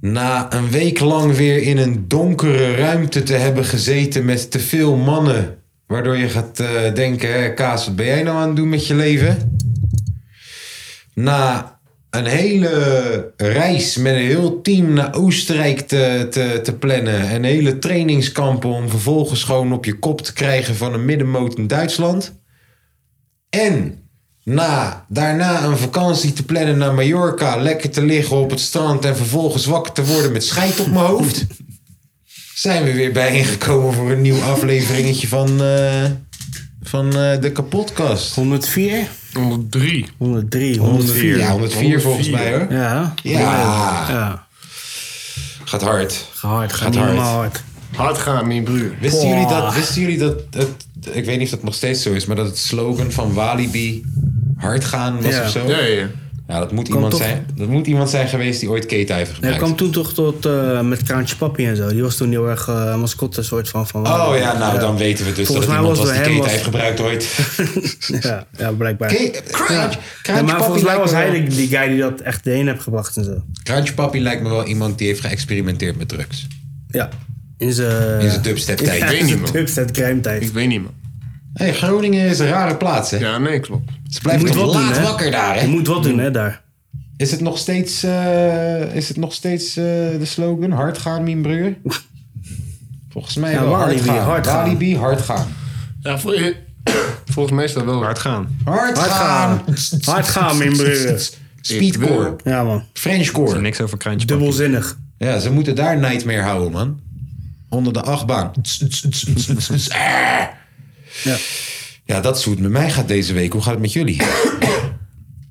Na een week lang weer in een donkere ruimte te hebben gezeten met te veel mannen. Waardoor je gaat eh, denken, hè, Kaas, wat ben jij nou aan het doen met je leven? Na een hele reis met een heel team naar Oostenrijk te, te, te plannen. En hele trainingskampen om vervolgens gewoon op je kop te krijgen van een middenmoot in Duitsland. En na, daarna een vakantie te plannen naar Mallorca, lekker te liggen op het strand en vervolgens wakker te worden met scheid op mijn hoofd. Zijn we weer bijeengekomen voor een nieuw afleveringetje van, eh, van eh, de kapotkast. 104? 103. 103, 104. 104. Ja, 104 volgens mij hoor. Ja. Ja. ja. Gaat hard. Gehard, gaat Gaat niet hard. helemaal hard. Hard gaan, mijn broer. Wisten Boah. jullie dat, wisten jullie dat het, ik weet niet of dat nog steeds zo is, maar dat het slogan van Walibi hard gaan was Ja. of zo? Ja, ja. Ja, dat moet, iemand toch- zijn, dat moet iemand zijn geweest die ooit keta heeft Hij gebruikt. kwam toen toch tot eh, met Kraantje Papi en zo. Die was toen heel erg eh mascotte soort van. van Oh ja, nou dan weten we dus Volgens dat mij het was iemand was die het hem keten was- heeft gebruikt ooit. ja, ja, blijkbaar. Kraantje- Ja, Kraantje maar Papi volgens mij lijkt was me hij wel- die, die guy die dat echt heen heeft gebracht en zo. Kraantje Papi lijkt me wel iemand die heeft geëxperimenteerd met drugs. Ja. In zijn... In zijn dubstep tijd. Ja, weet in niet, zijn man. dus dubstep crime tijd. Ik weet niet, man. Hey, Groningen is een rare plaats hè. Ja, nee, klopt. Ze blijft Je moet toch wat doen, laat hè? wakker daar Je hè. moet wat doen hè, daar. Is het nog steeds, eh, is het nog steeds eh, de slogan hard gaan mijn broer? Volgens mij Ja, wel hard Walibi, gaan. hard gaan. Walibi, hard gaan. Ja, vol- volgens mij is dat wel hard gaan. Hard Hard gaan. gaan. Hard gaan, mijn broer. Speedcore. Ja man, Frenchcore. Niks over kraantje Papi. dubbelzinnig. Ja, ze moeten daar Nightmare houden, man. Onder de achtbaan. Ah. Ja. Ja, dat is hoe het met mij gaat deze week. Hoe gaat het met jullie?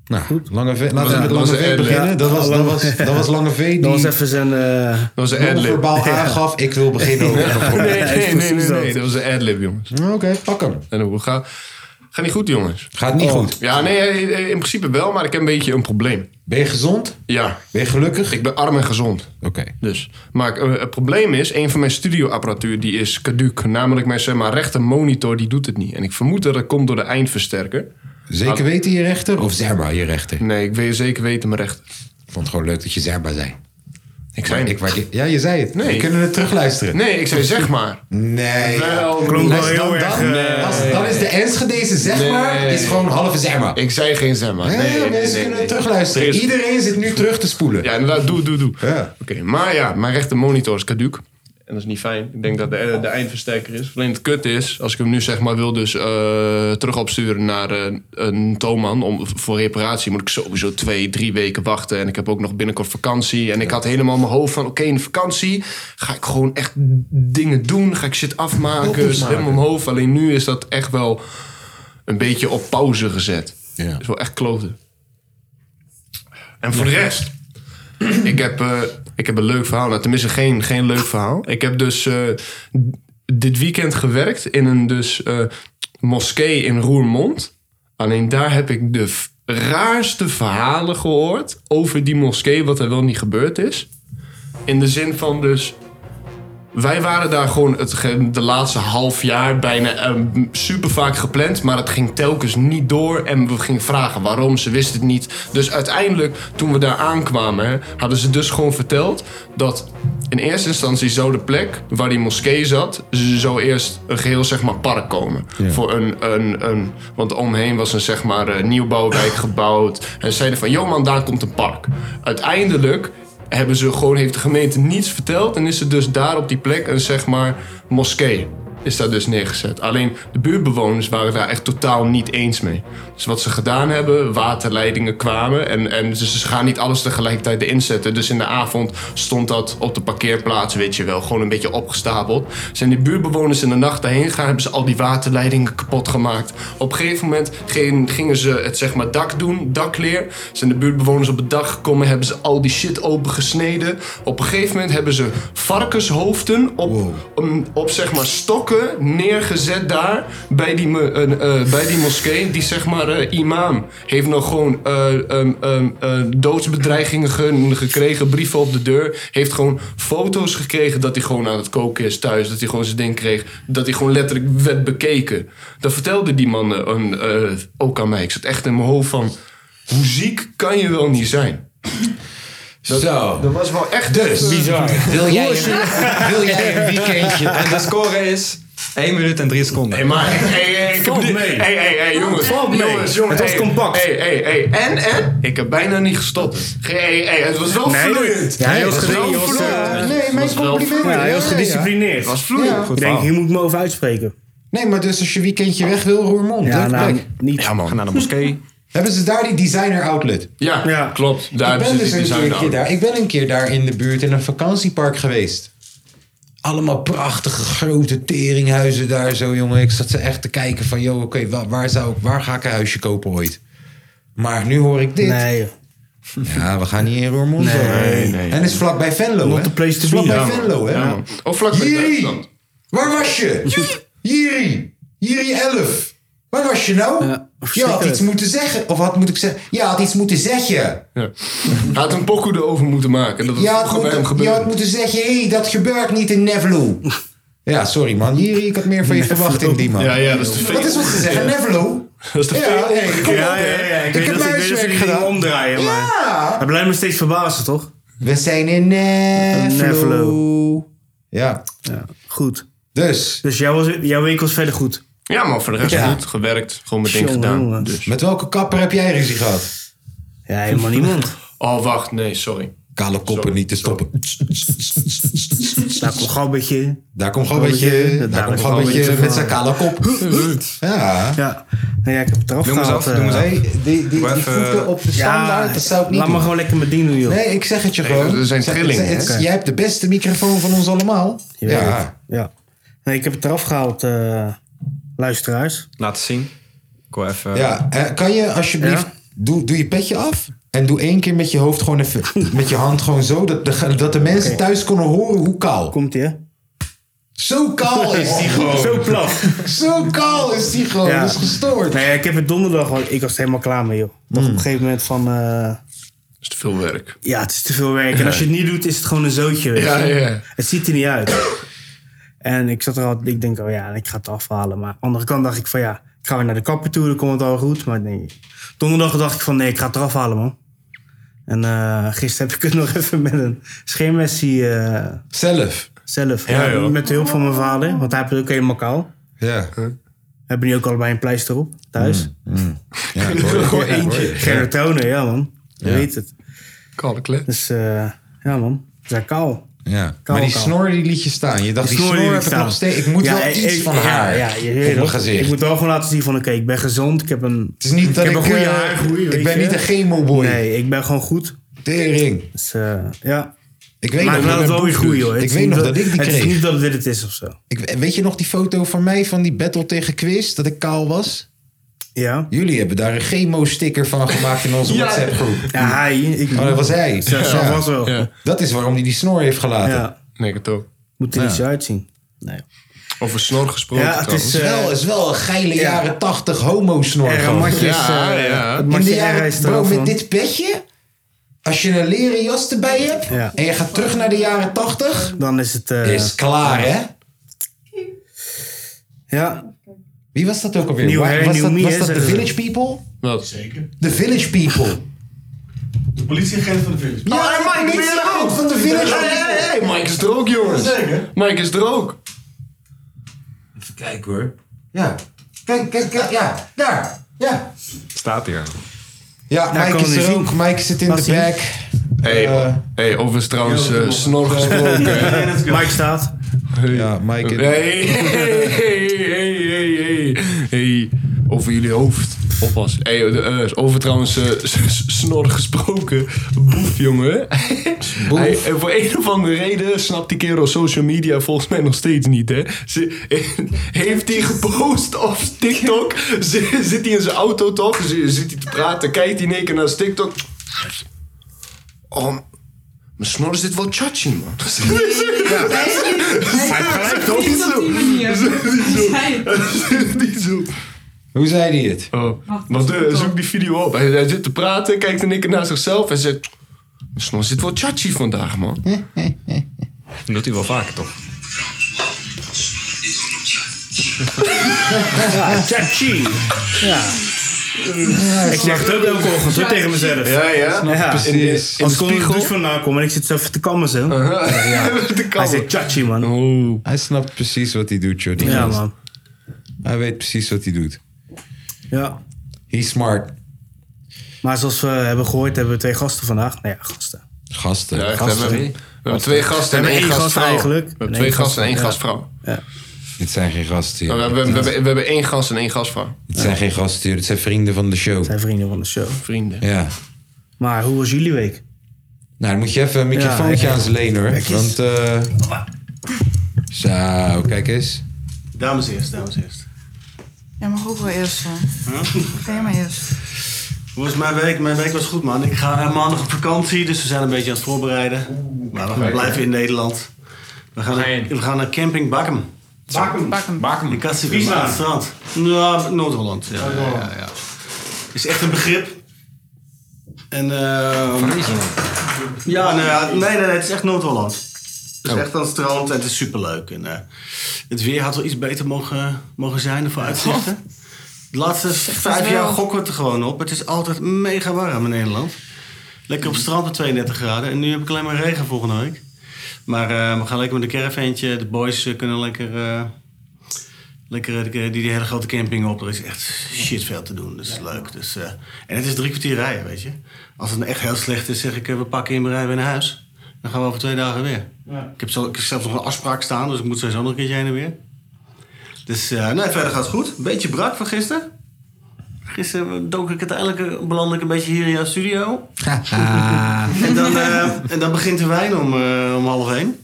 Nou, goed. Lange v, laten we Ja, met dat was Lange een V ad-lib. beginnen. Dat was, dat, Lange- was, dat was Lange V Dat was die even zijn... eh, Dat was een ad-lib. non-verbaal aangaf... ik wil beginnen over een Nee, probleem. nee, Ja, is nee, nee, precies nee, dat. nee. Dat was een ad-lib, jongens. Oké, pak hem. En hoe gaat... Gaat niet goed, jongens. Gaat Oh. niet goed. Ja, nee, eh, in principe wel, maar ik heb een beetje een probleem. Ben je gezond? Ja, Ben je gelukkig? ik ben arm en gezond. Oké. Dus. Maar eh, het probleem is, een van mijn studioapparatuur die is caduc. Namelijk mijn zeg maar, rechter monitor, die doet het niet. En ik vermoed dat dat komt door de eindversterker. Zeker weten je rechter? Of Zerba je rechter? Ik Nee, ik weet zeker weten mijn rechter. vond het gewoon leuk dat je Zerba zei. Ik zei, Ik waardeer- ja, je zei het. Nee. We kunnen het terugluisteren. Nee, ik zei zeg maar. Nee. Wel, Klonk wel Dan, heel dan, erg... eh, als- dan is de Enschedeze zeg Nee. maar, is gewoon halve zeg maar. Ik zei geen zeg maar. Nee, Nee, nee, mensen nee, kunnen nee. terugluisteren. Eerst- Iedereen zit nu terug te spoelen. Ja, inderdaad, doe, doe, doe. Ja. Oké, maar ja, mijn rechter monitor is caduc. En dat is niet fijn. Ik denk dat de, eh, de eindversterker is. Alleen het kut is, als ik hem nu zeg maar wil dus eh, terug opsturen naar eh, een toonman om, voor reparatie, moet ik sowieso twee, drie weken wachten. En ik heb ook nog binnenkort vakantie. En ik had helemaal in mijn hoofd van, oké, in de vakantie ga ik gewoon echt dingen doen. Ga ik shit afmaken. Dus helemaal in mijn hoofd. Alleen nu is dat echt wel een beetje op pauze gezet. Ja. Dat is wel echt kloten. En voor de rest, ik heb, eh, ik heb een leuk verhaal. Nou, tenminste, geen, geen leuk verhaal. Ik heb dus eh, dit weekend gewerkt in een dus, eh, moskee in Roermond. Alleen daar heb ik de f- raarste verhalen gehoord over die moskee, wat er wel niet gebeurd is. In de zin van dus. Wij waren daar gewoon het, ge- de laatste half jaar bijna super vaak gepland. Maar het ging telkens niet door. En we gingen vragen waarom. Ze wisten het niet. Dus uiteindelijk, toen we daar aankwamen, hè, hadden ze dus gewoon verteld dat in eerste instantie zou de plek waar die moskee zat. ze zou eerst een geheel zeg maar park komen. Voor een, een, een, want omheen was een zeg maar eh, nieuwbouwwijk gebouwd. En ze zeiden van: joh man, daar komt een park. Uiteindelijk hebben ze gewoon, heeft de gemeente niets verteld en is er dus daar op die plek een zeg maar moskee. is daar dus neergezet. Alleen de buurtbewoners waren daar echt totaal niet eens mee. Dus wat ze gedaan hebben, waterleidingen kwamen en, en dus ze gaan niet alles tegelijkertijd erin zetten. Dus in de avond stond dat op de parkeerplaats, weet je wel, gewoon een beetje opgestapeld. Zijn die buurtbewoners in de nacht daarheen gegaan, hebben ze al die waterleidingen kapot gemaakt. Op een gegeven moment gingen, gingen ze het zeg maar dak doen, dakleer. Zijn de buurtbewoners op het dak gekomen, hebben ze al die shit opengesneden. Op een gegeven moment hebben ze varkenshoofden op, om- op zeg maar stokken neergezet daar bij die, me- een, eh, bij die moskee. Die zeg maar eh, imam heeft nog gewoon eh, ehm, ehm, eh, doodsbedreigingen ge- gekregen, brieven op de deur. Heeft gewoon foto's gekregen dat hij gewoon aan het koken is thuis. Dat hij gewoon zijn ding kreeg. Dat hij gewoon letterlijk werd bekeken. Dat vertelde die man eh, een, eh, ook aan mij. Ik zat echt in mijn hoofd van, hoe ziek kan je wel niet zijn? Zo. Dat was wel echt... Dus, Bizar. wil jij, een, wil jij een weekendje? En de score is 1 minuut en 3 seconden. Hey, maar, hey, hey, hey, ik heb Valt die- mee. Hey, hey, hey, jongens. Valt mee. Jongens, Het jongens. was hey, compact. Hey, hey, hey. En, en? Ik heb bijna niet gestopt. Hey, hey, hey, het was wel vloeiend. Ja, heel het was gedegen, wel joh. vloeiend. Nee, mijn complimenten. Ja, heel gedisciplineerd. Het was vloeiend. Ik denk, hier moet ik me over uitspreken. Nee, maar dus als je weekendje weg wil, Roermond. Ja, hè? nou, Kijk, niet. Ja, Ga man. naar de moskee. hebben ze daar die designer outlet? Ja, Ja. klopt. Daar ik hebben ben ze dus die een design keertje aan. daar. Ik ben een keer daar in de buurt in een vakantiepark geweest. Allemaal prachtige grote teringhuizen daar zo, jongen. Ik zat ze echt te kijken van, joh, oké, wa- waar, zou ik- waar ga ik een huisje kopen ooit? Maar nu hoor ik dit. Nee, joh. Ja, we gaan niet in Roermond. hoor. En het is vlakbij Venlo, hè? the place to be. vlakbij Ja, man. Venlo, hè? Ja, man. Of vlakbij Jiri, Duitsland. waar was je? Jiri, Jiri 11. Waar was je nou? Ja, je had verschrikkelijk. iets moeten zeggen. Of had moet ik zeggen? Je had iets moeten zeggen. Ja. Hij had een pokoe erover moeten maken. Dat Je het had, vroeger bij hem moeten, je had gebeurde. moeten zeggen, hé, hey, dat gebeurt niet in Nevelo. Ja, sorry man. Jiri, ik had meer van je verwacht in die man. Ja, ja, dat is de Wat is wat ze zeggen? Nevelo? Dat is de Ja, fake. hey, kom op, Ja, ja, hè. ja. Ik Ik weet dat- heb ik weet dat ze huiswerk die dingen gedaan. omdraaien, maar... Ja. Hij blijft me steeds verbazen, toch? We zijn in Nevelo. Nevelo. Ja, Ja, goed. dus Dus jouw, was- jouw week was verder goed. Ja, maar voor de rest Ja. goed. Gewerkt. Gewoon mijn ding Jongen, gedaan. jongen. Dus. met welke kapper heb jij ruzie gehad? Ja, helemaal niemand. Oh, wacht. Nee, sorry. Kale koppen niet te stoppen. Daar komt gauw een beetje... Daar komt gewoon een beetje, daar komt gewoon een beetje met zijn kale kop. Ja. eh, Ja, nee, ja ik heb het eraf Noem eens gehaald. af, eh. noem eens af. Nee, die, die, die Even- voeten op de standaard, Ja, dat zou ik niet laat doen. me gewoon lekker mijn ding doen, joh. Nee, ik zeg het je Nee, gewoon. er zijn Zeg- trillingen, zeg- hè? het- Jij hebt de beste microfoon van ons allemaal. Je weet het. ja. Nee, ik heb het eraf gehaald, eh, luisteraars. Laten zien. Ik wil even... Ja, eh, kan je alsjeblieft, Ja? doe, doe je petje af. En doe één keer met je hoofd gewoon even, met je hand gewoon zo. Dat de, dat de mensen Oké. thuis konden horen hoe kaal. Komt ie, hè? Zo kaal is die gewoon. Zo plat. Zo kaal is die gewoon. Ja. Dat is gestoord. nee, ik heb het donderdag, al- ik was er helemaal klaar mee, joh. Dat op een gegeven moment van, eh, Dat is te veel werk. ja, het is te veel werk. En als je het niet doet, is het gewoon een zootje, weet Ja, je. ja. Het ziet er niet uit. En ik zat er al, ik denk, oh ja, ik ga het afhalen. Maar aan de andere kant dacht ik van, ja, ik ga weer naar de kapper toe, dan komt het al goed. Maar nee, donderdag dacht ik van, nee, ik ga het eraf halen, man. En eh, gisteren heb ik het nog even met een scheermessie eh, Zelf. zelf. Ja, joh. met de hulp van mijn vader, want hij heeft het ook helemaal kaal. Ja. We hebben nu ook allebei een pleister op, thuis. Mm. Mm, Ja, ik hoor je. Gewoon Ja, ik hoor je. eentje. Gerrit Tonen, ja man. Je weet het. Kalle klet. Dus eh, ja man, we zijn kaal. Ja. Kaal, maar die kaal. snor die liet je staan. Je dacht, die, snor, die heb ik staan. nog steeds. Ik moet Ja, wel ik- iets ik- van ja, haar Ja, je op weet mijn het. gezicht. Ik moet wel gewoon laten zien van, oké, ik ben gezond. Ik heb een... het is niet dat heb ik... een goede eh, haargroei, weet ik ben je. niet een chemoboy. Nee, ik ben gewoon goed. Tering. Dus eh, ja. Ik weet Maar nog, ik laat dat het wel mijn weer broek groeien doet. hoor. Het Ik is weet niet nog dat- dat ik die Het is kreeg. niet dat dit het is of zo. Ik, weet je nog die foto van mij van die battle tegen Quiz? Dat ik kaal was? Ja. Jullie hebben daar een chemo-sticker van gemaakt in onze WhatsApp-groep. Ja, hij. Ik, Oh, dat was hij. Ja, zo Ja. was wel. Ja. Ja. Dat is waarom hij die snor heeft gelaten. Nee, ik het ook. Moet er niet zo uitzien. Nee. Over snor gesproken. Ja, het is, eh, trouwens. Het is wel, is wel een geile jaren 80 homo-snor. Er gewoon. matjes. Ja, eh, ja. het Dus, In de matje R jaren, is bro, eraf, met man. dit petje, als je een leren jas erbij hebt Ja. en je gaat terug naar de jaren 80, Dan is het... eh, is klaar hè? Ja. Wie was dat ook alweer? Nieuw Wa- hair, was nieuw dat, me, was hè, dat de zeggen ze. Village People? Wat? De Village People. De politieagent van de film. Ja, hey, Mike, niet ben je er zo ook? van de Village Hey, People. hey, hey, Mike is er ook, jongens. Zeker. Mike is er ook. Even kijken hoor. Ja, kijk, kijk, kijk, ja, daar, ja. Staat hier. Ja, kan Mike is je er Nou, zien. ook. Mike zit in Laat de zien. back. Hey, Eh, hey, overigens trouwens, eh, snor gesproken. Mike staat. ja, Mike. en- Hey, hey, hey, hey, hey, hey, hey. Over jullie hoofd. Oppassen. Hey, de, eh, over trouwens eh, s- s- snor gesproken. Boef, jongen. Hij, en voor een of andere reden snapt die kerel social media volgens mij nog steeds niet, hè. Ze, eh, heeft hij gepost op TikTok? Ze- zit hij in zijn auto, toch? Ze- Zit hij te praten? Kijkt hij in één keer naar zijn TikTok? Oh, mijn snor zit wel chachi, man. gelijk toch? Niet op die manier. Hij- Niet zo. Hoe zei hij het? Oh, Wacht, want dat eh, is goed, zoek toch? die video op. Hij, hij zit te praten, kijkt in één keer naar zichzelf en zegt... Mijn snor zit wel chachi vandaag, man. Dat doet hij wel vaker, toch? Chachi. Ja. Ik zeg het ook elke ochtend hoor, tegen mezelf. Ja, ja. Ja. Precies. Uh-huh. Als ik onder de douche vandaan kom en ik zit zelf te kammen zo. De Hij kamer. zegt chachi man. Oh. Hij snapt precies wat hij doet, joh. die Ja gast. man. Hij weet precies wat hij doet. Ja. He's smart. Maar zoals we hebben gehoord hebben we twee gasten vandaag. Nou ja, gasten. Gasten. Ja, echt, we, Gasten. hebben, we hebben twee gasten en We hebben één één gast gastvrouw. eigenlijk. We hebben En twee één gasten en één gastvrouw, gastvrouw. Dit zijn geen gasten, We joh. hebben, we, hebben, we hebben één gast en één gastvrouw. Dit zijn geen gasten, joh. Dit zijn vrienden van de show. Zijn vrienden van de show. Vrienden. Ja. Maar hoe was jullie week? Nou, dan moet je even een microfoontje Ja, aan ze lenen, hoor. Kijk eens. Want, eh... Zo, Oh, kijk eens. Dames eerst, dames eerst. Jij mag ook wel eerst van. Ga jij maar eerst. Hoe was mijn week? Mijn week was goed, man. Ik ga eh, maandag op vakantie, dus we zijn een beetje aan het voorbereiden. Maar we gaan blijven in Nederland. We gaan, we gaan naar Camping Bakkum. Bakkum? In Kastrikum, aan het strand. Nou, Noord-Holland. Ja, ja, ja, ja. Is echt een begrip. En, ehm, ja, nou ja, nee, nee, nee, het is echt Noord-Holland. Het is Oh. echt aan het strand en het is superleuk. En, eh, het weer had wel iets beter mogen, mogen zijn, de vooruitzichten. De laatste vijf wel- jaar gokken we het er gewoon op. Het is altijd mega warm in Nederland. Lekker op het strand met 32 graden. En nu heb ik alleen maar regen volgende week. Maar eh, we gaan lekker met een caravantje. De boys eh, kunnen lekker... eh, Lekker eh, die, die hele grote camping op. Er is echt shit veel te doen. Dat is leuk. Dus, eh, en het is drie kwartier rijden, weet je. Als het nou echt heel slecht is, zeg ik, eh, we pakken in rijden weer naar huis. Dan gaan we over twee dagen weer. Ik, heb zo, ik heb zelfs nog een afspraak staan, dus ik moet sowieso nog een keertje heen en weer. Dus eh, nee, verder gaat het goed. Een beetje brak van gisteren. Gisteren dook ik uiteindelijk, eh, beland ik een beetje hier in jouw studio. en, dan, eh, en dan begint de wijn om, eh, om half één.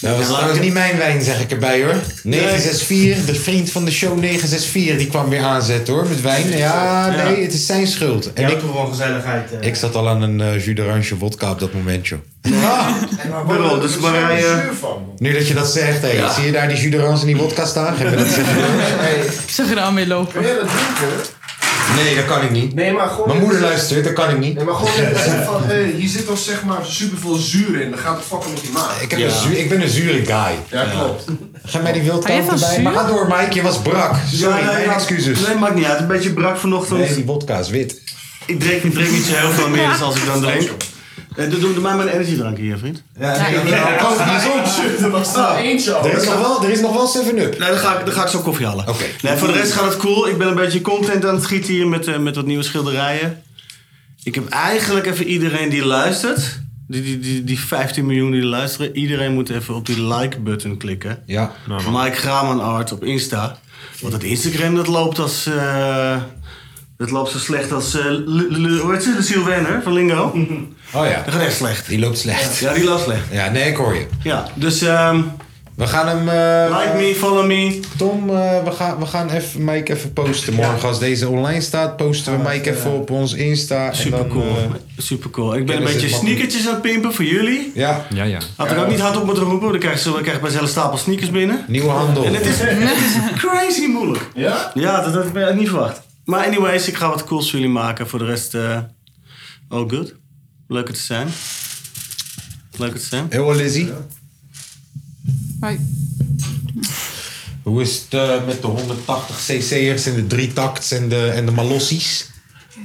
Dat was Ja, trouwens ik- niet mijn wijn, zeg ik erbij hoor. 964, de vriend van de show 964, die kwam weer aanzetten hoor, met wijn. Ja, Ja. nee, het is zijn schuld. En ik, gewoon gezelligheid. ik zat al aan een eh jus d'orange vodka op dat moment, joh. Bubbel, dus eh, Marije... Nu dat je dat zegt, hé, zie je daar die jus d'orange en die vodka staan? Geef me dat zeggen. Ik zag je daar mee lopen. Nee, dat kan ik niet. Nee, maar gewoon. Mijn moeder luistert, dat kan ik niet. Nee, maar gewoon in de zin van, hé, hier zit toch zeg maar superveel zuur in. Dan gaat het fucking met die maag. Ik, heb een zuur- ik ben een zure guy. Ja, klopt. Geef mij die Hij wildkant heeft wel erbij. Maar zuur? ga door, Mike, je was brak. Sorry, Ja, ja, mijn ja. excuses. Nee, maakt niet uit. Een beetje brak vanochtend. Nee, die vodka is wit. Ik drink, ik drink niet zo heel veel meer dus als ik dan drink. Eh, Doe, doe, doe mij maar een energiedrank hier, vriend. Er was er eentje al. Oh, Er is nog wel, er is nog wel 7-up. Nee, dan ga ik, dan ga ik zo koffie halen. Oké. Nee, voor de rest gaat het cool. Ik ben een beetje content aan het schieten hier met, eh, met wat nieuwe schilderijen. Ik heb eigenlijk even iedereen die luistert... Die, die, die, die 15 miljoen die luisteren... iedereen moet even op die like-button klikken. Ja. Mike Graman Art op Insta. Want het Instagram dat loopt als... eh, dat loopt zo slecht als... eh, Lu- Lu- hoe heet ze? Lucille Werner van Lingo. Oh ja, Dat gaat echt slecht. die loopt slecht. Ja, die loopt slecht. Ja, nee, ik hoor je. Ja, dus ehm, We gaan hem. eh, like me, follow me. Tom, eh, we gaan, we gaan even Mike even posten. Morgen als deze online staat, posten we Mike eh, even op ons Insta. Super en dan, cool. eh, Super cool. Ik ben een kennis beetje is makkelijk. sneakertjes aan het pimpen voor jullie. ja, Ja, ja. Had ik ook niet hard op moeten roepen, want dan krijg je, dan krijg je bij zelf een stapel sneakers binnen. nieuwe handel. En het is, het is crazy moeilijk. Ja? Ja, dat had ik eigenlijk niet verwacht. Maar anyways, ik ga wat cools voor jullie maken. Voor de rest, eh all good. Leuk het te zijn. Leuk het te zijn. Heel Lizzie. Hoi. Hoe is het eh, met de 180 cc'ers en de drie takts en de, en de malossies?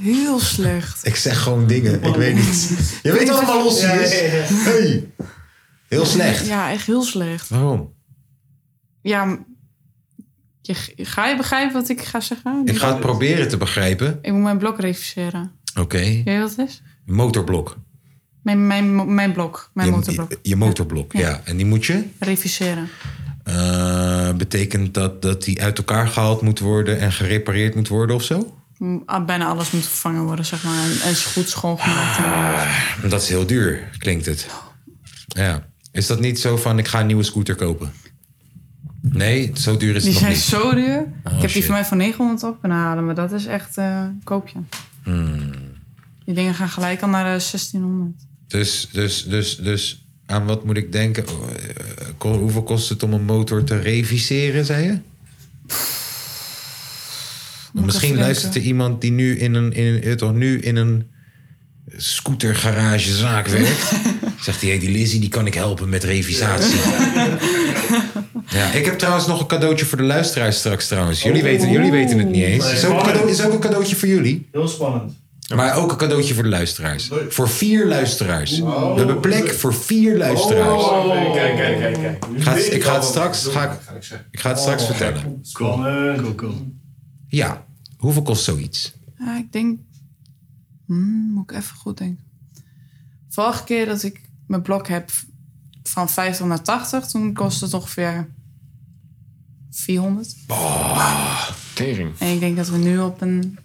Heel slecht. Ik zeg gewoon dingen, ik weet niet. Je weet wat een malossie is? Hey. Heel slecht. Ja, echt heel slecht. Waarom? Ja, m- je, ga je begrijpen wat ik ga zeggen? Ik ga het proberen te begrijpen. Ik moet mijn blok reviseren. Oké, Weet je wat het is? motorblok. Mijn, mijn, mo- mijn blok, mijn je, motorblok. Je, je motorblok, ja. En die moet je? Reviseren. eh, betekent dat dat die uit elkaar gehaald moet worden en gerepareerd moet worden of zo? M- ah, Bijna alles moet vervangen worden, zeg maar. En, en goed schoongemaakt. en Ah, alles. Dat is heel duur, klinkt het. Ja. Is dat niet zo van ik ga een nieuwe scooter kopen? Nee, zo duur is het Die zijn nog niet. Oh, zo duur. ik heb die shit. van mij voor 900 op kunnen halen, maar dat is echt eh, een koopje. Hmm. Die dingen gaan gelijk al naar eh, de 1600. Dus, dus, dus, dus aan wat moet ik denken? Oh, eh, ko- hoeveel kost het om een motor te reviseren, zei je? Misschien even luistert er iemand die nu in een, in, een- eh, toch nu in een scootergaragezaak werkt. Zegt hij, hey, die Lizzie, die kan ik helpen met revisatie. Ja, ik heb trouwens nog een cadeautje voor de luisteraars straks Dus trouwens. Oh. Jullie, weten, jullie weten het niet eens. Is ook een cadeau- is ook een cadeautje voor jullie. Heel spannend. maar ook een cadeautje voor de luisteraars. Voor vier luisteraars. We hebben plek voor vier luisteraars. Oh. Kijk, kijk, kijk, kijk. Ik ga, het- ik ga het straks, ga ik, ik ga het Oh. straks vertellen. Cool. eh, Ja, hoeveel kost zoiets? Ja, ik denk... Hmm, moet ik even goed denken. Vorige keer dat ik mijn blok heb van 50 naar 80, toen kost het ongeveer 400. Tering. En ik denk dat we nu op een...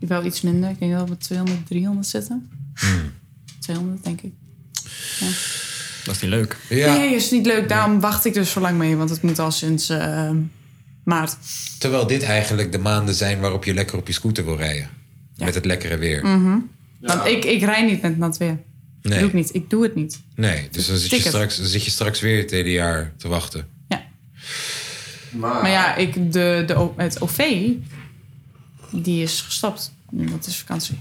Wel iets minder. Ik denk dat we op 200, 300 zitten. Hmm. 200, denk ik. Dat is niet leuk. Nee, is niet leuk. Daarom wacht ik dus zo lang mee. Want het moet al sinds eh, maart. Terwijl dit eigenlijk de maanden zijn waarop je lekker op je scooter wil rijden. Met het lekkere weer. Mhm. Want ik, ik rij niet met nat weer. Nee. Dat doe ik niet. Ik doe het niet. Nee, dus dan zit je Ticket. straks, dan zit je straks weer het hele jaar te wachten. Maar ja, ik, de, de, O- het OV, die is gestopt. Nu, want het is vakantie.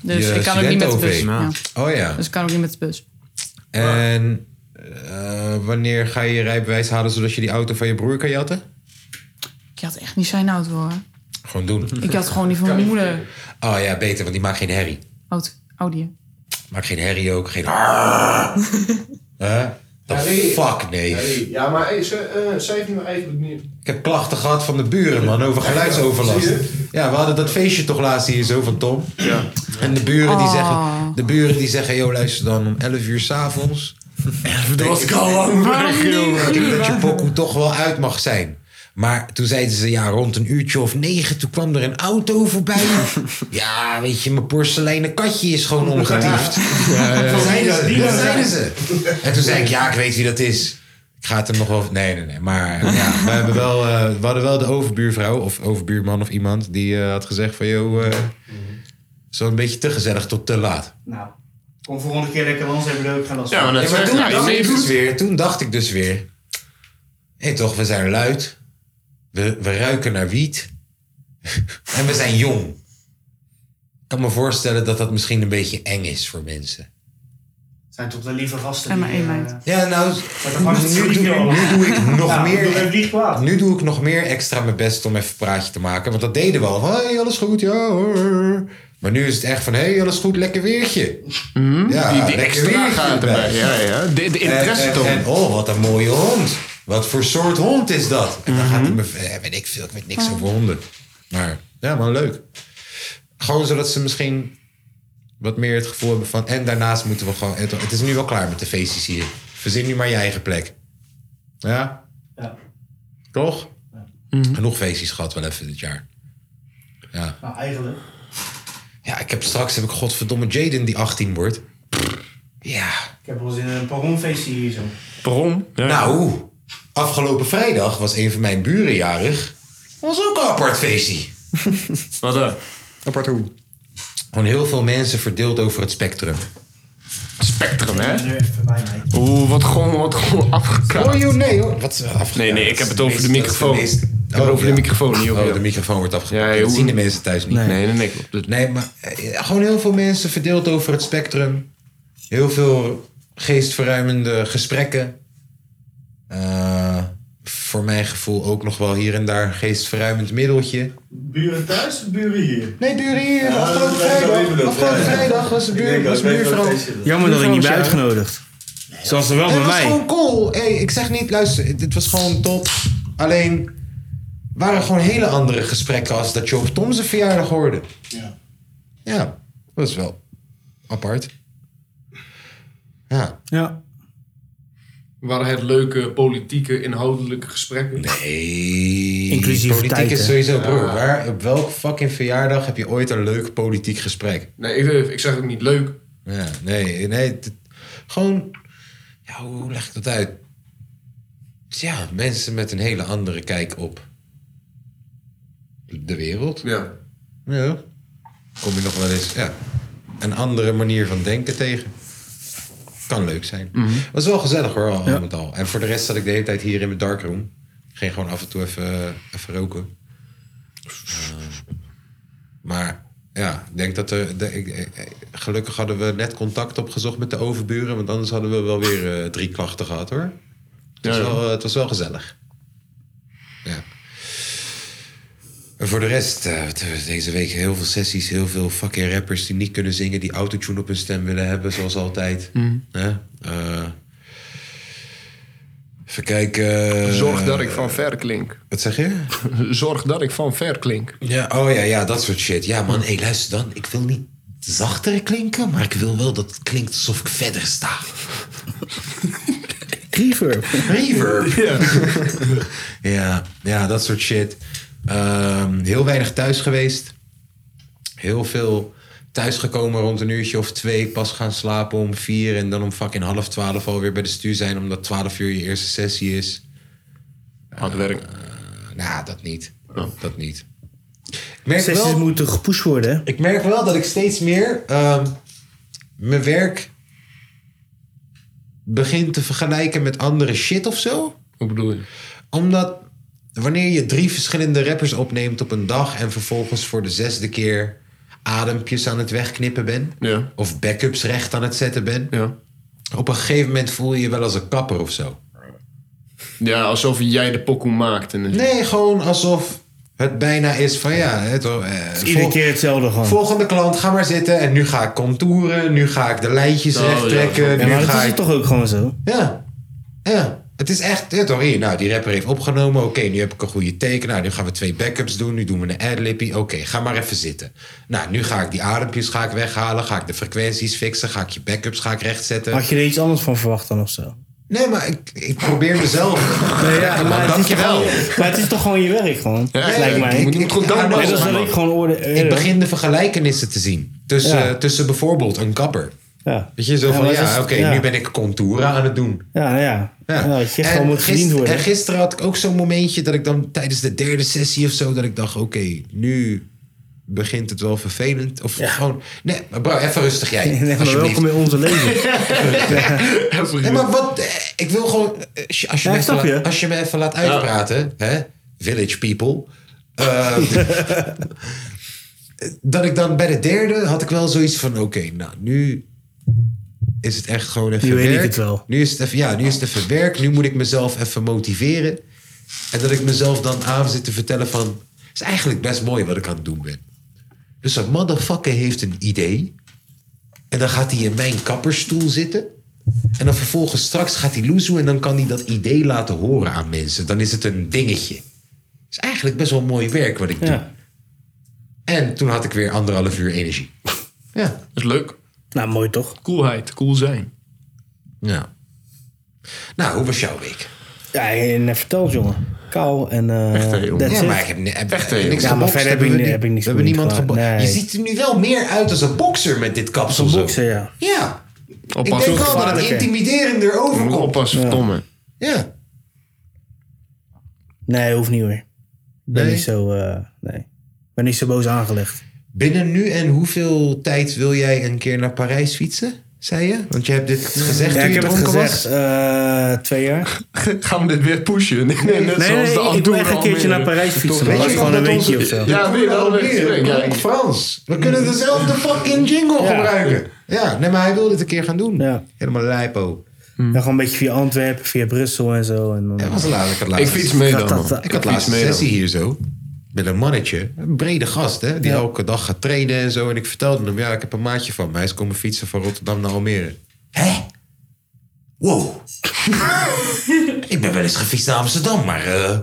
Dus Je ik kan ook niet met de bus. studenten-OV. Oh ja. Dus ik kan ook niet met de bus. Ah. En eh, wanneer ga je je rijbewijs halen zodat je die auto van je broer kan jatten? Ik had echt niet zijn auto hoor. Gewoon doen. Ik had gewoon die van mijn moeder. Oh ja, beter, want die maakt geen herrie. Oud, Audi. Maakt geen herrie ook, geen... Huh? The fuck, nee. Ja, maar hey, ze, eh, zij heeft niet maar even niet. Ik heb klachten gehad van de buren, man, over geluidsoverlast. Ja, we hadden dat feestje toch laatst hier zo van Tom. Ja. En de buren die Oh. zeggen, de buren die zeggen, joh, luister dan om 11 uur s'avonds. Dat was ik al lang weg, jongen. Ik denk dat je pokoe toch wel uit mag zijn. Maar toen zeiden ze, ja, rond een uurtje of negen, toen kwam er een auto voorbij. Ja, weet je, mijn porseleinen katje is gewoon omgetiefd. Ja, ja. Dat zeiden ze, Die dat dan. zeiden ze. En toen zei ik, ja, ik weet wie dat is. Ik ga het hem nog wel... Nee, nee, nee. Maar ja, we, hebben wel, eh, we hadden wel de overbuurvrouw of overbuurman of iemand... die eh, had gezegd van, joh, eh, zo'n beetje te gezellig tot te laat. Nou, kom volgende keer lekker langs hebben we ook gaan dat Ja, maar toen, nou, dacht ik dus weer, toen dacht ik dus weer... Hé toch, we zijn luid. We, we ruiken naar wiet. en we zijn jong. Ik kan me voorstellen dat dat misschien een beetje eng is voor mensen. Zijn toch de lieve gasten. En die, maar één eh, meid. Ja, nou, nu, doe, joh. nu doe ik nog Ja, doe meer... even Nu doe ik nog meer extra mijn best om even een praatje te maken. Want dat deden we al. Van, hey, alles goed? Ja hoor. Maar nu is het echt van, hé, hey, alles goed? Lekker weertje. Mm? Ja, Hm? Die- die lekker extra weertje gaat erbij. Ja, ja. De- de En- interesse en- toch? En, oh, wat een mooie hond. Wat voor soort hond is dat? En dan gaat hij me... eh, weet ik veel, ik weet niks Mhm. Ja. over honden. Maar, ja, maar leuk. Gewoon zodat ze misschien wat meer het gevoel hebben van... En daarnaast moeten we gewoon... Het, het is nu wel klaar met de feestjes hier. Verzin nu maar je eigen plek. Ja? Ja. Toch? Mhm. Genoeg feestjes gehad wel even dit jaar. Ja. Nou, eigenlijk. Ja, ik heb straks heb ik godverdomme Jaden die 18 wordt. Ja. Ik heb wel eens in een perronfeestje hier zo. Waarom? Nou, afgelopen vrijdag was een van mijn buren jarig. Dat was ook een apart feestje. Wat dan? Apart hoe? Gewoon heel veel mensen verdeeld over het spectrum. Spectrum, hè? Oeh, wat gewoon, wat gewoon afgekapt. Oh joh, nee hoor. Wat is er afgekapt? Nee, nee, ik heb het over de Meest- microfoon. dat is de meest- Ik heb het over de microfoon, niet over Oh, jou. de microfoon wordt afgekapt. Ja, dat hoe- zien de mensen thuis niet. Nee, nee, nee, Nee, maar eh, gewoon heel veel mensen verdeeld over het spectrum. Heel veel geestverruimende gesprekken. Eh, voor mijn gevoel ook nog wel hier en daar een geestverruimend middeltje. Buren thuis of buren hier? Nee, buren hier. Ja, dat afgelopen blijft wel vrijdag. even dat, Afgelopen ja. vrijdag was de Ik buur- denk dat- was ik weet buurvrouw- dat het is. Jammer dat ik niet ben buurvrouwtje. uitgenodigd. Zoals er wel Het bij was mij. gewoon cool. Hey, ik zeg niet, luister, dit was gewoon top. Alleen waren gewoon hele andere gesprekken als dat je op Tom zijn verjaardag hoorde. Ja. Ja, dat is wel apart. Ja. Ja. Waren het leuke politieke, inhoudelijke gesprekken? Nee. Politiek is sowieso, broer. Waar, op welk fucking verjaardag heb je ooit een leuk politiek gesprek? Nee, ik, ik zeg ook niet leuk. Ja, nee, nee. het- gewoon, ja, hoe hoe leg ik dat uit? Ja, mensen met een hele andere kijk op de wereld. Ja. Ja. Kom je nog wel eens ja, een andere manier van denken tegen. Kan leuk zijn. Was wel gezellig hoor, al met al. En voor de rest zat ik de hele tijd hier in mijn darkroom. Ging gewoon af en toe even, eh, even roken. Eh, maar ja, ik denk dat er... de- ik, ik- ik- gelukkig hadden we net contact opgezocht met de overburen. Want anders hadden we wel weer eh, drie klachten gehad hoor. Het was, Ja, ja. Wel, eh, het was wel gezellig. Ja. En voor de rest, eh, wat hebben we deze week heel veel sessies, heel veel fucking rappers die niet kunnen zingen, die autotune op hun stem willen hebben, zoals altijd. Mhm. Hè? Eh, even kijken. eh, Zorg dat ik van ver klink. Wat zeg je? Zorg dat ik van ver klink. Ja, oh ja, ja, dat soort shit. Ja, man, hey, luister dan. Ik wil niet zachter klinken, maar ik wil wel dat het klinkt alsof ik verder sta. Reverb. Reverb. ja, ja, dat soort shit. Ehm, heel weinig thuis geweest. Heel veel thuisgekomen rond een uurtje of twee. Pas gaan slapen om vier. En dan om fucking half twaalf alweer bij de stuur zijn. Omdat twaalf uur je eerste sessie is. Eh, Hard werk. Oh. nou, dat niet. Dat niet. Ik merk Sessies wel- moeten gepusht worden. hè? Ik merk wel dat ik steeds meer ehm, mijn werk begin te vergelijken met andere shit of zo. Hoe bedoel je? Omdat wanneer je drie verschillende rappers opneemt op een dag en vervolgens voor de zesde keer adempjes aan het wegknippen ben. Ja. Of backups recht aan het zetten ben. Op een gegeven moment voel je je wel als een kapper of zo. Ja, alsof jij de pokoe maakt. En Nee, gewoon alsof het bijna is van ja. Het, eh, Iedere vol- keer hetzelfde gewoon. Volgende klant, ga maar zitten. En nu ga ik contouren. Nu ga ik de lijntjes Oh, recht ja. trekken. Ja, nu maar dat ga is ik... het toch ook gewoon zo? Ja. Ja. Het is echt... Ja, toch, hier, nou, die rapper heeft opgenomen. Oké, nu heb ik een goede teken. Nou, nu gaan we twee backups doen. Nu doen we een adlippie. Oké, ga maar even zitten. Nou, nu ga ik die adempjes ga ik weghalen. Ga ik de frequenties fixen. Ga ik je backups ga ik rechtzetten. Had je er iets anders van verwacht dan of zo? Nee, maar ik, ik probeer mezelf... Nee, ja, maar het is toch dankjewel. gewoon- Maar het is toch gewoon je werk gewoon? Ja, ja, lijkt ja, mij. ik- ik- ik- Nee, ik- dat is wel ik- ik gewoon eh, oorde. Ik begin de vergelijkenissen te zien. Tussen, Ja. tussen bijvoorbeeld een kapper. Ja. Weet je, zo Ja, van, maar ja, dat is- oké, ja. nu ben ik contouren aan het doen. Ja, nou ja. ja. dat je gewoon moet verdiend gister- worden. en gisteren had ik ook zo'n momentje dat ik dan tijdens de derde sessie of zo, dat ik dacht, oké, nu begint het wel vervelend. Of gewoon, nee, maar bro, even rustig jij. Nee, maar alsjeblieft. welkom in onze leven. Nee, maar wat, eh, ik wil gewoon, eh, als je, als je Ja, me, even snap je? laat, als je me even laat uitpraten, hè, village people. eh, dat ik dan bij de derde had ik wel zoiets van, oké, nou, nu is het echt gewoon even Nu weet ik werk. het wel. Nu is het even, ja, nu is het even werk. Nu moet ik mezelf even motiveren. En dat ik mezelf dan aan zit te vertellen van... Het is eigenlijk best mooi wat ik aan het doen ben. Dus een motherfucker heeft een idee. En dan gaat hij in mijn kapperstoel zitten. En dan vervolgens straks gaat hij loezoe... en dan kan hij dat idee laten horen aan mensen. Dan is het een dingetje. Het is eigenlijk best wel mooi werk wat ik doe. En toen had ik weer anderhalf uur energie. Ja. Dat is leuk. Nou, mooi toch? Coolheid, cool zijn. Ja. Nou, hoe was jouw week? Ja, en net verteld, jongen. Kou en. eh that's Ja, it. maar ik heb, ni- heb, Echt, hè, heb niks jongen. Ja, maar gebokst. verder Hebben heb ik we ni- ni- heb ik niks we boeiend hebben niemand gedaan. gebokst. Nee. Je ziet er nu wel meer uit als een bokser met dit kapsel. Als een bokser, ja. Ja. Oppassen. Ik denk wel dat het Gevaarlijker. intimiderender Moet overkomt. oppassen, verdomme. Ja. Nee, hoeft niet hoor. Ik ben Nee? niet zo. eh, nee. Ik ben niet zo boos aangelegd. Binnen nu en hoeveel tijd wil jij een keer naar Parijs fietsen? Zei je? Want je hebt dit gezegd ja, toen ik je heb het dronken gezegd. was. eh, twee jaar. Gaan we dit weer pushen? Nee, nee, net Nee, zoals nee, de ik Andorra wil echt een keertje Almere. naar Parijs fietsen. Weet Dat was je gewoon wat een dat weekje of onze- zo. Ja, weer wel een weekje. Ja, Klonk Nou, Frans. We kunnen dezelfde fucking jingle gebruiken. Ja, nee, maar hij wil dit een keer gaan doen. Helemaal lijpo. Hmm. Ja, gewoon een beetje via Antwerpen, via Brussel en zo. En dan, Dat was laat, ik had laatst- Ik fiets mee dan, man. Dat- dat- Ik had fiets laatst een mee dan. sessie hier zo. Met een mannetje. Een brede gast, hè. Die elke dag gaat trainen en zo. En ik vertelde hem, ja, ik heb een maatje van mij. Hij is komen fietsen van Rotterdam naar Almere. Hé? Wow. ik ben wel eens gefietst naar Amsterdam, maar... eh,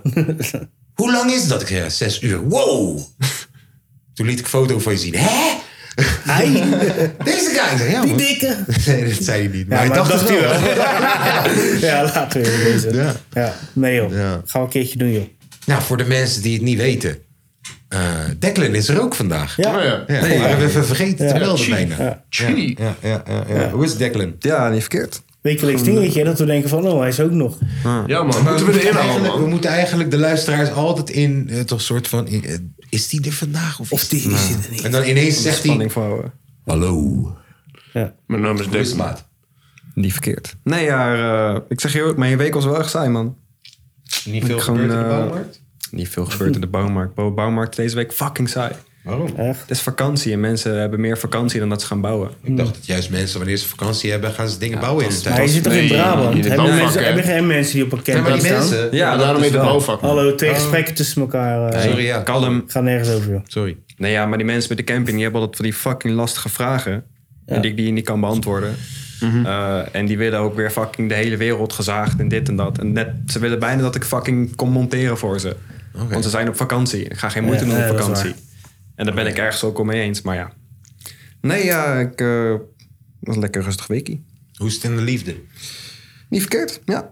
hoe lang is dat? Ik zei, ja, zes uur. Wow. Toen liet ik een foto van je zien. Hé? Hij? Deze guy! Ik zei, Ja, Die man. dikke. Nee, dat zei hij niet. Ja, maar Maar hij dacht dat het dacht wel. ja, laten we even deze. Ja. Nee joh, gaan we een keertje doen joh. Nou, voor de mensen die het niet weten. eh Declan is er ook vandaag. Ja. Oh, ja. Nee, Ja. we hebben even vergeten Ja. te melden Chi. bijna. Ja. Chi. Ja, ja, ja, ja. Hoe is Declan? Ja, niet verkeerd. Wekelijks dingetje dat we denken van oh hij is ook nog. Ja man, moeten we erin halen, eigenlijk, man. We moeten eigenlijk de luisteraars altijd in, eh, toch soort van, in, eh, is die er vandaag? Of, is die is er niet? En dan ineens zegt hij, Spanning vouwen. hallo. Mijn naam is Declan. Niet verkeerd. Nee, ja, eh, ik zeg je ook, mijn week was wel erg saai, man. Niet veel Ik gebeurd in de eh, bouwmarkt? Niet veel gebeurd in de bouwmarkt. Bouw- Bouwmarkt deze week fucking saai. Waarom? Echt? Het is vakantie en mensen hebben meer vakantie dan dat ze gaan bouwen. Ik dacht dat juist mensen, wanneer ze vakantie hebben, gaan ze dingen bouwen in de tijd. Hij zit toch in eh, Brabant? Hebben, mensen, hebben geen mensen die op een Ja, maar camping die staan? mensen- Ja, Ja, daarom dat is heet het wel. bouwvak. Hallo, twee Oh. gesprekken tussen elkaar. eh, Sorry, ja. Kalm. Gaat nergens over joh. Sorry. Nee, ja, maar die mensen met de camping die hebben altijd van die fucking lastige vragen. En die ik die niet kan beantwoorden. Mhm. Eh, en die willen ook weer fucking de hele wereld gezaagd en dit en dat. En net, ze willen bijna dat ik fucking kom monteren voor ze. Want ze zijn op vakantie. Ik ga geen moeite Ja, doen ja, op dat is vakantie. En daar ben ik ergens ook al mee eens, maar ja. Nee, ja, ik eh, was een lekker rustig weekie. Hoe is het in de liefde? Niet verkeerd, ja.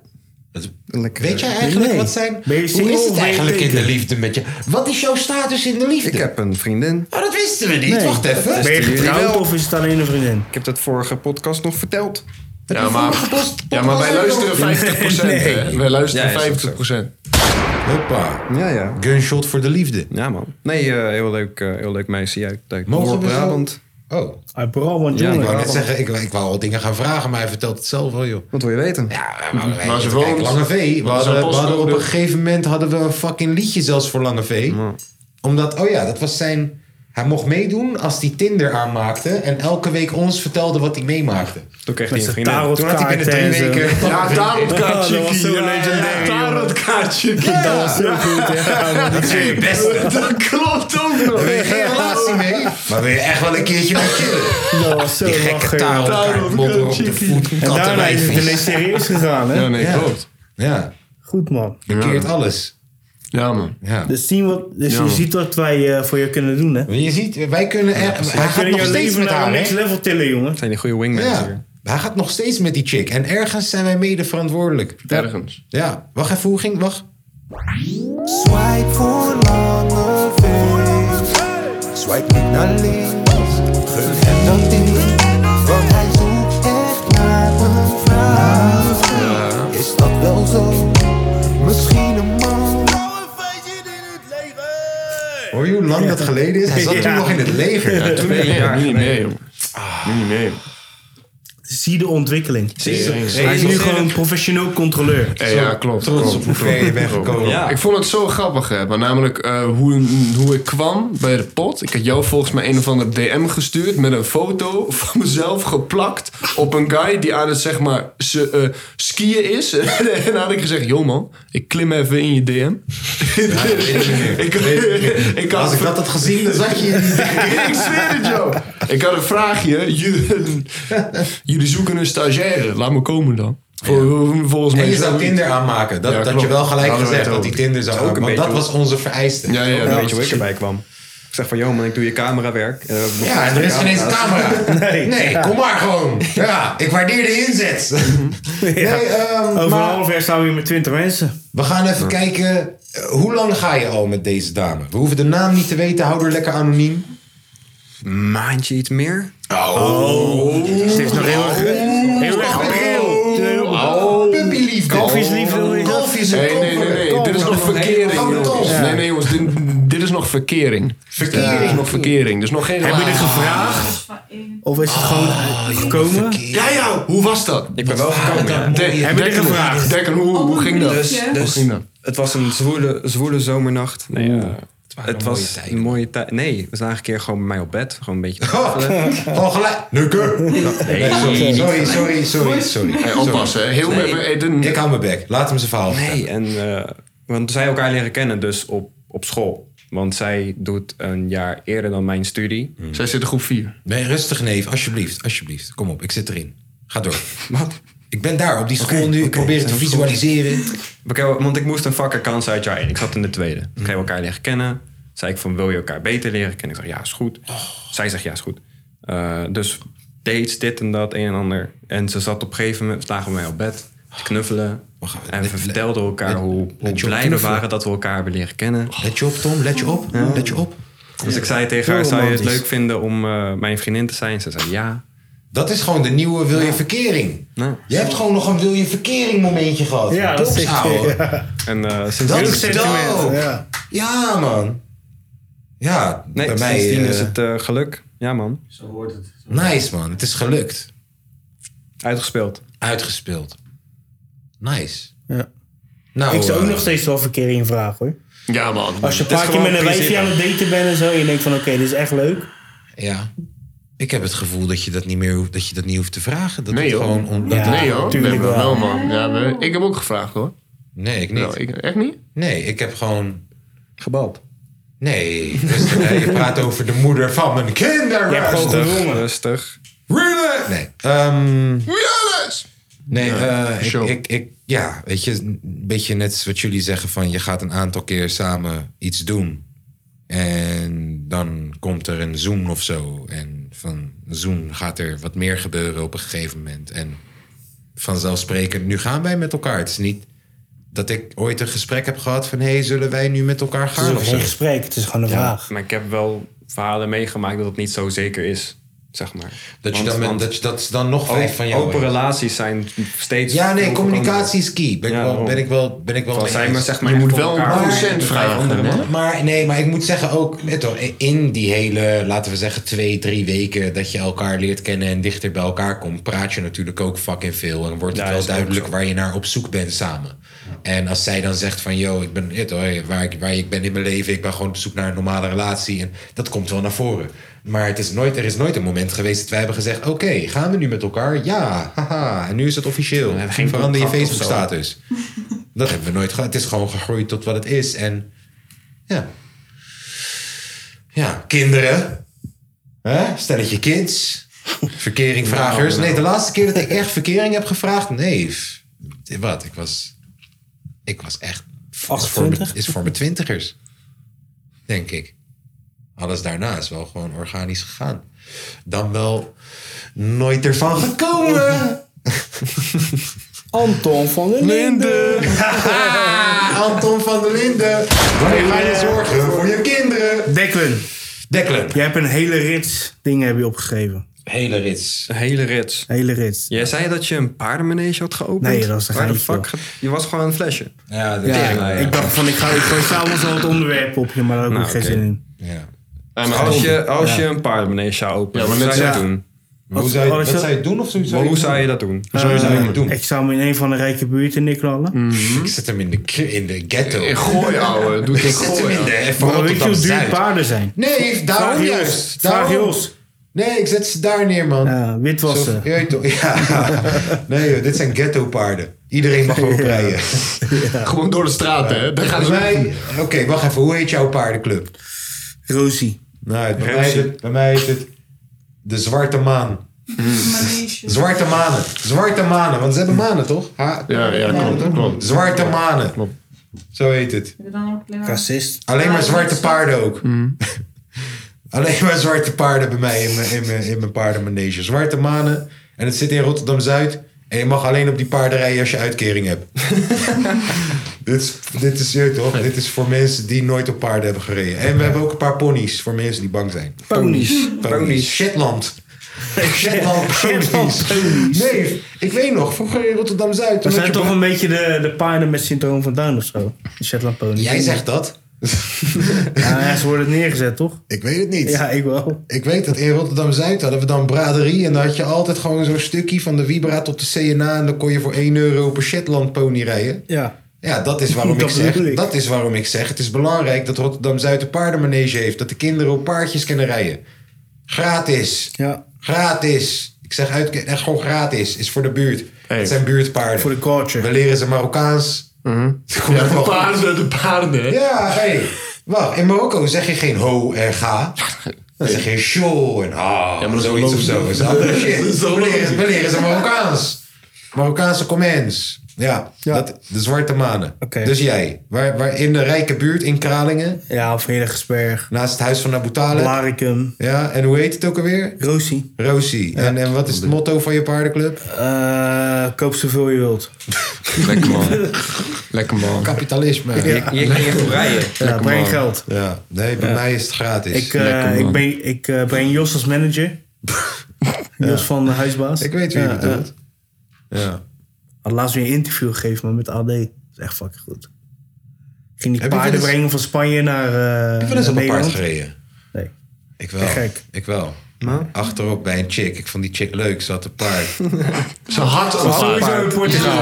Lekker, Weet jij eigenlijk wat zijn... Hoe is het eigenlijk in de liefde met je? Wat is jouw status in de liefde? Ik heb een vriendin. Oh, dat wisten we niet. Wacht even. Ben je getrouwd of is het alleen een vriendin? Ik heb dat vorige podcast nog verteld. Ja, maar, ja, maar wij luisteren 50%. hè? Wij luisteren Ja, is ook zo. 50%. Hoppa. Ja, ja. Gunshot voor de liefde. Ja, man. Nee, eh, heel, leuk, eh, heel leuk meisje. Ja, ik denk Mogen we zo- Brabant. Oh. Uit Brabant Ja, jongen. Ik wou net Brabant. zeggen, ik, ik wou al dingen gaan vragen, maar hij vertelt het zelf wel, joh. Wat wil je weten? Ja, maar wij- Waar ze kijk, woont. Lange V. We Wat is hadden, haar we hadden op postcode? een gegeven moment hadden we een fucking liedje zelfs voor Lange V. Omdat, oh ja, dat was zijn... Hij mocht meedoen als hij Tinder aanmaakte en elke week ons vertelde wat hij meemaakte. Toen kreeg Met hij een zijn vriendin. Toen had hij tarotkaarten en binnen zo. drie weken... Ja, Oh, tarotkaartje. dat was zo legendary. jongen. Tarotkaartje. Dat was zo goed, ja. man. Dat is je beste. Dat klopt ook nog. Daar wil je geen relatie mee, maar wil je echt wel een keeltje mee chillen. Dat was zo Die gekke lachen. taal, joh. elkaar modder op de voet, En daarna is het ineens kattenwijfjes. serieus gegaan, hè? Ja, nee, Ja. klopt. Ja, Goed, man. je keert alles. Ja, man. Ja. Dus, zien wat, dus je man. ziet wat wij eh, voor je kunnen doen, hè? Want Je ziet, wij kunnen... echt- hij gaat kunnen nog jouw steeds leven met naar haar, een hè? next level tillen, jongen. Dat zijn die goede wingmans Ja. hier. Hij gaat nog steeds met die chick. En ergens zijn wij mede verantwoordelijk. Ergens. Ja, wacht even, hoe ging... Wacht. Swipe voor lange feest. Swipe niet naar links. Gun hem dat ding. Want hij zoekt echt naar een vrouw. Is dat wel zo? Misschien een man. Hoor je hoe lang dat geleden is? Hij zat toen Ja. nog in het leger. Ja, toen niet meer. Nu niet meer, joh. Ah. Nu niet meer, joh. Zie de ontwikkeling. Hij Hij is nu gewoon professioneel controleur. Hey, ja, klopt. trots klopt, op hoe ver je bent klopt. gekomen. Ja. Ik vond het zo grappig, hè. Maar namelijk eh, hoe, hoe ik kwam bij de pot. Ik had jou volgens mij een of andere DM gestuurd met een foto van mezelf geplakt op een guy die aan het zeg maar ze, eh, skiën is. en dan had ik gezegd, joh man, ik klim even in je DM. ik, ik had Als ik dat had gezien, dan zat je... ik zweer het jou. Ik had een vraagje. Jullie, jullie zoeken een stagiaire. Laat me komen dan. Vol- Volgens mij En je zou zoiets. Tinder aanmaken. Dat, Ja, dat je klopt. wel gelijk Hadden we gezegd het dat die over. Tinder zou Ook een aanmaken. Want dat beetje, was onze vereiste. Ja, ja, Ja, dat weet je hoe ik erbij kwam? Ik zeg van, joh man, ik doe je camerawerk. En, eh, Ja, en er is geen eens een camera. Nee. Nee, kom maar gewoon. Ja, ik waardeer de inzet. Nee, ehm, Over een maar half jaar staan we hier met 20 mensen. we gaan even kijken. eh, Hoe lang ga je al met deze dame? We hoeven de naam niet te weten. Hou er lekker anoniem. Oh. Een maandje iets meer. Oh. Ze heeft nog heel erg... Heel erg bril. Oh. Puppyliefde. Kalfjesliefde, hoe is dat? Kalfjes en Oh. Nee, nee, nee, nee. Dit is nog verkering, jongens. Ja. Nee, nee, jongens. Dit, dit is nog verkering. Verkering. Dit is nog verkering. Dus nog geen Heb je relatie. dit gevraagd? Van één. Of is het gewoon Oh, gekomen? Ja, ja. Hoe was dat? Ik ben wel gekomen, ja. Heb je dit gevraagd? Dekker, hoe, hoe ging dat? Dus- hoe Dus ging dat? het was een zwoele, zwoele zomernacht. Nee, eh, waren het mooie was tijden. Oh, een mooie tijd. Nee, we zagen een keer gewoon bij mij op bed. Gewoon een beetje... Gewoon gelijk. Nukker. Nee, sorry, sorry, sorry, sorry, sorry. Hey, oppassen. hè. Heel even. eh, hey, dit- Ik hou mijn bek. Laat hem zijn verhaal vertellen. Nee, en, eh, want zij elkaar leren kennen dus op, op school. Want zij doet een jaar eerder dan mijn studie. Zij zit in groep 4. Nee, rustig neef. Alsjeblieft, alsjeblieft. Kom op, ik zit erin. Ga door. Wat? Ik ben daar op die school nu. Ik probeer het te visualiseren. We kregen- Want ik moest een vak kans uit jaar 1. Ik zat in de tweede. Mm. Oh. Ik kreeg elkaar leren kennen. Zei ik van, wil je elkaar beter leren kennen? Ik zeg, ja, is goed. Zij zegt, ja, is goed. Eh, dus dates, dit en dat, een en ander. En ze zat op een gegeven moment, lagen we mij op bed te knuffelen. En we vertelden elkaar hoe, hoe let je op blij we knuffelen. waren dat we elkaar hebben leren kennen. Let je op, Tom. Let je op. Ja. Let je op. Dus Oh, Ja. ik zei tegen Heel haar, zou je het romantisch. leuk vinden om eh, mijn vriendin te zijn? Ze zei ja. Dat is gewoon de nieuwe wil je verkering. Nou. Je hebt gewoon nog een wil je verkering momentje gehad. Ja, dat Tops, is echt- ouwe. En eh sinds Dat is dope. Ja. man. Ja, Nee, bij mij... sindsdien eh, is het eh, geluk. Ja, man. Zo hoort het. Nice, man. Het is gelukt. Uitgespeeld. Uitgespeeld. Nice. Ja. Nou, ik zou ook eh, nog steeds wel verkering in vragen hoor. Ja, man. Als je een paar keer met een wijfje aan het daten bent en zo, en je denkt van oké, dit is echt leuk. Ja. Ik heb het gevoel dat je dat niet meer hoeft, dat je dat niet hoeft te vragen. Dat Nee, het joh. gewoon on- Ja, dat- nee, joh. Tuurlijk We hebben wel. wel, man. Ja, we- ik heb ook gevraagd, hoor. Nee, ik niet. Nou, ik- echt niet? Nee, ik heb gewoon... Gebald? Nee. rustig, hè. je praat over de moeder van mijn kinderen. Je hebt gewoon Rustig. gedwongen. Rustig. Really? Nee. Ehm, Realis! Nee, Ja, eh, ik, show. ik, ik, ja, weet je, een beetje net als wat jullie zeggen van je gaat een aantal keer samen iets doen. En dan komt er een zoen of zo. En van zoen gaat er wat meer gebeuren op een gegeven moment. En vanzelfsprekend, nu gaan wij met elkaar. Het is niet dat ik ooit een gesprek heb gehad van hé, hey, zullen wij nu met elkaar Het is gaan? nog Of geen zo. gesprek, het is gewoon een Ja, vraag. Maar ik heb wel verhalen meegemaakt dat het niet zo zeker is. Zeg maar. Dat je dan met- dat je- dat is dan nog vijf van jou Open hebt. relaties zijn steeds... Ja, nee, communicatie is key. Ben, ik, wel, ben ik wel. Ben ik wel Van mee zijn, eens. maar zeg maar Je echt moet voor wel elkaar een Maar- procent vragen, Andere hè? man. Maar nee, maar ik moet zeggen ook, net hoor, in die hele, laten we zeggen, twee, drie weken dat je elkaar leert kennen en dichter bij elkaar komt, praat je natuurlijk ook fucking veel. En wordt het wel duidelijk waar je naar op zoek bent samen. En als zij dan zegt van, yo, ik ben, net hoor, waar, ik, waar ik ben in mijn leven, ik ben gewoon op zoek naar een normale relatie. En dat komt wel naar voren. Maar het is nooit, er is nooit een moment geweest dat wij hebben gezegd, oké, gaan we nu met elkaar? Ja, haha. En nu is het officieel. geen Verander contract je of zo. Facebook-status. Dat hebben we nooit gehad. Het is gewoon gegroeid tot wat het is. En ja. Ja, kinderen. Hè? Stelletje kids. Nou, Verkeringvragers. Nou, Nee, de laatste keer dat ik echt verkering heb gevraagd... Nee, f- wat? Ik was... Ik was echt... Is voor, mijn, 28? is voor mijn twintigers. Denk ik. Alles daarna is wel gewoon organisch gegaan. Dan wel nooit ervan gekomen. Anton van der Linden. Anton van der Linden. Wanneer ga je zorgen voor je kinderen? Declan. Declan. Jij hebt een hele rits dingen heb je opgegeven. Hele rits. Hele rits. Hele rits. Jij zei dat je een paardenmanege had geopend? Nee, dat was een Waar de geintje, fuck? Je was gewoon een flesje. Ja, Ja, Ik dacht van ik ga ik gooi s'avonds al het onderwerp op je, maar daar heb ik Nou, geen oké. zin in. Ja. maar als je, als je een paardenmanege zou openen, Ja, maar wat net zou je dat zo- doen? Wat Hoe zou je- zou- wat zou je doen of Maar Hoe zou je dat doen? Eh, Ik zou hem in een van de rijke buurten neerknallen. Ik zet hem in de, k- in de ghetto. Mhm. In Gooi, ouwe. Doe het in Ik zet hem Gooi, in de ouwe. even Maar weet je Rotterdam hoe duur Zuid. paarden zijn? Nee, daarom Vraag Jos. juist. Vraag Daarom. Jos. Nee, ik zet ze daar neer, man. Ja, witwassen. Zo- je weet toch- ja. Nee, joh, dit zijn ghetto paarden. Iedereen mag ook rijden. Gewoon door de straten, hè? Daar gaan Bij ze- mij... Oké, wacht even. Hoe heet jouw paardenclub? Rosie. Nou, bij, mij heet het, bij mij heet het de Zwarte Maan. Zwarte manen. Zwarte manen. Want ze hebben manen, toch? Ha- Ja, ja, klopt, toch? klopt. Zwarte manen. Zo heet het. Racist. Alleen maar zwarte paarden ook. Alleen maar zwarte paarden bij mij in mijn, in mijn, in mijn paardenmanege. Zwarte manen. En het zit in Rotterdam-Zuid. En je mag alleen op die paarderijen als je uitkering hebt. dit, is, dit is, je weet toch? Dit is voor mensen die nooit op paarden hebben gereden. En we hebben ook een paar ponies voor mensen die bang zijn. Ponies. Ponies. Shetland. Shetland ponies. Nee, ik weet nog. Vroeger in Rotterdam-Zuid. Dat toen had zijn je toch bang- een beetje de, de paarden met syndroom van Down of zo? De Shetland pony. Jij zegt dat. Ja, ja, ze worden neergezet, toch? Ik weet het niet. Ja, ik wel. Ik weet dat in Rotterdam-Zuid hadden we dan braderie. En daar had je altijd gewoon zo'n stukje van de Vibra tot de CNA. En dan kon je voor 1 euro per Shetland pony rijden. Ja. Ja, dat is waarom Dat ik zeg. bedoel ik. Dat is waarom ik zeg. Het is belangrijk dat Rotterdam-Zuid een paardenmanege heeft. Dat de kinderen op paardjes kunnen rijden. Gratis. Ja. Gratis. Ik zeg uit, echt gewoon gratis. Is voor de buurt. Het zijn buurtpaarden. Voor de culture. We leren ze Marokkaans. Mhm. Ja, de paarden, de paarden. Ja, hey. Wacht, in Marokko zeg je geen ho en ga. Dan zeg je show en ha. Ja, maar dat is zoiets wel of zo. logisch. Dat is andere shit. Dat is wel We leren- logisch. we leren ze Marokkaans. Marokkaanse comments. Ja, Dat, de Zwarte Manen. Oké. Dus jij, waar, waar in de rijke buurt in Kralingen. Ja, of Heiligersberg. Naast het huis van Abu Talib. Blaricum. Ja, en hoe heet het ook alweer? Rosie. Rosie. En, en wat is het motto van je paardenclub? Eh, koop zoveel je wilt. Lekker man. Lekker man. Kapitalisme. Ja. Je- je ging goed rijden. Ja, Lekker breng man. geld. Ja. Nee, bij Ja. mij is het gratis. Ik, eh, ik, ben, ik eh, breng Jos als manager. Jos van de huisbaas. Ik weet wie je bedoelt. ja. Had laatst weer een interview gegeven man, met AD. Dat is echt fucking goed. Ging die Heb je paarden wel eens- brengen van Spanje naar eh Heb je wel eens op een Nederland. paard gereden? Nee. Ik wel. Echt gek. Ik wel. Achterop bij een chick. Ik vond die chick leuk. Ze had een paard. Ze had een paard.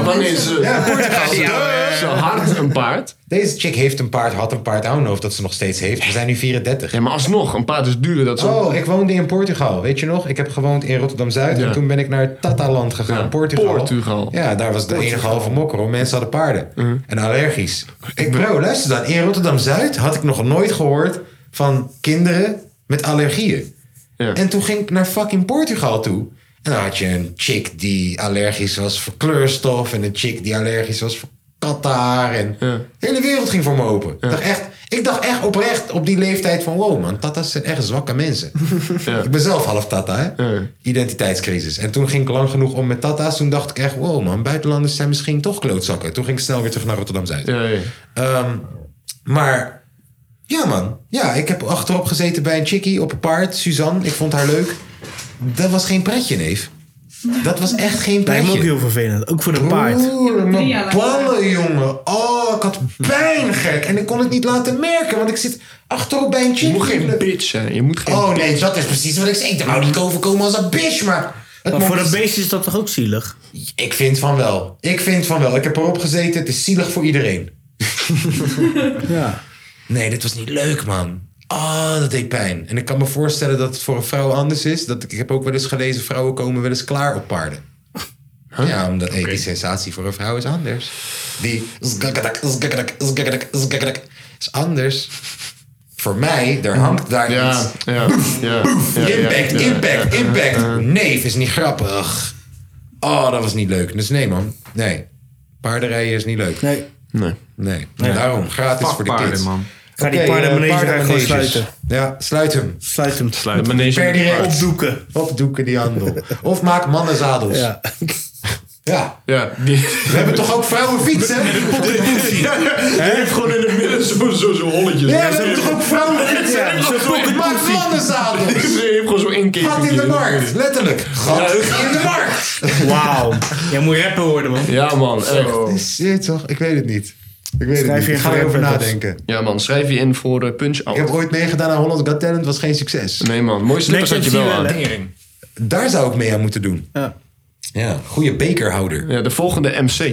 Wanneer ze- Ja, Portugal. Ja, maar- Ze had een paard. Deze chick heeft een paard, had een paard aan hoofd dat ze nog steeds heeft. We zijn nu 34. Ja, maar alsnog, een paard is duurder. Dat ze- Oh, ik woonde in Portugal. Weet je nog? Ik heb gewoond in Rotterdam-Zuid. Ja. En toen ben ik naar Tataland gegaan. Portugal. Portugal. Ja, daar was de Portugal. enige halve mokker. hoor. Mensen hadden paarden. En allergisch. Ik, bro, luister dan. In Rotterdam-Zuid had ik nog nooit gehoord van kinderen met allergieën. En toen ging ik naar fucking Portugal toe. En dan had je een chick die allergisch was voor kleurstof. En een chick die allergisch was voor Qatar. En de hele wereld ging voor me open. Ik, dacht echt, ik dacht echt oprecht op die leeftijd van... Wow man, Tata's zijn echt zwakke mensen. Ik ben zelf half Tata, hè? Identiteitscrisis. En toen ging ik lang genoeg om met Tata's. Toen dacht ik echt, wow man, buitenlanders zijn misschien toch klootzakken. Toen ging ik snel weer terug naar Rotterdam-Zuid. Ehm, maar ja man, ja, ik heb achterop gezeten bij een chickie op een paard. Suzanne, ik vond haar leuk. Dat was geen pretje, neef. Dat was echt geen pretje. Lijkt me ook heel vervelend. Ook voor een paard. Broer, drie mijn jaar later. ballen, jongen. Oh, ik had pijn, gek. En ik kon het niet laten merken, want ik zit achterop bij een chick. Je moet geen bitch zijn. Je moet geen oh nee, dat is precies wat ik zei. Ik wou niet overkomen als een bitch, maar... het Maar voor moet- dat beest is dat toch ook zielig? Ik vind van wel. Ik vind van wel. Ik heb erop gezeten. Het is zielig voor iedereen. ja. Nee, dit was niet leuk, man. Ah, dat deed pijn. En ik kan me voorstellen dat het voor een vrouw anders is. Dat, ik ik heb ook wel eens gelezen, vrouwen komen wel eens klaar op paarden. Ja, omdat hey, die sensatie voor een vrouw is anders. Die zgakkadak, zgakkadak, zgakkadak, zgakkadak is anders. Voor mij, er hangt daar Mhm. Ja, iets. ja, ja, Boef, ja, ja, impact, ja, impact, ja, ja, impact. ja. Nee, is niet grappig. Oh, dat was niet leuk. Dus nee, man. Nee. Paardenrijden is niet leuk. Nee. Nee. Nee. Daarom, gratis Fuck voor de kids. paarden, man. Ga die Oké, paardenmanege eh, daar gewoon paardenmaneges. sluiten. Ja, sluit hem. Sluit hem. Sluit hem. Manege Per met direct. paard. Opdoeken. Opdoeken die handel. Of maak mannen zadels. Ja. Ja. die- We hebben toch ook vrouwenfietsen? Ja, die heeft gewoon in het midden zo'n zo, zo holletjes. Ja, we hebben toch ook vrouwenfietsen? Ja, Zo'n pocket Maak pussy. mannenzadels. Ze heeft gewoon zo'n inkeer. Gat in de markt, letterlijk. Gat in de markt. Wauw. Jij moet rapper worden, man. Ja, man. echt. Shit, toch? Ik weet het niet. Ik weet Schrijf het je niet. Ik ga gewoon erover even nadenken. Ja, man. Schrijf je in voor eh, Punch-Out. Ik heb ooit meegedaan aan Holland Got Talent, was geen succes. Nee, man. Mooie slippers had je wel aan. Daar zou ik mee aan moeten doen. Ja. Ja, goede bekerhouder. Ja, de volgende MC.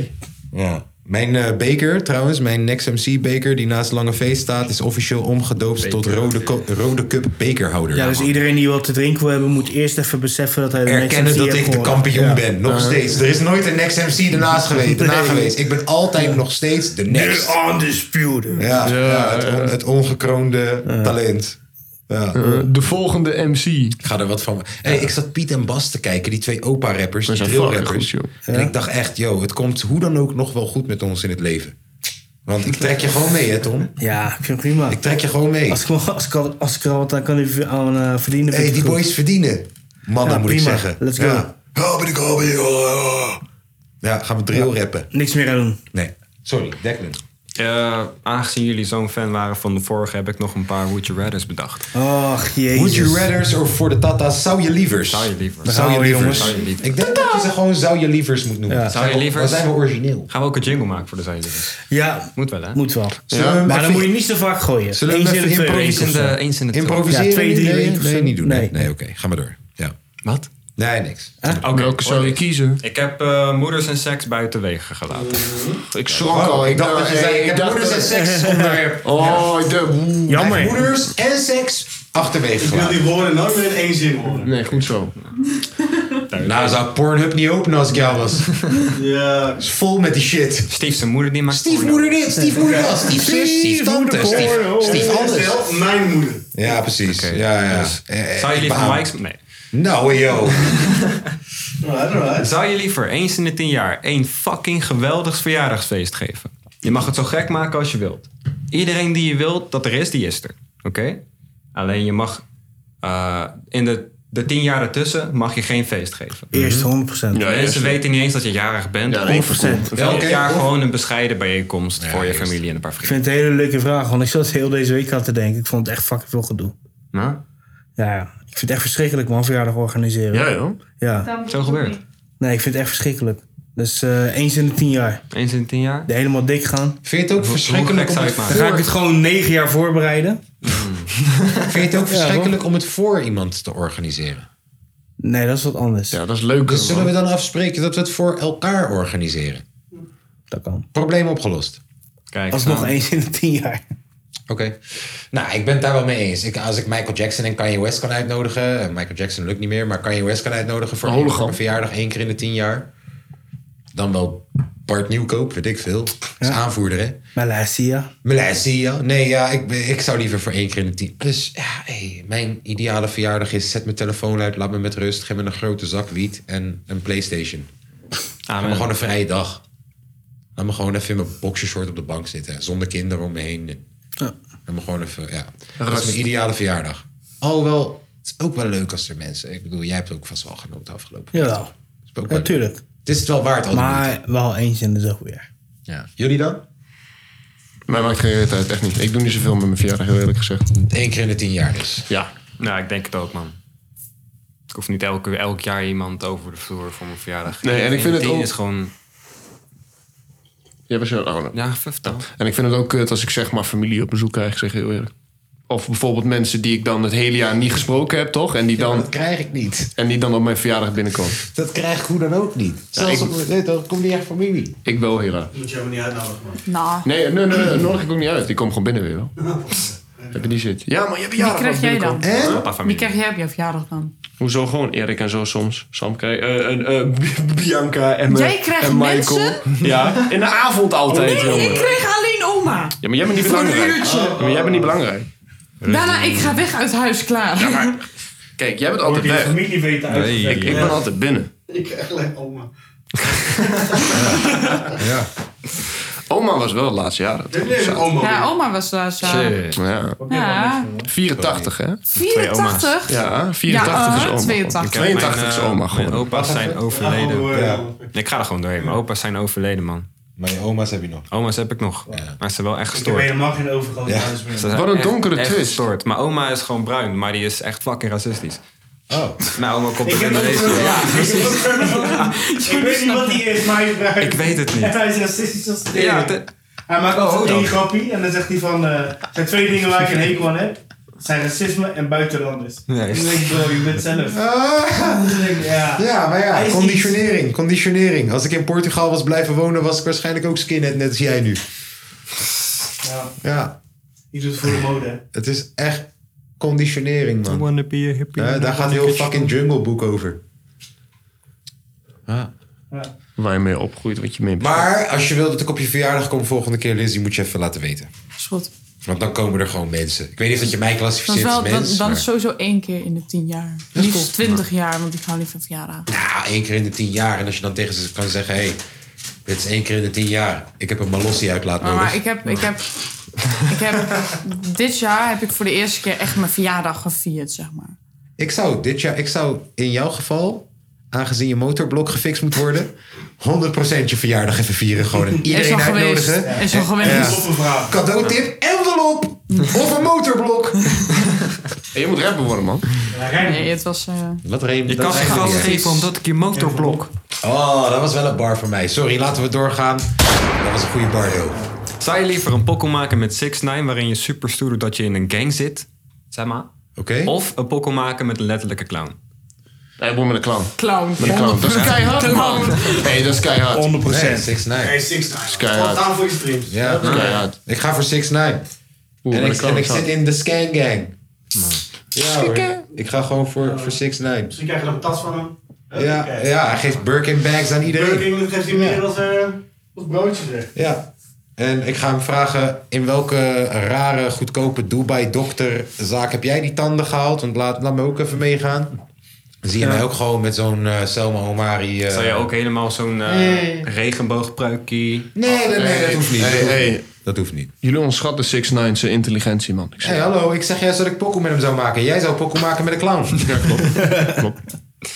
Ja. Mijn eh, beker, trouwens, mijn Next MC beker die naast Lange Feest staat, is officieel omgedoopt tot Rode, Co- Rode Cup bekerhouder. Ja, dus iedereen die wat te drinken wil hebben, moet eerst even beseffen dat hij de Erkennen Nexus dat heeft ik de gewonnen. kampioen Ja. ben, nog Ja. steeds. Er is nooit een Next MC ernaast geweest. Daarna Nee. geweest. Ik ben altijd nog steeds de Next. The undisputed. Ja, ja, het, on- het ongekroonde talent. Ja. Eh, de volgende MC. Ik ga er wat van. Hey, ik zat Piet en Bas te kijken, die twee opa-rappers, die zijn fucking drill-rappers. goed, En ik dacht echt, yo, het komt hoe dan ook nog wel goed met ons in het leven. Want ik trek je gewoon mee, hè, Tom? Ja, ik vind het prima. Ik trek je gewoon mee. Als ik, wel- als ik, al- als ik er wat aan kan ver- aan eh, verdienen. Hey, die boys verdienen. Mannen, moet ik zeggen. Let's go. Ja. Ja, ben ik al weer. Ja, gaan we drill rappen. Niks meer aan doen. Nee. Sorry, Declan. Eh, aangezien jullie zo'n fan waren van de vorige, heb ik nog een paar Would You Radders bedacht. Ach, jezus. Would you rathers of voor de tata's zou je lievers? Zou je lievers. Zou je Daar gaan we, lievers. jongens. Zou je lievers. Ik denk dat je ze gewoon zou je lievers moet noemen. Zou je lievers? Dan zijn we origineel. Gaan we ook een jingle maken voor de Zou je lievers? Ja. Moet wel, hè? Moet wel. Zullen we maar hem dan even- moet je niet zo vaak gooien. Zullen we hem Eens in de even twee weken of improviseren? zo. Eens in de- Improviseren? Ja, twee, drie nee, weken of Nee, zo. niet doen. Nee, nee, Nee. oké. Ga maar door. Ja. Wat? Nee, niks. Welke zou je kiezen? Ik heb eh, moeders en seks buitenwege gelaten. Mhm. Ik schrok al. Ik dacht dat je zei, ik heb moeders en seks onderwerp. Oh, de... Jammer. Moeders en seks achterwege Ik wil gelaten. die woorden nooit meer in één zin horen. Nee, goed zo. Nou, zou Pornhub niet openen als ik jou was. Ja. Is vol met die shit. Stief zijn moeder die maakt Stiefmoeder dit, stiefmoeder dat, stiefzus, stieftante, stief, stief alles. Mijn moeder. Ja, precies. ja, ja. Dus Zou je ik liever behaal- Mike's... Nee. Nou, yo. Zou je liever eens in de tien jaar één fucking geweldig verjaardagsfeest geven? Je mag het zo gek maken als je wilt. Iedereen die je wilt dat er is, die is er. Oké? Alleen je mag eh, in de, de tien jaar ertussen mag je geen feest geven. Eerst 100%. Ja, Mensen weten niet eens dat je jarig bent. Ja, nee, 100%. Elk Oké, jaar of- gewoon een bescheiden bijeenkomst voor je familie en een paar Ik vrienden. vind het een hele leuke vraag, want ik zat heel deze week aan te denken. Ik vond het echt fucking veel gedoe. Nou? Ja, ik vind het echt verschrikkelijk, man, verjaardag organiseren. Ja, joh. Ja. Zo gebeurt. Nee, ik vind het echt verschrikkelijk. Dus eh, eens in de tien jaar. Eens in de tien jaar? De helemaal dik gaan. Vind je het ook Hoe- verschrikkelijk hoe gek om zou je het het maken? Dan ga ik het gewoon negen jaar voorbereiden. Vind je het ook Ja, verschrikkelijk om het voor iemand te organiseren? Nee, dat is wat anders. Ja, dat is leuk. Dus zullen we dan afspreken dat we het voor elkaar organiseren? Dat kan. Probleem opgelost. Kijk, nou. Alsnog eens in de tien jaar. Oké. Nou, ik ben het daar wel mee eens. Ik, als ik Michael Jackson en Kanye West kan uitnodigen... en Michael Jackson lukt niet meer, maar Kanye West kan uitnodigen... voor Een één- hologram. voor een verjaardag één keer in de tien jaar. Dan wel Bart Nieuwkoop, weet ik veel. Is aanvoerder, hè? Malaysia. Malaysia. Nee, ja, ik, ben- ik zou liever voor één keer in de tien. Dus ja, hey, mijn ideale verjaardag is... zet mijn telefoon uit, laat me met rust... geef me een grote zak wiet en een Playstation. Laat me gewoon een vrije dag. Laat me gewoon even in mijn boxershort op de bank zitten. Zonder kinderen om me heen. Ja. Laat me gewoon even, ja. Dat Rust. is mijn ideale verjaardag. Alhoewel, het is ook wel leuk als er mensen... Ik bedoel, jij hebt ook vast wel genoten afgelopen. Jawel. ook wel Natuurlijk. Het is het wel waard, al die Maar wel eens in de zoveel jaar. Ja. Jullie dan? Mij maakt geen reet uit, echt niet. Ik doe niet zoveel met mijn verjaardag, heel eerlijk gezegd. Eén keer in de tien jaar dus. Ja. Nou, ik denk het ook, man. Ik hoef niet elke, elk jaar iemand over de vloer voor mijn verjaardag. Nee, en ik vind het Eén ook- is gewoon... Ja, was je oh, Ja, vertel. En ik vind het ook kut als ik zeg maar familie op bezoek krijg, zeg ik heel eerlijk. Of bijvoorbeeld mensen die ik dan het hele jaar niet gesproken heb, toch? En die dan, dat krijg ik niet. En die dan op mijn verjaardag binnenkomen. Dat krijg ik hoe dan ook niet. Zelfs Zelfs ik- op nee, dan komt niet echt familie. Ik wel heel erg. Moet je helemaal niet uitnodigen, man. Nou, Nee, nee, nee, nee, nodig ik ook niet uit. Die komt gewoon binnen weer wel. Heb je die zit? Ja, maar je hebt wie jarig krijg jij dan? Hè? Wie krijg jij op jouw verjaardag dan? Hoezo gewoon Erik en zo soms? Sam krijgt... eh, eh, eh, Bianca en, me- Jij krijgt en Michael. mensen? Ja, in de avond altijd. Oh. nee, jongen. ik kreeg alleen oma. Ja, maar jij bent niet Voor een belangrijk. uurtje. Ja, maar jij bent niet belangrijk. Daarna, ik ga weg uit huis, klaar. Kijk, jij bent altijd Wordt weg. je familie weten nee, uitgezet. ik, ik ben altijd binnen. Ik krijg alleen oma. Ja. Oma was wel het laatste jaar. dat nee, was- oma. Ja, oma was eh, laatst jarig. Ja. Ja. 84, hè? 84? Ja, 84 is Ja, eh, oma. 82. 82 is Mijn, eh, oma, Mijn gewoon. opa's zijn overleden. Oh, ja. Ik ga er gewoon doorheen. Mijn opa's zijn overleden, man. Maar je oma's heb je nog. Oma's heb ik nog. Maar ze zijn wel echt Ik heb gestoord. helemaal geen overgrote Oh, Ja. huis Ze meer. zijn echt- echt Gestoord. Mijn oma is gewoon bruin, maar die is echt fucking racistisch. Oh. Mijn oma komt Ik uit heb ook Indonesië. een- Ja, Ja, precies. Ik weet niet wat hij is, maar hij gebruikt. Ik weet het niet. En hij is racistisch als de Ja, ding. Hij maakt Oh, altijd dan. één grappie en dan zegt hij van... eh, er zijn twee dingen waar ik een hekel aan heb. Het zijn racisme en buitenlanders. Nee. En dan denk ik, bro, je bent zelf. Dan Ah. denk ik, ja. Ja, maar Hij ja, is conditionering. Conditionering. Als ik in Portugal was blijven wonen, was ik waarschijnlijk ook skinhead, net als jij nu. niet- Ja, Ja, ik doe het voor de mode. hè. het is echt conditionering, man. Ja, daar gaat heel fucking Jungle Book over. Waar je mee opgroeit, wat je mee Maar als je wil dat ik op je verjaardag kom volgende keer, Lizzie, moet je even laten weten. Is goed. Want dan komen er gewoon mensen. Ik weet niet of dat je mij Dat is klassificeert als wel, mens. dan, dan maar- is sowieso één keer in de tien jaar. Liefst twintig jaar, want ik hou niet van verjaardag. Nou, één keer in de tien jaar. En als je dan tegen ze kan zeggen, hé, hey, dit is één keer in de tien jaar. Ik heb een malossi uitlaat Maar, nodig. maar ik heb, ik heb, ik heb, dit jaar heb ik voor de eerste keer echt mijn verjaardag gevierd, zeg maar. Ik zou dit jaar, ik zou in jouw geval, aangezien je motorblok gefixt moet worden, 100% je verjaardag even vieren. Gewoon en iedereen al geweest. uitnodigen. Is al En- geweest. ja. Cadeautip, envelop of een motorblok. Je moet rapper worden, man. Nee, het was... eh, Wat Reem, Je dat kan geen zijn we gas weer. geven omdat ik je motor blok. Oh, dat was wel een bar voor mij. Sorry, laten we doorgaan. Dat was een goede bar, joh. Zou je liever een pokkel maken met 6 9 waarin je super stoer doet dat je in een gang zit? Zeg maar. Oké. Of een pokkel maken met een letterlijke clown? Nee, ik moet met een clown. Clown. Met een clown. Dat is keihard, man. Nee, dat is keihard. 100%. Nee, 6 9 Hey, Six Nine. keihard. Wat aan voor je streams. Ja, Dat is keihard. ik ga voor 6 9 En maar ik, dat kan en ik wel. zit in de scan gang. Ja hoor. Ik ga gewoon voor, voor 6 9 Misschien krijg je een tas van hem. Ja, ja, hij geeft Birkin bags aan iedereen. Burger King geeft hij meer als, eh, als broodje zeg. Ja. En ik ga hem vragen, in welke rare, goedkope Dubai dokterzaak heb jij die tanden gehaald? Want laat, laat me ook even meegaan. Dan zie je Ja. mij ook gewoon met zo'n eh, Selma Omari... eh, Zou jij ook helemaal zo'n eh Nee. regenboogpruikje... Nee, nee, nee, dat hoeft niet. Hey, Dat hoeft hey. niet. Dat hoeft niet. Jullie onderschatten 6 9 zijn intelligentie, man. Ik zeg- Hé, hey, hallo, ik zeg juist dat ik pokoe met hem zou maken. Jij zou pokoe maken met een clown. Ja, klopt.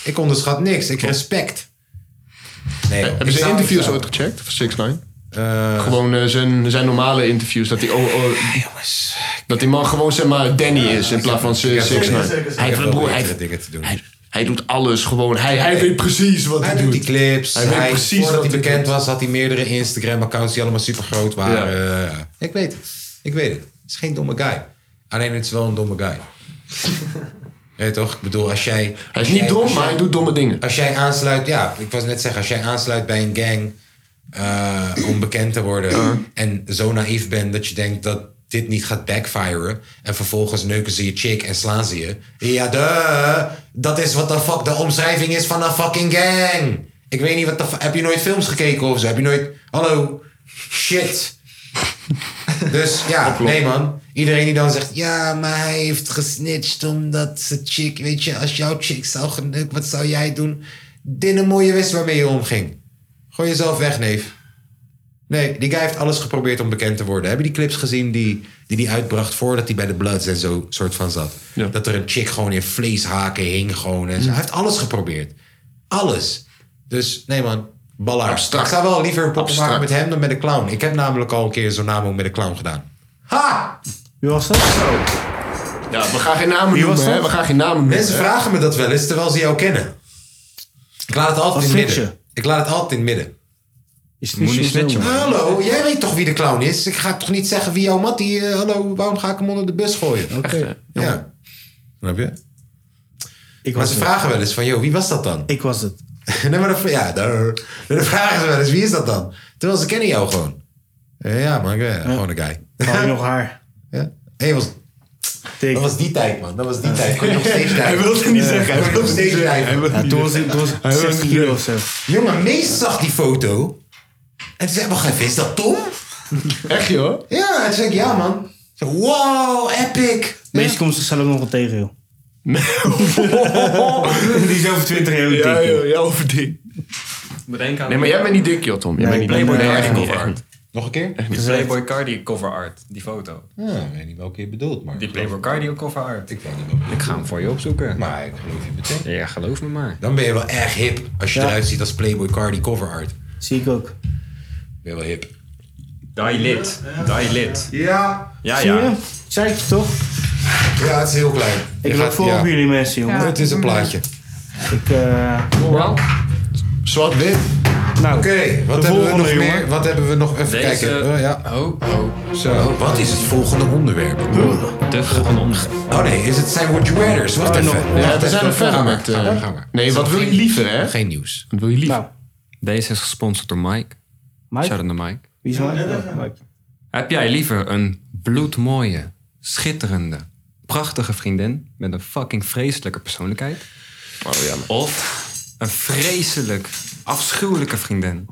Ik onderschat niks. Ik respect. Nee, joh. Hebben Ik ze zou- ik interviews zou- ooit gecheckt van 6 9 Gewoon eh, zijn, zijn normale interviews. Dat die, oh, oh, dat die man gewoon zeg maar Danny is in plaats van 6 9 Hij heeft een broer. Hij, heeft- dingen te doen. hij doet alles gewoon. Hij, hij weet precies wat hij, doet. die clips. Hij weet precies voordat wat hij hij bekend doet. was, had hij meerdere Instagram-accounts die allemaal super groot waren. Ja. Eh, ik weet het. Ik weet het. Het is geen domme guy. Alleen het is wel een domme guy. Ja, toch? Ik bedoel, als jij... Hij is niet jij- dom, als jij- maar hij doet domme dingen. Als jij aansluit... Ja, ik was net zeggen. Als jij aansluit bij een gang eh, om bekend te worden... en zo naïef bent dat je denkt dat dit niet gaat backfiren... en vervolgens neuken ze je chick en slaan ze je... Ja, duh! Dat is wat de fuck de omschrijving is van een fucking gang! Ik weet niet wat de... fu- Heb je nooit films gekeken of zo? Heb je nooit... Hallo? Shit! Dus ja, nee man. Iedereen die dan zegt, ja, maar hij heeft gesnitcht omdat ze chick, weet je, als jouw chick zou geneukt, wat zou jij doen? Dit een mooie wist waarmee je omging. Gooi jezelf weg, neef. Nee, die guy heeft alles geprobeerd om bekend te worden. Heb je die clips gezien die die, die uitbracht voordat hij bij de Bloods en zo soort van zat? Dat er een chick gewoon in vleeshaken hing gewoon en zo. Hij heeft alles geprobeerd. Alles. Dus nee man, ballaar. Abstract. Ik zou wel liever een pop Abstract. maken met hem dan met een clown. Ik heb namelijk al een keer zo'n naam ook met een clown gedaan. Ha! Wie was dat? Ja, we gaan geen namen Wie was noemen, hè? dat? We gaan geen namen noemen. Mensen hè? vragen me dat wel eens terwijl ze jou kennen. Ik laat het altijd in het vind midden. Ik laat het altijd in het midden. Is het niet Moet niet zo snitchen, snel? man. Hallo, jij weet toch wie de clown is? Ik ga toch niet zeggen wie jouw mattie... eh, hallo, waarom ga ik hem onder de bus gooien? Oké. Ja. Snap je? maar was ze het. vragen wel eens van, joh, wie was dat dan? Ik was het. nee, maar dat, ja, daar, daar vragen ze wel eens, wie is dat dan? Terwijl ze kennen jou gewoon. Eh, Ja, man, ik ben gewoon een guy. Had nog haar. Ja. Hey, was, dat was die tijd, man. Dat was die tijd. Kon je nog steeds Hij wilde het niet zeggen. Hij wilde Hij nog het steeds niet zeggen. Hij lijven. wilde het Ja, toen niet was zeggen. hij- toen was hij 16 kilo of zo. Jongen, Mees zag die foto. En toen zei wacht even, is dat Tom? Echt, joh? Ja, en toen zei ik, ja, man. Ik zei, Wow, epic. Meestal komt zichzelf nog wel tegen, joh. Die is over 20 jaar Ja, dik, joh, ja, over dik. Bedenk aan... Nee, maar jij bent niet dik, joh, Tom. Jij Nee, bent niet Playboy dik. Cardi echt niet, cover echt art. niet. Nog een keer? Die Playboy Cardi cover art, die foto. Ja, ik weet niet welke je bedoelt, maar... Die Playboy Cardi cover art. Ik weet niet Ik ga hem voor je opzoeken. Maar ik geloof je meteen. Ja, geloof me maar. Dan ben je wel erg hip als je Ja. eruit ziet als Playboy Cardi cover art. Zie ik ook. Ben je wel hip. Die lid. Die lid. Ja. Ja, Zie ja. je? Zei ik je toch? Ja, het is heel klein. Ik Je loop gaat- voor ja. op jullie mensen, jongen. Het is een plaatje. Ik, eh Zwart-wit. Nou, Oké, wat, de hebben we volgende, nog jongen. meer? Wat hebben we nog? Even kijken. Oh, ja. Zo, wat is het volgende onderwerp? De Oh nee, is het zijn Would You Rather's? Wacht even. dus? Ja, Wacht we zijn even. er verder Ga maar, met... ga maar, eh, ga maar. Nee, wat wil je liever, hè? Geen nieuws. Wat wil je liever? Deze is gesponsord door Mike. Nou. Mike? Shout-out naar Mike. wie is Mike? Heb jij liever een bloedmooie, schitterende, prachtige vriendin met een fucking vreselijke persoonlijkheid? Oh, Of een vreselijk, afschuwelijke vriendin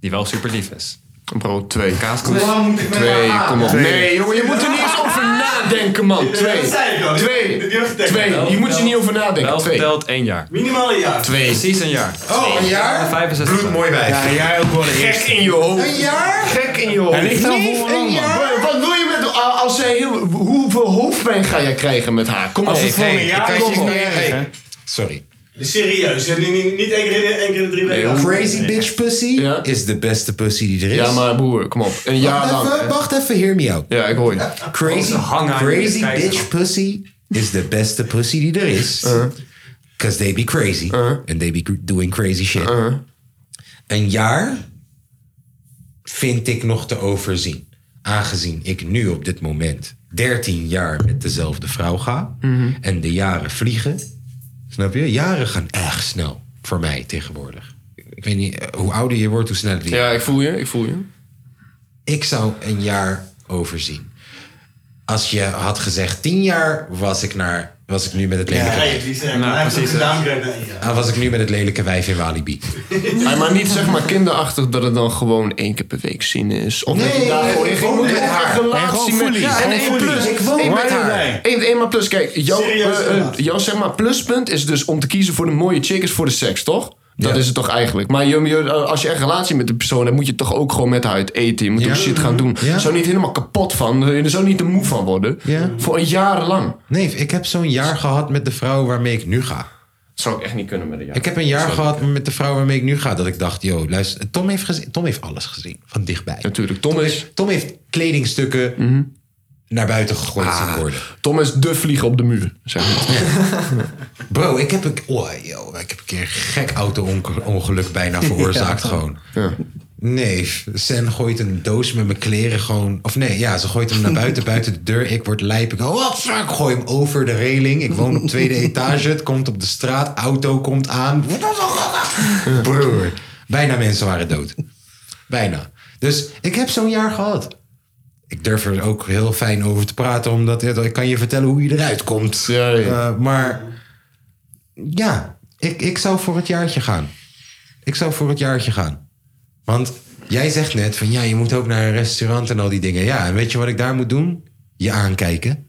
die wel super lief is? Bro, twee. Kaaskoes. Twee, kom op. Nee, jongen, je moet er niet eens over nadenken, man. Twee. dat zei ik al. Twee. Dat heb je getekend. Twee. Je moet je niet over nadenken. Wel Twee. verteld één jaar. Minimaal een jaar. Twee. Precies een jaar. Oh, een jaar? 65. Bloedmooi wijf. Ja, jij ook wel de Gek eerste. in je hoofd. Een jaar? Gek in je hoofd. Hij ligt daar voor lang, man. Bro, Wat wil je met... Als zij heel, hoeveel hoofdpijn ga jij krijgen met haar? Kom op. Als het voor een jaar ik is, kan is je het niet niet- erg, hey. hè? Sorry. Serieus, hè? niet, niet, niet één, keer, in- één keer in de drie weken. Crazy bitch pussy Ja. is de beste pussy die er is. Ja, maar broer, kom op. Een jaar wacht, even, lang. wacht even, hear me out. Ja, ik hoor je. Crazy, hangen aan je crazy kijken. bitch pussy is de beste pussy die er is. Uh-huh. Cause they be crazy. And they be doing crazy shit. Uh-huh. Een jaar vind ik nog te overzien. Aangezien ik nu op dit moment 13 jaar met dezelfde vrouw ga. Mhm. En de jaren vliegen. Snap je? Jaren gaan echt snel. Voor mij tegenwoordig. Ik weet niet, eh, hoe ouder je wordt, hoe sneller die. Ja, ik voel je. Ik voel je. Ik zou een jaar overzien. Als je had gezegd tien jaar, was ik naar Was ik nu met het lelijke Ja, ja, die zijn- Nou, Nou, hij heeft het gedaan, kijk, nee, eh. ja. Ah, was ik nu met het lelijke wijf in Walibi. Hey, maar niet zeg maar kinderachtig dat het dan gewoon één keer per week zien is. Of dat je Nee, daar nee, gewoon nee, in gewoon met haar. Nee, gewoon relatie met fully. Ja, en Gewoon één fully. plus. Ik woon één met met haar. haar. Eén één maar plus. Kijk, jouw, Serieus, eh, eh, inderdaad. jouw zeg maar pluspunt is dus om te kiezen voor de mooie chick is voor de seks, toch? Dat is het toch eigenlijk. Maar je, je- als je echt relatie met de persoon hebt, moet je toch ook gewoon met haar uit eten. Je moet ook shit gaan doen. Zo niet helemaal kapot van. Er zou niet te moe van worden. Voor een jaar lang. Nee, ik heb zo'n jaar gehad met de vrouw waarmee ik nu ga. Zou ik echt niet kunnen met een jaar. Ik heb een jaar Sorry. gehad met de vrouw waarmee ik nu ga. Dat ik dacht, joh, luister, Tom heeft, gezien, Tom heeft alles gezien. Van dichtbij. Natuurlijk, Tom, is... Tom heeft kledingstukken naar buiten gegooid zien worden. Mhm. Ah, Tom is de vlieg op de muur, zeg maar. Bro, ik heb een, oh, yo, ik heb een keer een gek auto-ongeluk bijna veroorzaakt Ja. gewoon. Nee, Sen gooit een doos met mijn kleren gewoon... Of nee, ja, ze gooit hem naar buiten, buiten de deur. Ik word lijp. Ik go, what the fuck? gooi hem over de reling. Ik woon op tweede etage. Het komt op de straat. Auto komt aan. Broer. Bijna mensen waren dood. Bijna. Dus ik heb zo'n jaar gehad. Ik durf er ook heel fijn over te praten, omdat ja, ik kan je vertellen hoe je eruit komt. Eh, maar ja, ik, ik zou voor het jaartje gaan. Ik zou voor het jaartje gaan. Want jij zegt net van ja, je moet ook naar een restaurant en al die dingen. Ja, en weet je wat ik daar moet doen? Je aankijken.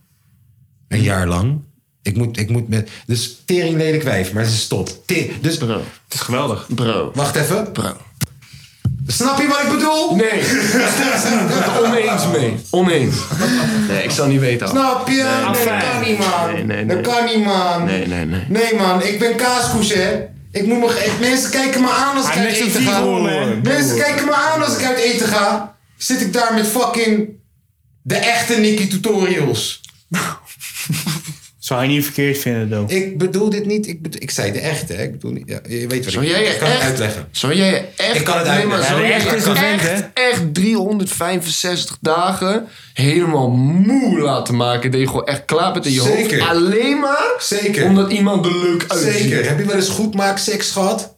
Een jaar lang. Ik moet, ik moet met. Dus tering lelijk wijf, maar ze stopt. Te- dus, bro. Het is geweldig. Bro. Wacht even. Oh, Bro. Snap je wat ik bedoel? Nee. Oneens mee. Oneens. Nee, ik zou niet weten. Al. Snap je? Nee, dat kan niet, man. Nee, nee, nee. Dat kan niet, man. Nee, nee, nee. Nee man, ik ben kaaskoes hè. Ik moet me, ik- mensen kijken me aan als ik Hij uit heeft eten een ga. vierhoorn, hè? Mensen kijken me aan als ik uit eten ga. Zit ik daar met fucking de echte Nicky tutorials. Zou je niet verkeerd vinden, though. Ik bedoel dit niet. Ik, bedoel- ik zei de echte, hè. Ik bedoel niet. Ja, je weet wat Zou ik jij je ik kan echt- het uitleggen. Zou jij je echt... Ik kan het Nee, maar uitleggen. zou Ja, de jij echte je is een vent, echt, echt 365 dagen helemaal moe laten maken. Dat je gewoon echt klaar bent in je Zeker. hoofd. Alleen maar Zeker. omdat iemand er leuk uitziet. Zeker. Heb je wel eens goed maak seks gehad?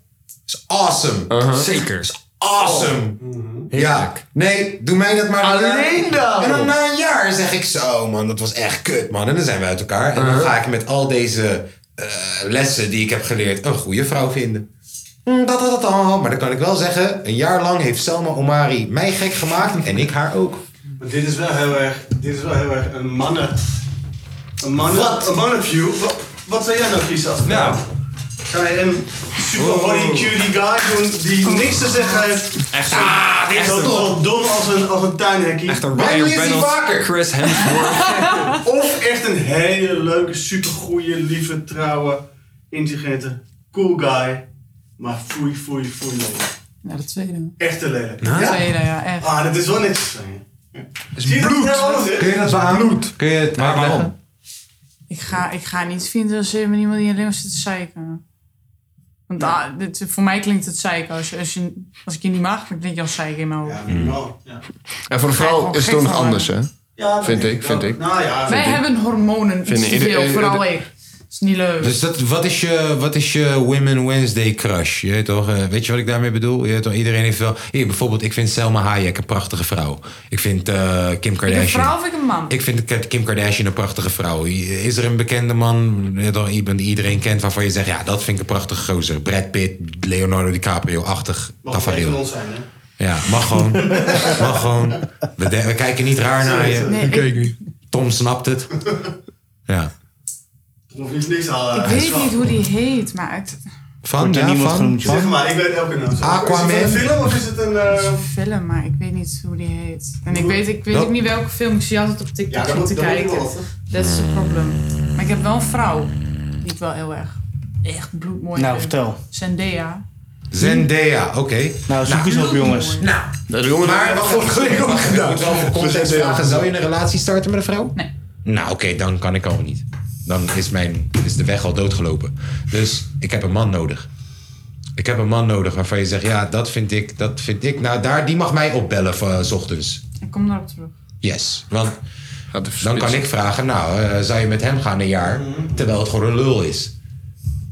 Is awesome. Uh-huh. Zeker. Is awesome. Ja. Nee, doe mij dat maar. een Oh, Alleen jaar. dan. En dan na een jaar zeg ik zo, man, dat was echt kut, man. En dan zijn we uit elkaar. En dan Uh-huh. ga ik met al deze eh, lessen die ik heb geleerd een goede vrouw vinden. Mm, Dat, dat, dat, dat. Maar dan kan ik wel zeggen, een jaar lang heeft Selma Omari mij gek gemaakt en ik haar ook. Maar dit is wel heel erg, dit is wel heel erg een mannen... Een mannen... Wat? Een mannenview. Wat, wat zou jij nou kiezen als Nou. Ga je een super horny cutie guy doen die niks te zeggen heeft? Ah, Echt zo. echt zo dom als een, als een tuinhekkie. Echt een Ryan Reynolds, Chris Hemsworth. of echt een hele leuke, supergoeie, lieve, trouwe, intelligente, cool guy. Maar foei, foei, foei lelijk. Nou, dat tweede. Echte lelijk. Nou. Tweede, ja, echt. Ah, dat is wel niks van je. Zie je dat bloed. nou alles is? Kun je dat Bloed. Kun je het maar waarom? Ik ga, ik ga niet vinden als er met iemand die alleen maar zit te zeiken. Want ah, dit, voor mij klinkt het zeiken. Als, je- als, je, als ik je niet mag, dan klink je als zeiken in mijn hoofd. En voor een vrouw is het ook nog anders, hè? Ja, dat vind denk ik, vind ik. Wij Vind ik. hebben hormonen. Vind Iets te ieder- veel, ieder- vooral ik. Dat is niet leuk. Dus dat, wat, is je, wat is je Women Wednesday crush? Je weet, toch, eh, weet je wat ik daarmee bedoel? Je weet toch, iedereen heeft wel... Hier, bijvoorbeeld, ik vind Selma Hayek een prachtige vrouw. Ik vind eh, Kim Vind ik een vrouw Kardashian... of ik een man? Ik vind Ka- Kim Kardashian een prachtige vrouw. Is er een bekende man je weet toch, iemand die iedereen kent waarvan je zegt... ja, dat vind ik een prachtige gozer. Brad Pitt, Leonardo DiCaprio-achtig Mag wel even tafereel. ons zijn, hè? Ja, mag gewoon. mag gewoon. We, de- we kijken niet raar naar je. Nee, ik- Kijk Tom snapt het. Ja. Of is niks eh, al. ik weet niet hoe die heet, maar het Van, ja, van? Zeg maar, ik weet elke naam. Aquaman. Is het een film of is het een... eh, is een film, maar ik weet niet hoe die heet. En ik Hoe- weet, ik weet Dat- ook niet welke film. Ik zie altijd op TikTok Ja, dat om moet- te dat moet je kijken. wel laten. Dat is het probleem. Maar ik heb wel een vrouw die ik wel heel erg, echt bloedmooi Nou, vind. vertel. Zendaya. Zendaya, oké. Nou, zoek eens op, jongens. Nou, dat jongen maar wacht, wacht, wacht, wacht, wacht, ik moet wel voor context Zendaya. vragen. Zou je een relatie starten met een vrouw? Nee. Nou, oké, dan kan ik al niet. Dan is, mijn, is de weg al doodgelopen. Dus ik heb een man nodig. Ik heb een man nodig waarvan je zegt, ja, dat vind ik, dat vind ik. Nou, daar, die mag mij opbellen voor eh, 's ochtends. Ik kom daarop terug. Yes. Want dan kan ik vragen, nou, eh, zou je met hem gaan een jaar? Terwijl het gewoon een lul is.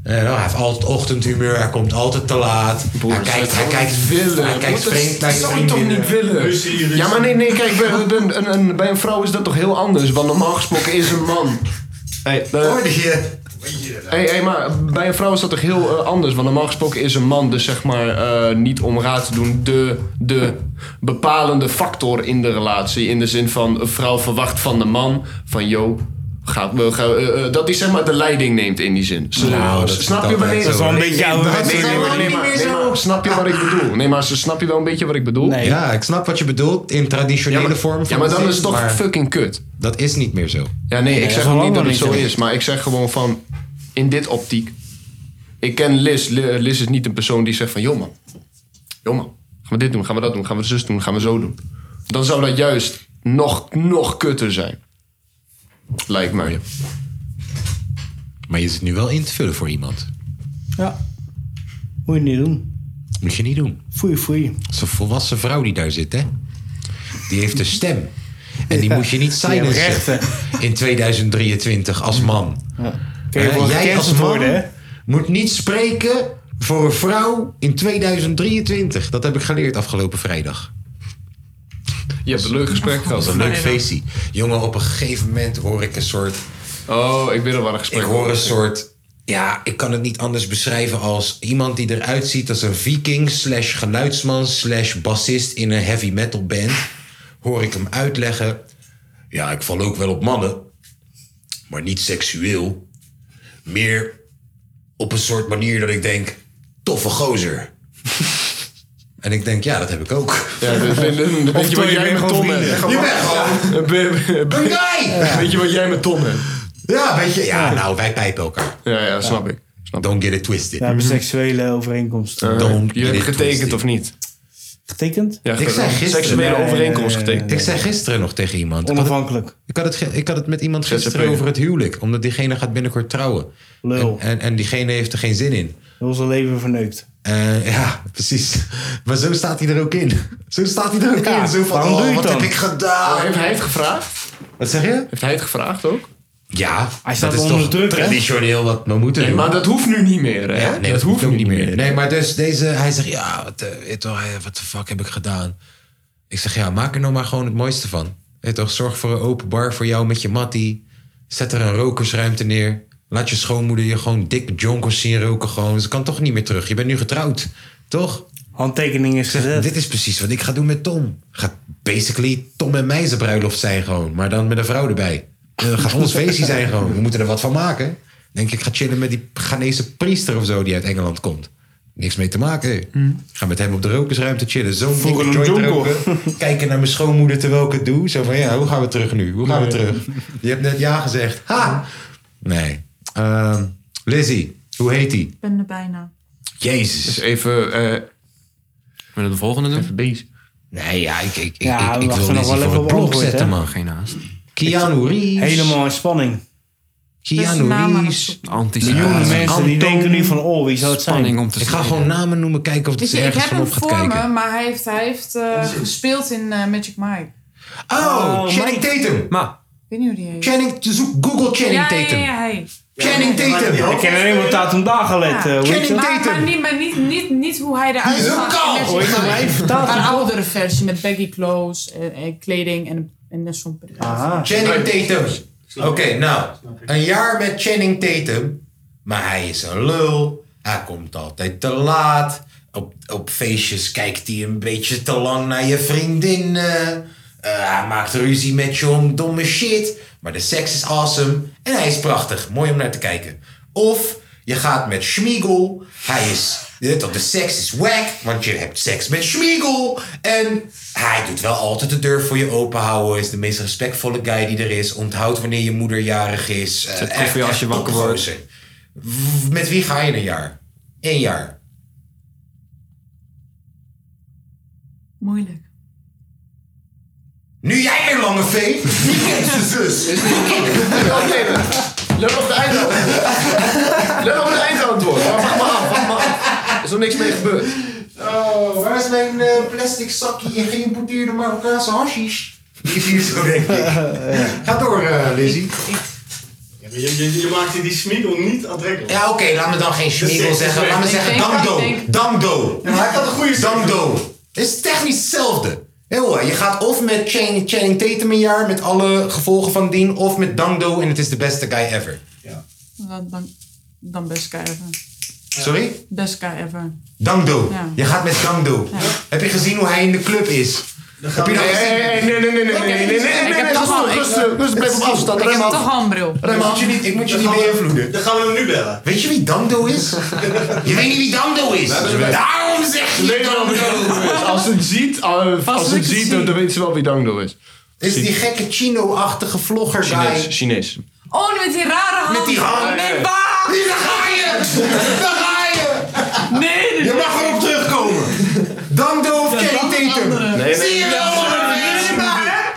Eh, nou, hij heeft altijd ochtendhumeur, hij komt altijd te laat. hij kijkt, hij kijkt, willen. hij kijkt vreemd naar je zou ik toch vriendinnen. niet willen? Ja, maar nee, nee, kijk, bij, bij een, een- een- bij een vrouw is dat toch heel anders. Want normaal gesproken is een man Hey, eh, hey, hey, maar bij een vrouw is dat toch heel eh, anders? Want normaal gesproken is een man dus zeg maar eh, niet om raad te doen de, de bepalende factor in de relatie. In de zin van een vrouw verwacht van de man van yo, ga, we gaan, eh, eh, dat hij zeg maar de leiding neemt in die zin. Ze- Nou, dat is snap je altijd wanneer? zo. Dat is wel een beetje Nee, ouderwets, maar- nee, hoor. maar- nee, maar- nee, maar Snap je wat ik bedoel? Nee, maar ze snap je wel een beetje wat ik bedoel? Ja, ik snap wat je bedoelt in traditionele Ja, maar- vorm. Van ja, maar dan zin, is het toch maar fucking kut. Dat is niet meer zo. Ja, nee, ik zeg ook niet dat het zo is. Maar ik zeg gewoon van, in dit optiek. Ik ken Liz. Li- Liz is niet een persoon die zegt van, joh man. Joh man, gaan we dit doen, gaan we dat doen, gaan we zus doen, gaan we zo doen. Dan zou dat juist nog, nog kutter zijn. Lijkt mij. Maar je zit nu wel in te vullen voor iemand. Moet je niet doen. Moet je niet doen. Foei, foei. Dat is een volwassen vrouw die daar zit, hè? Die heeft een stem. En die moet je niet die heeft silencen in 2023 als man. Kun je Hè, wel Jij als gecanceld man worden, hè? moet niet spreken voor een vrouw in 2023. Dat heb ik geleerd afgelopen vrijdag. Je hebt een leuk gesprek Dat gehad. was een leuk feestje. Jongen, op een gegeven moment hoor ik een soort... Oh, ik weet al waar een gesprek Ik hoor een soort... Ja, ik kan het niet anders beschrijven als iemand die eruit ziet als een viking... slash geluidsman slash bassist in een heavy metal band. Hoor ik hem uitleggen. Ja, ik val ook wel op mannen. Maar niet seksueel. Meer op een soort manier dat ik denk... Toffe gozer. en ik denk, ja, dat heb ik ook. Ja, dit- dit- dit- dit- weet je wat jij met Tom hebt? Je bent gewoon... Een guy! Weet je wat jij met Tom hebt? Ja, weet je. Ja, nou, wij pijpen elkaar. Ja, ja, snap ik. Don't get it twisted. We hebben seksuele overeenkomsten. Eh, Don't je get hebt it getekend twisted. of niet? Getekend? ik zei gisteren, Nee, nee, nee, nee. Ik zei gisteren nog tegen iemand. Ik had het- Onafhankelijk. Ik had, het, ge- ik had het met iemand gisteren ZZP'er. over het huwelijk. Omdat diegene gaat binnenkort trouwen. Lul. En, en, en diegene heeft er geen zin in. Heel zijn leven verneukt. Eh, ja, precies. Maar zo staat hij er ook in. Zo staat hij er ook in. Zo van, waarom oh, doe je wat het dan? heb ik gedaan? Oh, Heeft hij het gevraagd? Wat zeg je? Heeft hij het gevraagd ook? Ja, Hij staat dat is onder toch druk, hè? traditioneel wat we moeten Nee, doen. maar dat hoeft nu niet meer, hè? Ja, nee, dat, hoeft ook niet meer. Nee, maar dus deze, hij zegt, ja, wat, eh, weet toch, eh, wat de fuck heb ik gedaan? Ik zeg, ja, maak er nou maar gewoon het mooiste van. Weet toch, zorg voor een open bar voor jou met je mattie. Zet er een rokersruimte neer. Laat je schoonmoeder je gewoon dik jonkers zien roken. Gewoon. Ze kan toch niet meer terug. Je bent nu getrouwd, toch? Handtekening is gezet. Dit is precies wat ik ga doen met Tom. Gaat basically Tom en mij zijn bruiloft zijn gewoon. Maar dan met een vrouw erbij. Eh, gaat ons feestje zijn gewoon. We moeten er wat van maken. Denk ik, ik ga chillen met die Ghanese priester of zo die uit Engeland komt. Niks mee te maken. Mhm. Ga met hem op de rokersruimte chillen. Zo'n dikke een joint jonkel. roken. Kijken naar mijn schoonmoeder terwijl ik het doe. Zo van, ja, hoe gaan we terug nu? Hoe gaan we terug? Je hebt net ja gezegd. Ha! Nee. Ehm Lizzie, hoe heet die? Ik ben er bijna. Jezus. Dus even... eh Willen we de volgende doen? Even bezig. Nee, ja, ik, ik, ik, Ja, ik- we ik wachten wil nog Lizzie wel voor even het op blok antwoord, zetten, hè? man. Geen haast. Keanu Reeves. Helemaal in spanning. Keanu Reeves. Anticipatie. Miljoenen mensen die Anton. denken nu van, oh, wie zou het zijn? Spanning om te Ik ga gewoon namen noemen, kijken of Weet het je, Dus ik ergens heb van hem op gaat voor me, kijken. maar hij heeft, hij heeft Oh, eh, gespeeld in eh, Magic Mike. Oh, Channing Tatum. Maar. Ik weet niet hoe die heet. Channing, zoek Google Channing ja, Tatum. Ja, ja, hij. Channing Tatum. Ik ken alleen maar Tatum Dagelet. eh, hoe heet Channing dat? Maar, maar, niet, maar niet, niet, niet hoe hij eruit Die is zag. kaal. in Magic Ooit Mike. mij vertaald. Een oudere versie met baggy clothes en, en kleding en, en een somber. Channing Tatum. Oké, nou. Een jaar met Channing Tatum. Maar hij is een lul. Hij komt altijd te laat. Op, op feestjes kijkt hij een beetje te lang naar je vriendinnen. Eh, hij maakt ruzie met je om domme shit. Maar de seks is awesome. En hij is prachtig. Mooi om naar te kijken. Of je gaat met Schmiegel. Hij is... je weet toch, De seks is wack, want je hebt seks met Schmiegel. En hij doet wel altijd de deur voor je open houden. Is de meest respectvolle guy die er is. Onthoudt wanneer je moeder jarig is. Eh, Zet koffie echt, als je echt wakker wordt. topgozer. W- Met wie ga je een jaar? Eén jaar. Moeilijk. Nu jij weer lange vee. Wie kent zijn zus? Let op het eindantwoord. Let op het eindantwoord. Maar wacht maar af, wacht maar af. Er is nog niks mee gebeurd. Oh, waar is mijn eh, plastic zakje en geïmporteerde Marokkaanse hashish? Die is hier zo, denk ik. Ga door, eh, Lizzie. Je, je, je maakt die smiegel niet aantrekkelijk. Ja, oké, laat me dan geen schmiegel zeggen. Laat me zeggen dank Dangdo. Dangdo. Ja, maar hij kan een goede Dangdo. Het is technisch hetzelfde. Ja hoor, je gaat of met Channing, Channing Tatum een jaar met alle gevolgen van dien, of met Dangdo en het is de beste guy ever. Dan, dan, dan best guy ever. Sorry? Best guy ever. Dangdo. Ja. Je gaat met Dangdo. Heb je gezien hoe hij in de club is? Heb je dat Hey, hey, hey, nee, nee, nee, nee, nee, nee, nee, nee, nee, Ik heb nee, toch rustig, al- ik- rustig, rustig, blijf op afstand, Ik rem heb af. toch handbril. Rem af. Ik moet je niet- ik moet je niet beïnvloeden. Dan gaan we hem nu bellen. Weet je wie Dangdo is? je weet niet wie Dangdo is. Daarom zeg je Nee, Dangdo. maar Als ze het ziet, eh, als ze ik het het ziet, zie. dan dan weten ze wel wie Dangdo is. Is die gekke Chino-achtige vlogger guy. Chinees, Chinees. Oh, met die rare hand. Met die hand. Nee, Nee. waar? Daar ga je! Daar ga je! Nee! Je mag erop terugkomen! Dangdo of Channing Tatum? Nee, Zie je wel?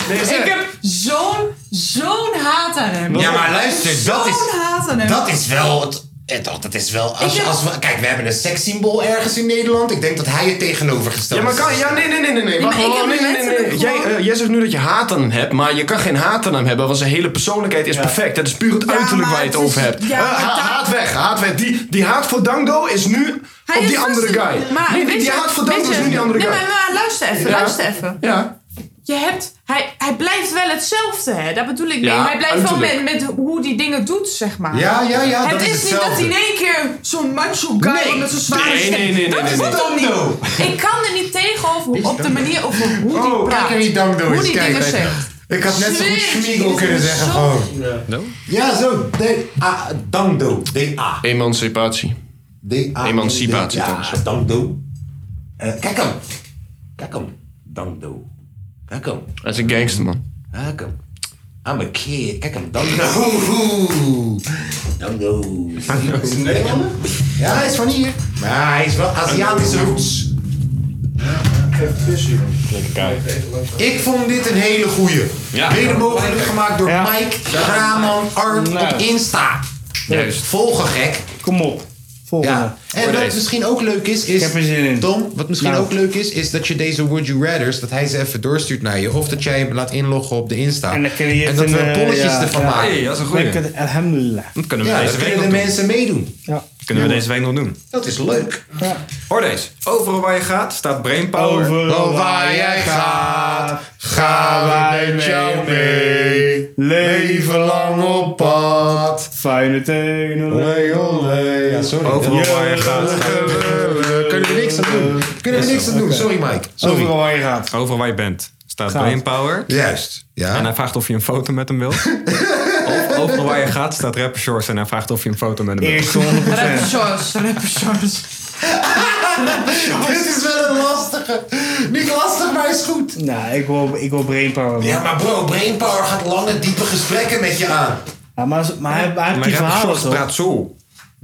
Ik heb zo'n, zo'n haat aan hem. Ja, maar luister, dat is, Zo'n haat aan hem. dat is wel. het- het- oh, Dat is wel. Als, Ik heb- als we, kijk, we hebben een sekssymbool ergens in Nederland. Ik denk dat hij het tegenovergesteld Ja, maar kan, ja, nee, nee, nee, nee, nee. Nee, Wacht, maar ik wacht, heb nee, nee, nee, nee. letterlijk Jij, gewoon- eh, jij zegt nu dat je haat aan hem hebt, maar je kan geen haat aan hem hebben, want zijn hele persoonlijkheid is perfect. Dat is puur het uiterlijk waar je het over hebt. ja, Eh, maar ha- daar- haat weg, haat weg. Die, die haat voor Dango is nu Hij op is die andere rustig. guy. Maar, nee, die, weet die je- haat voor weet Dango is je- nu die andere nee, guy. Maar, maar luister even, Ja. luister even. Ja. Je hebt, hij, hij blijft wel hetzelfde, hè? Dat bedoel ik Ja, mee. Hij blijft wel uiterlijk. met, met hoe die dingen doet, zeg maar. Ja, ja, ja, Het dat is, is niet dat hetzelfde. hij in één keer zo'n macho guy Nee. met zo'n zware Nee, stem- nee, nee, nee, Dat nee, is nee. het dan niet. Ik kan er niet tegen over op de manier over hoe Oh, die praat. Kijk, wie Dangdo hoe is. die Kijk, dingen kijk. zegt. Ik had net zo goed Zweer het je, Schmiegel dit kunnen is zeggen, zo- gewoon. Ja, zo. Ah, D-A. Dangdo. D-A. Emancipatie. D-A. Emancipatie, Ja, trouwens. Dangdo. Eh, kijk hem. Kijk hem. Dangdo. Kijk hem. Hij is een gangster, man. Kijk hem. Ah, I'm a kid. Kijk hem. Dangdo. Dangdo. Is hij Nederlander? Ja, hij is van hier. Maar hij is wel Aziatische roots. Ik vond dit een hele goeie. Ja. Mede mogelijk gemaakt door Mike Graman Art op Insta. Volg een gek. Kom op. Volgende. En wat misschien ook leuk is, is Tom, wat misschien Nou. ook leuk is, is dat je deze Would You Rathers, dat hij ze even doorstuurt naar je. Of dat jij hem laat inloggen op de Insta. En, dat we eh, polletjes ervan maken. Lekker, alhamdulillah. Dat kunnen we ja, deze dan week kunnen de nog doen. mensen meedoen. Ja. Kunnen we deze week nog doen? Dat is leuk. Hoor deze. Overal waar je gaat staat brainpower. Overal waar jij gaat, gaan wij met jou mee. Leven lang op pad. Fijne tenen. Olé, olé. Ja, sorry. Overal waar je gaat. Kunnen we niks aan doen. Kunnen we niks aan doen. Sorry Mike. Sorry. Overal waar je gaat. Overal waar je bent staat Gaat. brainpower. Juist. Ja. En hij vraagt of je een foto met hem wilt. of overal waar je gaat staat rapper shorts en hij vraagt of je een foto met hem wilt. Eerste 100%. Rapper shorts, rapper shorts. Dit is wel een lastige. Niet lastig, maar is goed. Nou, ik wil, ik wil brainpower. Ja, maar bro, Brainpower gaat lange, diepe gesprekken met je aan. Ja, maar, maar hij, hij heeft die verhalen toch? praat zo.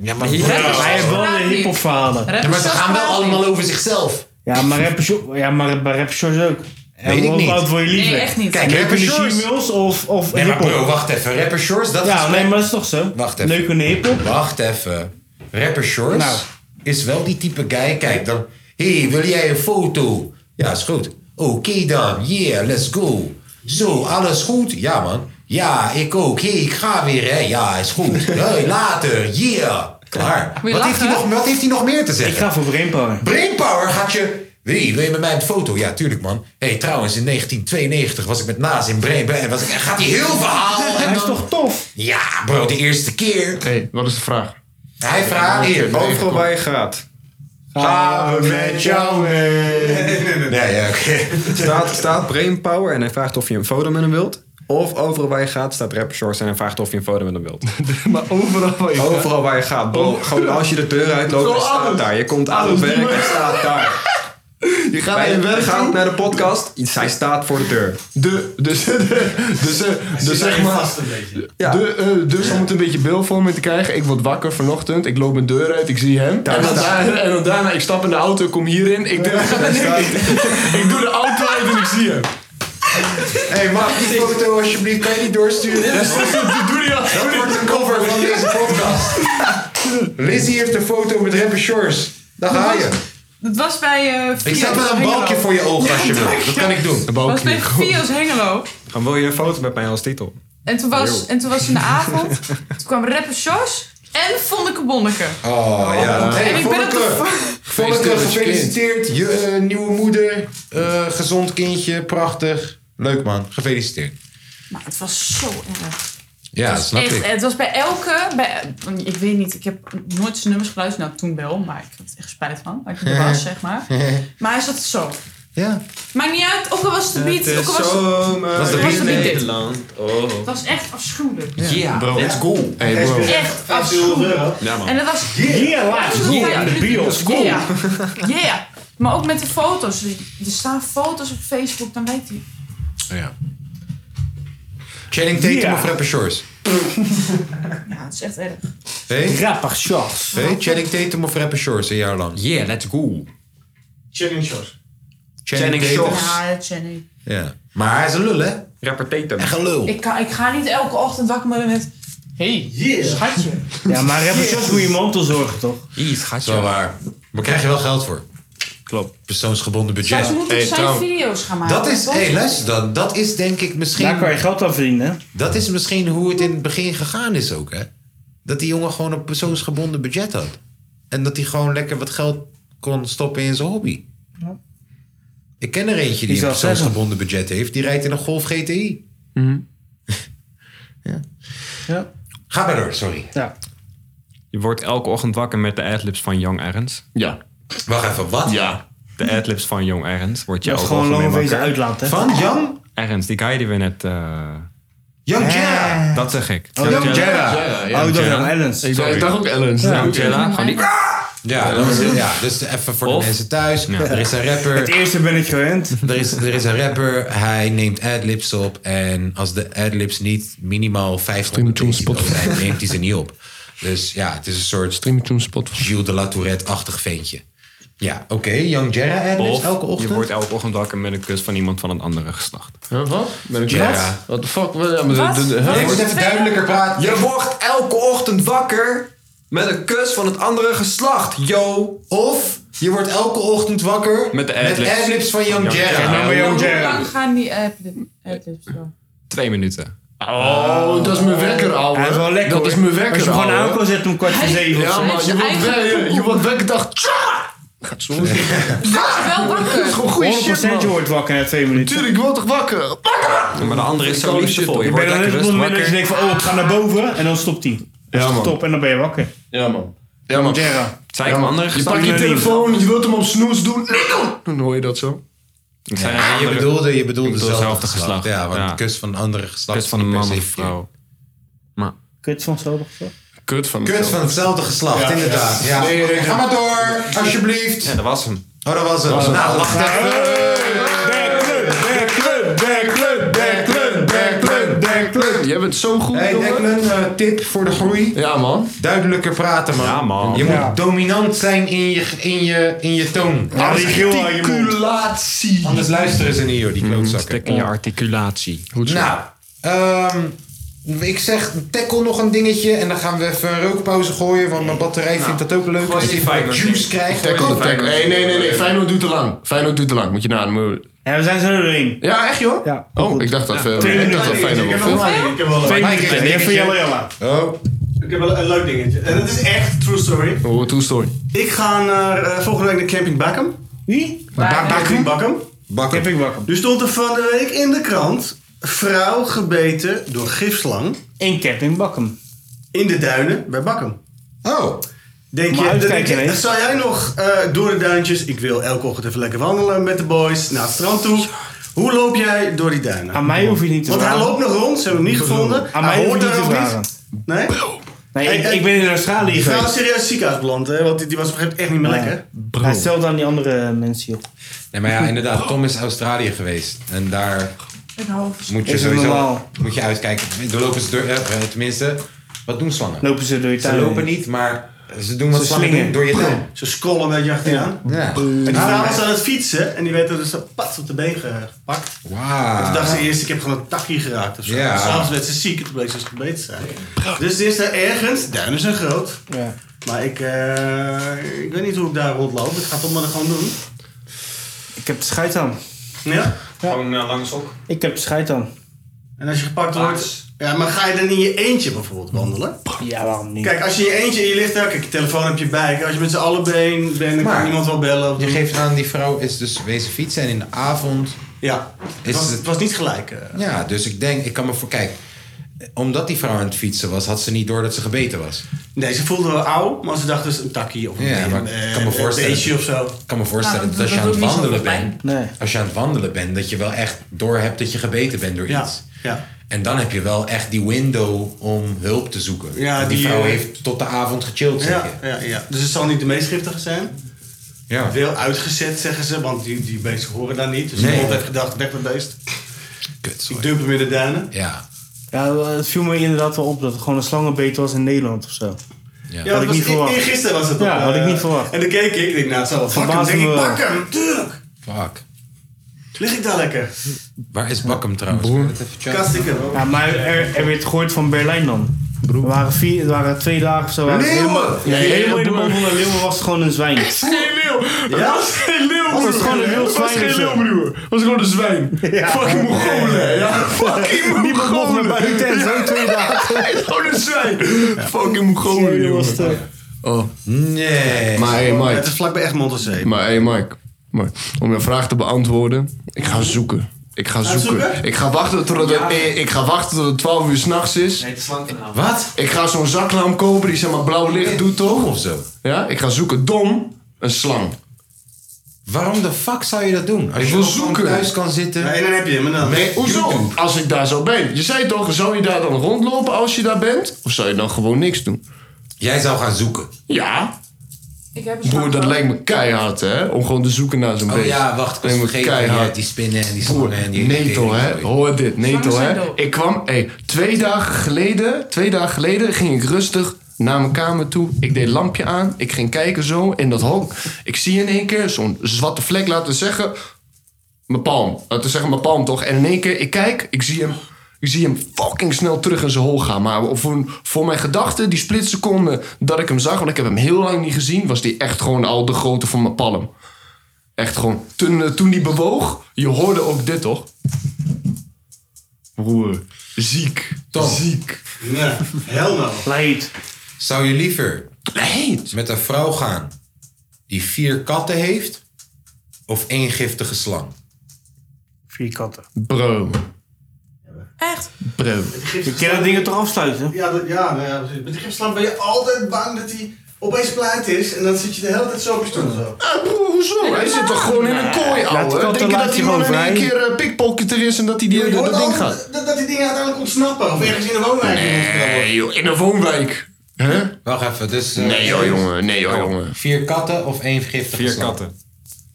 Ja, maar Hij heeft wel de hip-hop verhalen. Ja, maar ze gaan wel allemaal over zichzelf. Ja, maar rapper Shor- ja, maar bij rapper Shores ook. En Weet ik hoe niet. oud word je liever? Nee, echt niet. Kijk, Leuk rapper in de Shores- G-Mills of, of Nee, maar hip-hop? bro, wacht even. Rapper Shorts, dat Ja, gesprek- nee, maar dat is toch zo? Wacht even. Leuk in de hip-hop? Wacht even. Rapper Shorts Nou. is wel die type guy. Kijk dan. Hé, hey, wil jij een foto? Ja, is goed. Oké dan. Yeah, let's go. Zo, alles goed? Ja, man. Ja, ik ook. Hé, hey, ik ga weer, hè. Ja, is goed. Hey, later. Yeah. Klaar. Moet je Wat heeft, lachen? hij nog, wat heeft hij nog meer te zeggen? Ik ga voor brainpower. Brainpower gaat je... Hey, wil je met mij een foto? Ja, tuurlijk, man. Hé, hey, trouwens, in 1992 was ik met Naas in Bremen. En was ik, gaat hij heel verhaal. En Hij is dan- toch tof? Ja, bro, de eerste keer. Hé, wat is de vraag? Hij vraagt hier. Overal waar je gaat. Gaan we met jou mee. Nee, ja, oké. Staat, staat brainpower en hij vraagt of je een foto met hem wilt. Of overal waar je gaat staat rapper shorts en hij vraagt of je een foto met hem wilt. Maar overal waar je gaat. Oh. Overal waar je gaat, bro. Gewoon als je de deur uitloopt, Zo hij staat alles. daar. Je komt aan het Alles, die werk, hij man. staat daar. Je gaat Bij- naar je werk je gaat toe. naar de podcast, iets- hij staat voor de deur. De, dus, de, dus, eh, dus zeg maar. De, eh, dus om het een beetje beeldvorming te krijgen, ik word wakker vanochtend, ik loop mijn deur uit, ik zie hem. en, dan staat- daarna, en dan daarna, ik stap in de auto, kom hierin, ik, doe- ik, ik doe de auto uit en ik zie hem. Hé, hey, mag die foto alsjeblieft? Kan je die doorsturen? doe die al. Dat wordt een cover van deze podcast. Lizzie heeft een foto met rapper Shores. Daar ga je. Dat was bij... eh Ik zet Fios wel een Hengelo. balkje voor je ogen als je wilt. Dat kan ik doen. Een Dat was bij Fios Hengelo. Gaan wil je een foto met mij als titel? En toen was, Yo. en toen was in de avond, toen kwam rapper Sjors en Vonneke Bonneke. Oh, ja. en ik ben op de, Volker, gefeliciteerd. Je eh, nieuwe moeder. eh, gezond kindje. Prachtig. Leuk man. Gefeliciteerd. Maar het was zo erg. Ja, dat Het was snap echt- ik. Het was bij elke... Bij, want ik weet niet, ik heb nooit zijn nummers geluisterd. Nou, toen wel, maar ik had er echt spijt van. Dat ik er was, zeg maar. Maar hij zat zo. Ja. Maakt niet uit, ook al was de beat... Ook al was, was was de beat dit. Nederland. Oh. Het was echt afschuwelijk. bro. Let's go. Hey, bro. Echt afschuwelijk. Ja, man. En dat was... Yeah, let's go. Ja. In de bios. Go. Ja. Ja. Maar ook met de foto's. Er staan foto's op Facebook, dan weet hij. Ja. Channing Tatum Ja. of Rapper Shores? Ja, het is echt erg. Hey? Rapper Shores. Hey, Channing Tatum of Rapper Shores een jaar lang? Yeah, let's go. Channing Shores. Channing Tatum. Ja, Jenny. Ja. Maar hij is een lul, hè? Rapper Tatum. Echt een lul. Ik, kan, ik ga niet elke ochtend wakker worden met... hey, schatje. Ja, maar rapper Shores moet je mantel zorgen, toch? Iets, gaatje. Zo waar. Maar krijg je wel geld voor. Klopt. Persoonsgebonden budget. Straks moet ik zijn video's gaan maken. Dat is, toch? hey, luister dan. Dat is denk ik misschien... Daar kan je geld aan verdienen. Dat is misschien hoe het in het begin gegaan is ook, hè? Dat die jongen gewoon een persoonsgebonden budget had. En dat hij gewoon lekker wat geld kon stoppen in zijn hobby. Ja. Ik ken er eentje die Die een zou zeggen. persoonsgebonden budget heeft. Die rijdt in een Golf GTI. Ja. Ga verder, sorry. Ja. Je wordt elke ochtend wakker met de adlibs van Young Arends. Ja. Wacht even, wat? Ja. De adlibs van Young Arends wordt je Dat ook is gewoon algemeen loonwezen wakker. uitlaat, hè? Van Jan? Arends, die guy die we net... eh Young Jera! Dat zeg ik. Oh, Young Jera. Oh, ik dacht Young Ellens. Ik dacht- ik dacht ook Ellens. Ja. Young Jera, gewoon die... Ja, dat was, ja dus even voor de mensen thuis. Er is een rapper. Het eerste ben ik gewend. Er is, er is een rapper, hij neemt adlibs op. En als de adlibs niet minimaal 500 decibel zijn, neemt hij ze niet op. Dus ja, het is een soort Gilles de La Tourette-achtig ventje. Ja, oké. Young Jera adlibs Of elke ochtend? je wordt elke ochtend wakker met een kus van iemand van een andere geslacht. Huh, wat? Ben ik Ja. Ja. What the fuck? Wat? Ja, maar Wat? de- de- Nee, huh? ik moet even duidelijker praten. Je wordt elke ochtend wakker met een kus van het andere geslacht, yo. Of je wordt elke ochtend wakker met de Met adlibs, adlibs van Young Jera. Hoe lang gaan die adlib- adlibs dan? Twee minuten. Oh, dat is mijn wekker, ouwe. Hij is wel lekker, Dat hoor. is mijn wekker, Als je gewoon ouwe. aan kan zetten om kwart voor Hij- zeven of Ja, zo. maar Hij is je wordt eigen wel- poepoe. je wordt wekker dag... Tja! Gaat zo. wel wakker. Dat is gewoon goede shit, man. je wordt wakker na twee minuten. Tuurlijk, ik word toch wakker? maar de andere is zo liefdevol. Je Ik wordt ben dan lekker net op het rustig moment dat je wakker. denkt van, oh, ik ga naar boven. En dan stopt hij. Ja, Ja, man. Stop en dan ben je wakker. Ja, man. Ja, man. Jera. Zei ik hem andere Je pakt je telefoon, je wilt hem op snoes doen. Nee, doen! Dan hoor je dat zo. Ik Ja, zei een je andere- bedoelde, je bedoelde ik bedoel hetzelfde hetzelfde geslacht. geslacht. Ja, want Ja. de kus van een andere geslacht Kus van is een niet man per of se vrouw. Kut van hetzelfde geslacht. Kut van Kut van hetzelfde geslacht, inderdaad. Ja. Ga maar door, alsjeblieft. Ja, dat was hem. Oh, dat was het. nou, wacht even. Declan, Declan, Declan, Declan, Declan. Jij bent zo goed, Hey Declan, eh, tip voor de groei. Ja man. Duidelijker praten man. Ja man. Je moet Ja. dominant zijn in je, in je, in je toon. Ja, Articulatie. dus Anders luisteren ze niet joh, die klootzakken. Stek in je articulatie. Nou, ehm, ik zeg tackle nog een dingetje en dan gaan we even een rookpauze gooien, want mijn batterij Nou, vindt dat ook leuk. Als je wat juice krijgt. Tackle, Tackle, tackle. tackle. Nee, nee, nee, nee. Feyenoord doet te lang. Feyenoord doet te lang. Moet je na. moet- En we zijn zo doorheen. Ja, echt joh? Oh, ik dacht dat eh, Twee ik dacht dat minuten. Feyenoord Ik heb wel nog veel- maar- ik heb wel- Twee minuten. Jij voor Jelle Jelle. Oh. Ik heb wel een leuk dingetje. En dat is echt true story. Oh, true story. Ik ga naar, eh, volgende week naar Camping Bakum. Wie? Camping Bakum. Camping Bakum. Dus stond er van de week in de krant... vrouw gebeten door gifslang. In Camping Bakum. In de duinen bij Bakum. Oh. Denk Maar je, denk uitkijken, je, hè? zou jij nog eh, door de duintjes... ik wil elke ochtend even lekker wandelen met de boys naar het strand toe... Hoe loop jij door die duinen? Aan mij hoef je niet te Want hij vragen. loopt nog rond, ze hebben hem niet gevonden. Aan mij hij hoef hoort je niet daar te ook niet. vragen. Nee? Nee, ik- ik ben in Australië Die vrouw is geweest. serieus ziekenhuis beland, hè? Want die, die was op een gegeven moment echt niet meer lekker. Bro. Maar stel dan die andere mensen, joh. Nee, maar ja, inderdaad, Tom is Australië geweest en daar Ik hou van- moet je Is het sowieso normaal? moet je uitkijken. Dan lopen ze door, eh, tenminste, wat doen slangen? Lopen ze door je Ze tuin lopen heen. niet, maar ze doen wat Ze slangen slingen. doen door je tuin. Ze scrollen een beetje achteraan. Ja. En die Ah. vrouw was aan het fietsen en die werd er dus pat op de been ge- gepakt. En toen dacht ze eerst, ik heb gewoon een takkie geraakt of zo. Ja. En S'avonds werd ze ziek en toen bleek ze dus gebeten te zijn. Dus het is daar ergens, duinen zijn groot. Ja. Maar ik, eh, ik weet niet hoe ik daar rondloop. Ik ga het toch maar gewoon doen. Ik heb de scheid aan. Ja? Gewoon langs lange sok. Ik heb de scheid aan. En als je gepakt wordt, Ja, maar ga je dan in je eentje bijvoorbeeld wandelen? Ja, waarom niet? Kijk, als je in je eentje in je ligt, ja, kijk, je telefoon heb je bij. Kijk, Als je met z'n allen been bent, dan kan niemand wel bellen. Je geeft aan, die vrouw is dus wezen fietsen en in de avond... Ja, is was- het was niet gelijk. eh. Ja, dus ik denk, ik kan me voor... Kijk, omdat die vrouw aan het fietsen was, had ze niet door dat ze gebeten was. Nee, ze voelde wel oud, maar ze dacht dus een takkie of een, Ja, maar een, ik kan me een voorstellen, beestje of zo. Ik kan me voorstellen dat als je aan het wandelen bent, als je aan het wandelen bent, dat je wel echt door hebt dat je gebeten bent door Ja, iets. ja. En dan heb je wel echt die window om hulp te zoeken. Ja, En die, die, vrouw eh, heeft tot de avond gechilled, zeg Ja, je. ja, ja, dus het zal niet de meest giftige zijn. Ja. Veel uitgezet, zeggen ze, want die, die beesten horen daar niet. Dus Nee. iemand heeft gedacht, weg met beest. Ik dump hem in de duinen. Ja. Ja, het viel me inderdaad wel op dat het gewoon een slangenbeet was in Nederland of zo. Ja, had dat ik was niet e- verwacht. Eergisteren was het Ja, op, had ik eh, niet verwacht. En dan keek ik, ik denk, nou, het zal wel fuck hem. Verbaasde denk ik, me wel. pak hem, tuurlijk. Fuck. Lig ik daar lekker? Waar is Bakkum trouwens? Broer. Kastikken. Ja, maar eh, er, er werd gehoord van Berlijn dan. Er waren, vier, het waren twee dagen of zo. waren het Leeuwen! helemaal- Ja, Ja, helemaal in de broer. mond van de leeuwen was het gewoon een zwijn. Geen leeuw! Ja? Dat was geen leeuw, Was het broer. gewoon een wild Dat was zwijn geen of zo? leeuw, broer. Dat was gewoon een zwijn. Fucking Mongolen. Ja, fucking Niemand mocht Mongolen. meer bij die tent, zo twee dagen. Hij is gewoon een zwijn. Fucking Mongolen, jongen. Oh. Nee. Maar hey, Mike. Het is vlakbij Egmond aan Zee. Maar hey, Mike. Mike, Om je vraag te beantwoorden. Ik ga zoeken. Ik ga Gaat zoeken. zoeken? Ik ga wachten tot het, Ja. eh, ik ga wachten tot het 12 uur s'nachts is. Nee, het is lang vanavond. Wat? Ik ga zo'n zaklamp kopen die zeg maar blauw licht doet, toch? Of zo. Ja, ik ga zoeken. Dom, een slang. Waarom de fuck zou je dat doen? Als Ik je wil gewoon zoeken. thuis kan zitten. Nee, dan heb je hem en dan. Nee, hoezo? Als ik daar zo ben. Je zei toch, zou je daar dan rondlopen als je daar bent? Of zou je dan gewoon niks doen? Jij zou gaan zoeken. Ja. Ik heb Broer, dat lijkt me keihard, hè? Om gewoon te zoeken naar zo'n Oh beest. ja, wacht, ik was Lijkt me vergeten. keihard. Ja, die spinnen en die slangen en die... Netel, hè? Hoor dit, netel, zijn hè? Ik kwam, hé, twee dagen geleden, twee dagen geleden ging ik rustig naar mijn kamer toe. Ik deed lampje aan, ik ging kijken zo in dat hok. Ik zie in één keer zo'n zwarte vlek, laten we zeggen, mijn palm. Laten we zeggen mijn palm, toch? En in één keer, ik kijk, ik zie hem, ik zie hem fucking snel terug in zijn hol gaan. Maar voor, voor mijn gedachten, die splitseconde dat ik hem zag, want ik heb hem heel lang niet gezien, was die echt gewoon al de grootte van mijn palm. Echt gewoon. Toen, eh, toen die bewoog, je hoorde ook dit toch? Broer, ziek. Ziek. Nee, hell no. Leid. Zou je liever met een vrouw gaan die vier katten heeft of één giftige slang? Vier katten. Bro. Echt? Bro. Je kan dat dingen toch afsluiten? Ja, dat, ja, nou ja, precies. met die gifslang ben je altijd bang dat hij opeens pleit is. En dan zit je de hele tijd zo op je stoel. Zo. Ah, broer, hoezo? Hij zit toch gewoon in een kooi, ouwe? Denk je dat die man in één keer eh, pickpocketer is en dat hij die, Je door hoort dat ding altijd gaat? Dat, dat die dingen uiteindelijk ontsnappen. Of ergens in de woonwijk. Nee, joh, in een woonwijk. Hè? Wacht even, dus... eh, Nee, joh, jongen. Nee, joh, jongen. Vier katten of één giftige Vier slang? katten.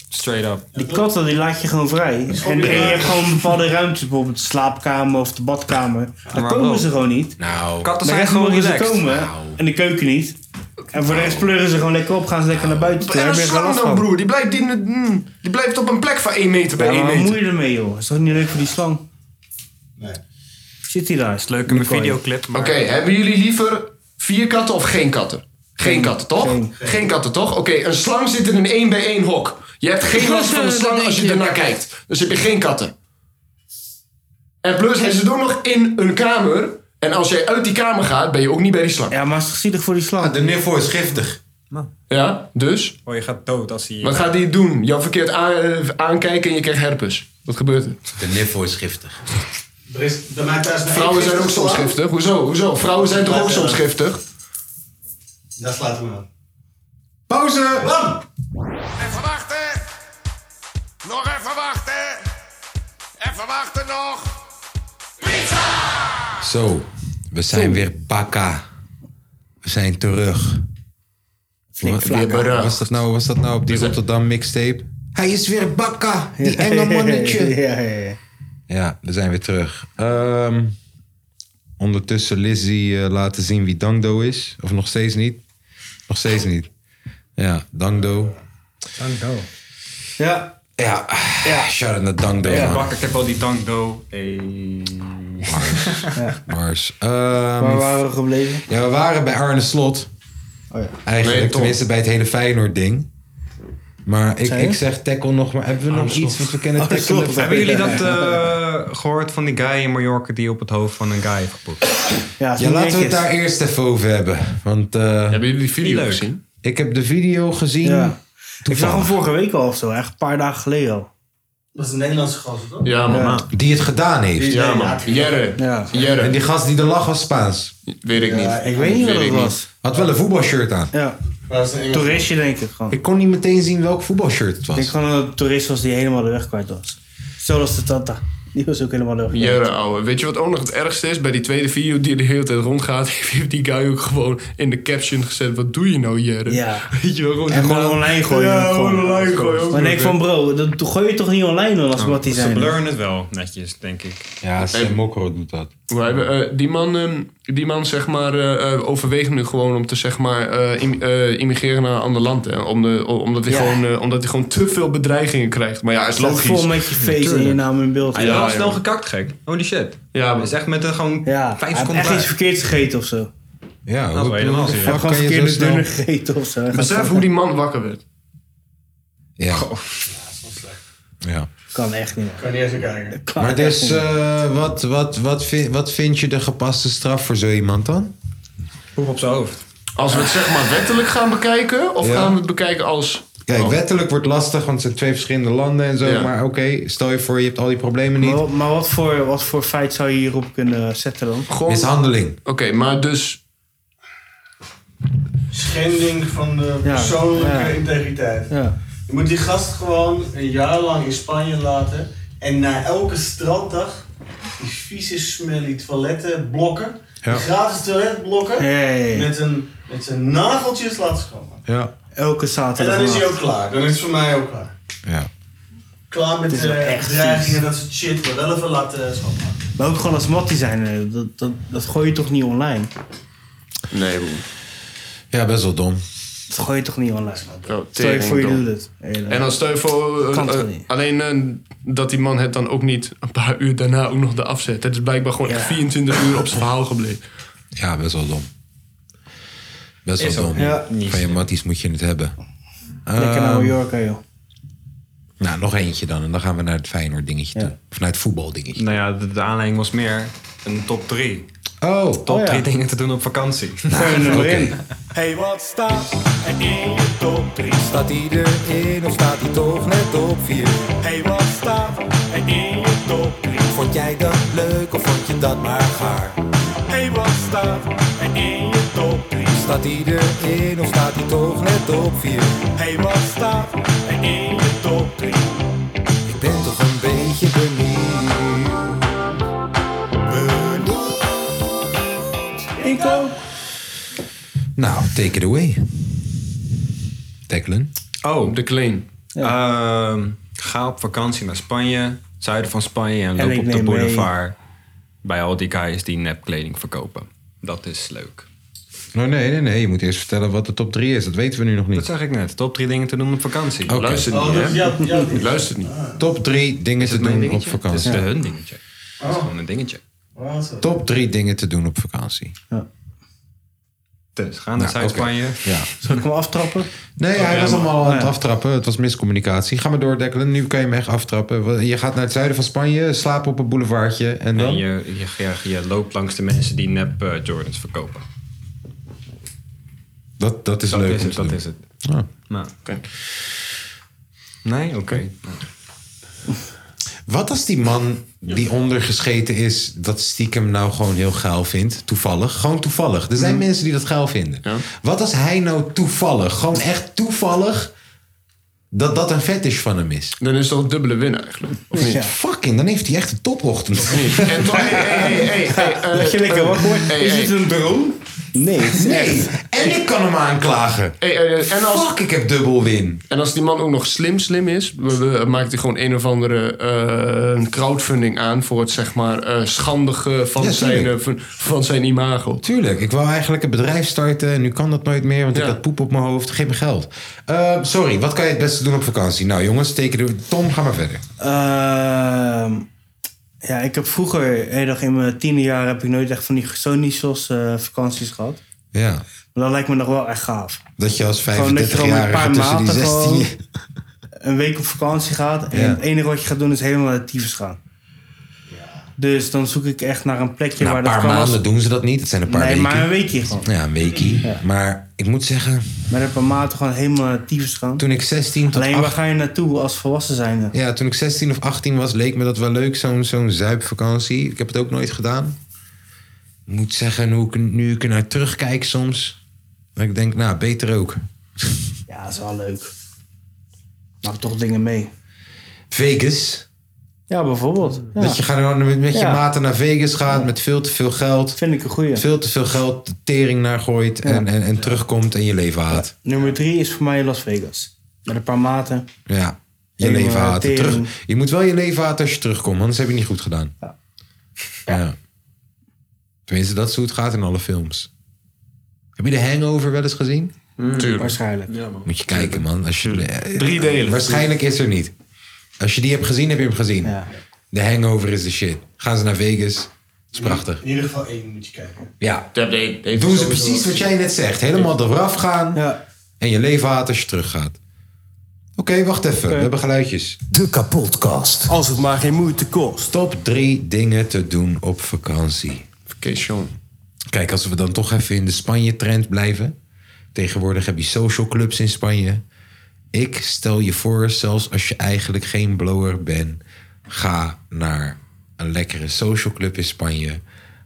Straight up. Die katten die laat je gewoon vrij. En, en je hebt gewoon bepaalde ruimtes, bijvoorbeeld de slaapkamer of de badkamer. Daar maar komen waarom? ze gewoon niet. Nou, de rest mogen ze komen en de keuken niet. En voor de rest Nou. pleuren ze gewoon lekker op, gaan ze lekker naar buiten. toe. En Daar een heb je geen slang last dan, van. broer. Die blijft, die, mm, die blijft op een plek van 1 meter bij Ja, 1 maar wat meter. moet je ermee, joh? Is dat niet leuk voor die slang? Nee. Zit hij daar? Is leuk in mijn videoclip. Oké, hebben jullie liever vier katten of geen katten? Geen katten, toch? Geen, katten, toch? Oké, een slang zit in een 1 bij 1 hok. Je hebt geen last van de slang als je ernaar kijkt. Dus heb je geen katten. En plus, hij zit ook nog in een kamer. En als jij uit die kamer gaat, ben je ook niet bij die slang. Ja, maar is toch zielig voor die slang? Ah, de niffel is giftig. Ja, dus? Oh, je gaat dood als hij... Wat gaat hij doen? Jou verkeerd aan- eh, aankijken en je krijgt herpes. Wat gebeurt er? De niffel is giftig. Er is, bij mij thuis Vrouwen zijn ook soms giftig. Hoezo? Hoezo? Vrouwen zijn toch ook soms giftig? Daar slaat we aan. Pauze! Even wachten! Nog even wachten! Even wachten nog! Zo, we zijn weer bakka. We zijn terug. Wat- flakka. weer- Was dat nou, was dat nou op die Rotterdam mixtape? Hij is weer bakka, die enge mannetje. ja, ja, ja. Ja, we zijn weer terug. Ehm, ondertussen Lizzie eh, laten zien wie Dangdo is. Of nog steeds niet? Nog steeds niet. Ja, Dangdo. Dank Ja. Ja, ja. shout out naar Dangdo. Ja, man. bak, ik heb al die dankdo. Hey. Mars. Waar waren we gebleven? Ehm, Ja, we waren bij Arne Slot. Oh ja. Eigenlijk, Nee, Tom. tenminste bij het hele Feyenoord-ding. Maar ik, Zei je? Oh, ik zeg tackle nog, maar hebben we nog iets? Want we kennen tackle. Hebben jullie dat eh, gehoord van die guy in Mallorca die op het hoofd van een guy heeft gepoept? Ja, Ja, laten we het daar eerst even over hebben. Want, hebben jullie die video Leuk. gezien? Ik heb de video gezien. Ja. Ik zag Toevallig. hem vorige week al of zo, echt een paar dagen geleden al. Dat is een Nederlandse gozer, toch? Die het gedaan heeft. Die- Ja, man. ja, Jerre. Ja. Jerre. En die gast die er lag was Spaans. Weet ik Ja, niet. ik weet niet Weet wat het ik was. niet. Had wel een voetbalshirt aan. Ja. Toeristje denk ik gewoon. Ik kon niet meteen zien welk voetbalshirt het was. Ik denk gewoon dat het een toerist was die helemaal de weg kwijt was. Zoals de Tata. Die was ook helemaal de weg kwijt. Jere, ouwe. Weet je wat ook nog het ergste is? Bij die tweede video die de hele tijd rondgaat... heeft die guy ook gewoon in de caption gezet... Wat doe je nou, Jere? Ja. Weet je wel, gewoon... En gewoon online gooien. Ja, Gewoon. gewoon online gooien. ook Maar nog, denk ik van hè. bro, dat gooi je toch niet online dan als wat die zijn. Nou, Ze blurren het wel netjes, denk ik. Ja, Sam Mokro doet dat. We hebben, eh, die, man, ehm, die man zeg maar, eh, eh, overweegt nu gewoon om te zeg maar, eh, im- eh, immigreren naar een ander land. Hè? Om de, o- omdat, hij Ja. gewoon, eh, omdat hij gewoon te veel bedreigingen krijgt. Maar ja, is Staat logisch. vol met je face en je Tuurlijk. naam in beeld. Ja, Hij is wel ja. snel gekakt, gek. Holy shit. Ja, Hij is echt met een gewoon Hij vijf heeft seconden echt iets klaar. verkeerds gegeten of zo. Nou, Ja, Dat is helemaal Hij heeft gewoon serieus. Kan je zo verkeerde snel- dunner gegeten of zo. Hij gaat Besef gewoon- hoe die man wakker werd. Ja. Ja. Kan echt niet. Kan niet eens kijken. Maar dus, eh, wat, wat, wat, vind, wat vind je de gepaste straf voor zo iemand dan? Poep op zijn hoofd. Als we het zeg maar wettelijk gaan bekijken, of Ja. gaan we het bekijken als. Kijk, wettelijk wordt lastig, want het zijn twee verschillende landen en zo. Ja. Maar oké, stel je voor, je hebt al die problemen niet. Maar, wat- maar wat, voor, wat voor feit zou je hierop kunnen zetten dan? Mishandeling. Oké, maar dus. Schending van de Ja, persoonlijke ja. integriteit. Ja. Je moet die gast gewoon een jaar lang in Spanje laten. En na elke stranddag die vieze smelly toiletten blokken. Ja. Die gratis toilet blokken. Ja, ja, ja. Met, een, met zijn nageltjes laten schoonmaken. Ja. Elke En zaterdag. dan is hij ook klaar. Dan is het voor mij ook klaar. Ja. Klaar met Het is de wel echt dreigingen, vies. dat soort shit. Maar wel even laten schoonmaken. Maar ook gewoon als mattie zijn, eh, dat, dat, dat gooi je toch niet online? Nee, Ja, best wel dom. Dat gooi je toch niet online? Zo, Stel je tering voor je dom. doet het. Hele- En dan stel je voor, eh, Kan eh, toch niet? alleen eh, dat die man het dan ook niet een paar uur daarna ook nog de afzet. Het is blijkbaar gewoon echt 24 uur op zijn verhaal gebleven. Ja, best wel dom. Best wel Is ook dom. Ja. niet Van je matties moet je het hebben. Lekker naar Ehm, Mallorca, joh. Nou, nog eentje dan. En dan gaan we naar het Feyenoord dingetje toe. Of naar het voetbal dingetje. Nou ja, de, de aanleiding was meer een top 3. Oh, Top 3 dingen te doen op vakantie. Hey, wat staat er in je top 3? Staat die erin of staat die toch net op 4? Hey, wat staat er in je top 3? Vond jij dat leuk of vond je dat maar gaar? Hey, wat staat er in je top 3? Staat die erin of staat die toch net op 4? Hey, wat staat er in je top 3? Ik ben toch een beetje benieuwd. Benieuwd. Inko. Nou, take it away. Tacklen. Oh, de Kleen. ga op vakantie naar Spanje, zuiden van Spanje en En loop ik op de neem mee. boulevard bij al die guys die nepkleding verkopen. Dat is leuk. Oh, nee, nee, nee. Je moet eerst vertellen wat de top 3 is. Dat weten we nu nog niet. Dat zeg ik net. Top 3 dingen te doen op vakantie. Oké. Luister niet, hè? Luister niet. Ah. Top 3 dingen te doen op vakantie. Dat is de hun dingetje. Dat is gewoon een dingetje. Top 3 dingen te doen op vakantie. Dus ga naar Nou, Zuid-Spanje. Ja. Zal ik hem aftrappen? Nee, hij ja, was maar- allemaal aan het ja. aftrappen. Het was miscommunicatie. Ga maar door, Dekkelen. Nu kan je hem echt aftrappen. Je gaat naar het zuiden van Spanje, slapen op een boulevardje. En dan? En je, je, je, je loopt langs de mensen die nep eh, Jordans verkopen. Dat, dat is dat leuk Is om het, te dat doen. is het. Ah. Nou, Nee, oké. Wat als die man die ondergescheten is, dat stiekem nou gewoon heel geil vindt? Toevallig. Gewoon toevallig. Er zijn Mhm. mensen die dat geil vinden. Wat als hij nou toevallig, gewoon echt toevallig, dat dat een fetish van hem is? Dan is dat een dubbele win eigenlijk. Of niet? Ja. Fucking, dan heeft hij echt een topochtend. En toch, hey, hey, hey, hey, hey, eh, Dat je lekker eh, wakker wordt. hey, Is hey. het een droom? Nee, het is echt. En ik kan hem aanklagen. Hey, eh, eh, en als, Fuck, ik heb dubbel win. En als die man ook nog slim slim is, we, we- maakt hij gewoon een of andere eh, een crowdfunding aan voor het zeg maar eh, schandige van, Ja, zijn, tuurlijk. eh, van, van zijn imago. Tuurlijk, ik wou eigenlijk een bedrijf starten en nu kan dat nooit meer, want ik had poep op mijn hoofd. Geef me geld. Eh, sorry, wat kan je het beste doen op vakantie? Nou jongens, teken door. Tom, ga maar verder. Ehm, ja, ik heb vroeger, heel erg in mijn tiende jaar, heb ik nooit echt van die Sonisos eh vakanties gehad. Ja, Maar dat lijkt me nog wel echt gaaf. dat je als Gewoon dat je 35 gewoon met een jaar paar tussen die maten 16 gewoon een week op vakantie gaat. En Ja. het enige wat je gaat doen is helemaal naar tyfus gaan. Dus dan zoek ik echt naar een plekje Na waar Nou, een dat paar kan. maanden doen ze dat niet. Het zijn een paar Nee, weken. maar een weekje gewoon. Ja, een weekje. Maar ik moet zeggen... Maar dat heb een maat gewoon helemaal tyfus gaan. Toen ik 16 tot Alleen waar 18 ga je naartoe als volwassen zijnde? Ja, toen ik 16 of 18 was, leek me dat wel leuk, zo'n zo'n zuipvakantie. Ik heb het ook nooit gedaan. Ik moet zeggen, hoe ik, nu ik er naar terugkijk soms, dat ik denk, nou, beter ook. Ja, dat is wel leuk. Maak toch dingen mee. Vegas. Ja, bijvoorbeeld. Ja. Dat je gewoon met, met je Mm. Ja. maten naar Vegas gaat met veel te veel geld. Vind ik een goeie. Veel te veel geld, tering naar gooit en, en, en terugkomt en je leven haat. Nummer drie is voor mij Las Vegas. Met een paar maten. Ja, je Helemaal leven haat. tering. Terug, je moet wel je leven haten als je terugkomt, anders heb je het niet goed gedaan. Ja. Tenminste, dat is hoe het gaat in alle films. Heb je de Hangover wel eens gezien? Tuurlijk. Waarschijnlijk. Ja, man. Moet je kijken, man. Als je, eh, Drie delen. Waarschijnlijk is er niet. Als je die hebt gezien, heb je hem gezien. De hangover is de shit. Gaan ze naar Vegas. Dat is prachtig. In ieder geval één moet je kijken. Ja. Doen ze precies wat jij net zegt. Helemaal eraf gaan. En je leven haat als je teruggaat. Oké, wacht even. We hebben geluidjes. De kapotkast. Als het maar geen moeite kost. Top drie dingen te doen op vakantie. Vacation. Kijk, als we dan toch even in de Spanje-trend blijven. Tegenwoordig heb je social clubs in Spanje. Ik stel je voor, zelfs als je eigenlijk geen blower bent, ga naar een lekkere social club in Spanje.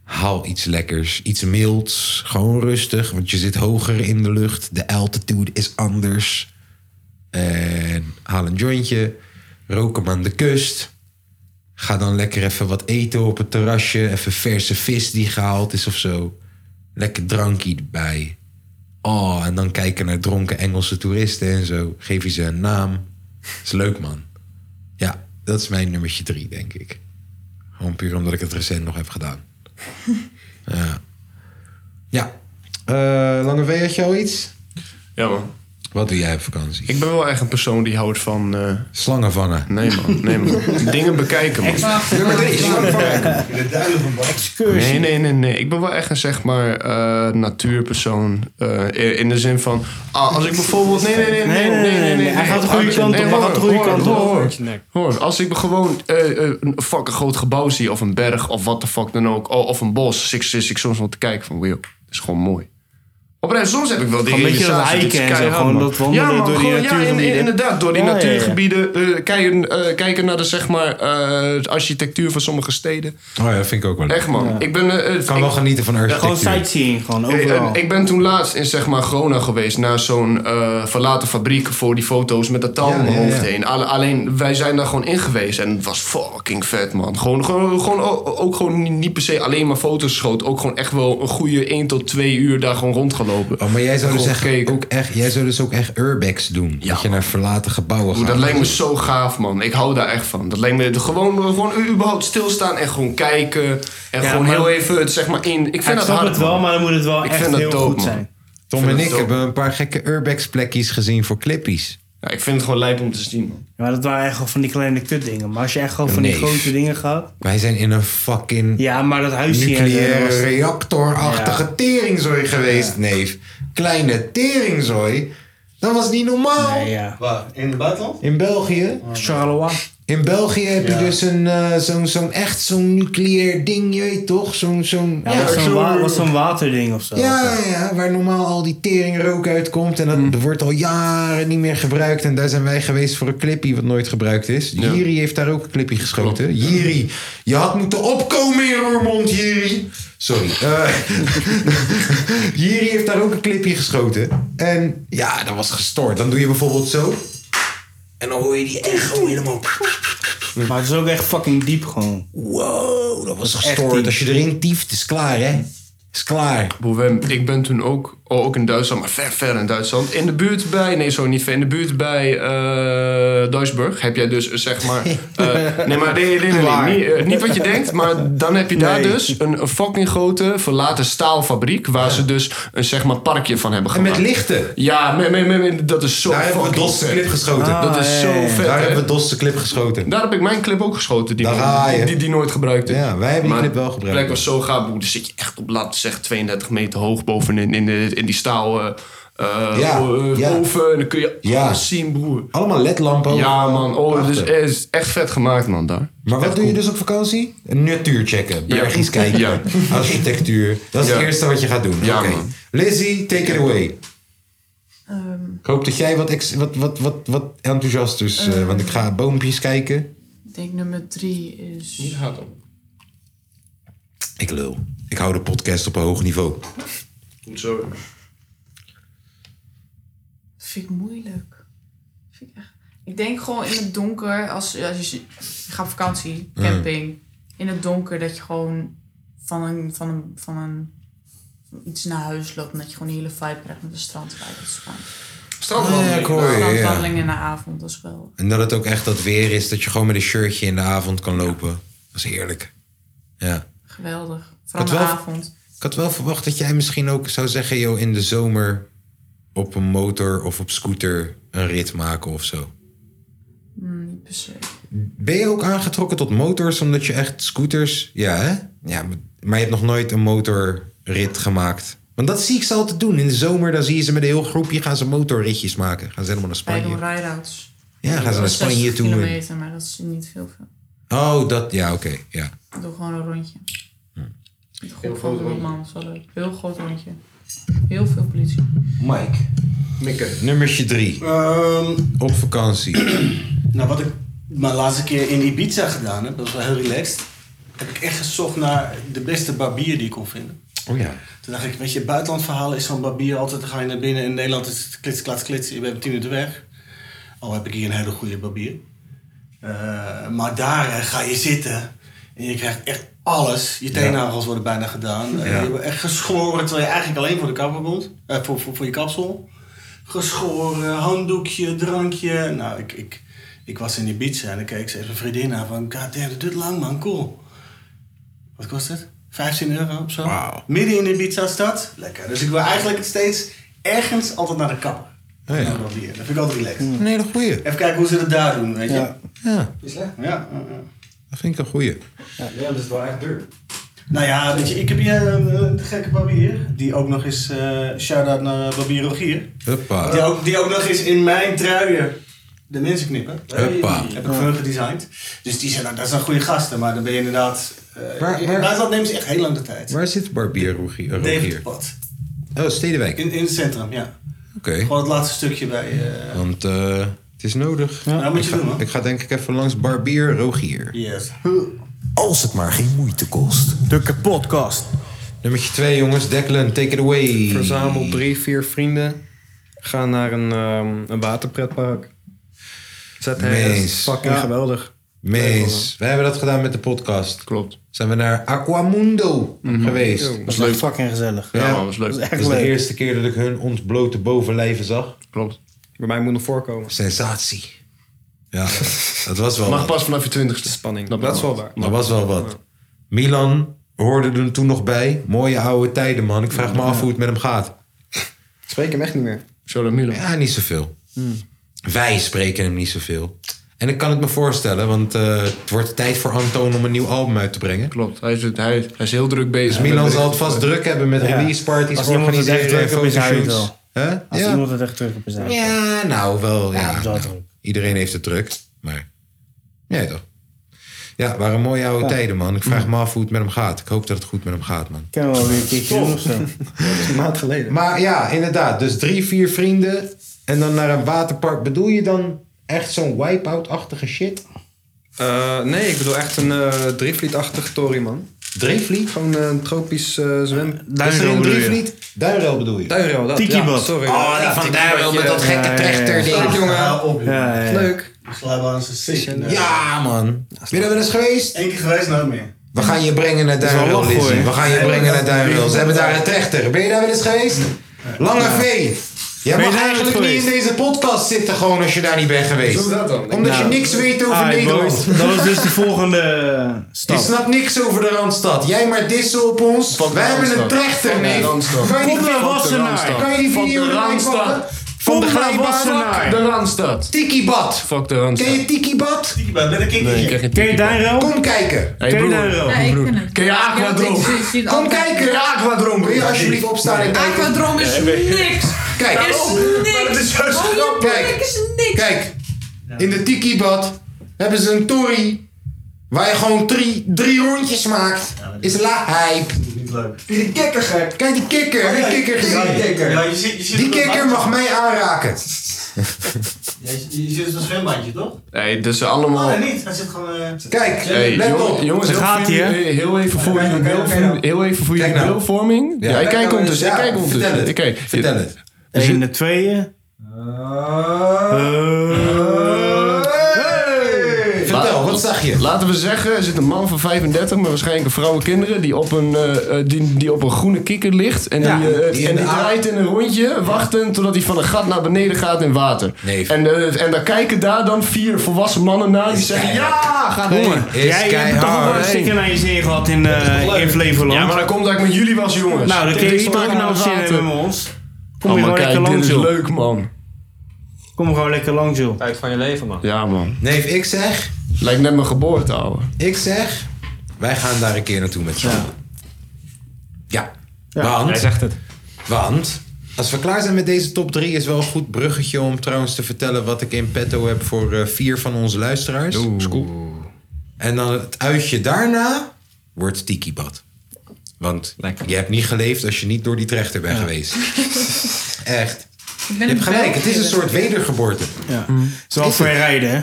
Haal iets lekkers, iets milds, gewoon rustig, want je zit hoger in de lucht. De altitude is anders. En haal een jointje, rook hem aan de kust. Ga dan lekker even wat eten op het terrasje. Even verse vis die gehaald is of zo. Lekker drankje erbij. Oh, en dan kijken naar dronken Engelse toeristen en zo. Geef je ze een naam. Is leuk, man. Ja, dat is mijn nummertje drie, denk ik. Gewoon puur omdat ik het recent nog heb gedaan. ja. Ja. Eh, Lange V, had je al iets? Ja, man. Wat doe jij op vakantie? Ik ben wel echt een persoon die houdt van... eh, Slangen vangen. Nee, man. Nee, man. Dingen bekijken, man. Nummer drie. De duivel van Nee, nee, nee, nee. Ik ben wel echt een zeg maar eh, natuurpersoon. Eh, in de zin van. ah, als ik bijvoorbeeld. Nee, nee, nee, nee, nee, nee. nee, Hij gaat de nee, goede nee, kant nee, op, hij hoor, gaat de goede hoor, kant op. hoor, hoor. Hoor, als ik gewoon eh, eh, een fucking groot gebouw zie, of een berg, of wat de fuck dan ook, o- of een bos, zit ik, zit ik soms wel te kijken van, wow, dat is gewoon mooi. Oprecht, soms heb ik wel die Gewoon een beetje dat realisatie, dit is hiken en zo, keihard, gewoon man. dat wandelen ja, man, door die gewoon, Ja, in- natuurgebieden. in- inderdaad, door die Ja, ja, ja. natuurgebieden. eh, kijken, eh, kijken naar de, zeg maar, eh, de architectuur van sommige steden. Oh ja, vind ik ook wel leuk. Echt man, ik ben... eh, eh, kan ik- wel genieten van architectuur. Eh, eh, Ik ben toen laatst in zeg maar Grona geweest naar zo'n eh, verlaten fabriek voor die foto's met dat touw om mijn ja, ja. hoofd heen. Alle- alleen wij zijn daar gewoon in geweest en het was fucking vet man. Gewoon, gewoon, gewoon o- ook gewoon niet- niet per se alleen maar foto's schoot. Ook gewoon echt wel een goede 1 tot 2 uur daar gewoon rondgelopen. Oh, maar jij zou dus Gewoon echt, gekeken. ook echt, jij zou dus ook echt urbex doen. dat je naar verlaten gebouwen Oeh, gaat. dat lijkt me zo gaaf, man. Ik hou daar echt van. Dat lijkt me gewoon, gewoon u- überhaupt stilstaan en gewoon kijken. En Ja, gewoon maar- heel even het zeg maar in. Ik vind dat snap hard, het wel, man. maar dan moet het wel Ik echt vind dat heel dope, goed man. zijn. Tom vind en het ik dope. hebben een paar gekke urbex plekjes gezien voor clippies. Ja, ik vind het gewoon lijp om te zien, man. Ja, maar dat waren echt gewoon van die kleine kutdingen. Maar als je echt gewoon van die Nee. grote dingen gaat... Wij zijn in een fucking Ja, maar dat huisje... en zo, dat was- nucleaire reactorachtige teringzooi geweest, neef. Kleine teringzooi. Dat was niet normaal. Waar? In het buitenland? In België. Charleroi. In België heb je dus een, eh, zo'n, zo'n echt zo'n nucleair ding, je weet toch? Zo'n, zo'n, Ja, was zo'n wa- was zo'n waterding of zo. Ja, ja, eh, ja, waar normaal al die teringrook uitkomt. En dat Mm. wordt al jaren niet meer gebruikt. En daar zijn wij geweest voor een clippie wat nooit gebruikt is. Jiri heeft daar ook een clippie geschoten. Jiri, je had moeten opkomen in Roermond, Jiri. Sorry. Eh, Jiri heeft daar ook een clipje geschoten. En ja, dat was gestoord. Dan doe je bijvoorbeeld zo. En dan hoor je die echo helemaal... Maar het is ook echt fucking diep gewoon. Wow, dat was Echt gestoord. diep. Als je erin tieft, is klaar, hè? Is klaar. Boel, Wem, Ik ben toen ook, oh, ook in Duitsland, maar ver, ver in Duitsland. In de buurt bij, nee, zo niet ver. In de buurt bij eh Duisburg heb jij dus, eh, zeg maar. eh, nee, maar nee, nee, nee, nee, Waar? niet, eh, niet wat je denkt, maar dan heb je daar Nee. dus een, een fucking grote verlaten staalfabriek. Waar ze dus een zeg maar parkje van hebben En gemaakt. met lichten. Ja, me- me- me- me- dat is zo Daar hebben we fucking DOS de vet. clip geschoten. dat Ah, is ja, zo ja, ja. vet. Daar hè? hebben we DOS de clip geschoten. Daar heb ik mijn clip ook geschoten. Die, Daar ga je. die, die nooit gebruikte. Ja, wij hebben die clip wel gebruikt. De plek was zo gaaf. broer. Dan zit je echt op, laten we zeggen, 32 meter hoog bovenin in, de, in die staal eh, eh, Ja, eh, ja. oven. En dan kun je alles zien, broer. Allemaal ledlampen. Ja, man. Oh, dus het is echt vet gemaakt, man, daar. Maar wat doe je dus op vakantie? Een Natuur checken, bergjes Ja. kijken, Ja. architectuur. Dat is Ja. het eerste wat je gaat doen. Ja, Oké. man. Lizzie, take it away. Ehm, Ik hoop dat jij wat, ex- wat, wat, wat, wat enthousiast is, eh, Eh. want ik ga boompjes kijken. ik denk nummer drie is... Niet gaat op. Ik lul. Ik hou de podcast op een hoog niveau. Goed zo. Dat vind ik moeilijk. Dat Vind ik, echt... ik denk gewoon in het donker, als, als je, je gaat op vakantie, Ja. camping, in het donker dat je gewoon van een, van een, van een van iets naar huis loopt en dat je gewoon die hele vibe krijgt met de strandwijk. Dat is spannend. Strandwandeling. Ja, ik hoor je, ja. Strandwandeling in de avond, dat is wel. En dat het ook echt dat weer is, dat je gewoon met een shirtje in de avond kan lopen. Dat is heerlijk. Ja. Geweldig. had Vooral de wel- avond. Ik had wel verwacht dat jij misschien ook zou zeggen, joh, in de zomer op een motor of op scooter een rit maken of zo. Hm, niet per se. Ben je ook aangetrokken tot motors omdat je echt scooters... Ja, hè? Ja, maar- maar je hebt nog nooit een motorrit gemaakt. Want dat zie ik ze altijd doen. In de zomer dan zie je ze met een heel groepje gaan ze motorritjes maken. Gaan ze helemaal naar Bij Spanje. doen rideouts. Oh, Ja, gaan ze naar Spanje 60 toe. en- kilometer, maar dat is niet veel. veel. Oh, dat... Ja, oké. ja. Ik doe gewoon een rondje. Met een groep groot van de rondje. man, zo leuk. Heel groot rondje. Heel veel politie. Mike. Mikke. Nummertje drie. Op vakantie. Nou, wat ik mijn laatste keer in Ibiza gedaan heb, dat was wel heel relaxed. Heb ik echt gezocht naar de beste barbier die ik kon vinden. Oh ja. Toen dacht ik, weet je, buitenland verhalen is zo'n barbier altijd, dan ga je naar binnen. In Nederland is het klits, klats, klits, je bent tien minuten weg. Al heb ik hier een hele goede barbier. Eh, maar daar eh, ga je zitten en je krijgt echt alles. Je teennagels worden bijna gedaan. Eh, Ja. je wordt echt geschoren, terwijl je eigenlijk alleen voor de kapper komt. Eh, voor, voor, voor je kapsel. Geschoren, handdoekje, drankje. Nou, ik, ik, ik was in Ibiza en ik keek ze even een vriendin aan van... God damn, dat duurt lang man, cool. Wat kost het? 15 euro of zo? Midden in de Ibiza-stad. Lekker. Dus ik wil eigenlijk steeds ergens altijd naar de kapper. Oh ja. Dat vind ik altijd relaxed. Een hele goeie. Even kijken hoe ze het daar doen, weet je. Ja. Ja, Is dat? Ja. ja, ja. dat vind ik een goeie. Ja, dat is wel echt duur. Nou ja, weet je, ik heb hier een, eh, gekke barbier. Die ook nog eens, eh shout-out naar barbier Rogier. Huppa. Die ook, die ook nog eens in mijn truien de mensen knippen. Huppa. Heb ik voor hun gedesigned. Dus die zijn, nou, dat zijn goede gasten, maar dan ben je inderdaad... eh Waar- in waar- het buitenland nemen ze echt heel lang de tijd. Waar zit Barbier Rogier? Rogier? Davidpad. Oh, Stedenwijk. In, in het centrum, ja. Oké. Gewoon het laatste stukje bij... eh, Want eh, het is nodig. Ja, Nou, moet je ik, ga, doen, man. ik ga denk ik even langs Barbier Rogier. Yes. Als het maar geen moeite kost. De kapotkast. Nummertje 2, jongens. Declan, take it away. Verzamel drie, vier vrienden. Ga naar een, ehm, een waterpretpark. Zet her- dat is Mees. fucking geweldig. Mees. We hebben dat gedaan met de podcast. Klopt. Zijn we naar Aquamundo geweest. Dat was leuk. fucking gezellig. Ja, dat was leuk. Dat Dat is is, echt de leuk. eerste keer dat ik hun ontblote bovenlijven zag. Klopt. Bij mij moet nog voorkomen. Sensatie. Ja, dat was wel Mag wat. pas vanaf je twintigste. Spanning. Dat, Dat is wel wat. waar. Dat was wel wat. Milan hoorde er toen nog bij. Mooie oude tijden, man. Ik vraag me af hoe het met hem gaat. Spreek hem echt niet meer. Zo dan Milan. Ja, niet zoveel. Hmm. Wij spreken hem niet zoveel. En ik kan het me voorstellen, want eh, het wordt tijd voor Antoon om een nieuw album uit te brengen. Klopt, hij is, hij, hij is heel druk bezig. Dus Milan zal het vast druk hebben met release parties, Als iemand het echt druk op is, hij het wel. Hè? Als Ja. iemand het echt druk op is, hij het wel. Ja, nou wel. Ja, dat is nou, iedereen heeft het druk, maar nee toch? Ja, het waren mooie oude tijden, man. Ik vraag me af hoe het met hem gaat. Ik hoop dat het goed met hem gaat, man. Kunnen we wel weer een keertje doen of zo. een maand geleden. Maar ja, inderdaad. Dus drie, vier vrienden en dan naar een waterpark. Bedoel je dan echt zo'n wipeout-achtige shit? Eh, nee, ik bedoel echt een eh drievlietachtig tory, man. Drievliet? Gewoon eh, een tropisch eh zwem... Duinrel Is er een bedoel je? drievliet? Duinrel bedoel je? Duinrel, dat. ja, Tikibad. sorry. Oh, die van Duinrel met dat gekke trechter-ding. Leuk, jongen. Op, Ja, ja, ja. Leuk. Glijbaanse session. Ja, man. Ben je daar wel eens geweest? eh, Eén keer geweest, nooit meer. We gaan je brengen naar Dat is wel Duinrel, lach, hoor. Lizzie. We gaan je Nee, brengen dat- naar Duinrel. Ze hebben daar een trechter. Ben je daar wel eens geweest? Lange Ja. V. Jij Ben je mag daar eigenlijk ooit niet in geweest? deze podcast zitten gewoon als je daar niet bent geweest. Hoezo dat dan? Omdat Nou, je niks weet over alright, Nederland. boys. Dat is dus de volgende stap. Je snapt niks over de Randstad. Jij maar dissen op ons. Wij hebben een Randstad. trechter, Van de nee. Randstad. Kan je die Van de video- Wassenaar. Kan je die Van video de erbij Randstad. pakken? Van de glijbaan. Wassenaar. Fuck De Randstad. Tikibad. Fuck de Randstad. Ken je Tikibad? Tikibad, ben ik Nee, ik krijg geen Ken je tikibad. Duinrel? Kom kijken. Hey, broer. Nee, ik ken het. Ken je Aquadroom? Ja, ik zie- zie het Kom altijd. kijken. Aquadroom. Wil je alsjeblieft opstaan en kijken? Aquadroom is niks. Kijk, oh, Er is Maar dat is juist niks. grappig. Oh, je plek is niks. Kijk, in de tiki-bad hebben ze een tory waar je gewoon drie, drie rondjes maakt. Is la hype. Niet leuk. Die kikker gek. Kijk, die kikker. Oh, die ja, kikker die gezien. kikker. Ja, je ziet- je ziet die het wel kikker buiten. mag mij aanraken. Je, je zit in zo'n zwembandje, toch? Nee, dat is dus allemaal... Oh, nee, niet. Hij zit gewoon... eh, Kijk, Hey, jong- jongens, heel, veel- heel even voor jullie beeldvorming. Heel even voor jullie nou. beeldvorming. Ja, ik kijk ondertussen. Ik kijk ondertussen. Ik kijk. Vertel het. Eén, de tweeën. Vertel, wat zag je? Laten we zeggen, er zit een man van 35 met waarschijnlijk een vrouw en kinderen die op een, eh, eh, die, die op een groene kikker ligt. En Ja, die, eh, die in en de die aard- draait in een rondje, wachtend totdat hij van een gat naar beneden gaat in water. En, eh, en daar kijken daar dan vier volwassen mannen naar die zeggen: Ja, ga heen. Jongen, jij hebt toch ook wel een sticker naar je zee gehad in, eh, in Flevoland? Ja, maar dat komt dat ik met jullie was, jongens. Nou, dan kun je Dit niet smaakt ook naar nou zin water. hebben met ons. Kom Oh, je gewoon maar kijk, lekker dit langs, is joh. leuk, man. Kom gewoon lekker langs, joh. Tijd van je leven, man. Ja, man. Nee, ik zeg... Lijkt net mijn geboorte, ouwe. Ik zeg... Wij gaan daar een keer naartoe met z'n allen. Ja. Want... Hij zegt het. Want... Als we klaar zijn met deze top 3 is wel een goed bruggetje om trouwens te vertellen wat ik in petto heb voor eh, vier van onze luisteraars. Scoop. En dan het uitje daarna wordt tikibad. Want je hebt niet geleefd als je niet door die trechter bent geweest. Echt. Ik Je ben hebt een gelijk, het België. is een soort wedergeboorte. Ja. Zoals voor je rijden, hè?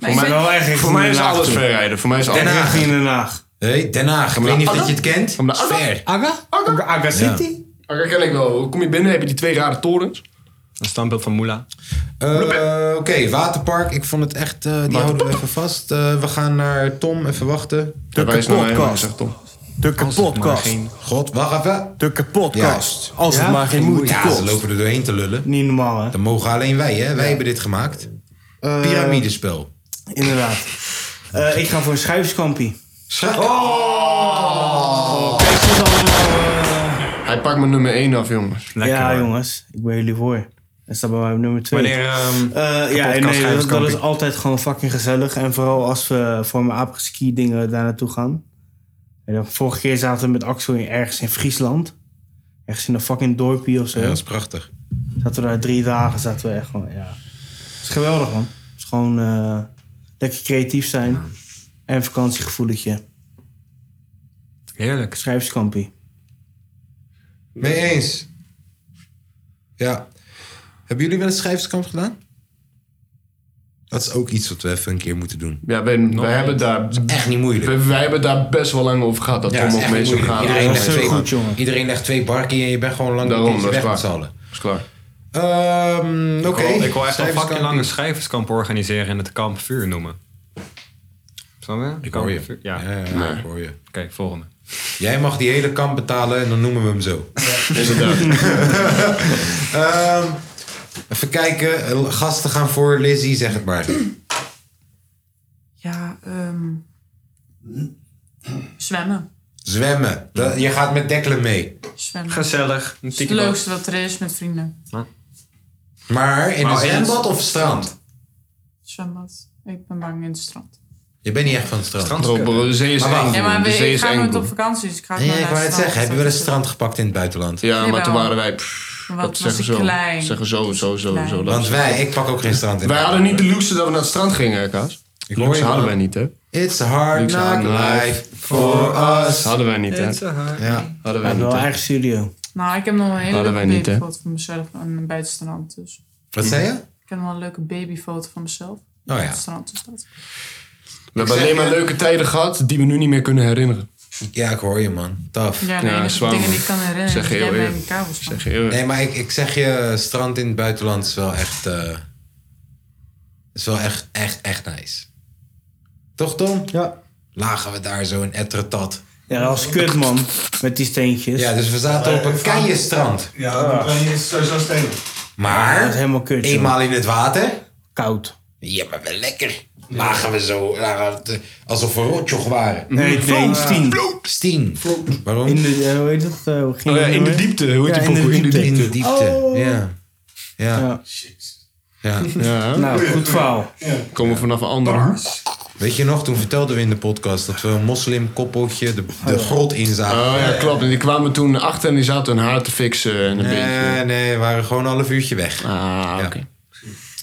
Maar ik ben- voor mij is alles verrijden. Voor mij is alles- Den Haag. Richting Den Haag. Hey, Den Haag. Ik Om de weet niet of Agga? dat je het kent. Om de Is ver. Aga? Aga? Aga City? Aga ken ik wel. Kom je binnen, heb je die twee rare torens. Een standbeeld van Moela. Eh, Oké, waterpark. Ik vond het echt... eh, die houden we even vast. Eh, we gaan naar Tom. Even wachten. De wijst naar mij, maar ik zeg Tom. De kapotkast. God, wacht even. De kapotkast. Als het maar geen moeite Ja, ze kost. lopen er doorheen te lullen. Niet normaal, hè? Dan mogen alleen wij, hè? Wij hebben dit gemaakt. Eh, Piramidespel. Inderdaad. Eh, ik ga voor een schuifskampie. Oh! Hij pakt me nummer 1 af, jongens. eh, ja, jongens. Ik ben jullie voor. Dat staat bij mij op nummer 2. Wanneer, ehm, de ja, podcast nee, dat, dat schuifskampie. is altijd gewoon fucking gezellig. En vooral als we voor mijn apres-ski dingen daar naartoe gaan. En dan, vorige keer zaten we met Axel in, ergens in Friesland. Ergens in een fucking dorpje of zo. Ja, dat is prachtig. Zaten we daar drie dagen, zaten we echt gewoon, ja. Het is geweldig, man. Het is gewoon eh, lekker creatief zijn. En vakantiegevoeletje. Heerlijk. Schrijfskampie. Mee eens. Ja. Hebben jullie wel een schrijverskamp gedaan? Dat is ook iets wat we even een keer moeten doen. Ja, wij, wij hebben daar... echt niet moeilijk. Wij, wij hebben daar best wel lang over gehad, dat Ja, Tom is ook echt mee zou moeilijk. gaan. Iedereen, legt twee, iedereen legt twee barkie en je bent gewoon lang Daarom, dat is weg klaar. met z'n allen. Dat is klaar. Ehm, Oké. Ik wil- Ik wil echt een Schrijverskamp. fucking lange schrijverskamp organiseren en het kamp vuur noemen. Snap je? Ik hoor je. Ja, ja, ik hoor je. Kijk, volgende. Jij mag die hele kamp betalen en dan noemen we hem zo. Inderdaad. Ehm, even kijken. Gasten gaan voor. Lizzie, zeg het maar. Ja, ehm, zwemmen. Zwemmen. Dat- je gaat met Declan mee. Zwemmen. Gezellig. Het is het leukste wat er is met vrienden. Maar in een Maar in het- zwembad of strand? Zwembad. Ik ben bang in het strand. Je bent niet echt van het strand. Strand is kut. Bro, de zee is eng, Ja, maar De zee ik is ga eng, nooit broer. op vakantie, dus ik ga ook Nee, nooit ik naar wou het het strand. zeggen. Heb je wel eens strand gepakt in het buitenland? Ja, maar toen Jawel. waren wij... Wat dat was zeggen ik zo. klein. Zeggen zo, zo, zo, Klein. zo. Want wij, ik pak ook geen strand in. Wij hadden niet de luxe dat we naar het strand gingen, hè, Kaas? Ik hoor Luxe je, hadden man. wij niet, hè? It's a hard Luxe knock hadden wij. life for us. Hadden wij niet, hè? It's a hard- Ja. Hadden We wij hebben niet, wel hè? eigen studio. Nou, ik heb nog een hele Hadden wij leuke niet, hè? babyfoto van mezelf aan bij het strand. Dus. Wat zei je? Oh, Ik heb nog wel een leuke babyfoto van mezelf. ja. Op het strand is dat. We hebben alleen maar leuke tijden gehad die we nu niet meer kunnen herinneren. Ja, ik hoor je, man. Taf. Ja, de enige dingen die ik kan herinneren Zeg is heel jij bij eerlijk. die kabels van. Nee, maar ik, ik zeg je, strand in het buitenland is wel echt. eh, is wel echt, echt, echt nice. Toch, Tom? Ja. Lagen we daar zo in Etretat. Ja, dat was kut, man. Met die steentjes. Ja, dus we zaten Eh, op een keienstrand. Ja, dan ben je sowieso stenen. Maar, Dat is helemaal kut. joh. eenmaal in het water. Koud. Ja, maar wel lekker. Lagen we zo, lagen we te- alsof we rotjoch waren. Nee, nee, Vloot. steen. Vloot. Steen. Waarom? In de, eh, hoe heet dat? eh, hoe ging Oh ja, dat in de weer? diepte. Hoe heet die in de pokoe? In de diepte. diepte. In de diepte. Oh. Ja. Ja. Oh Ja. Ja. Nou, goed verhaal. Komen we vanaf een ander. Weet je nog, toen vertelden we in de podcast dat we een moslimkoppeltje de, de grot in zagen. Oh ja, klopt. En die kwamen toen achter en die zaten hun haar te fixen. En een Nee, beetje. nee, we waren gewoon een half uurtje weg. Ah, oké.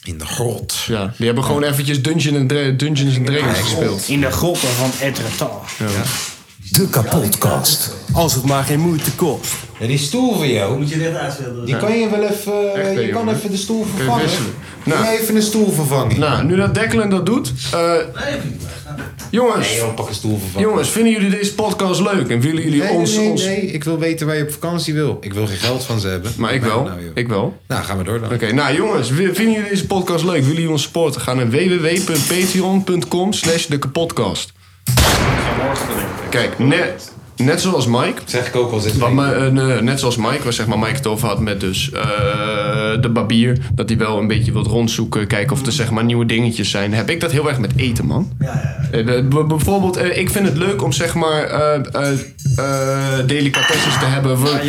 In de grot. Ja, die hebben gewoon eventjes Dungeon and Dra- Dungeons and Dragons gespeeld. In de grotten van Etretal. Ja. De kapotkast. Als het maar geen moeite kost. Ja, die stoel van jou. Moet je dit uitschilderen? Die kan je wel even. eh, Echt, hè, je kan jongen. even de stoel Kun je vervangen. wisselen. Kan je even een stoel vervangen. Nou, nu dat Declan dat doet. eh, jongens, Nee, joh, pak een stoel vervangen. jongens, vinden jullie deze podcast leuk? En willen jullie nee, ons... Nee, nee, ons... nee, ik wil weten waar je op vakantie wil. Ik wil geen geld van ze hebben. Maar ik Nou, wel. nou, joh. ik wel. Nou, gaan we door dan. Oké, nou jongens, wi- vinden jullie deze podcast leuk? Willen jullie ons supporten? Ga naar www.patreon.com slash de kapotkast. Kijk, net, net zoals Mike. Zeg ik ook al wat me, eh, nee, Net zoals Mike, waar zeg maar Mike het over had met dus eh, de barbier. Dat hij wel een beetje wilt rondzoeken, kijken of er zeg maar nieuwe dingetjes zijn. Heb ik dat heel erg met eten, man. Eh, de- b- Bijvoorbeeld, eh, ik vind het leuk om zeg maar eh eh, eh, delicatesses te hebben. voor-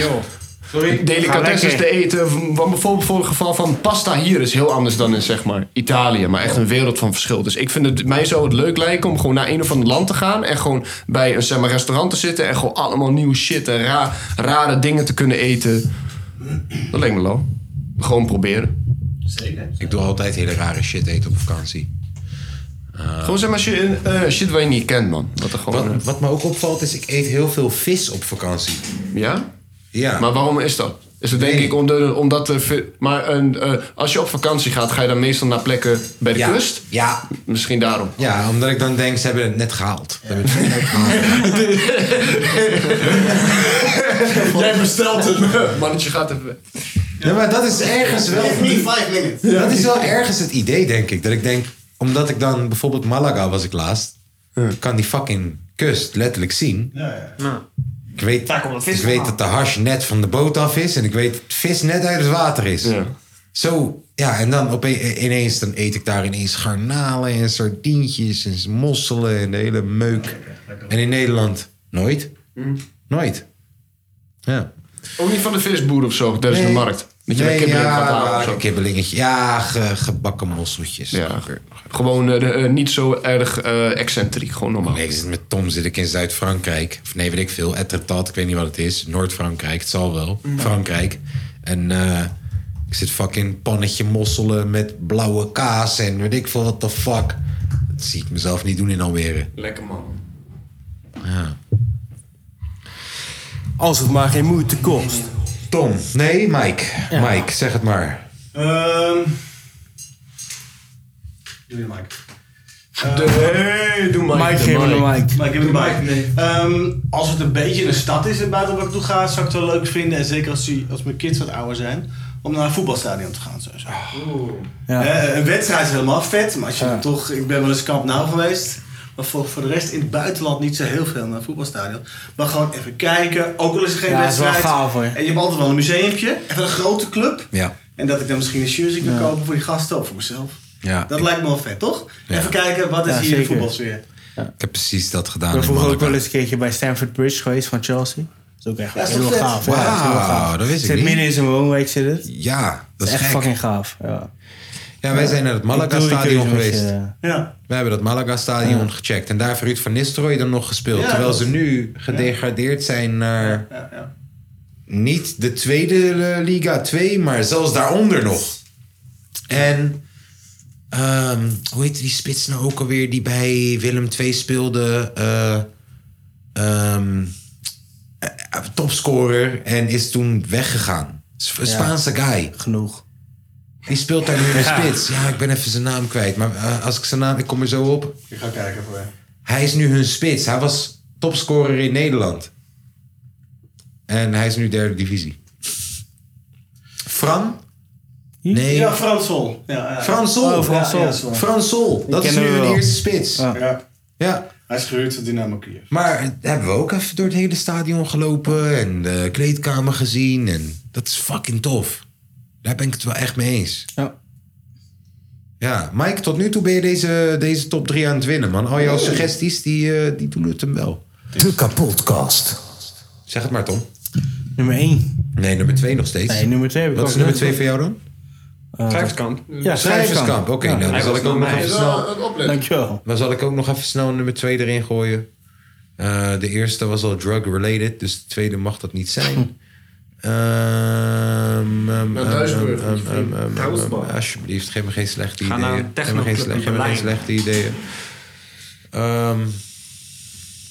Sorry. Delicatesses Ga te lekker. eten. v- Want bijvoorbeeld voor het geval van pasta hier is heel anders dan in zeg maar Italië. Maar echt een wereld van verschil. Dus ik vind het, mij zou het leuk lijken om gewoon naar een of ander land te gaan. En gewoon bij een zeg maar, restaurant te zitten. En gewoon allemaal nieuwe shit en ra- rare dingen te kunnen eten. Dat lijkt me wel. Gewoon proberen. Zeker. Ik doe altijd hele rare shit eten op vakantie. Eh, Gewoon zeg maar shit, eh, shit waar je niet kent, man. Wat, er gewoon, eh, wat, wat me ook opvalt is, ik eet heel veel vis op vakantie. Ja? Ja. Maar waarom is dat? Is het denk ik om de- omdat... de vi- maar een, eh, als je op vakantie gaat, ga je dan meestal naar plekken bij de Ja. kust? Ja. Misschien daarom. Ja, omdat ik dan denk, ze hebben het net gehaald. Ze hebben het net gehaald. Jij bestelt het. Mannetje gaat even weg. Ja, maar dat is ergens wel... Niet vijf minuten. Dat is wel ergens het idee, denk ik. Dat ik denk, omdat ik dan bijvoorbeeld Malaga was ik laatst, kan die fucking kust letterlijk zien. Nou. Ik weet, ik weet dat de hash net van de boot af is en ik weet dat vis net uit het water is. Zo, ja, en dan opeen- ineens dan eet ik daar ineens garnalen en sardientjes en mosselen en de hele meuk. En in Nederland nooit. Nooit. Ja. Mm. Ook niet van de visboer of zo, tijdens de Nee. markt. Dat je Nee, een kibbeling ja, gaat halen maar of zo. een kibbelingetje. Ja, ge- gebakken mosseltjes. Ja, gewoon eh, de, eh, niet zo erg eh, excentriek, gewoon normaal. Nee, ik zit met Tom zit ik in Zuid-Frankrijk. Of nee, weet ik veel. Etretat, ik weet niet wat het is. Noord-Frankrijk, het zal wel. Mm. Frankrijk. En eh, ik zit fucking pannetje mosselen met blauwe kaas en weet ik veel wat the fuck. Dat zie ik mezelf niet doen in Almere. Lekker man. Ja. Als het maar geen moeite kost. Tom, nee, Mike. Mike, zeg het maar. Ehm. Doe je Mike. hey, doe Mike. Mike, geef me de mic. Mike, geef me de Ehm, mic. Ehm, als het een beetje een stad is in buiten waar ik toe ga, zou ik het wel leuk vinden. En zeker als, die, als mijn kids wat ouder zijn, om naar een voetbalstadion te gaan. Sowieso. Ah. Ja. Eh, een wedstrijd is helemaal vet, maar als je dan toch, ik ben wel eens kamp nou geweest. Maar voor, voor de rest in het buitenland niet zo heel veel naar een voetbalstadion. Maar gewoon even kijken, ook al is er geen Ja, is wel wedstrijd. gaaf, hoor. En je hebt altijd wel een museumpje, even een grote club. Ja. En dat ik dan misschien een jersey kan Ja. kopen voor die gasten of voor mezelf. Ja. Dat lijkt me wel vet, toch? Ja. Even kijken, wat is Ja, hier de zeker. voetbalsfeer? Ik heb precies dat Ik gedaan. ben in vroeger ook Malaga. wel eens een keertje bij Stamford Bridge geweest van Chelsea. Dat is ook echt Ja, is heel toch vet? gaaf. Ja, is heel Wauw, gaaf. dat wist ik Zit niet. midden in zijn woonwijk zit het. Ja, dat is echt gek. fucking gaaf. Ja, Ja, wij zijn naar het Ik doe die Malaga-stadion keuze met je, geweest. Ja. We hebben dat Malaga-stadion gecheckt. En daar heeft Ruud van Nistelrooy dan nog gespeeld. Ja, terwijl dat- ze nu gedegradeerd zijn naar... Ja, ja. Niet de tweede eh, Liga 2, maar zelfs daaronder nog. En... ehm, hoe heet die spits nou ook alweer die bij Willem 2 speelde? Eh, ehm, eh, topscorer en is toen weggegaan. Sp- Ja. Spaanse guy. Genoeg. Die speelt daar nu in de Ja. spits. Ja, ik ben even zijn naam kwijt. Maar eh, als ik zijn naam... Ik kom er zo op. Ik ga kijken voor hem. Hij is nu hun spits. Hij was topscorer in Nederland. En hij is nu derde divisie. Fran? Nee. Ja, Fransol. Ja, ja. Fransol. Oh, Fransol. Ja, ja, Fransol. Fransol. Dat is nu hun eerste spits. Ja. Ja. Ja. Hij is gehuurd door Dynamo Kiev. Maar eh, hebben we ook even door het hele stadion gelopen en de kleedkamer gezien. En dat is fucking tof. Daar ben ik het wel echt mee eens. Ja. Ja, Mike, tot nu toe ben je deze, deze top 3 aan het winnen, man. Al jouw suggesties, die, eh, die doen het hem wel. De kapotkast. Zeg het maar, Tom. Nummer 1. Nee, nummer 2 nog steeds. Nee, nummer 2 heb ik Wat ook is nummer net 2 voor jou dan? eh, Schrijverskamp. Ja, Schrijverskamp, oké. nou, dan zal ik ook nog even snel... Dankjewel. Dan zal ik ook nog even snel nummer 2 erin gooien. Eh, de eerste was al drug-related, dus de tweede mag dat niet zijn. Ehm, ehm, Naar ehm, Duisburg, ehm, niet ehm, vriend. ehm, Houtbal. ehm, Alsjeblieft, geef me geen slechte Ga naar ideeën. een Geef me geen, technoclub sle- in geef me geen Berlijn. slechte ideeën. Ehm,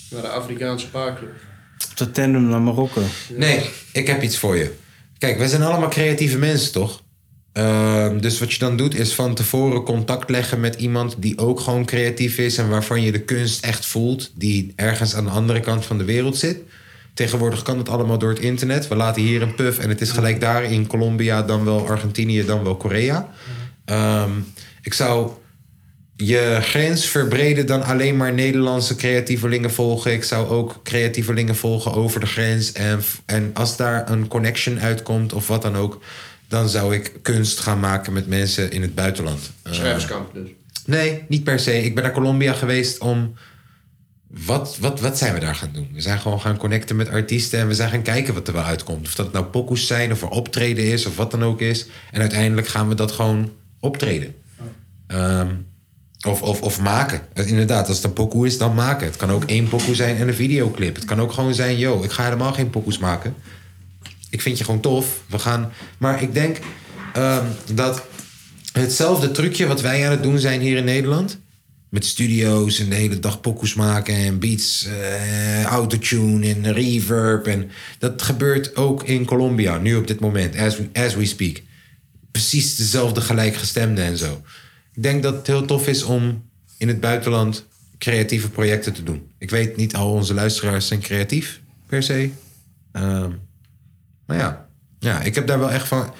Naar de Afrikaanse paarclub. De tandem naar Marokko. nee, ik heb iets voor je. Kijk, wij zijn allemaal creatieve mensen, toch? Ehm, dus wat je dan doet is van tevoren contact leggen met iemand die ook gewoon creatief is en waarvan je de kunst echt voelt, die ergens aan de andere kant van de wereld zit. Tegenwoordig kan dat allemaal door het internet. We laten hier een puff en het is gelijk daar in Colombia, dan wel Argentinië, dan wel Korea. Ehm, ik zou je grens verbreden dan alleen maar Nederlandse creatievelingen volgen. Ik zou ook creatievelingen volgen over de grens. En, en als daar een connection uitkomt of wat dan ook, dan zou ik kunst gaan maken met mensen in het buitenland. Eh, Schrijverskamp dus. Nee, niet per se. Ik ben naar Colombia geweest om. Wat, wat, wat zijn we daar gaan doen? We zijn gewoon gaan connecten met artiesten en we zijn gaan kijken wat er wel uitkomt. Of dat nou pokoes zijn of er optreden is of wat dan ook is. En uiteindelijk gaan we dat gewoon optreden. Ehm, of, of, of maken. Eh, Inderdaad, als het een pokoe is, dan maken. Het kan ook één pokoe zijn en een videoclip. Het kan ook gewoon zijn, yo, ik ga helemaal geen pokoes maken. Ik vind je gewoon tof. We gaan... Maar ik denk ehm, dat hetzelfde trucje wat wij aan het doen zijn hier in Nederland... Met studio's en de hele dag pokoes maken en beats, eh, autotune en reverb. En dat gebeurt ook in Colombia, nu op dit moment, as we, as we speak. Precies dezelfde gelijkgestemden en zo. Ik denk dat het heel tof is om in het buitenland creatieve projecten te doen. Ik weet niet, al onze luisteraars zijn creatief, per se. Ehm, maar ja. ja, ik heb daar wel echt van...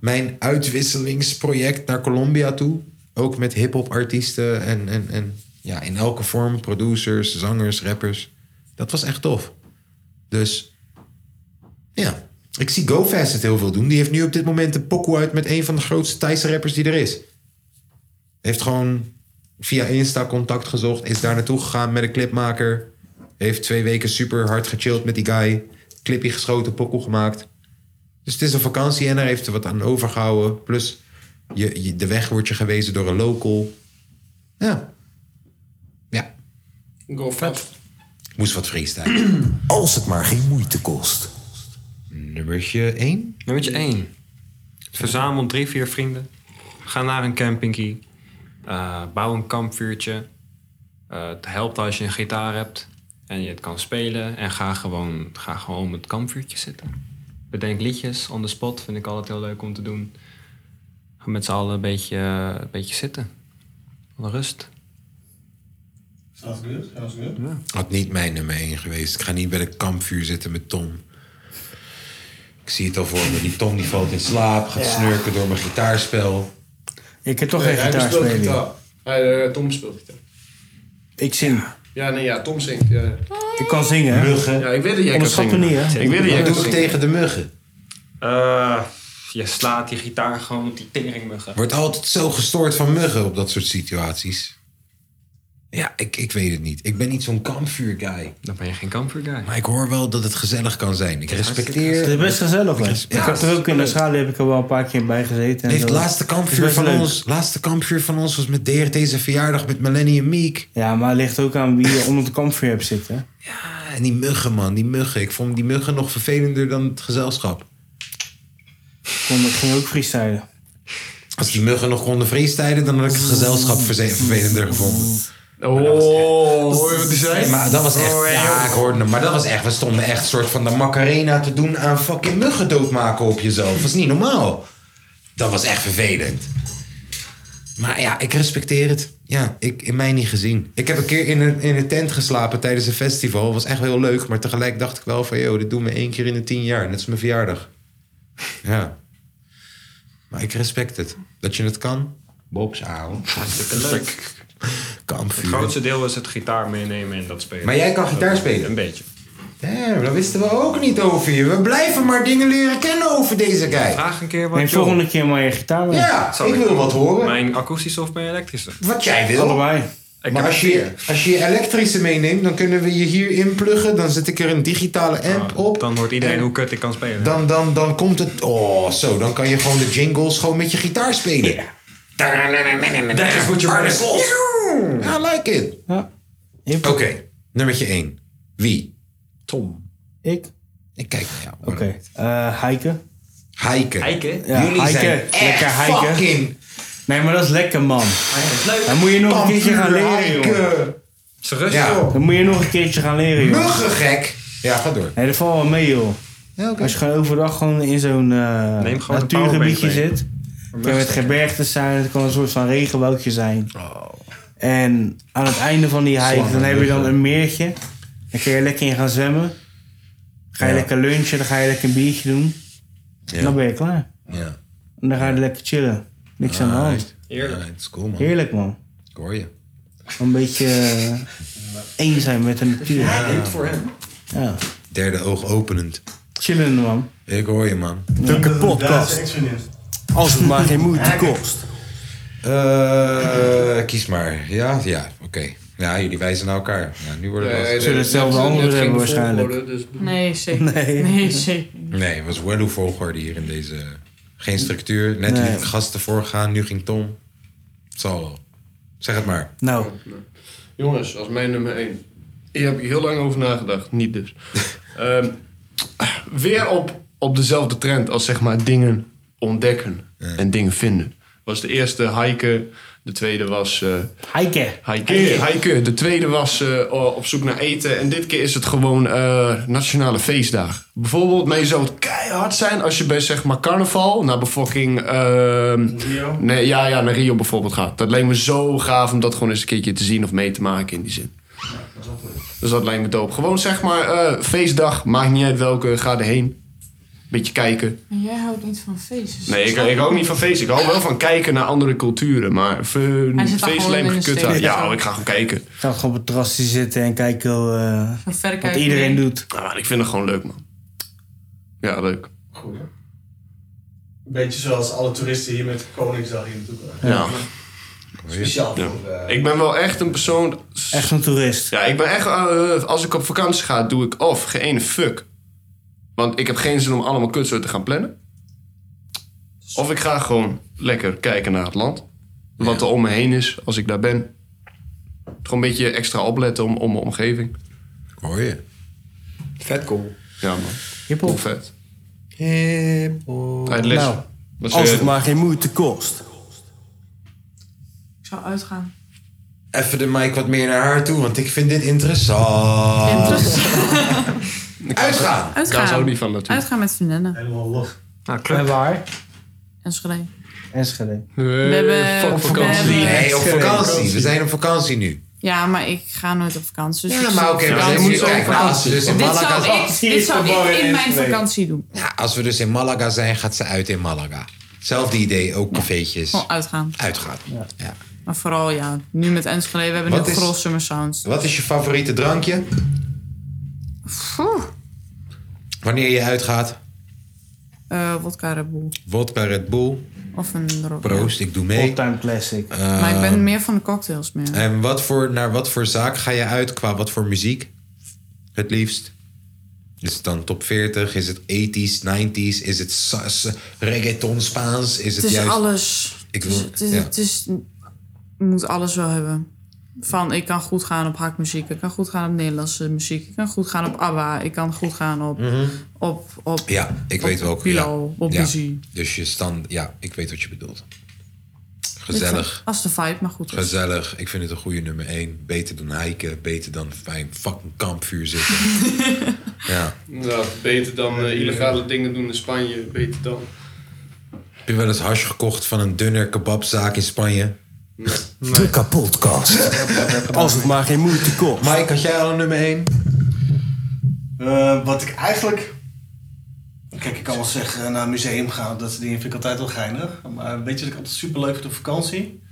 Mijn uitwisselingsproject naar Colombia toe... ook met hip-hop artiesten en, en, en ja, in elke vorm... producers, zangers, rappers. Dat was echt tof. Dus ja, ik zie GoFast het heel veel doen. Die heeft nu op dit moment een pokoe uit... met een van de grootste Thaise rappers die er is heeft gewoon via Insta contact gezocht. Is daar naartoe gegaan met een clipmaker. Heeft twee weken super hard gechilled met die guy. Clipje geschoten, pokoe gemaakt. Dus het is een vakantie en daar heeft er wat aan overgehouden. Plus je, je- de weg wordt je gewezen door een local. Go fast. Ik moest wat freestyle. Als het maar geen moeite kost. Nummertje 1. Nummertje 1. Verzamel drie, vier vrienden. Ga naar een campingkie. Eh, bouw een kampvuurtje. Eh, het helpt als je een gitaar hebt en je het kan spelen. En ga gewoon, ga gewoon om het kampvuurtje zitten. Bedenk liedjes on the spot. Vind ik altijd heel leuk om te doen. Ga met z'n allen een beetje, eh, een beetje zitten. Wat rust. Sounds good, sounds good. Had niet mijn nummer 1 geweest. Ik ga niet bij de kampvuur zitten met Tom. Ik zie het al voor me. Die Tom die valt in slaap. Gaat Ja. snurken door mijn gitaarspel. Ik heb toch Nee, geen hij gitaar speelt spelen. gitaar. Hij, eh, Tom speelt gitaar. Ik zing. Ja, nee, ja, Tom zingt. Ja. Ik kan zingen. hè? Ja, ik weet dat jij kan Onderschat me zingen. niet, hè? Ik weet dat jij kan zingen. de muggen? Eh, je slaat die gitaar gewoon op die teringmuggen. Wordt altijd zo gestoord van muggen op dat soort situaties. Ja, ik, ik weet het niet. Ik ben niet zo'n kampvuurguy. Dan ben je geen kampvuurguy. Maar ik hoor wel dat het gezellig kan zijn. Ik respecteer... Het is best gezellig, man. res- ik had er ook in de schaal heb ik er wel een paar keer bij gezeten. en Nee, het zo. laatste kampvuur, Is best van leuk. ons, laatste kampvuur van ons was met DRT's verjaardag met Millennium Meek. Ja, maar het ligt ook aan wie je onder de kampvuur hebt zitten. Ah, En die muggen, man. Die muggen. Ik vond die muggen nog vervelender dan het gezelschap. Kon, ik ging ook freestylen. Als die muggen nog konden freestylen, dan had ik het gezelschap verze- vervelender gevonden. Oh, hoor je wat die zei? Maar dat was Oh, echt... Ja, ik hoorde hem. Maar dat was echt... We stonden echt soort van de Macarena te doen aan fucking muggen doodmaken op jezelf. Dat is niet normaal. Dat was echt vervelend. Maar ja, ik respecteer het. Ja, ik, in mij niet gezien. Ik heb een keer in een, in een tent geslapen tijdens een festival. Was echt heel leuk. Maar tegelijk dacht ik wel van... Yo, dit doen we één keer in de tien jaar. Net als mijn verjaardag. Ja. Maar ik respect het. Dat je het kan. Bob's aan. Hartstikke leuk. Kampvuur. Het grootste deel is het gitaar meenemen en dat spelen. Maar jij kan gitaar spelen? Een beetje. Damn, dat wisten we ook niet over je. We blijven maar dingen leren kennen over deze guy. Vraag een keer wat Neem joh. volgende keer maar je gitaar mee. Ja, Zal ik wil wat horen. Mijn akoestische of mijn elektrische? Wat jij wil. Allebei. maar als je, als je je elektrische meeneemt, dan kunnen we je hier inpluggen. Dan zet ik er een digitale app op. Ah, Dan hoort iedereen En- hoe kut ik kan spelen. Dan, dan, dan komt het... Oh, zo. Dan kan je gewoon de jingles gewoon met je gitaar spelen. That is what you want. I like it. Oké, nummertje 1. Wie? Tom. Ik? Ik kijk naar jou. Oké. Eh, hiken. Hiken. Hiken? Ja, Jullie hiken. zijn lekker echt hiken. fucking- Nee, maar dat is lekker, man. leuk. Dan moet je nog een keertje gaan Pampuur leren, jongen. hiken. Is rustig, joh. Dan moet je nog een keertje gaan leren, jongen. Muggengek. Ja, ga door. Nee, dat valt wel mee, joh. Als je gewoon overdag gewoon in zo'n eh, Neem gewoon een natuurgebiedje powerbank mee. zit. Kan het gebergtes zijn, het kan een soort van regenwoudje zijn. Oh. En aan het einde van die hike, dan Slangen, heb je dan ruggen. een meertje. Dan kun je lekker in gaan zwemmen. Ga je Ja. lekker lunchen, dan ga je lekker een biertje doen. Ja. Dan ben je klaar. Ja. En dan ga je lekker chillen. Niks aan de hand. Heerlijk. Het is Ah, cool, man. Heerlijk, man. Ik hoor je. Een beetje eh, één zijn met de natuur. Ja. voor hem. Ja. Derde oog openend. Chillen, man. Ik hoor je, man. Drukke podcast. Als het maar geen moeite kost. Eh, kies maar. Ja, ja oké. Ja, jullie wijzen naar elkaar. Ja, nu worden Nee, we... nee, Zullen nee, hetzelfde net- antwoord net hebben ging de waarschijnlijk. Dus- volgorde, Nee, zeker. Nee, zeker. Nee, het was wel hoe volgorde hier in deze... Geen structuur. Net Nee. liet ik gasten voorgaan, nu ging Tom. Het zal wel. Zeg het maar. Nou. Jongens, als mijn nummer 1. Hier heb ik heel lang over nagedacht. Niet dus. Ehm, weer op, op dezelfde trend als zeg maar dingen ontdekken en dingen vinden. Was de eerste hiken. De tweede was... eh, Hiken. Hiken. hiken. De tweede was eh, op zoek naar eten. En dit keer is het gewoon eh, nationale feestdag. Bijvoorbeeld, mee zou het keihard zijn als je bij zeg maar carnaval naar befucking... Rio? Nee, ja, ja, naar Rio bijvoorbeeld gaat. Dat lijkt me zo gaaf om dat gewoon eens een keertje te zien of mee te maken in die zin. Dus dat lijkt me dope. Gewoon zeg maar eh, feestdag, maakt niet uit welke, ga erheen. Beetje kijken. Maar jij houdt niet van feestjes. Nee, ik, ik hou ook niet van feest. Ik hou wel van kijken naar andere culturen. Maar fe- Hij zit daar gewoon feest alleen maar in een gekut steek. aan. Ja, oh, ik ga gewoon kijken. Ik ga gewoon op het terrasje zitten en kijken hoe, eh, Van ver wat kijken. iedereen doet. Ah, ik vind het gewoon leuk, man. Ja, leuk. Goed, hè? Een beetje zoals alle toeristen hier met Koningsdag hier naartoe komen. Ja. Speciaal Ja. voor... eh, Ik ben wel echt een persoon... Echt een toerist. Ja, ik ben echt... eh, als ik op vakantie ga, doe ik of geen ene fuck. Want ik heb geen zin om allemaal kutsoorten te gaan plannen. Of ik ga gewoon lekker kijken naar het land. Wat er om me heen is, als ik daar ben. Gewoon een beetje extra opletten om, om mijn omgeving. Hoor je. Vet cool. Ja, man. Hiphop. Hoe vet. Hip-hop. Uit les. Nou, Wat zei als je? het maar geen moeite kost. Ik zou uitgaan. Even de mic wat meer naar haar toe, want ik vind dit interessant. Uitgaan. Uitgaan. Daar is ook niet van natuurlijk. Uitgaan met vriendinnen. Helemaal los. Nou, En waar? En schrijven. Enschede. We hebben- fuck op vakantie. we hebben- Nee, op Enschede. vakantie. We zijn op vakantie nu. Ja, maar ik ga nooit op vakantie. Dus Ja, ik maar zou oké, op maar vakantie- jij moet zo op vakantie. Dus in dit Malaga- zou ik, Vakantie dit is zou verboden ik in in mijn Enschede. vakantie doen. Ja, als we dus in Malaga zijn, gaat ze uit in Malaga. Hetzelfde idee, ook cafeetjes. Gewoon uitgaan. Uitgaan. Ja. Maar vooral, ja, nu met Enschede, we hebben Wat nu is- Grol Summer Sounds. Wat is je favoriete drankje? Oeh, Wanneer je uitgaat? eh, Wodka Red Bull. Wodka Red Bull. Of een rock. Proost, Eh, ik doe mee. Ehm, All-time classic. Maar ik ben meer van de cocktails meer. En wat voor, naar wat voor zaak ga je uit qua wat voor muziek? Het liefst. Is het dan top 40? Is het 80s, 90s? Is het sa- sa- reggaeton Spaans? Is het het, is juist... alles. Ik het is, wil- het is, ja. het is- je moet alles wel hebben. Van, ik kan goed gaan op hakmuziek. Ik kan goed gaan op Nederlandse muziek. Ik kan goed gaan op ABBA. Ik kan goed gaan op... Mhm. op, op Ja, ik op weet welke. Pilo, ja. op ja. muziek. Dus je stand... Ja, ik weet wat je bedoelt. Gezellig. Als de vibe maar goed is. Gezellig. Ik vind het een goede nummer 1. Beter dan hiken. Beter dan bij een fucking kampvuur zitten. ja. Nou, beter dan illegale dingen doen in Spanje. Beter dan... Heb je wel eens hash gekocht van een dunner kebabzaak in Spanje? De kapotkast. Als het maar geen moeite kost. Mike, had jij al een nummer 1? Eh, wat ik eigenlijk... Kijk, ik kan wel zeggen naar een museum gaan, dat soort dingen vind ik altijd wel geinig. Maar weet je wat ik altijd super leuk vind op vakantie?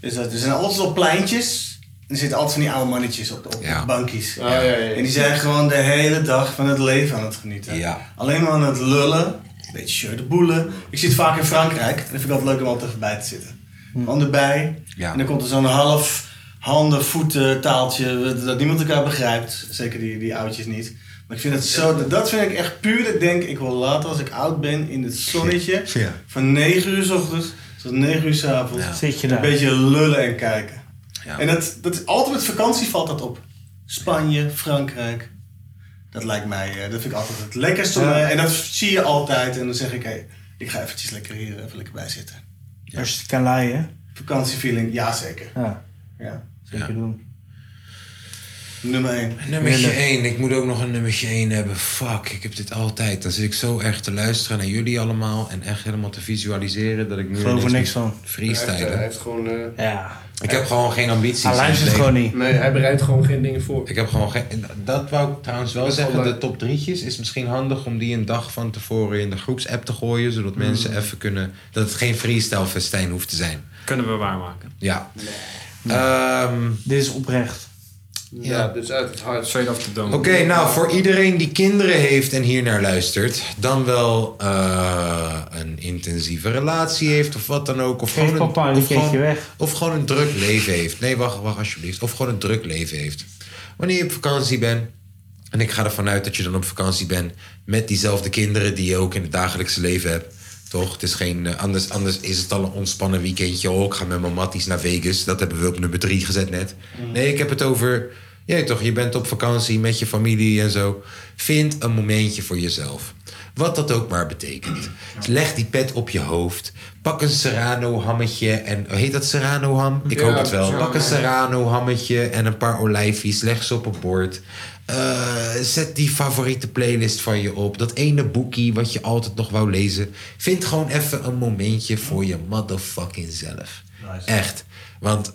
Is dat er zijn altijd wel pleintjes. En er zitten altijd van die oude mannetjes op de, op de bankjes. Ah, ja, ja. En die zijn gewoon de hele dag van het leven aan het genieten. Alleen maar aan het lullen. Een beetje shirt de boelen. Ik zit vaak in Frankrijk. En dat vind ik altijd leuk om altijd even bij te zitten. Man erbij. Ja. En dan komt er zo'n half handen, voeten, taaltje, dat niemand elkaar begrijpt. Zeker die, die oudjes niet. Maar ik vind het zo, dat- dat vind ik echt puur. Ik denk, ik wil later als ik oud ben in het zonnetje. Ja. Van 9 uur s ochtends tot 9 uur s avonds. Zit je Een daar. beetje lullen en kijken. Ja. En dat, dat is altijd met vakantie valt dat op. Spanje, Frankrijk. Dat lijkt mij, eh, dat vind ik altijd het lekkerste. om, Ja. eh, En dat zie je altijd. En dan zeg ik, hé, ik ga eventjes lekker hier even lekker bij zitten. Als je het kan laaien. Vakantiefeeling, ja zeker. Ja. Ja. Zeker doen. Nummer 1. Nummertje 1. Ik moet ook nog een nummertje 1 hebben. Fuck, ik heb dit altijd. Dan zit ik zo erg te luisteren naar jullie allemaal. En echt helemaal te visualiseren dat ik nu... Ik geloof er ineens niks van. Freestylen. Hij heeft, eh, hij heeft gewoon... eh, Ja. Ik heb gewoon geen ambities. Hij luistert in het gewoon niet. leven. Nee, hij bereidt gewoon geen dingen voor. Ik heb gewoon geen... en Dat wou ik trouwens wel Dat is wel zeggen. leuk. de top drietjes is misschien handig om die een dag van tevoren in de groepsapp te gooien. Zodat Mm. Hmm. mensen even kunnen... Dat het geen freestyle festijn hoeft te zijn. Kunnen we waarmaken. Ja. Dit is oprecht. Ehm, Ja, dus uit het hart. Straight off the dome. Oké, nou voor iedereen die kinderen heeft en hier naar luistert, dan wel eh, een intensieve relatie heeft of wat dan ook. Of Geef gewoon papa een of keertje gewoon- weg. Of gewoon een druk leven heeft. Nee, wacht, wacht alsjeblieft. Of gewoon een druk leven heeft. Wanneer je op vakantie bent, en ik ga ervan uit dat je dan op vakantie bent met diezelfde kinderen die je ook in het dagelijkse leven hebt. Toch? Het is geen, eh, anders, anders is het al een ontspannen weekendje. Oh, ik ga met mijn matties naar Vegas. Dat hebben we op nummer drie gezet net. Nee, ik heb het over... Ja, toch, je bent op vakantie met je familie en zo. Vind een momentje voor jezelf. Wat dat ook maar betekent. Leg die pet op je hoofd. Pak een serrano-hammetje. En, heet dat serrano-ham? Ik Ja, hoop het wel. serrano. Pak een serrano-hammetje en een paar olijfjes. Leg ze op een bord. Eh, zet die favoriete playlist van je op. Dat ene boekie wat je altijd nog wou lezen. Vind gewoon even een momentje voor je motherfucking zelf. Echt. Want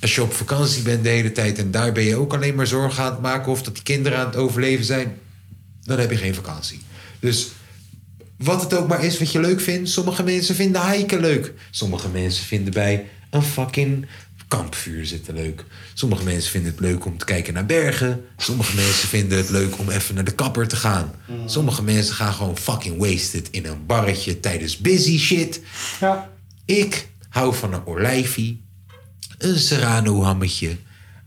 als je op vakantie bent de hele tijd en daar ben je ook alleen maar zorgen aan het maken of dat die kinderen aan het overleven zijn, dan heb je geen vakantie. Dus wat het ook maar is wat je leuk vindt, sommige mensen vinden hiken leuk. Sommige mensen vinden bij een fucking kampvuur zitten leuk. Sommige mensen vinden het leuk om te kijken naar bergen. Sommige mensen vinden het leuk om even naar de kapper te gaan. Sommige mensen gaan gewoon fucking wasted in een barretje tijdens busy shit. Ik hou van een olijfie, een serrano-hammetje,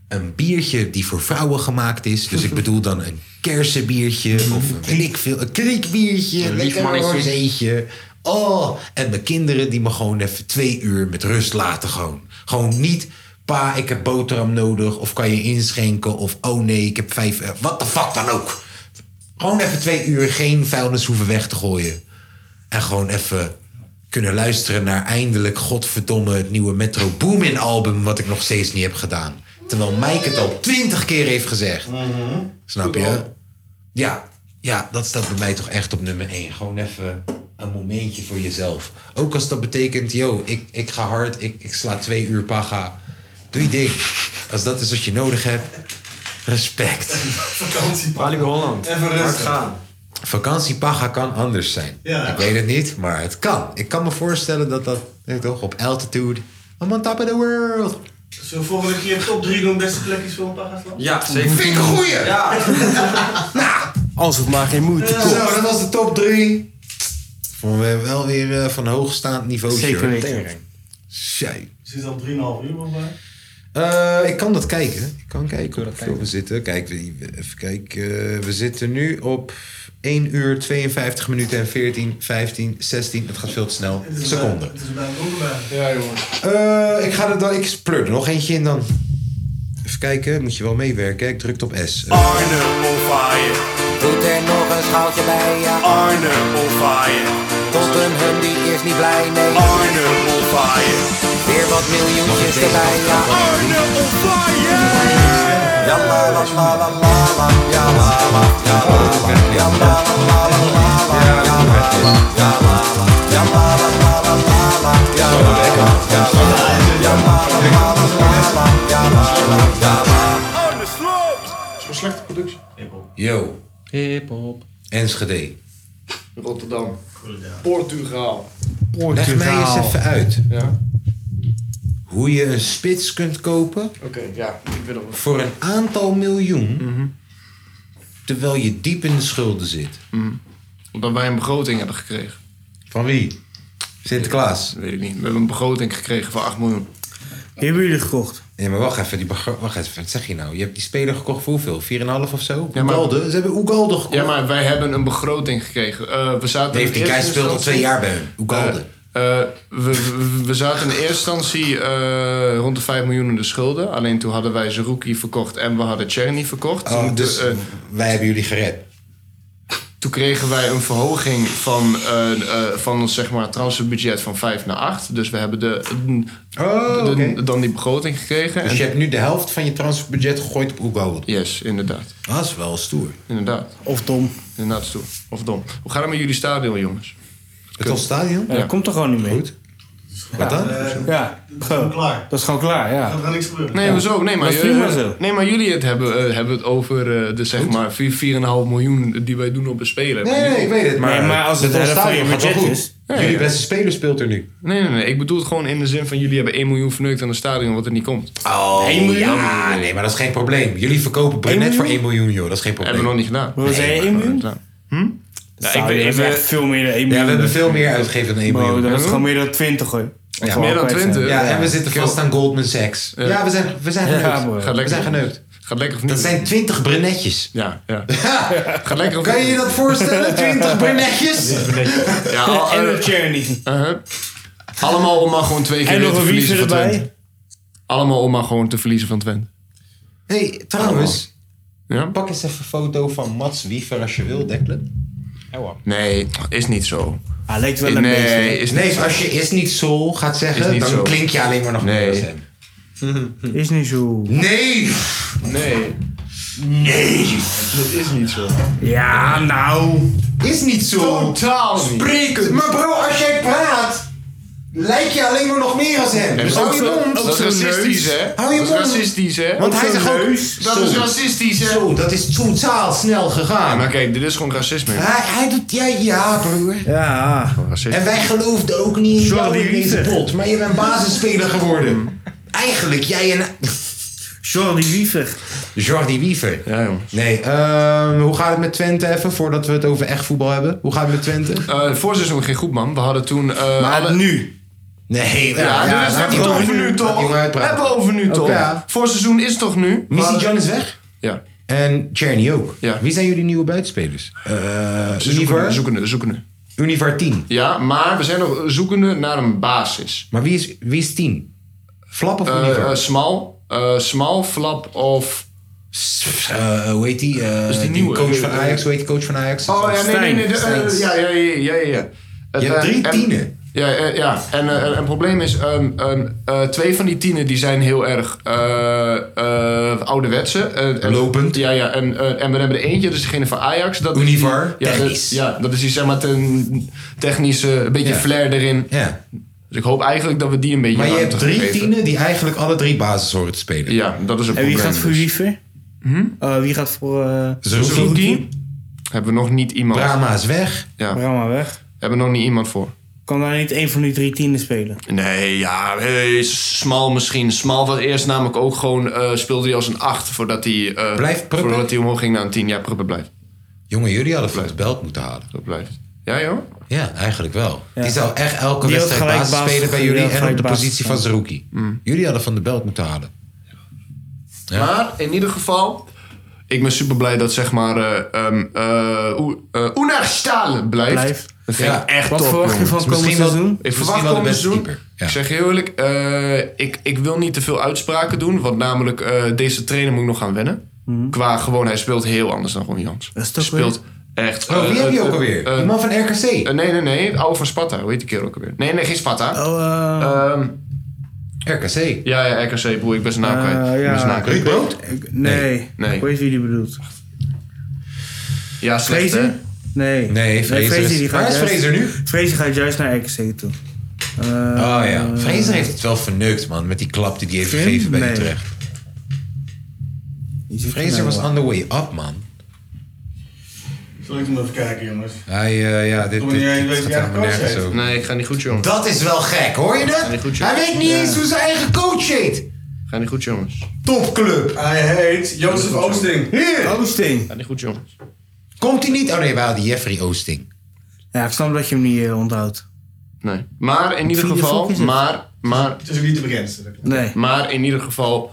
een biertje die voor vrouwen gemaakt is. Dus ik bedoel dan een kersenbiertje of een, weet ik veel, een kriekbiertje, een Een lief lekker mannetje. rozeetje. Oh, en mijn kinderen die me gewoon even twee uur met rust laten gewoon. Gewoon niet, pa, ik heb boterham nodig of kan je inschenken of oh nee, ik heb vijf, eh, wat de fuck dan ook. Gewoon even twee uur geen vuilnis hoeven weg te gooien. En gewoon even kunnen luisteren naar eindelijk, godverdomme, het nieuwe Metro Boomin album, wat ik nog steeds niet heb gedaan. Terwijl Mike het al twintig keer heeft gezegd. Mhm. Snap je? Ja, ja, dat staat bij mij toch echt op nummer één. Gewoon even een momentje voor jezelf. Ook als dat betekent, yo, ik, ik ga hard, ik, ik sla twee uur paga. Doe je ding. Als dat is wat je nodig hebt, respect. Vakantie. Bali Holland. Even rustig. Hard gaan. Vakantiepaga kan anders zijn. Ja. Ik weet het niet, maar het kan. Ik kan me voorstellen dat dat, weet je toch, op altitude... I'm on top of the world. Zullen we volgende keer de top 3 doen beste plekjes voor een pagasland? Ja, zeker. Vind ik een goeie! Ja. Als het maar geen moeite kost. Zo, dat was de top 3. Vonden we wel weer eh, van hoogstaand niveau. Zeker hoor. weten. Tering. Zij. Zit al 3,5 uur nog bij. Eh, ik kan dat kijken. Ik kan kijken hoeveel we zitten. Kijk, we- even kijken. Eh, we zitten nu op 1 uur 52 minuten en 14, 15, 16. Het gaat veel te snel. Seconden. Het is bij een onderbij. Ja, jongen. Eh, ik ga er dan... Ik pleur er nog eentje in dan. Even kijken. Moet je wel meewerken. hè? Ik druk op S. Eh, Arnhem on fire. Doet er nog een schaaltje bij, ja. Arnhem on fire. Tottenham die is niet blij, nee. Arnhem on fire. Weer wat miljoentjes erbij, ja. Arnhem on fire. Ja la la la la la la, ja la la, ja la la, ja la la la la la, ja la la, ja la la, ja la la la la la la, ja la la, ja la la, ja la la la la la, ja la la, ja la la. is een slechte productie. Yo. Enschede. Rotterdam. Portugal. Leg mij eens even uit. Hoe je een spits kunt kopen Oké, ja. Ik wil op. voor een aantal miljoen. Mhm. Terwijl je diep in de schulden zit. Mm. Omdat wij een begroting hebben gekregen. Van wie? Sinterklaas? Weet ik niet. We hebben een begroting gekregen van 8 miljoen. Die hebben jullie gekocht? Nee, maar wacht even, die begro- wacht even, wat zeg je nou? Je hebt die speler gekocht voor hoeveel? 4,5 of zo? Ja, maar- Ugalde? Ze hebben Ugalde gekocht. Ja, maar wij hebben een begroting gekregen. Eh, we zaten Dave, in die eerste guy speelt al instantie- twee jaar bij hem. Ugalde. Eh, eh, we, we, we zaten in eerste instantie eh, rond de 5 miljoen in de schulden. Alleen toen hadden wij Zerouki verkocht en we hadden Cherny verkocht. Oh, Toen, dus eh, wij hebben jullie gered. Toen kregen wij een verhoging van, eh, eh, van ons zeg maar, transferbudget van 5 naar 8. Dus we hebben de, Oh, de- dan die begroting gekregen. Dus je hebt nu de helft van je transferbudget gegooid op Ugalde? Yes, inderdaad. Ah, Dat is wel stoer. Inderdaad. Of dom. Inderdaad, stoer. Of dom. Hoe gaat het met jullie stadion, jongens? Het ons stadion? Ja, dat komt er gewoon niet mee. Goed. Wat dan? ja, gewoon klaar. Dat is gewoon klaar, ja. Gaat er niks gebeuren. Nee, maar zo. Nee, maar, dat is jullie- prima zo. nee, maar jullie het hebben, eh, hebben het over eh, de zeg maar 4, 4,5 miljoen die wij doen op een speler. Nee, nee, ik weet het. Maar, het ons stadion gaat wel goed. Jullie beste speler speelt er nu. Nee, nee, nee. Ik bedoel het gewoon in de zin van jullie hebben 1 miljoen verneukt aan een stadion wat er niet komt. Oh, ja, nee, maar dat is geen probleem. Jullie verkopen Brunet voor 1 miljoen, joh. Dat is geen probleem. Hebben we nog niet gedaan. Wat zei je, 1 miljoen? Ja, ik weet echt veel meer dan 1 miljoen. Ja, we hebben veel meer uitgegeven dan 1 Bro, miljoen. Dat is gewoon meer dan 20 hoor. Of Ja, we al kwijt zijn. Ja, en we zitten vast aan Goldman Sachs. Ja, we zijn, we zijn Ja, geneukt. bro. Gaat lekker. We zijn geneukt. Gaat lekker of niet? Dat zijn 20 brunetjes. Ja, ja. Gaat Ah. lekker of Kan je niet? je dat voorstellen? 20 brunetjes? Ja, al- En eh, een uh-huh. Allemaal om maar gewoon twee keer En weer nog te een verliezen van wifi erbij. Twente. Allemaal om maar gewoon te verliezen van Twente. hey, trouwens. Pak eens even een foto van Mats Wiever als je wil, Declan. Nee, is niet zo. Ah, Hij lijkt wel een Nee, beetje. is niet Nee, zo. als je is niet soul gaat Is zeggen, niet dan zo. klink je alleen maar nog Nee. meer als hem. Is niet zo. Nee! Nee. Nee! Dat is niet zo. Ja, nou. Is niet zo. Totaal niet. Sprekend. Maar bro, als jij praat, lijk je alleen maar nog meer als hem. En Dus dat hou is je ook- mond. dat is racistisch, hè? Hou je Dat mond. is racistisch, hè? Want hij Ook zegt zo'n ook, neus. dat Zo. is racistisch, hè? Zo, dat is totaal snel Ja, gegaan. maar kijk, dit is gewoon racisme. Hij, hij doet, ja, ja broer. Ja. Racisme. En wij geloofden ook niet in jou Jordi in deze Wiese. pot, maar je bent basisspeler geworden. Eigenlijk, jij en... Jordi Wiever. Jordi Wiever. Ja, jongens. Nee, ehm, hoe gaat het met Twente even, voordat we het over echt voetbal hebben? Hoe gaat het met Twente? Eh, voorseizoen ging goed, man. We hadden toen... eh, alle- nu? Nee, ja, Ja, dit ja, is laat hebben die we jongen- over nu, laat die toch? jongen uitpraten. Hebben we over nu, Oké. toch? Ja. Voorseizoen is toch nu? Missy We- John is weg. Ja. En Cherny ook. Ja. Wie zijn jullie nieuwe buitenspelers? Eh Ze zoeken, Univar? zoeken, zoeken. Univar 10. Ja, maar we zijn nog zoekende naar een basis. Maar wie is, wie is 10? Flap of Eh, Univar? eh, Smal. Eh, Smal, Flap of... Eh, hoe heet die? Eh, is die nieuwe. coach van Ajax. Hoe heet die coach van Ajax? Oh ja, nee, nee, nee. de- eh, Steins. ja, ja, ja, ja, ja, ja. Het, Je hebt eh, drie en- tienen. Ja, eh, ja. En eh, en het probleem is, ehm, ehm, eh, twee van die tienen die zijn heel erg eh eh ouderwetse. Eh, en- Lopend. Ja, ja. En, eh, en we hebben er eentje, dat is degene van Ajax. Dat is die- Univar, ja, dat- technisch. ja, dat is die zeg maar ten, technische, een beetje Ja. flair erin. Ja. Dus ik hoop eigenlijk dat we die een beetje Maar je ruimte hebt gaan drie geven. tienen die eigenlijk alle drie basis horen te spelen. Ja, dat is een En wie probleem gaat voor dus. Wiever? Eh, wie gaat voor... eh Zerouki? Hebben we nog niet iemand. Brahma is weg. Ja. Brahma weg. Hebben we nog niet iemand voor. Kan daar niet één van die drie tienen spelen? Nee, ja, hey, smal misschien. Smal was eerst namelijk ook gewoon, eh, speelde hij als een 8 voordat hij, eh, Blijft Pruppen? voordat hij omhoog ging naar een 10. Ja, Pruppen blijft. Jongen, jullie hadden voor het belt moeten halen. Dat blijft. Ja, joh? Ja, eigenlijk wel. Ja. Die zou echt elke Die had wedstrijd gelijk basis, basis spelen bij gespeeld, jullie die had en op de gelijk basis Mm. positie van gespeeld. Zerouki. Jullie hadden van de belt moeten halen. Ja. Maar in ieder geval, ik ben super blij dat zeg maar eh um, Stalen blijft. Blijft. Dat vind Ja. ik echt Wat top. verwacht je jongens. van komend Misschien wel- seizoen? Ik misschien verwacht wel de komend beste seizoen. keeper. Ik zeg je heel eerlijk, eh, ik, ik wil niet te veel uitspraken doen. Want namelijk, eh, deze trainer moet ik nog gaan wennen. Mhm. Qua gewoon, hij speelt heel anders dan Ron Jans. Hij speelt echt... Oh, wie eh, heb je eh, ook alweer? eh, Die man van RKC? eh, nee, nee, nee. Het oude van Sparta. Hoe heet die keer ook alweer? Nee, nee, geen Sparta. Oh, eh. Ehm, RKC. Ja, ja, RKC. Broer, ik ben zijn naam Ah, Eh, kwijt. Ik ben zijn naam kwijt. Ik- Nee. Nee. Ik weet wie die bedoelt. Ja, slecht, Vrezen? hè? Nee. Nee, Vrezen is- die gaat Waar is juist- Vrezen nu? Vrezen gaat juist naar RKC toe. Eh, Oh ja. Vrezer heeft het wel verneukt, man. Met die klap die hij heeft Vind? gegeven bij Nee. Utrecht. Vrezer nou was wel. on the way up, man. Zal ik hem even kijken, jongens? Hij, eh, ja, dit, dit, Toen dit, jij weet gaat wie hij helemaal gekozen nergens heeft. over. Nee, ik ga niet goed, jongen. Dat is wel gek, hoor je dat? Ga niet goed, jongen. Hij weet niet Ja. eens hoe zijn eigen coach heet. Ga niet goed, jongens. Topclub. Hij heet Jozef Oosting. Hier. Oosting. Gaat niet goed, jongens. Komt hij niet? Oh nee, we hadden Jeffrey Oosting. Ja, ik snap dat je hem niet eh, onthoudt. Nee. Maar in Ik ieder zie je geval, fokjes het. maar Maar, Het is ook niet de bekendste. Nee. Maar in ieder geval,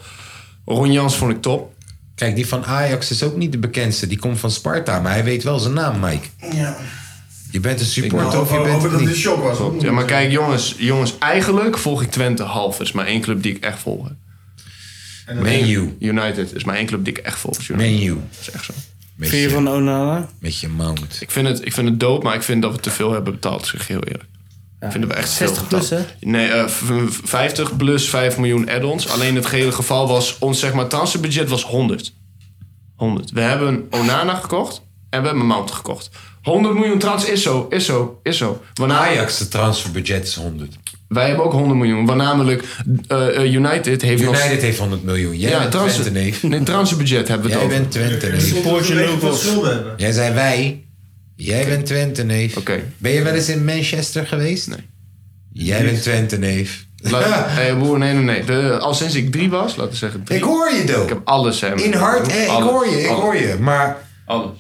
Ron Jans vond ik top. Kijk, die van Ajax is ook niet de bekendste. Die komt van Sparta, maar hij weet wel zijn naam, Mike. Ja. Je bent een supporter of je bent het niet. Klopt. Ja, maar kijk, jongens, jongens, eigenlijk volg ik Twente half. Er is maar één club die ik echt volg. dat- Man U. United is maar één club die ik echt volg. Man U. Dat is echt zo. Vind je van Onana? Met je mount. Ik vind, het, ik vind het dood, maar ik vind dat we te veel hebben betaald, zeg ik heel eerlijk. Ik vind dat we echt 60 veel plus, betaald. Nee, eh, v- v- 50 plus 5 miljoen add-ons. Alleen het gehele geval was, ons zeg maar, transferbudget was 100. 100. We hebben Onana gekocht en we hebben Mount gekocht. 100 miljoen trans is zo, is zo, is zo. Ajax, de transferbudget is 100. Wij hebben ook 100 miljoen. Waar namelijk eh, eh, United heeft nog... United heeft 100 miljoen. Jij bent Twente, Nee, transferbudget hebben we Jij het over. bent Twente, neef. Jij zei wij. Jij bent Twente, neef. Ben je wel eens in Manchester geweest? Nee. Jij bent Twente, neef. Laat, hey, broer, nee, nee, nee. De- al sinds ik drie was, laten we zeggen drie. Ik hoor je, doe. Ik heb alles, hè. In hart, eh, ik Alles, hoor je, ik alles. hoor je. Maar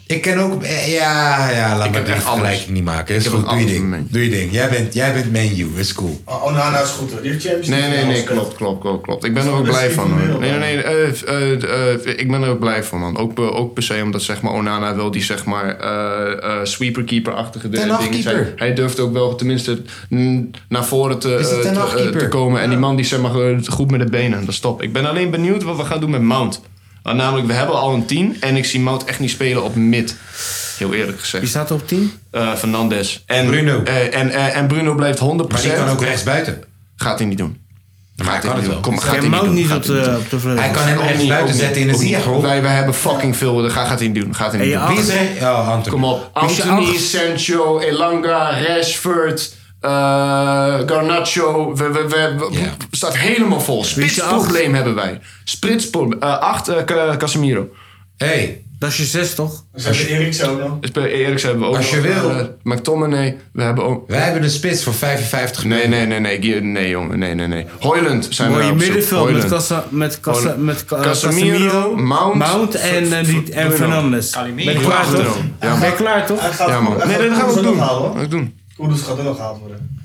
ik ken ook... eh, ja, ja, laat Ik me heb die echt alles. vergelijking niet maken. Ik Is heb goed, ook doe je alles ding. Doe je ding. Jij bent, jij bent Man U, is cool. Oh, oh, nou, nou is goed hoor. Die heeft Champions Nee, League nee, nee, gespeeld. klopt, klopt, klopt, klopt. Ik ben er ook Best blij van. informeel, hoor. Nee, nee, man. nee, eh, eh, eh, ik ben er ook blij van, man. Ook, per- ook per se omdat zeg maar, Onana wel die zeg maar, eh, eh, sweeper-keeper-achtige Ten dingen Hag zijn. keeper. Hij durft ook wel tenminste mm, naar voren te, Is het eh, Ten te, Hag eh, keeper? te komen. En die man die zeg maar, eh, goed met de benen. Dat is top. Ik ben alleen benieuwd wat we gaan doen met Mount. Want namelijk, we hebben al een 10 en ik zie Mount echt niet spelen op mid. Heel eerlijk gezegd. Wie staat er op 10? Fernandes. En Bruno. en, eh, en Bruno blijft 100%. Maar die kan ook rechtsbuiten. Gaat hij niet doen. Maar hij Gaat kan het niet wel. doen. Kom, Hij gaat hij kan niet hem doen. ook niet Gaat op hij de- doen. op de vleugel. Hij kan hem Ook echt niet, buiten ook zetten niet, in de ook niet. diagonal. Wij, wij hebben fucking veel. Dat gaat gaat hij niet doen. Gaat hij niet En je doen. achter- Wie is er? Ja, Anthony. Kom op. Wie is je Anthony, achter- Sancho, Elanga, Rashford, eh, Garnacho. We, we, we, we- staat helemaal vol. Spitsprobleem hebben wij. Spitsprobleem. eh acht, eh, Ca- Casemiro. Hé. Hey. Dat is je zes, toch? Dat is Eriksen ook nog. Dus bij Eriksen hebben we ook Als je nog, wil. eh, McTominay, we hebben ook... Wij hebben een spits voor 55 Nee, nee, nee, nee, nee, nee jongen, nee, nee, nee. Hoyland zijn we Mooi op zoek. middenveld met, Hoyland. Casa, met, Casa, Hoyland. met Ca- Casemiro, Mount, en, eh, die, en Bruno. Fernandes. Ben Calimero. je klaar, Bruno. toch? Ja, Ben je man. klaar, toch? Hij gaat- Ja, man. hij Nee, gaat dat gaan we Koeders doen. nog halen, hoor. Ga ik doen. Koeders gaat er nog gehaald worden.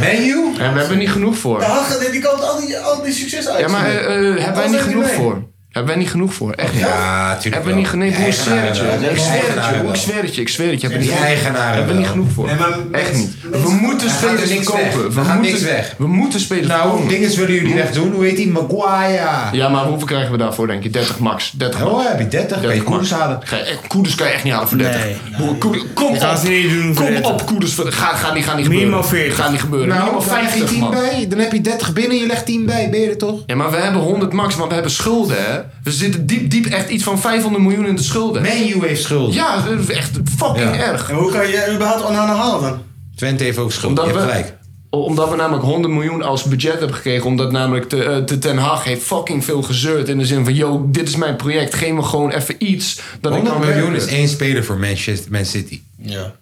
Ben je? En we hebben niet genoeg voor. Ja, hij gaat- die kan al die, al die succes uit. Ja, maar eh, eh, hebben wij niet genoeg voor? Hebben wij niet genoeg voor? Echt niet. Ja, tuurlijk Hebben we niet wel. genoeg Die voor? Ik zweer het je. eigenaren wel. Ik zweer het Die je. eigenaren Ik zweer het je. Ik zweer het je. Hebben we Die niet genoeg- eigenaren Hebben we niet wel. genoeg voor? Echt niet. We moeten Hij gaat er spelers niks weg. verkopen. We gaan moeten- niks weg. We moeten spelers Nou, verkopen. dinges willen jullie weg doen. Hoe heet die? Maguire. Ja, maar hoeveel krijgen we daarvoor, denk je? 30 max. 30 Oh, max. heb je 30? Kan je koers halen? Ga je echt- Koeders kan je echt niet halen voor 30. Broer, Koeders- kom op. Gaan ze niet doen voor Kom 30. op, Koeders. voor- Ga, ga, niet, ga niet gebeuren. Minimaal 40. Ga niet gebeuren. Nou, Minimaal dan leg je 50, 10 man. bij. Dan heb je 30 binnen, je legt 10 bij. Ben je er toch? Ja, maar we hebben 100 max, maar we hebben schulden, hè? We zitten diep, diep echt iets van 500 miljoen in de schulden. Man U heeft schulden. Ja, dat is echt fucking Ja. erg. En hoe kan je überhaupt Onana halen dan? Twente heeft ook schuld. Omdat je hebt we- gelijk. O- Omdat we namelijk 100 miljoen als budget hebben gekregen. Omdat namelijk de, eh, de Ten Hag heeft fucking veel gezeurd. In de zin van, yo, dit is mijn project. Geef me gewoon even iets. Dat ik 100 kan miljoen werken. is één speler voor Manchester Man City. Ja.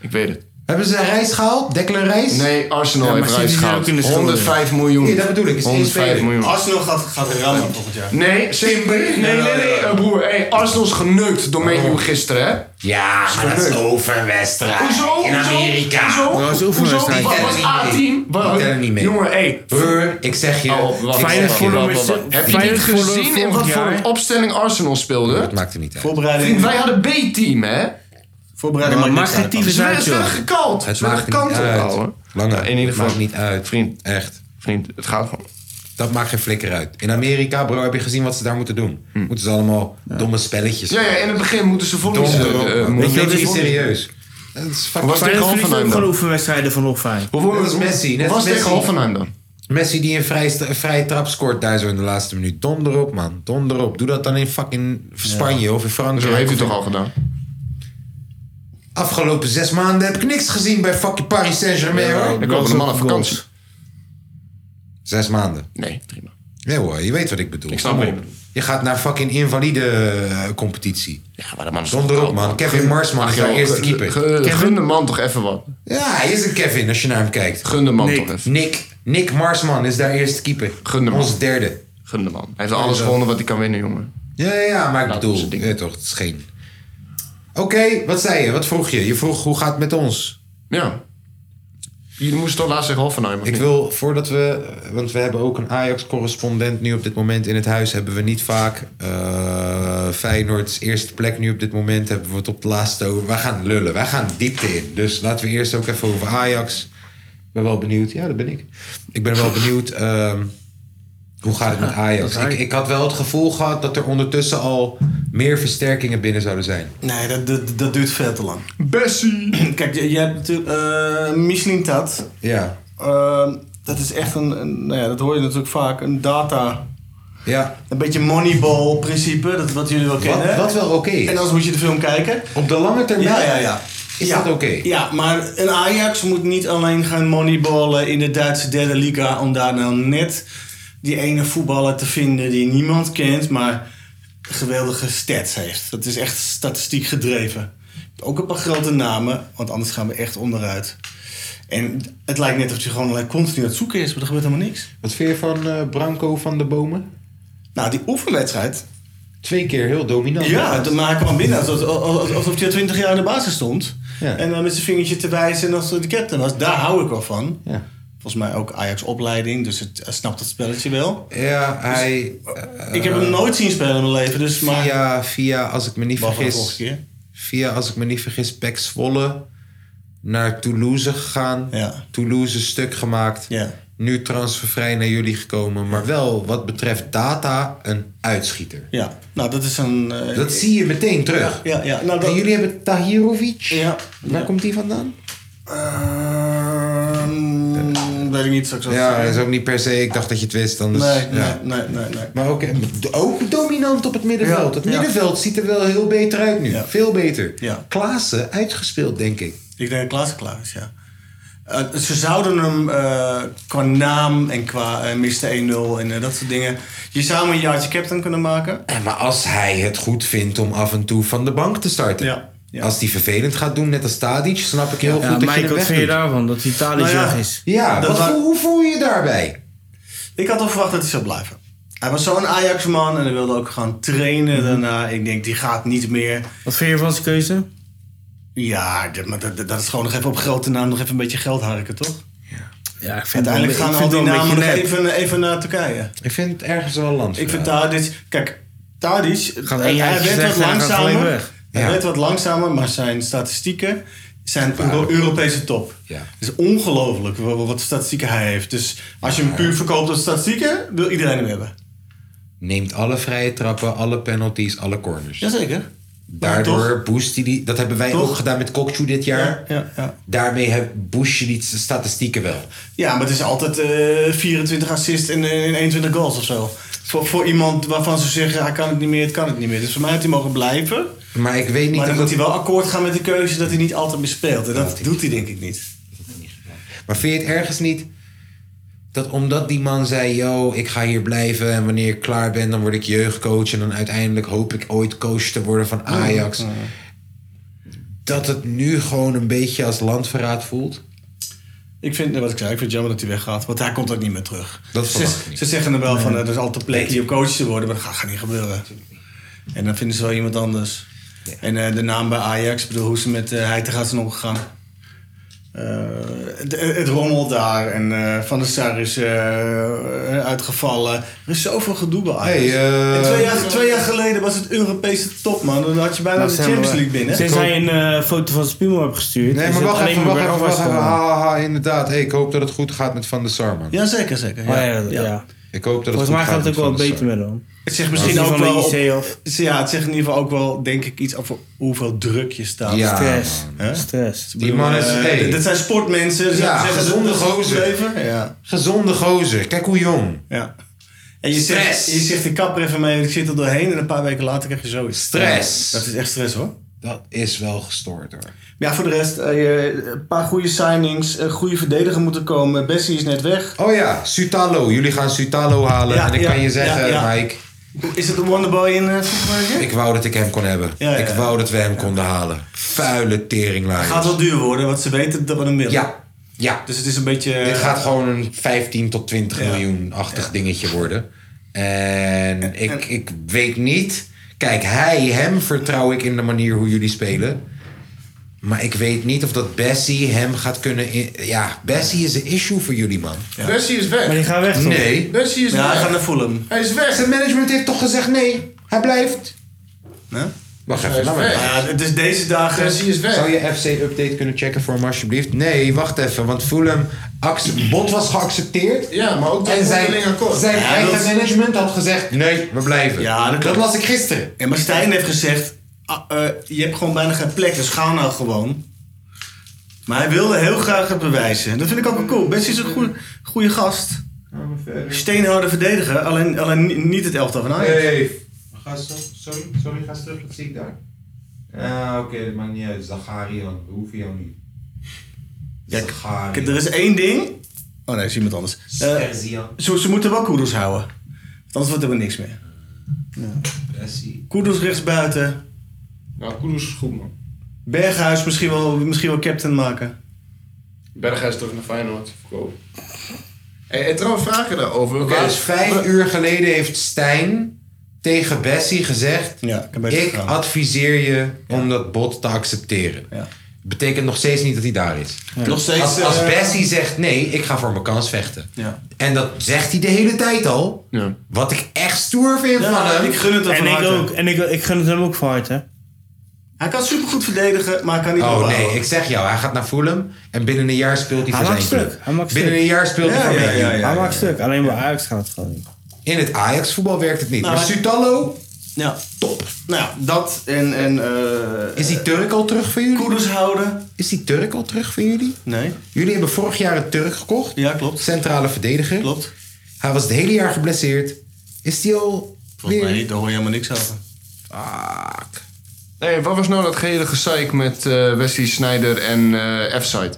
Ik weet het. Hebben ze Reis gehaald? Declan Reis? Nee, Arsenal Ja, maar heeft City Reis zit ook gehaald. in de schulden. 105 miljoen. Nee, dat bedoel ik. Het is één speler. miljoen. Arsenal gaat, gaat rammen volgend jaar. Nee, Timber. Nee, nee, nee, eh, broer. Hey, Arsenal is geneukt door Man U gisteren, hè? Oh. Ja, maar dat is overwedstrijd. Hoezo? In Hoezo? Amerika. Hoezo? Dat was een Hoezo? oefenwedstrijd. Wat was A-team? Die tellen niet mee. Jongen, hé. Broer, ik zeg je. Oh, wacht, Feyenoord wacht, verloor wacht, met wacht, z'n- wacht. Heb je Feyenoord dit verloor gezien in vorig wat voor jaar? een opstelling Arsenal speelde? Dat maakt er niet uit. Voorbereiding. Vriend, wij hadden B-team, hè? Voorbereiding Maar maakt geen tyfus uit, Ze werden joh. gekald. Het Ze werden maakt niet gekant uit. houden. Lange, In ieder geval. maakt niet uit. Vriend. Echt. Vriend, het gaat gewoon. Dat maakt geen flikker uit. In Amerika, bro, heb je gezien wat ze daar moeten doen? Moeten ze allemaal domme spelletjes. Hm. Ja, ja, in het begin moeten ze volgens Donder eh, op, eh, man. moeten- Weet je, dat is moeten- serieus. Dat is fucking Was tegen Feyenoord verliest ook Hoffenheim gewoon dan? oefenwedstrijden van Hoffenheim. Hoeveel Net als Messi. Net was als Messi. tegen Hoffenheim dan? Messi die een vrije, st- een vrije trap scoort daar zo in de laatste minuut. Donder op, man. Donder op. Doe dat dan in fucking Spanje of in Frankrijk. Zo heeft hij Of in- toch al gedaan? Afgelopen zes maanden heb ik niks gezien bij fucking Paris Saint-Germain, Ja, hoor. daar komen de mannen op vakantie. Zes maanden. Nee, prima. Nee hoor, je weet wat ik bedoel. Ik snap Kom wat je op. Je gaat naar fucking invalide eh, competitie. Ja, maar dat man Donder op, man. Kevin Marsman Ach, is jouw joh, eerste ge- keeper. ge- Gun de man toch even wat. Ja, hij is een Kevin als je naar hem kijkt. Gun de man Nick, toch even. Nick, Nick Marsman is daar eerste keeper. Gunderman. Onze derde. Gunderman. Hij heeft alles gewonnen wat hij kan winnen, jongen. Ja, ja, ja, maar ik Laat bedoel, ja, toch, het is geen... Oké, wat zei je? Wat vroeg je? Je vroeg hoe gaat het met ons? Ja. Jullie moesten toch laatst zeggen Hoffenheim? of Ik niet? wil, voordat we... Want we hebben ook een Ajax-correspondent nu op dit moment in het huis. Hebben we niet vaak. eh Feyenoord's eerste plek nu op dit moment. Hebben we het op het laatste over. Wij gaan lullen. Wij gaan diepte in. Dus laten we eerst ook even over Ajax. Ik ben wel benieuwd. Ja, dat ben ik. Ik ben wel benieuwd... ehm, hoe gaat het met dat Ajax? is Ik, Ajax. ik had wel het gevoel gehad dat er ondertussen al meer versterkingen binnen zouden zijn. Nee, dat, dat, dat duurt veel te lang. Bessie! Kijk, je, je hebt natuurlijk eh Michelin Tat. Ja. Ehm, dat is echt een, een- nou ja, dat hoor je natuurlijk vaak, een data. Ja. Een beetje moneyball principe, dat, wat jullie wel kennen. wat wel oké is. En anders moet je de film kijken. Op de lange termijn Ja, ja, ja. is Ja. dat oké? Ja, maar een Ajax moet niet alleen gaan moneyballen in de Duitse derde liga om daar nou net die ene voetballer te vinden die niemand kent, maar geweldige stats heeft. Dat is echt statistiek gedreven. Ook een paar grote namen, want anders gaan we echt onderuit. En het lijkt net of je gewoon alleen continu aan het zoeken is, maar er gebeurt helemaal niks. Wat vind je van eh, Branco van de Bomen? Nou, die oefenwedstrijd. Twee keer heel dominant. Ja, dan maak hem binnen alsof, alsof, alsof hij al twintig jaar in de basis stond. Ja. En dan met zijn vingertje te wijzen en als de captain was. Daar hou ik wel van. Ja. Volgens mij ook Ajax-opleiding, dus het, hij snapt het spelletje wel. Ja, hij... Dus eh, ik heb hem nooit zien spelen in mijn leven, dus maar... Via, via als ik me niet Behalve de vergis... vorige keer. Via, als ik me niet vergis, Pek Zwolle naar Toulouse gegaan. Toulouse stuk gemaakt. Nu transfervrij naar jullie gekomen. Maar wel, wat betreft data, een uitschieter. Ja, nou dat is een... eh, Dat zie je meteen terug. Ja, ja, nou, En jullie hebben Tahirovic. Ja. Waar komt die vandaan? Ehm, weet ik niet. Straks ja, dat is ook niet per se. Ik dacht dat je het wist. Anders, Nee, ja. nee, nee, nee, nee. Maar ook, ook dominant op het middenveld. het Ja, ja. middenveld ziet er wel heel beter uit nu. Veel beter. Ja. Klaassen uitgespeeld, denk ik. Ik denk dat Klaassen klaar is, ja. Eh, ze zouden hem eh, qua naam en qua eh Mr. 1-0 en eh, dat soort dingen... Je zou hem een jaartje captain kunnen maken. En Eh, maar als hij het goed vindt om af en toe van de bank te starten. Als die vervelend gaat doen, net als Tadic, snap ik heel Ja, goed dat Mike, je wat hem vind je wegdoet. daarvan? Dat die Tadic Nou ja. weg is? Ja, Dat wat wa- voel- hoe voel je je daarbij? Ik had al verwacht dat hij zou blijven. Hij was zo'n Ajax-man en hij wilde ook gaan Mhm. trainen daarna. Ik denk, die gaat niet meer. Wat vind je van zijn keuze? Ja, dat, maar dat, dat is gewoon nog even op grote naam nog even een beetje geld harken, toch? Ja, ik vind Uiteindelijk het gaan wel- ik al vind het wel die een namen nog beetje nep. even, even naar Turkije. Ik vind het ergens wel land. Ik vind Tadic... Kijk, Tadic... eh, Gaat hij één hij jaartje werd wat slechter en gaat langzamer. gelijk weg. Hij Ja. werd wat langzamer, maar zijn statistieken zijn door Europese top. Ja. Het is ongelooflijk wa- wat statistieken hij heeft. Dus als je hem puur verkoopt als statistieken, wil iedereen hem hebben. Neemt alle vrije trappen, alle penalties, alle corners. Jazeker. Daardoor boost hij die. Dat hebben wij Toch? ook gedaan met Kokchu dit jaar. Ja, ja. Daarmee heb- boost je die statistieken wel. Ja, maar het is altijd eh, 24 assists en, eh, 21 goals of zo. Voor, voor iemand waarvan ze zeggen, hij kan het niet meer, het kan het niet meer. Dus voor mij had hij mogen blijven. Maar ik weet niet Maar dan of moet dat- hij wel akkoord gaan met de keuze dat hij niet altijd meer speelt. En dat doet hij denk ik niet. Maar vind je het ergens niet dat omdat die man zei: Yo, ik ga hier blijven en wanneer ik klaar ben, dan word ik jeugdcoach en dan uiteindelijk hoop ik ooit coach te worden van Ajax. Mm, mm. Dat het nu gewoon een beetje als landverraad voelt? Ik vind, eh, wat ik zei, ik vind het jammer dat hij weggaat. Want hij komt ook niet meer terug. Dat ze, verwacht ik niet. ze zeggen er wel van, Nee. eh, er is altijd plek hier om coach te worden. Maar dat gaat, gaat niet gebeuren. En dan vinden ze wel iemand anders. En eh, de naam bij Ajax, ik bedoel, hoe ze met uh, Heitinga zijn omgegaan. Eh, het, het rommelt daar. En eh, Van der Sar is eh, uitgevallen. Er is zoveel gedoe bij Ajax. Hey, eh, En twee, jaar, twee jaar geleden was het Europese top, man. Dan had je bijna Nou, de zijn we- Champions League binnen. Sinds hij een eh, foto van Spimo hebt gestuurd. Nee, is maar het wacht alleen even, maar wacht even, bergafwaarts wacht even. gegaan. Ha, ha, ha, inderdaad. Hey, ik hoop dat het goed gaat met Van der Sar, man. Ja, zeker, zeker. Oh, ja, ja. Ik hoop dat het Volgens mij goed gaat het ook wel met Van der beter Sar. met hem. Het zegt misschien Van ook de wel. JC op- of- ja, het zegt in ieder geval ook wel, denk ik, iets over hoeveel druk je staat. Ja, Stress. Hè? Stress. Ik bedoel, eh, d- Dat zijn sportmensen. ze Ja, zeggen, gezonde dat is goed gozer. leven, Ja. Gezonde gozer. Kijk hoe jong. Ja. En je zegt, je zegt, ik kap er even mee, ik zit er doorheen en een paar weken later krijg je zoiets. Stress. Ja, dat is echt stress hoor. Dat is wel gestoord hoor. Maar Ja, voor de rest, eh, je- een paar goede signings, een goede verdediger moeten komen. Bessie is net weg. Oh ja, Sutalo. Jullie gaan Sutalo halen. Ja, en ik ja, kan je zeggen, ja, ja. Mike, Is het een wonderboy in eh, voetbal? hè? ik wou dat ik hem kon hebben. Ja, ja, Ik ja. wou dat we hem konden halen. Vuile teringlaaiers. Gaat wel duur worden, want ze weten dat we hem willen. Ja. Ja. Dus het is een beetje... Dit gaat gewoon een 15 tot 20 miljoen-achtig dingetje worden. En ik, ik weet niet... Kijk, hij, hem vertrouw ik in de manier hoe jullie spelen. Maar ik weet niet of dat Bessie hem gaat kunnen... in- ja, Bessie is een issue voor jullie, man. Bessie is weg. Maar die gaan weg, toch? Nee. Bessie is Ja, weg. hij gaat naar Fulham. Hij is weg. Zijn management heeft toch gezegd nee. Hij blijft. Wacht Hij even, is laat maar. weg. even. Ja, het is deze dagen- Bessie is weg. Zou je FC-update kunnen checken voor hem alsjeblieft? Nee, wacht even. Want Fulham... acce- Bot was geaccepteerd. Ja, maar ook dat En zijn, onderling akkoord. zijn Ja, eigen dat is- management had gezegd... Nee, we blijven. Ja, dat, klopt. las ik gisteren. Ja, maar Stijn heeft gezegd, ah, eh, je hebt gewoon bijna geen plek, dus ga nou gewoon. Maar hij wilde heel graag het bewijzen. Dat vind ik ook wel cool. Bessie is een goede, goede gast. Steenhouder verdediger, alleen, alleen ni- niet het elftal van Ajax. Nee. Ga zo- Sorry, sorry, ga eens terug. Wat zie ik daar? Ah, oké, dat maakt niet uit. Zagarian, we hoeven jou niet. Kijk, kijk, er is één ding. Oh nee, is iemand anders. Eh, Serzian. ze, ze moeten wel koeders houden. Want anders wordt er weer niks meer. Koeders rechtsbuiten. Nou, Koeders is goed, man. Berghuis misschien wel, misschien wel captain maken. Berghuis terug naar Feyenoord. Verkoop. Hey, en trouwens, vragen daarover. Oké, dus vijf uur geleden heeft Stijn tegen Bessie gezegd... ik, adviseer je om dat bot te accepteren. Betekent nog steeds niet dat hij daar is. Ja. Nog steeds, als, als eh, Bessie zegt nee, ik ga voor mijn kans vechten. Ja. En dat zegt hij de hele tijd al. Wat ik echt stoer vind van hem. en ik Ook, en ik, ik gun het hem ook van harte. Hij kan supergoed verdedigen, maar hij kan niet Oh opbouwen. nee, ik zeg jou, hij gaat naar Fulham en binnen een jaar speelt hij Hij voor maakt zijn club. stuk. Hij maakt binnen stuk. een jaar speelt hij Ja, voor ja, Man U. ja, ja, Hij maakt stuk. Alleen bij Ajax gaat het gewoon niet. In het Ajax voetbal werkt het niet. Nou, Nou, maar Sutallo? Ja. Top. Nou ja, dat en... en is die Turk al terug voor jullie? Koeders houden. Is die Turk al terug voor jullie? Nee. Jullie hebben vorig jaar een Turk gekocht. Ja, klopt. Centrale verdediger. Klopt. Hij was het hele jaar geblesseerd. Is die al Volgens weer- mij niet, daar hoor je helemaal niks over. Hey, wat was nou dat gehele gezeik met eh Wesley Snyder en eh F-Side?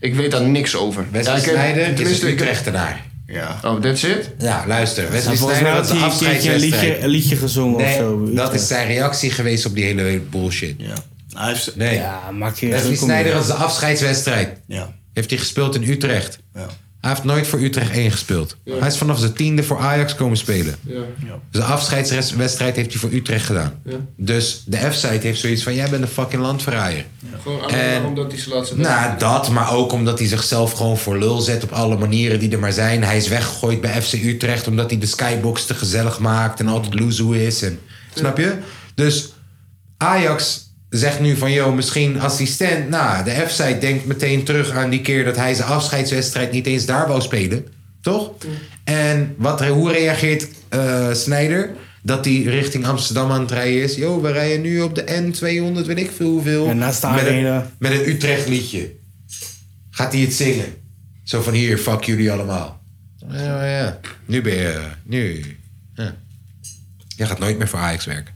Ik weet daar niks over. Wesley ik heb- Sneijder is tenminste, een ik heb- Utrechtenaar. Ja. Oh, that's it? Ja, luister. Nou, Wesley volgens Sneijder mij had had een hij een keertje een afscheidswedstrijd. liedje- een liedje gezongen of Nee, zo, eh. bij Dat Utrecht. is zijn reactie geweest op die hele bullshit. Ja. Hij heeft... Nee. Ja, maakt je Wesley druk om Sneijder je. was de afscheidswedstrijd. Ja. Heeft hij gespeeld in Utrecht. Ja. Hij heeft nooit voor Utrecht 1 gespeeld. Ja. Hij is vanaf zijn tiende voor Ajax komen spelen. Ja. Ja. Dus de afscheidswedstrijd heeft hij voor Utrecht gedaan. Ja. Dus de F-site heeft zoiets van... jij bent een fucking landverraaier. Gewoon En- alleen maar omdat hij zijn laatste Nou, dat, maar ook omdat hij zichzelf gewoon voor lul zet op alle manieren die er maar zijn. Hij is weggegooid bij FC Utrecht omdat hij de skybox te gezellig maakt en altijd loezoe is. En, Snap je? Dus Ajax zegt nu van, yo, misschien assistent. Nou, de F-site denkt meteen terug aan die keer dat hij zijn afscheidswedstrijd niet eens daar wou spelen. Toch? En wat, hoe reageert eh Snijder? Dat hij richting Amsterdam aan het rijden is. Yo, we rijden nu op de N200, weet ik veel hoeveel. En naast de met, een, arena. met een Utrecht liedje. Gaat hij het zingen? Zo van hier, fuck jullie allemaal. Ja, Oh, ja. Nu ben je... Nu... Ja. Jij gaat nooit meer voor Ajax werken.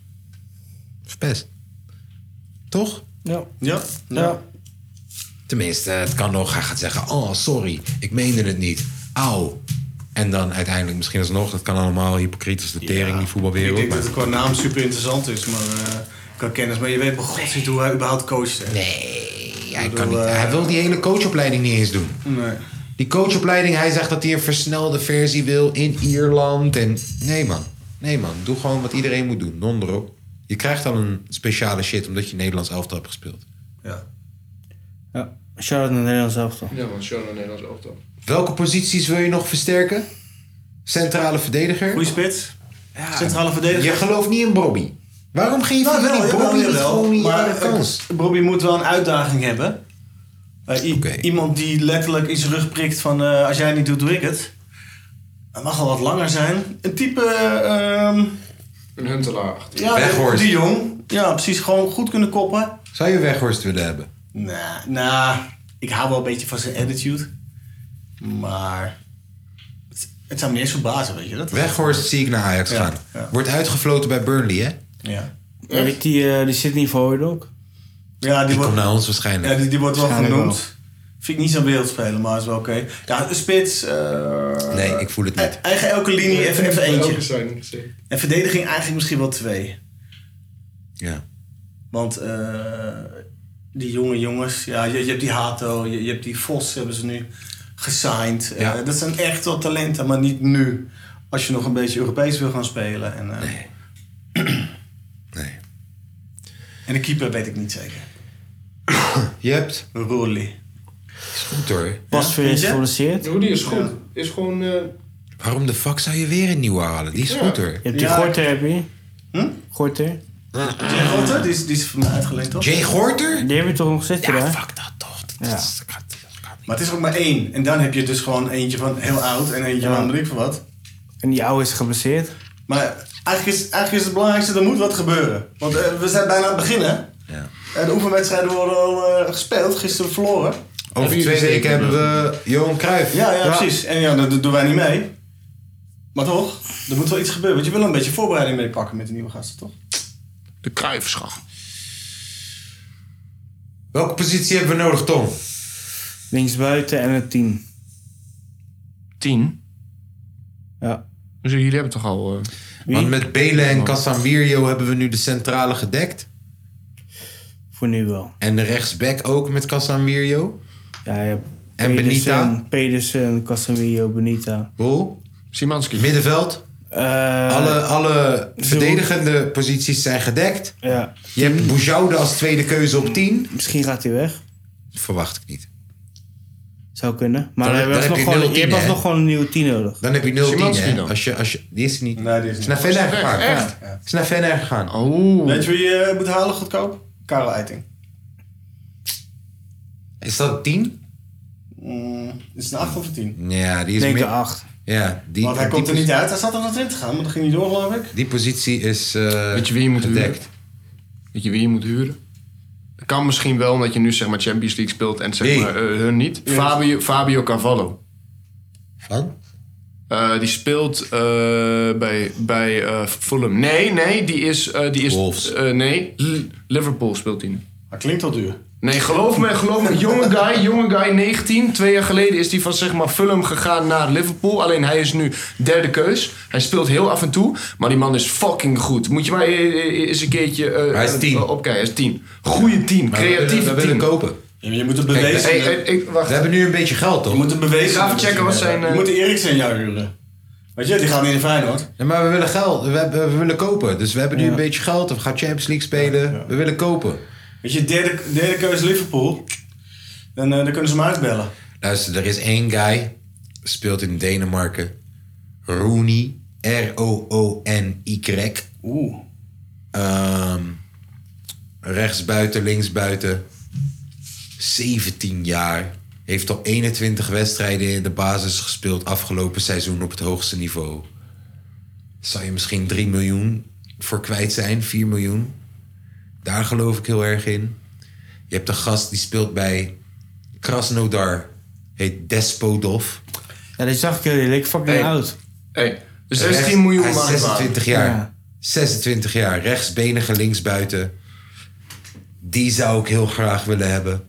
Verpest. Toch? Ja. Ja. ja. Tenminste, het kan nog. Hij gaat zeggen, oh, sorry, ik meende het niet. Auw. En dan uiteindelijk misschien alsnog. Dat kan allemaal hypocriet als de tering, die Ik voetbalwereld. denk dat maar- het qua naam super interessant is, maar eh, qua kennis. Maar je weet bij god niet hoe hij überhaupt coacht. Hè. Nee, hij kan niet. eh, Hij wil die hele coachopleiding niet eens doen. Nee. Die coachopleiding, hij zegt dat hij een versnelde versie wil in Ierland. En nee man, nee man. Doe gewoon wat iedereen moet doen. Donder op. Je krijgt al een speciale shit omdat je Nederlands elftal hebt gespeeld. Ja. Shout-out naar Nederland zelf toch. Ja, man, show naar Nederlands elftal. Welke posities wil je nog versterken? Centrale verdediger. Goeie spits. Centrale verdediger. Je gelooft niet in Bobby. Waarom geef je Nou, die jawel, Bobby jawel, het jawel. gewoon niet Maar, aan de eh, kans? Bobby moet wel een uitdaging hebben. Eh, i- Iemand die letterlijk in zijn rug prikt van eh, als jij het niet doet, doe ik het. Hij mag al wat langer zijn. Een type... eh, ehm, Een huntelaar. ja, Weghorst. De Jong. Ja, precies. Gewoon goed kunnen koppen. Zou je Weghorst willen hebben? Nou, nou, ik hou wel een beetje van zijn attitude. Maar het, het zou me niet eens verbazen, weet je dat? Weghorst zie ik naar Ajax Ja, gaan. Wordt uitgefloten bij Burnley, hè? Ja. Weet ik die, eh, die Sydney Void ook? Ja, die, komt naar ons waarschijnlijk. Ja, die, die wordt wel Waarschijnlijk genoemd. Vind ik niet zo'n wereldspeler, maar is wel oké. Ja, een spits. eh, Nee, ik voel het niet. Eigen elke linie even, even Elke eentje. zijn, zeker. En verdediging eigenlijk misschien wel twee. Ja. Want eh, die jonge jongens, ja, je, je hebt die Hato, je, je hebt die Vos hebben ze nu gesigned. Eh, Ja. dat zijn echt wel talenten, maar niet nu. Als je nog een beetje Europees wil gaan spelen. En, eh, nee. nee. En de keeper weet ik niet zeker. Je hebt... Rolly. Is goed hoor. Pas voor je is geproduceerd. Hoe die is goed. Is gewoon... eh, Waarom de fuck zou je weer een nieuwe halen? Die is Ja. goed hoor. Je hebt die Gorter, heb je? Hm? Gorter? Jay Gorter? Die is, die is van mij uitgeleend, toch? Jay Gorter? Die hebben we toch nog zitten, Ja, fuck dat toch. Maar het is ook maar één. En dan heb je dus gewoon eentje van heel oud en eentje van weet ik veel wat. En die oude is geblesseerd. Maar eigenlijk is, eigenlijk is het belangrijkste, er moet wat gebeuren. Want eh, we zijn bijna aan het begin, hè? Eh, de oefenwedstrijden worden al eh, gespeeld, gisteren verloren. Over twee weken hebben we Johan Cruijff. Ja, ja, Ja. precies. En ja, dat dat doen wij niet mee. Maar toch, er moet wel iets gebeuren. Want je wil een beetje voorbereiding meepakken met de nieuwe gasten, toch? De Cruijffschap. Welke positie hebben we nodig, Tom? Linksbuiten en een 10. 10? Ja. Dus jullie hebben toch al... eh, Want met Belen en Casambirio hebben we nu de centrale gedekt. Voor nu wel. En de rechtsback ook met Casambirio. Ja, je hebt En Benita. Pedersen, Casemiro, Benita. Eh, Bol. Simanski. Middenveld. alle alle Ze- verdedigende posities zijn gedekt. Ja. Je hebt Boujoude als tweede keuze op 10. Misschien gaat hij weg. Verwacht ik niet. Zou kunnen. Maar Dan- we hebben dan heb alsnog je gewoon- nul je hebt tien, hè? alsnog gewoon een nieuwe 10 nodig. Dan heb je 0 Szymanski 10 dan? Als je, als je, die is er niet. Nee, die is naar Venlo Is weg, gegaan. echt? Ja. Is naar Venlo gegaan. Oh. Weet je wie je moet halen goedkoop? Karel Eiting. Is dat 10? Mm, is het een 8 of een 10? Ja, die is Denk meer- een acht. Ja, die, Want hij die komt er posi- niet uit. Hij zat er naar 20 gaan, maar dat ging niet door, geloof ik. Die positie is eh Weet je wie je moet gedekt. huren? Weet je wie je moet huren? Dat kan misschien wel, omdat je nu zeg maar Champions League speelt en zeg Wie? maar eh, hun niet. Fabio, Fabio Carvalho. Van? die speelt eh, bij, bij eh, Fulham. Nee, nee, die is... eh, die is eh, nee, L- Liverpool speelt die nu. Dat klinkt al duur. Nee, geloof me, geloof me. Jonge guy, jonge guy, 19. Twee jaar geleden is hij van zeg maar Fulham gegaan naar Liverpool. Alleen hij is nu derde keus. Hij speelt heel af en toe. Maar die man is fucking goed. Moet je maar e- e- eens een keertje eh, Hij is tien. eh, opkijken. Hij is 10. Goeie 10. Maar we willen- Creatieve we 10. willen kopen. je moet het Kijk, bewezen. hey, hey, We hebben nu een beetje geld, toch? Je moet het bewezen. Ik ga even checken wat zijn, eh, Je moet de Eriksen jou huren. Weet je, die gaat niet in Feyenoord. Ja, maar we willen geld. We, hebben- we willen kopen. Dus we hebben nu Ja. een beetje geld. We gaan Champions League spelen. We willen kopen. Weet je, derde, derde keuze Liverpool. Dan, eh, dan kunnen ze hem uitbellen. Luister, er is één guy. Speelt in Denemarken. Rooney. R-O-O-N-Y. Oeh. Ehm, rechtsbuiten, linksbuiten. 17 jaar. Heeft al 21 wedstrijden in de basis gespeeld afgelopen seizoen op het hoogste niveau. Zou je misschien 3 miljoen voor kwijt zijn, 4 miljoen. Daar geloof ik heel erg in. Je hebt een gast die speelt bij Krasnodar. Heet Despodov. Ja, dat zag ik heel eerlijk. Fucking Hey. oud. Hey, Rechts- hij is maar 26 jaar. 26 jaar. Rechtsbenige linksbuiten. Die zou ik heel graag willen hebben.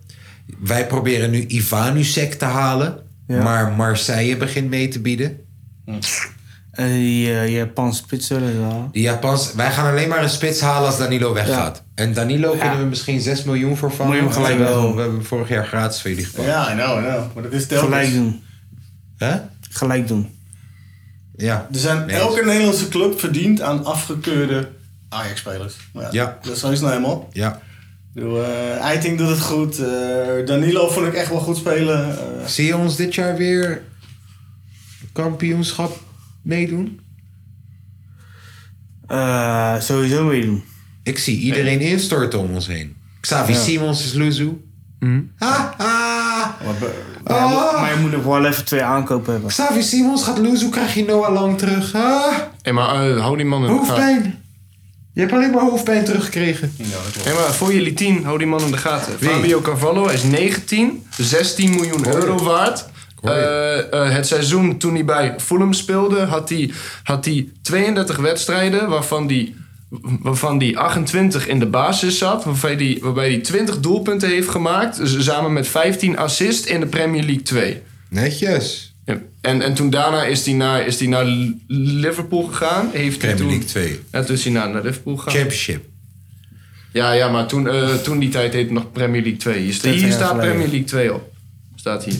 Wij proberen nu Ivanusek te halen. Ja. Maar Marseille begint mee te bieden. En die eh, Japanse spits zullen ze halen. Die Japans, wij gaan alleen maar een spits halen als Danilo weggaat. En Danilo kunnen we misschien 6 miljoen voor vangen. Moet je hem gelijk Terwijl doen. We hebben hem vorig jaar gratis voor jullie gepakt. Ja, I know, I know. Maar dat is telkens. Gelijk doen. Hè? Gelijk doen. Ja. Er zijn, Nee. elke Nederlandse club verdient aan afgekeurde Ajax-spelers. Maar Ja. Dat is nou helemaal. Ja. Ik bedoel, eh, Eiting doet het goed. eh, Danilo vond ik echt wel goed spelen. eh. Zie je ons dit jaar weer kampioenschap meedoen? Eh, sowieso meedoen. Ik zie iedereen instorten om ons heen. Xavi Ja. Simons is Luzu. Hm? Ha, ha. Maar, je moet, maar je moet nog wel even twee aankopen hebben. Xavi Simons gaat Luzu, krijg je Noah Lang terug. Ah, Hey, maar eh, hou die man in de gaten. hoofdpijn. Je hebt alleen maar hoofdpijn teruggekregen. Hey, maar voor jullie 10, hou die man in de gaten. Fabio Carvalho is 19, 16 miljoen euro waard. Eh, eh, het seizoen toen hij bij Fulham speelde, had hij, had hij 32 wedstrijden waarvan hij waarvan die 28 in de basis zat, waarbij hij waarbij die 20 doelpunten heeft gemaakt, z- samen met 15 assists in de Premier League 2. Netjes. Ja. En, en toen daarna is hij naar, is hij naar L- Liverpool gegaan. Heeft hij Premier toen, League 2. Ja, toen is hij naar, naar Liverpool gegaan. Championship. Ja, ja maar toen, eh, toen die tijd heette het nog Premier League 2. Hier, sta- hier 20 jaar staat geleden. Premier League 2 op. Staat hier.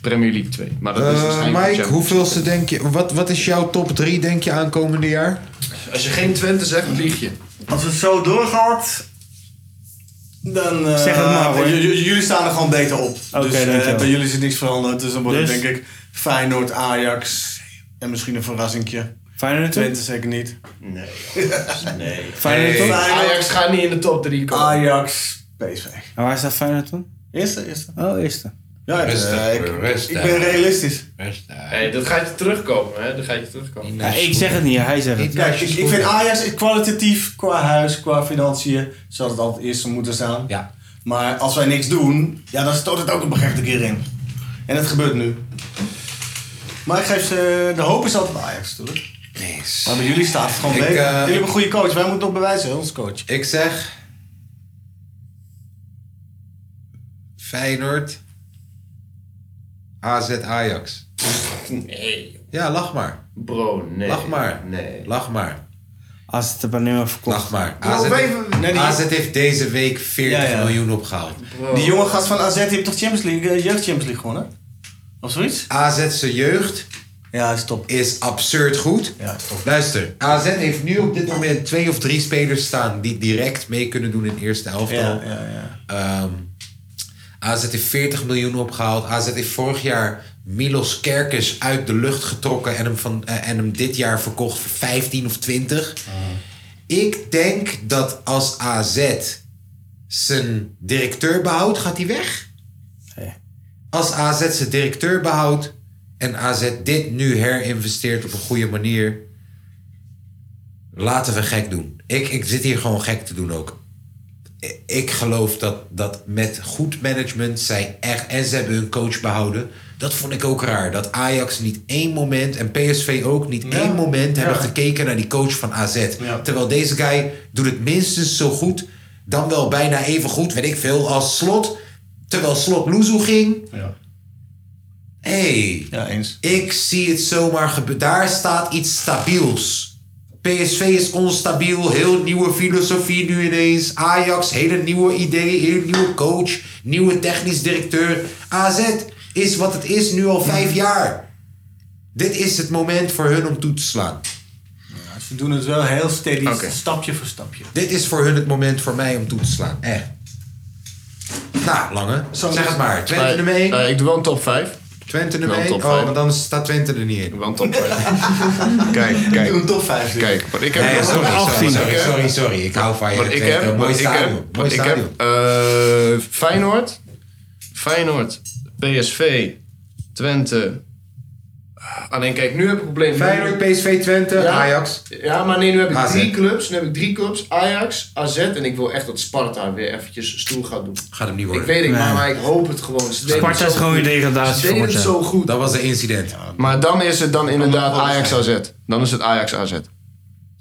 Premier League 2. Maar dat is Eh waarschijnlijk Mike, Champions hoeveelste denk je, wat, wat is jouw top 3 denk je aankomende jaar? League. Als je geen Twente zegt, lieg je. Als het zo doorgaat, Dan, eh, Zeg het maar, hoor. j- j- jullie staan er gewoon beter op. Oké, dus eh, dankjewel. bij jullie is niks veranderd. Dus dan wordt Dus? het denk ik Feyenoord, Ajax en misschien een verrassingje. Feyenoord? Twente zeker niet. Nee. nee. Feyenoord toch? Ajax gaat niet in de top 3 komen. Ajax, PSV. En waar staat Feyenoord dan? Eerste, eerste. Oh, eerste. Ja, dus, eh, ik, ik ben realistisch. Hey, dat gaat je terugkomen, hè? Dat gaat je terugkomen. Ja, ik zeg het niet, hij zegt het. Kijk, ik, ik vind Ajax kwalitatief qua huis, qua financiën, zou het altijd eerst moeten staan. Ja. Maar als wij niks doen, ja, dan stoot het ook op een gegeven keer in. En dat gebeurt nu. Maar ik geef ze, de hoop is altijd bij Ajax natuurlijk. Nee. Maar bij jullie staat het gewoon Ik, beter. eh, jullie hebben een goede coach, wij moeten nog bewijzen, hè, ons coach. Ik zeg... Feyenoord. AZ Ajax. Nee. Ja, lach maar. Bro, nee. Lach maar. Nee. Lach maar. Als het er maar nu maar verkocht. Lach maar. Bro, AZ, wij- nee, die- AZ heeft deze week 40 Ja, ja. miljoen opgehaald. Die jonge gast van AZ die heeft toch Champions League, eh, jeugd Champions League gewonnen? Of zoiets? AZ'se jeugd ja, is, top. is absurd goed. Luister, AZ heeft nu op dit moment twee of drie spelers staan die direct mee kunnen doen in de eerste elftal. Ja, ja, ja. Ehm, AZ heeft 40 miljoen opgehaald. AZ heeft vorig jaar Milos Kerkes uit de lucht getrokken en hem, van, eh, en hem dit jaar verkocht voor 15 of 20. Ah. Ik denk dat als AZ zijn directeur behoudt, gaat hij weg. Als AZ zijn directeur behoudt en AZ dit nu herinvesteert op een goede manier, laten we gek doen. Ik, ik zit hier gewoon gek te doen ook. I- Ik geloof dat, dat met goed management zij echt. En ze hebben hun coach behouden. Dat vond ik ook raar. Dat Ajax niet één moment en PSV ook niet één moment hebben gekeken naar die coach van AZ. Terwijl deze guy doet het minstens zo goed. Dan wel bijna even goed, weet ik veel, als slot. Terwijl slot Loezoe ging. hey, ik zie het zomaar gebeuren. Daar staat iets stabiels. PSV is onstabiel, heel nieuwe filosofie nu ineens. Ajax, hele nieuwe idee, hele nieuwe coach, nieuwe technisch directeur. AZ is wat het is nu al vijf jaar. Dit is het moment voor hun om toe te slaan. Ze doen het wel heel steady, stapje voor stapje. Dit is voor hun het moment voor mij om toe te slaan. Echt. Nou, Lange, zeg het maar. Twente Nee, nummer 1. nee, ik doe wel een top 5. Twente Wel nummer een 1. top Oh, vijf. want anders staat Twente er niet in. Wel een top 5. kijk, kijk. Doe een top 5. Kijk, wat ik heb... Nee, sorry, sorry, 18. sorry, sorry, sorry. Ik hou van je, Wat ik Twente. heb... Mooi Wat ik stadion, heb... mooi Wat ik heb... eh, Feyenoord. Feyenoord. PSV. Twente. Ah, Alleen kijk, nu heb ik een probleem. Feyenoord, PSV, Twente, Ajax. Ja, maar nee, nu heb ik AZ. drie clubs. Nu heb ik drie clubs. Ajax, AZ en ik wil echt dat Sparta weer eventjes stoel gaat doen. Gaat hem niet Ik worden. weet het, maar, Nee. maar ik hoop het gewoon. Ze deden Sparta het is zo gewoon goed. weer degradatie Ze deden voor het Sparta. zo goed. Dat was de incident. Maar dan is het dan inderdaad Ajax AZ. Dan is het Ajax AZ.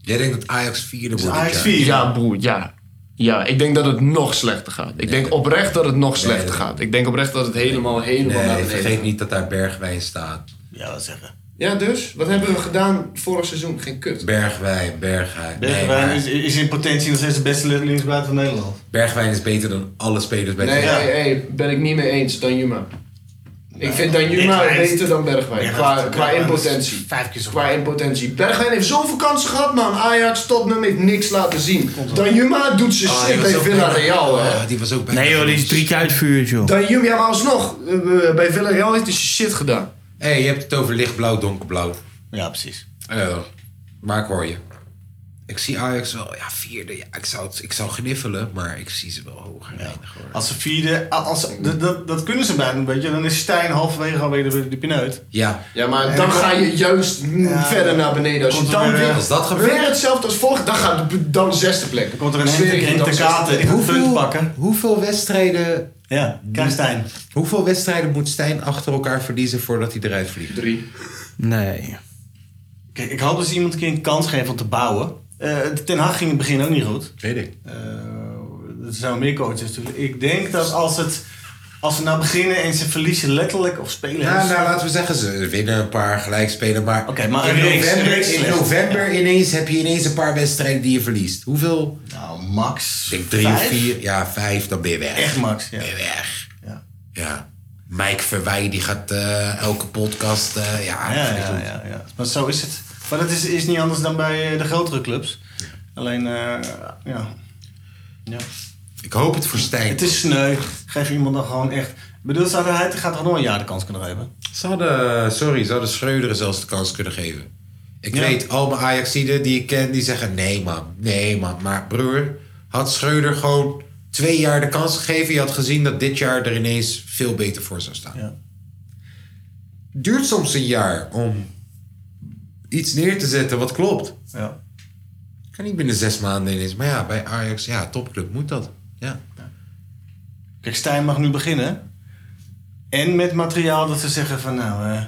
Jij denkt dat Ajax vierde wordt? Ajax dit jaar? vier? Ja, broer, ja. Ja, ik denk dat het nog slechter gaat. Ik denk oprecht dat het nog slechter gaat. Ik denk oprecht dat het helemaal, helemaal Nee, naar beneden vergeet gaat. niet dat daar Bergwijn staat. Ja, dat zeggen. Ja, dus? Wat hebben we gedaan vorig seizoen? Geen kut. Bergwijn, Bergwijn. Bergwijn Nee, is, is in potentie nog steeds de beste linksbuiten van Nederland. Bergwijn is beter dan alle spelers bij Nee, nee, Twente. nee, ben ik niet mee eens. Dan Juma. Ik vind Dan Juma Bergwijn is- beter dan Bergwijn. Ja, qua, dat- qua Bergwijn is impotentie. Qua impotentie. Bergwijn heeft zoveel kansen gehad, man. Ajax, Tottenham heeft niks laten zien. Dan Juma doet zijn Ah, die shit was bij ook Villarreal, bij- hè. die was ook Nee joh, die is drie keer uitvuurd joh. Dan Juma, ja, maar alsnog. eh, bij Villarreal heeft hij zijn shit gedaan. Hé, hey, je hebt het over lichtblauw, donkerblauw. Eh, Ja, precies. maar ik hoor je. Ik zie Ajax wel, ja, vierde. Ja, ik, zou het, ik zou gniffelen, maar ik zie ze wel hoger. eindigen, hoor. Als ze vierde, a- als, ze- dat, dat, dat kunnen ze bijna een beetje, dan is Stijn halverwege alweer de, de pineut. Ja. Ja, maar dan ga je juist mm, Ja. verder naar beneden. Als je Komt dan er weer- weer, als dat gebeurt? weer hetzelfde als vorig, dan gaat de- dan zesde plek. Dan komt er een Henk- Henk de Kater, die gaat punt pakken. Hoeveel wedstrijden... Ja, krijgt Stijn. Hoeveel wedstrijden moet Stijn achter elkaar verliezen voordat hij eruit vliegt? Drie. Nee. Kijk, ik hoop dat ze iemand een keer een kans geven om te bouwen. Eh, Ten Hag ging in het begin ook niet goed. Weet ik. er zijn wel meer coaches natuurlijk. Ik denk dat als, het, als ze nou beginnen en ze verliezen letterlijk of spelen... Nou, nou, laten we zeggen, ze winnen een paar gelijkspelen, maar, maar in, een reeks- november, een reeks in slecht. november ineens heb je ineens een paar wedstrijden die je verliest. Hoeveel? Nou, max Ik denk drie of vijf? vier. Ja, vijf, dan ben je weg. Echt max, ja. Ben je weg. Ja. Mike Verwij, die gaat eh, elke podcast... eh, ja, Ja, vind ik ja, goed. ja, ja. Maar zo is het. Maar dat is, is niet anders dan bij eh, de grotere clubs. Alleen, eh, ja. ja. Ik hoop het voor Stijn. Het is sneu. Geef iemand dan gewoon echt... Ik bedoel, zou hij hij gaat toch nog een jaar de kans kunnen hebben? Ze hadden, sorry, ze hadden Schreuder zelfs de kans kunnen geven. Ik weet, al mijn Ajaxiden die ik ken, die zeggen... Nee man, nee man. Maar broer, had Schreuder gewoon twee jaar de kans gegeven... je had gezien dat dit jaar er ineens veel beter voor zou staan. Duurt soms een jaar om iets neer te zetten wat klopt. Ja. Kan niet binnen zes maanden ineens. Maar ja, bij Ajax, ja, topclub moet dat. Ja. Kijk, Stijn mag nu beginnen. En met materiaal dat ze zeggen van nou, eh,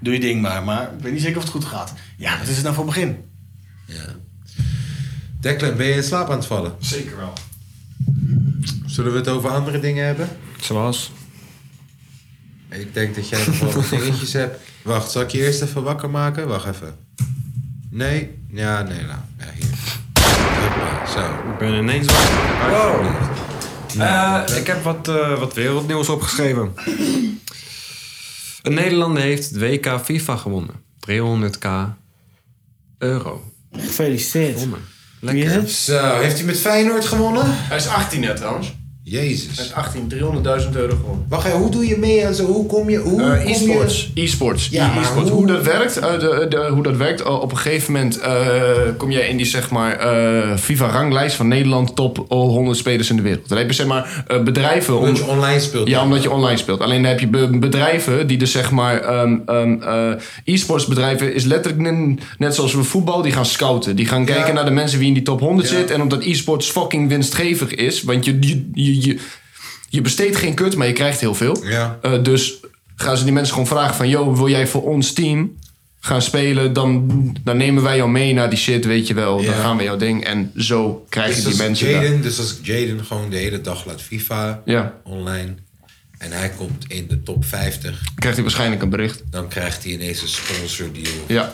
doe je ding maar. Maar ik weet niet zeker of het goed gaat. Ja, wat is het nou voor begin? Declan, ben je in slaap aan het vallen? Zeker wel. Zullen we het over andere dingen hebben? Zoals? Ik denk dat jij nog wel wat dingetjes hebt. Wacht, zal ik je eerst even wakker maken? Wacht even. Nee? Ja, nee, nou. Ja, hier. Hoppa, Zo. Ik ben ineens wakker. Wow. Eh, ik heb wat, eh, wat wereldnieuws opgeschreven. Een Nederlander heeft het WK FIFA gewonnen. 300k euro. Gefeliciteerd. Lekker. Zo, heeft hij met Feyenoord gewonnen? Hij is 18 net trouwens. Jezus. Hij is 18, 300.000 euro gewonnen. Wacht even, hoe doe je mee aan zo? Hoe kom je... Hoe Eh, kom je- e-sports. E-sports. Ja, E- maar e-sports. hoe- Hoe... dat werkt, eh, de, de- hoe dat werkt eh, op een gegeven moment eh, kom jij in die zeg maar, eh FIFA-ranglijst van Nederland top 100 spelers in de wereld. Dan heb je zeg maar, eh, bedrijven... Omdat je online speelt. Ja, omdat je online speelt. Alleen dan heb je be- bedrijven die dus zeg maar... ehm, ehm, eh, e-sports bedrijven is letterlijk nen- net zoals we voetbal, die gaan scouten. Die gaan kijken naar de mensen wie in die top 100 zit. En omdat e-sports fucking winstgevig is, want je... je, je, je je besteedt geen kut, maar je krijgt heel veel. Eh, dus gaan ze die mensen gewoon vragen van... yo, wil jij voor ons team gaan spelen? Dan, dan nemen wij jou mee naar die shit, weet je wel. Dan gaan we jouw ding. En zo krijg je dus die als mensen daar. Jaden, Dus als ik Jaden gewoon de hele dag laat FIFA Ja. online en hij komt in de top 50, Krijgt hij waarschijnlijk een bericht. dan krijgt hij ineens een sponsordeal. Ja,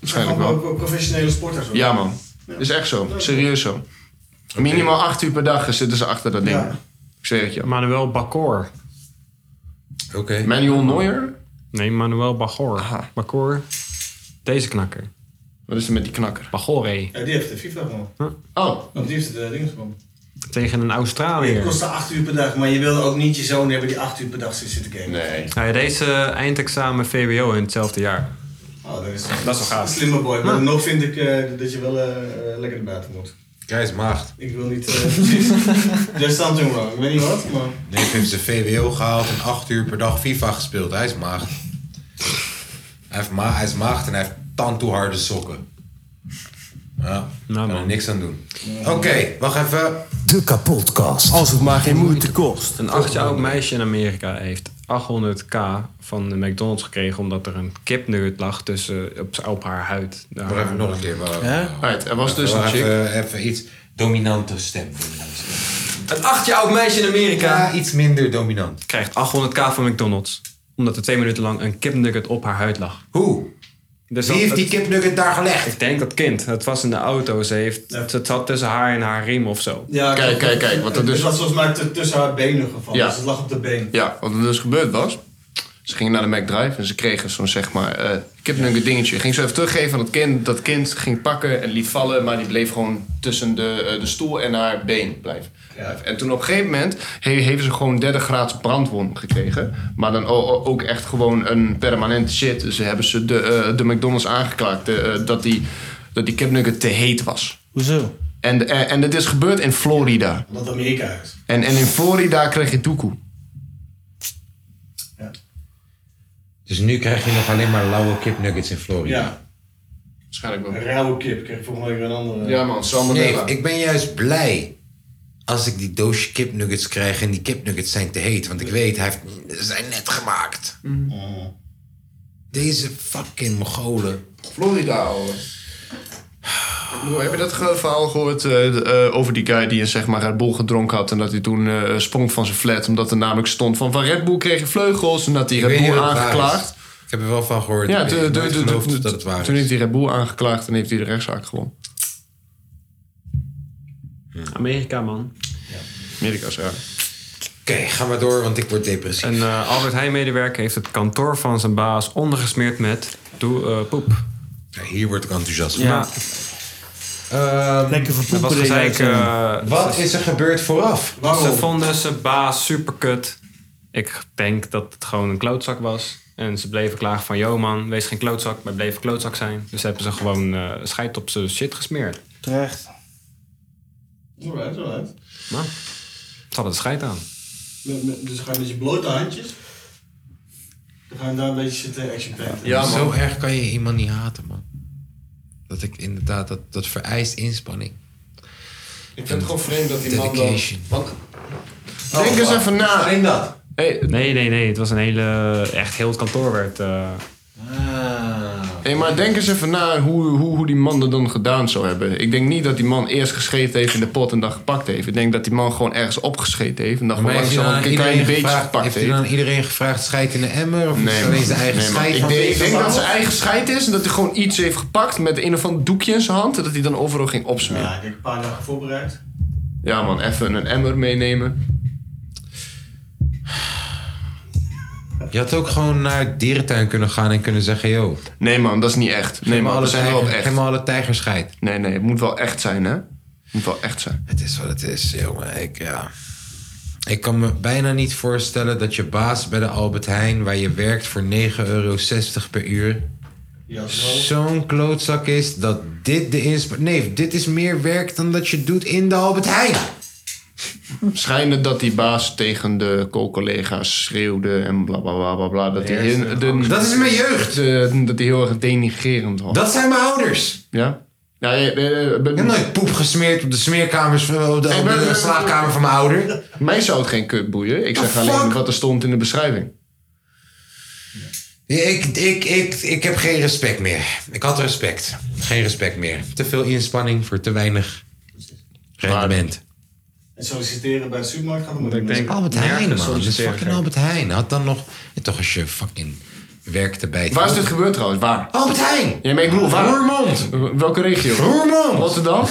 waarschijnlijk wel. Professionele sporters. hoor. Ja, man. Is echt zo. Serieus zo. Minimaal acht uur per dag zitten ze achter dat ding. Ik zweer het je. Manuel Bacor. Oké. Manuel Neuer? Nee, Manuel Bacor. Bacor. Deze knakker. Wat is er met die knakker? Bagore. Ja, die heeft de FIFA gewonnen. Oh. Die heeft de dingen gewonnen. Tegen een Het Australiër. kostte 8 uur per dag, maar je wilde ook niet je zoon hebben die 8 uur per dag zit zitten gamen. Nee. Hij deed zijn eindexamen VWO in hetzelfde jaar. Oh, dat is, Dat is wel gaaf. Slimme boy, maar Ja. nog vind ik eh, dat je wel eh, eh, lekker naar buiten moet. Hij is maagd. Ik wil niet. eh, dus precies. There's something wrong. Ik weet niet wat, maar. Nee, hij heeft zijn VWO gehaald en 8 uur per dag FIFA gespeeld. Hij is maagd. Hij, heeft ma hij is maagd en hij heeft tandtoeharde sokken. Ja, kan er niks aan doen. Oké, wacht even. De kapotkast. Als het maar geen moeite kost. Een acht jaar oud meisje in Amerika heeft 800k van de McDonald's gekregen omdat er een kipnugget lag tussen, op, op haar huid. Maar even nog een keer. waar- Right, er was dus een Wacht chick. even, even iets dominante stem. Een acht jaar oud meisje in Amerika. Ja, iets minder dominant. Krijgt 800k van McDonald's. Omdat er twee minuten lang een kipnugget op haar huid lag. Hoe? Dus Wie heeft die kipnugget daar gelegd? Ik denk dat kind. Het was in de auto. Ze heeft, Het zat tussen haar en haar riem of zo. dus- Het was volgens mij t- tussen haar benen gevallen. Ja. Dus het lag op de been. Ja, wat er dus gebeurd was. Ze gingen naar de McDrive en ze kregen zo'n zeg maar eh kipnugget dingetje. Ging ze even teruggeven aan dat kind. Dat kind ging pakken en liet vallen, maar die bleef gewoon tussen de, eh, de stoel en haar been blijven. En toen op een gegeven moment he- hebben ze gewoon derde graads brandwond gekregen. Maar dan o- o- ook echt gewoon een permanente shit. Dus hebben ze de, eh, de McDonald's aangeklaagd eh, eh, dat, die, dat die kipnugget te heet was. Hoezo? En, eh, en, en dit is gebeurd in Florida. Omdat Amerika is. En, en in Florida kreeg je toekoe. Dus nu krijg je nog alleen maar lauwe kipnuggets in Florida. Ja. Waarschijnlijk Een rauwe kip. Kijk, volgens mij weer een andere. Nee, ik ben juist blij als ik die doosje kipnuggets krijg en die kipnuggets zijn te heet. Want ik weet, hij heeft, ze zijn net gemaakt. Mhm. Deze fucking Mongolen. Florida, ouwe. Heb je dat ge- verhaal gehoord eh, d- eh, over die guy die een zeg maar Red Bull gedronken had... en dat hij toen eh, sprong van zijn flat omdat er namelijk stond van... van Red Bull kreeg je vleugels en dat hij Ik weet Red niet Bull of het waar is. aangeklaagd. Ik heb er wel van gehoord. Ja, Ik toen- weet toen- nooit toen- geloofd toen- dat het waar Toen is. heeft hij Red Bull aangeklaagd en heeft hij de rechtszaak gewonnen. Amerika, man. Amerika, ja. Oké, ga maar door, want ik word depressief. Een eh, Albert Heijn-medewerker heeft het kantoor van zijn baas ondergesmeerd met doe, eh, poep. hier word ik enthousiast Ja. Ehm, Lekker Dat was gezeik, eh, Wat ze- is er gebeurd vooraf? Ze vonden zijn baas superkut. Ik denk dat het gewoon een klootzak was. En ze bleven klagen van, yo man, wees geen klootzak, maar bleef een klootzak zijn. Dus hebben ze gewoon eh scheid op zijn shit gesmeerd. Terecht. Alright, alright. Nou, ze hadden de scheid aan. Met- met- Dus ga je met je blote handjes. Dan ga je daar een beetje zitten action painten. Zo erg kan je iemand niet haten, man. Dat ik inderdaad, dat, dat vereist inspanning. Ik vind het gewoon vreemd dat die man dan... Dedication. Want, Denk eens even na. Alleen dat. nee, nee, nee. Het was een hele... Echt heel het kantoor werd... eh, Hey, maar denk eens even na hoe, hoe, hoe die man dat dan gedaan zou hebben. Ik denk niet dat die man eerst gescheten heeft in de pot en dan gepakt heeft. Ik denk dat die man gewoon ergens opgescheten heeft en dan Maar gewoon heeft hij zo dan een aan klein iedereen beetje gevraagd, gepakt heeft hij heeft. dan aan iedereen gevraagd scheid in de emmer? Of is het alleen zijn eigen man. scheid? Ik van denk, ik deze denk dat man? zijn eigen scheid is en dat hij gewoon iets heeft gepakt met een of ander doekje in zijn hand. En dat hij dan overal ging opsmeren. Ja, ik denk een paar dagen voorbereid. Ja man, even een emmer meenemen. Je had ook gewoon naar dierentuin kunnen gaan en kunnen zeggen, joh. Nee man, dat is niet echt. Nee man, alle we zijn wel op echt. Helemaal alle tijgerscheid. Nee, nee, het moet wel echt zijn hè. Het moet wel echt zijn. Het is wat het is, jongen. Ik, ja. ik kan me bijna niet voorstellen dat je baas bij de Albert Heijn, waar je werkt voor 9,60 euro per uur, zo'n klootzak is dat dit de inspanning. Nee, dit is meer werk dan dat je doet in de Albert Heijn. Schijnen dat die baas tegen de co-collega's schreeuwde en bla bla bla bla. bla dat, hij Eerst, heel- de- Dat is mijn jeugd. de- dat hij heel erg denigrerend was. Dat zijn mijn ouders. Ja? ja je, ben... Ik heb nooit poep gesmeerd op de smeerkamers, van- op de, op de slaapkamer van mijn ouder. Mij zou het geen kut boeien. Ik The zeg alleen fuck? wat er stond in de beschrijving. Ja, Ik, ik, ik, ik heb geen respect meer. Ik had respect. Geen respect meer. Te veel inspanning voor te weinig rendement. En solliciteren bij de supermarkt gaat Ik denk Albert Heijn, man. Dat is fucking Albert Heijn. Had dan nog... Ja, toch als je fucking werkte bij... Waar is dit gebeurd trouwens? Waar? Albert Heijn! Ja, maar ik bedoel, waar? Roermond! Welke regio? Roermond! Rotterdam?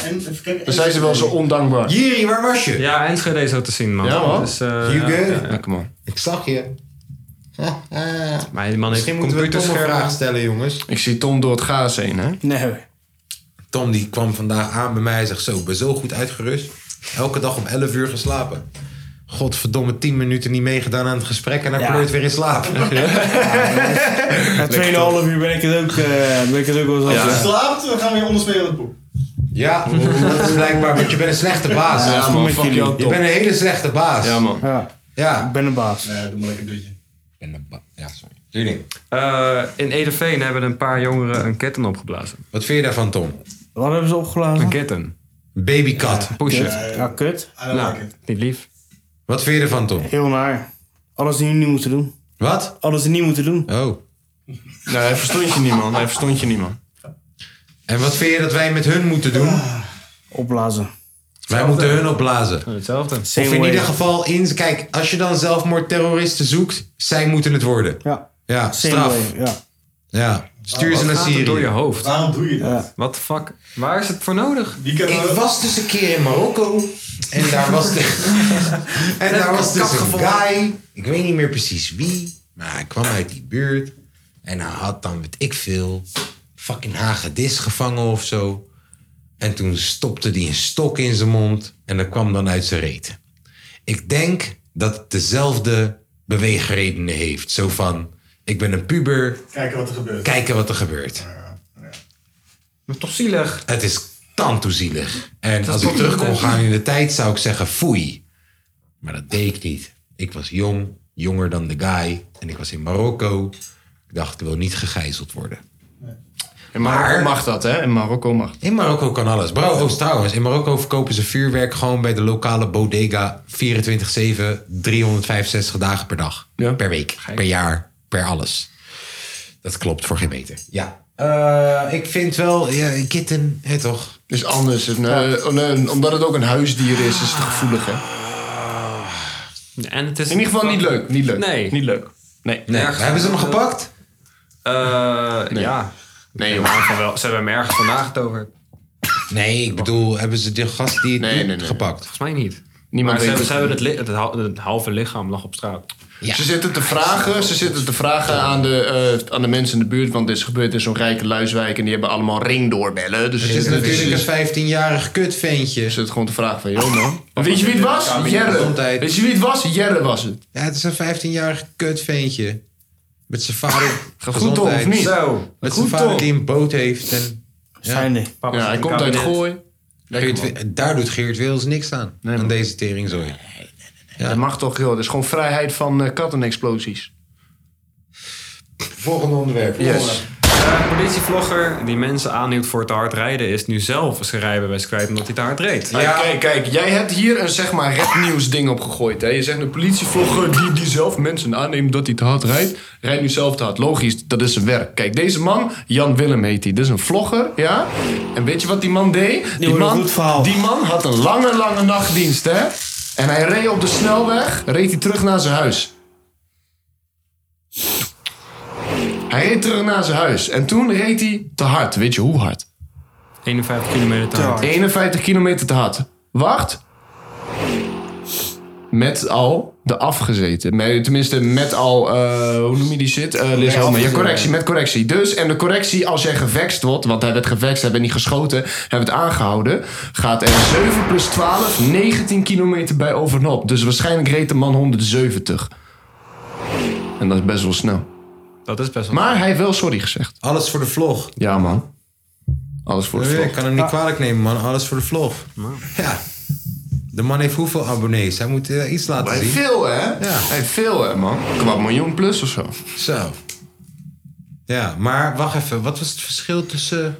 Dan zijn ze wel zo ondankbaar. Jiri, waar was je? Ja, Enschede zo te zien, man. Ja, man. Dus, eh, You ja, good? ja, kom op. Ik zag je. Maar die man heeft Misschien moeten we Tom een computerschermen. vraag stellen, jongens. Ik zie Tom door het gaas heen, hè? Nee. Tom die kwam vandaag aan bij mij en zegt... Zo, ik ben zo goed uitgerust. Elke dag om 11 uur geslapen. Godverdomme, 10 minuten niet meegedaan aan het gesprek... en hij pleurt weer in slaap. Na 2,5 uur ben ik het ook, eh, ben ik het ook wel zo. Als je slaapt, dan gaan we je onderspelen op de poep. Ja, dat is blijkbaar, want je bent een slechte baas. Ja, man, fuck je, jou, Tom. bent een hele slechte baas. Ja, man. Ja. Ik ben een baas. Nee, doe maar lekker dutje. Eh, in Edeveen hebben een paar jongeren een ketten opgeblazen. Wat vind je daarvan, Tom? Wat hebben ze opgeblazen? Een ketten. Babykat. Pushen. Ja, kut. Nou, niet lief. Wat vind je ervan, Tom? Heel naar. Alles die we niet moeten doen. Wat? Alles die we niet moeten doen. Oh. Nou, hij verstond je niet, man. Hij verstond je niet, man. En wat vind je dat wij met hun moeten doen? Ah, Opblazen. Wij moeten hun opblazen. Oh, Hetzelfde. Of in ieder geval, in, kijk, als je dan zelfmoordterroristen zoekt, zij moeten het worden. Ja. Ja, Same straf. way, ja. Ja, stuur ze Wat naar gaat er Syrië. door je hoofd? Waarom doe je dat? What the fuck? Waar is het voor nodig? Ik was dus een keer in Marokko. En daar was, de, en daar was dus een guy. Ik weet niet meer precies wie. Maar hij kwam uit die buurt. En hij had dan, weet ik veel, fucking hagedis gevangen of zo. En toen stopte hij een stok in zijn mond. En dat kwam dan uit zijn reet. Ik denk dat het dezelfde beweegredenen heeft. Zo van, ik ben een puber. Kijken wat er gebeurt. Kijken wat er gebeurt. Maar toch zielig. Het is tantoezielig. En Dat als is ik toch terug kon niet- gaan in de tijd, zou ik zeggen foei. Maar dat deed ik niet. Ik was jong, jonger dan de guy. En ik was in Marokko. Ik dacht, ik wil niet gegijzeld worden. In Marokko mag dat, hè? In Marokko mag In Marokko kan alles. Bro, oh, trouwens, in Marokko verkopen ze vuurwerk gewoon bij de lokale bodega 24-7, 365 dagen per dag. Per week, per jaar, per alles. Dat klopt voor geen meter. Ja. Eh, ik vind wel, ja, een kitten, hè toch? Is anders. Een, eh, een- een- omdat het ook een huisdier is, is het gevoelig, hè? En het is In ieder geval niet leuk. Niet leuk. Nee. Niet leuk. Nee. Nee. Hebben ze hem gepakt? Eh, Ja. Nee, maar van wel. Ze hebben hem ergens vandaag getoverd. Nee, ik bedoel, hebben ze de gast die het Nee, doet nee, nee. gepakt? Volgens mij niet. Niemand maar ze hebben, weet ze het. hebben het, li- het, hal- het halve lichaam lag op straat. Ja. Ze zitten te vragen, ze zitten te vragen aan, de, eh, aan de mensen in de buurt, want dit is gebeurd in zo'n rijke luiswijk en die hebben allemaal ringdoorbellen. Dus Er zit natuurlijk een 15-jarig kutventje. Ze zitten gewoon te vragen van, joh man. Weet je wie het was? Jerre. Weet je wie het was? Jerre was het. Ja, het is een 15-jarig kutventje. Met zijn vader. Gaat Ah, goed toch, of gezondheid. niet? Met Goed zijn vader toch? die een boot heeft. En, Fijn, nee. Papa Ja, zit hij in het komt uit kabinet. Gooi. Geert Wi- daar doet Geert Wils niks aan. aan deze teringzooi. Dat mag toch, joh. Dat is gewoon vrijheid van eh, kattenexplosies. Volgende onderwerp. Yes. Eh, politievlogger die mensen aanhield voor te hard rijden... is nu zelf zijn rijbewijs kwijt omdat hij te hard reed. Ja, kijk, kijk, jij hebt hier een zeg maar rapnieuws ding op gegooid. Hè? Je zegt een politievlogger die, die zelf mensen aanneemt dat hij te hard rijdt, rijdt nu zelf te hard. Logisch, dat is zijn werk. Kijk, deze man, Jan Willem heet hij, dat is een vlogger, ja? En weet je wat die man deed? Die wordt een man, goed verhaal. die man had een lange, lange nachtdienst, hè? En hij reed op de snelweg, reed hij terug naar zijn huis. Hij reed terug naar zijn huis. En toen reed hij te hard. Weet je hoe hard? 51 kilometer te hard. 51 kilometer te hard. Wacht. Met al de afgezeten. Met- Tenminste, met al, eh, hoe noem je die shit? Eh Liz Homer. Ja, afgezeten. correctie, met correctie. Dus, en de correctie, als jij gevext wordt, want hij werd gevext, hij werd niet geschoten, hij werd aangehouden, gaat er 7 plus 12, 19 kilometer bij overop. Dus waarschijnlijk reed de man 170. En dat is best wel snel. Dat is best wel... Maar hij heeft wel sorry gezegd. Alles voor de vlog. Ja, man. Alles voor de Nee, vlog. Ik kan hem niet kwalijk nemen, man. Alles voor de vlog. Ja. De man heeft hoeveel abonnees? Hij moet eh, iets laten Hij zien. heeft veel, hè? Ja. Hij heeft veel, hè, man. Kwart miljoen plus of zo. Zo. Ja, maar wacht even. Wat was het verschil tussen...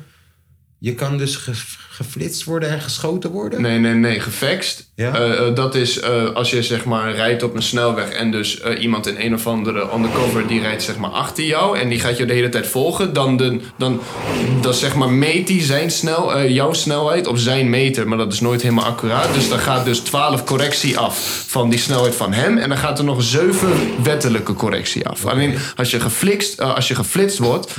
Je kan dus ge- geflitst worden en geschoten worden? Nee, nee, nee, gefaxt. Eh, eh, dat is eh, als je zeg maar rijdt op een snelweg en dus eh, iemand in een of andere undercover die rijdt zeg maar achter jou en die gaat jou de hele tijd volgen, dan, de, dan, dan zeg maar meet die zijn snel, eh, jouw snelheid op zijn meter, maar dat is nooit helemaal accuraat. Dus dan gaat dus 12 correctie af van die snelheid van hem en dan gaat er nog 7 wettelijke correctie af. Alleen als je geflixt, eh, als je geflitst wordt,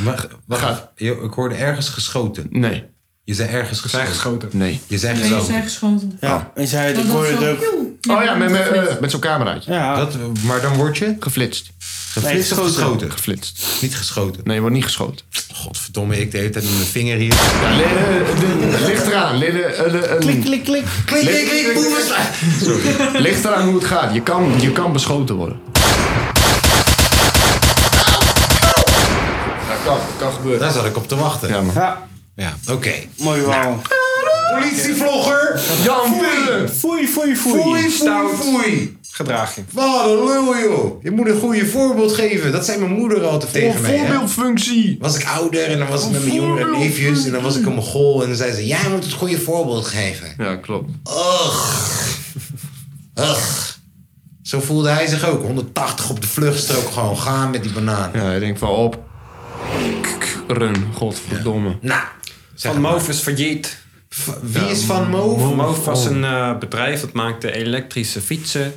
gaat... ik hoorde ergens geschoten. Nee. Je zei ergens geschoten. Nee. Je zei Nee, je geschoten. zijn geschoten. Ja. En zei het, ik Dat was hoorde het zo, ook. joe. Oh ja, met, met, eh, met zo'n cameraatje. Ja. Dat, maar dan word je? Geflitst. Geflitst of geschoten? Geflitst. Niet geschoten? Nee, wordt niet geschoten. Godverdomme, ik de hele tijd met mijn vinger hier. Ja, Eh, Ligt eraan. eh, Klik, klik, klik. Klik, klik, klik, boeven. Sorry. Ligt eraan hoe het gaat. Je kan, je kan beschoten worden. Dat kan, dat kan gebeuren. Daar zat ik op te wachten. Ja, man. Ja. Ja, oké. Nou, Mooi verhaal. Politievlogger Jan Willem. Foei, foei, foei. Foei, foei, foei. Gedraag je. Wat een lul, joh. Je moet een goede voorbeeld geven. Dat zei mijn moeder altijd tegen mij. hè. voorbeeldfunctie. Was ik ouder en dan was ik met mijn jongere neefjes. En dan was ik een Mongool. En dan zei ze, jij moet het goede voorbeeld geven. Ja, klopt. Ugh. Ugh. Zo voelde hij zich ook. 180 op de vluchtstrook gewoon gaan met die banaan. Ja, ik denk van op. Run, godverdomme. Nou. Van Moof is failliet. Wie is Van Oh. Moof? Moof was een eh, bedrijf dat maakte elektrische fietsen.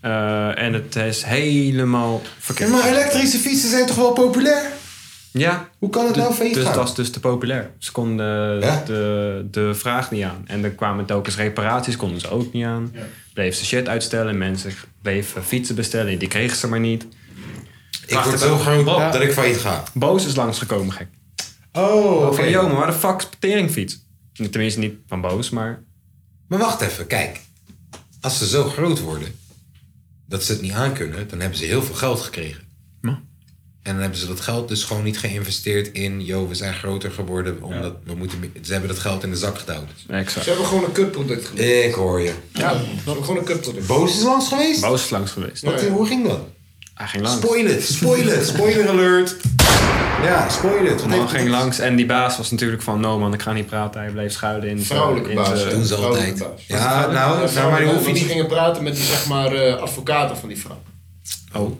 Eh, en het is helemaal Ja, verkeerd. maar elektrische fietsen zijn toch wel populair? Ja. Hoe kan het Du- nou failliet dus, gaan? dat is dus te populair. Ze konden de, de vraag niet aan. En dan kwamen telkens reparaties, konden ze ook niet aan. Bleef ze shit uitstellen. Mensen bleven fietsen bestellen. Die kregen ze maar niet. word zo groot dat ik failliet ga. Boos is langsgekomen, gek. Oh, oké. Van, joh, maar waar de fuck is teringfiets? Tenminste, niet van Boos, maar... Maar wacht even, kijk. Als ze zo groot worden dat ze het niet aankunnen, dan hebben ze heel veel geld gekregen. Ja. En dan hebben ze dat geld dus gewoon niet geïnvesteerd in, joh, we zijn groter geworden, omdat we moeten, meer- ze hebben dat geld in de zak gedouwd. Exact. Ze hebben gewoon een kutproduct gemaakt. Eh, Ik hoor je. Ja, ze hebben gewoon een kutproduct. Boos is langs geweest? Boos is langs geweest. Wat, Hoe ging dat? Hij ging langs. Spoil it, spoil it, spoiler alert. Ja, spoil it. Man ging langs en die baas was natuurlijk van... No man, ik ga niet praten. Hij bleef schuilen in zijn... Vrouwelijke in zijn- baas, hè? Doen ze altijd. Ja, nou, Eh, nou, maar die hoef je want ze niet. gingen praten met die zeg maar eh, advocaten van die vrouw. Oh.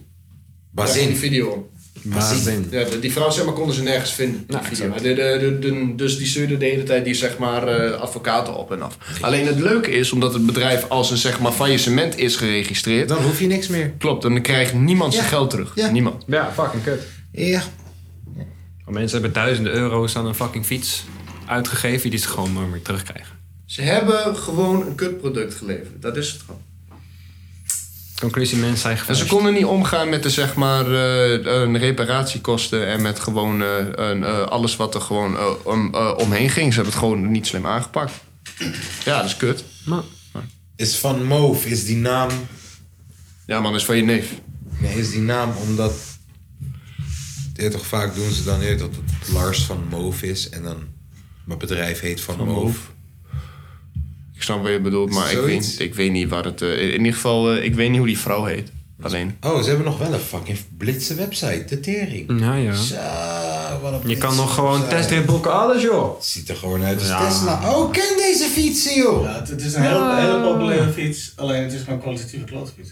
Daar ging Bazin. die video om. Bazin. Ja, de- die vrouw zeg maar konden ze nergens vinden. die video. De, de, de, de- dus die stuurde de hele tijd die zeg maar eh, advocaten op en af. Alleen het leuke is, omdat het bedrijf als een zeg maar faillissement is geregistreerd. Dan hoef je niks meer. Klopt, en dan krijgt niemand zijn Ja. geld terug. Ja. Niemand. Ja, fucking kut. Ja. Mensen hebben duizenden euro's aan een fucking fiets uitgegeven... die ze gewoon nooit meer terugkrijgen. Ze hebben gewoon een kutproduct geleverd. Dat is het gewoon. Conclusie, mensen zijn En geflasht. ze konden niet omgaan met de zeg maar eh, een reparatiekosten en met gewoon eh, een, eh, alles wat er gewoon eh, om, eh, omheen ging. Ze hebben het gewoon niet slim aangepakt. Ja, dat is kut. Is van Moof, is die naam... Ja man, is van je neef. Nee, is die naam omdat... Ja, toch vaak doen ze dan weer dat het Lars van Moof is en dan... Mijn bedrijf heet Van, Van Moof. Moof. Ik snap wat je bedoelt, maar ik Zoiets. weet, ik weet niet waar het... eh, in ieder geval, eh, ik weet niet hoe die vrouw heet. Alleen. Oh, ze hebben nog wel een fucking blitse website, de tering. Ja, ja. Zo, wat een Je kan nog blitse gewoon website. testritbroeken, alles joh. Ziet er gewoon uit als Ja. Tesla. Oh, ken deze fietsen, joh! Ja, het, het is een hele, Oh. hele populaire fiets, alleen het is maar een kwalitatieve klootfiets.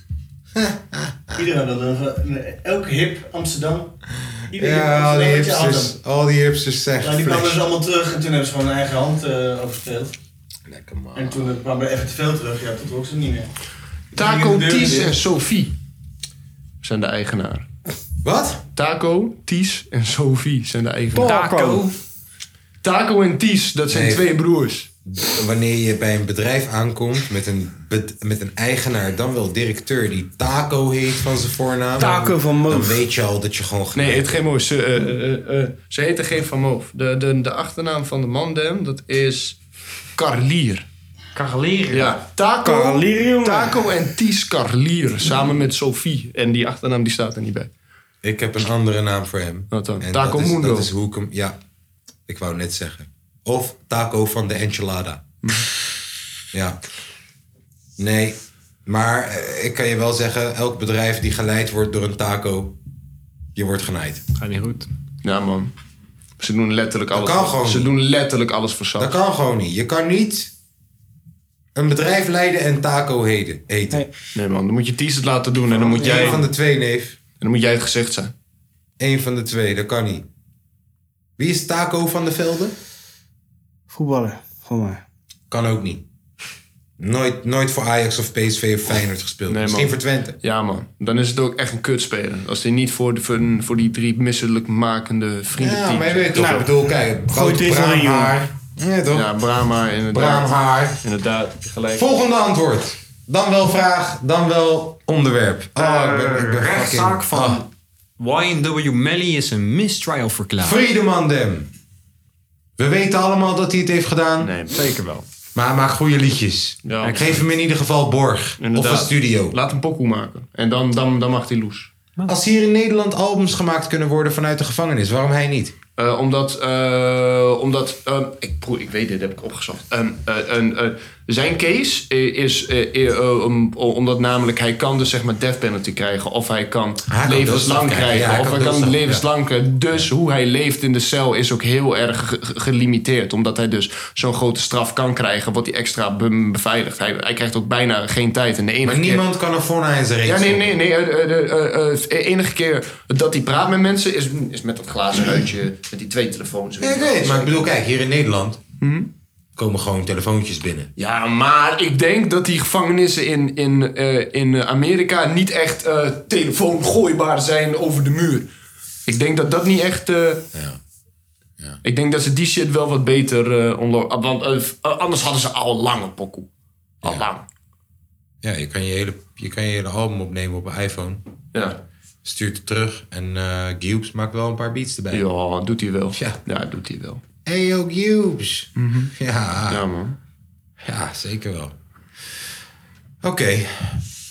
Iedereen wil een, een- elk hip Amsterdam. Iedereen Ja, al die hipsters. hipsters, al die hipsters Ja, zeggen die kwamen flash. dus allemaal terug en toen hebben ze gewoon hun eigen hand eh overspeeld. Lekker man. En toen eh, kwamen er even te veel terug, ja, toen trok ze niet meer. Taco, Toen gingen de deuren Ties en dicht. Sophie zijn de eigenaar. Wat? Taco, Ties en Sophie zijn de eigenaar. Taco. Taco en Ties, dat zijn Nee. twee broers. Wanneer je bij een bedrijf aankomt met een, bed- met een eigenaar, dan wel directeur die Taco heet van zijn voornaam. Taco van Dan weet je al dat je gewoon... Nee, het geen Moof. Ze, eh eh, eh, ze heten geen Van Moof. De, de, de achternaam van de man, Dem, dat is Carlier. Carlier? Ja. Taco, Taco en Ties Carlier, samen met Sophie. En die achternaam die staat er niet bij. Ik heb een andere naam voor hem. Wat dan? En Taco dat is, Mundo. Dat is hoe ik hem... Ja, ik wou net zeggen. Of Taco van de Enchilada. ja. Nee, maar eh, ik kan je wel zeggen, elk bedrijf die geleid wordt door een taco, je wordt genaaid. Gaat niet goed. Ja, man. Ze doen letterlijk alles. Dat kan gewoon Ze niet. doen letterlijk alles voor saus. Dat kan gewoon niet. Je kan niet een bedrijf leiden en taco heden, eten. Nee. man, dan moet je Ties het laten doen en dan moet jij... Eén van de twee, neef. En dan moet jij het gezicht zijn. Eén van de twee, dat kan niet. Wie is Taco van de Velden? Voetballer, voor mij. Kan ook niet. Nooit, nooit voor Ajax of PSV of Feyenoord gespeeld. Misschien voor Twente. Ja, man. Dan is het ook echt een kutspeler. Als hij niet voor, de, voor, voor die drie misselijkmakende vrienden Ja, maar je weet toch, Nou, ik bedoel, kijk, Gooi groot braamhaar. Ja, toch? Ja, Brahma inderdaad. Braamhaar. Inderdaad, gelijk. Volgende antwoord. Dan wel vraag, dan wel onderwerp. Oh, ik ben, Ah. ik ben Rechtszaak fucking... van YNW Melly is een mistrial verklaard. Friedeman Dem. We weten allemaal dat hij het heeft gedaan. Nee, zeker wel. Maar maak goede liedjes. Ja. Geef hem in ieder geval borg. Inderdaad. Of een studio. Laat hem pokoe maken. En dan, dan, dan mag hij loes. Als hier in Nederland albums gemaakt kunnen worden vanuit de gevangenis, waarom hij niet? Eh, omdat, eh, omdat ehm, ik, broer, ik weet dit, heb ik opgezocht. Ehm, eh, en, eh, zijn case eh, is, eh, eh, eh, om- omdat namelijk hij kan dus zeg maar death penalty krijgen. Of hij kan Hij kan doodstraf levenslang krijgen, krijgen. ja, hij of kan hij kan doodstraf, levenslang krijgen. Dus hoe hij leeft in de cel is ook heel erg ge- ge- gelimiteerd. Omdat hij dus zo'n grote straf kan krijgen, wat hij extra be- beveiligt. Hij, hij krijgt ook bijna geen tijd. En de enige Maar keer- niemand kan er voor naar zijn reet ja, nee, zetten. nee, nee. eh, eh, eh, eh, De enige keer dat hij praat met mensen is, is met dat glazen uitje, met die twee telefoons. Ja, ik weet het, maar ik bedoel, kijk, hier in Nederland komen gewoon telefoontjes binnen. Ja, maar ik denk dat die gevangenissen in, in, eh, in eh, Amerika niet echt eh telefoongooibaar zijn over de muur. Ik denk dat dat niet echt. eh, Ik denk dat ze die shit wel wat beter eh onlo- ah, Want eh, f- eh, anders hadden ze al lange pokoe. Al lang. Ja, je kan je hele, je kan je hele album opnemen op een iPhone. Ja. Stuurt het terug en eh Gibbs maakt wel een paar beats erbij. Ja, doet hij wel. Ja, doet hij wel. Hey yo, Gibbs. Ja. Ja, man. Ja, zeker wel. Oké,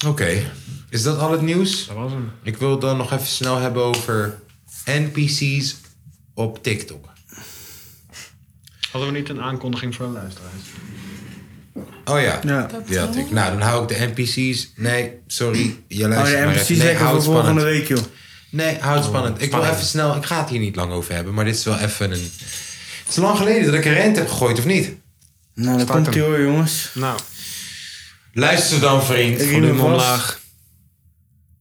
oké. Is dat al het nieuws? Dat was hem. Ik wil het dan nog even snel hebben over NPC's op TikTok. Hadden we niet een aankondiging voor een luisteraar? Oh ja, Ja. die had ik. Nou, dan hou ik de NPC's. Nee, sorry, je Oh, luistert de maar NPC's even. Nee, zeggen hou voor het volgende spannend. week, joh. Nee, hou het Oh, spannend. Ik wil even snel, ik ga het hier niet lang over hebben, maar dit is wel even een... Het is lang geleden dat ik een rent heb gegooid, of niet? Nou, dat Start komt ie hoor, jongens. Nou. Luister dan, vriend. Volume omlaag.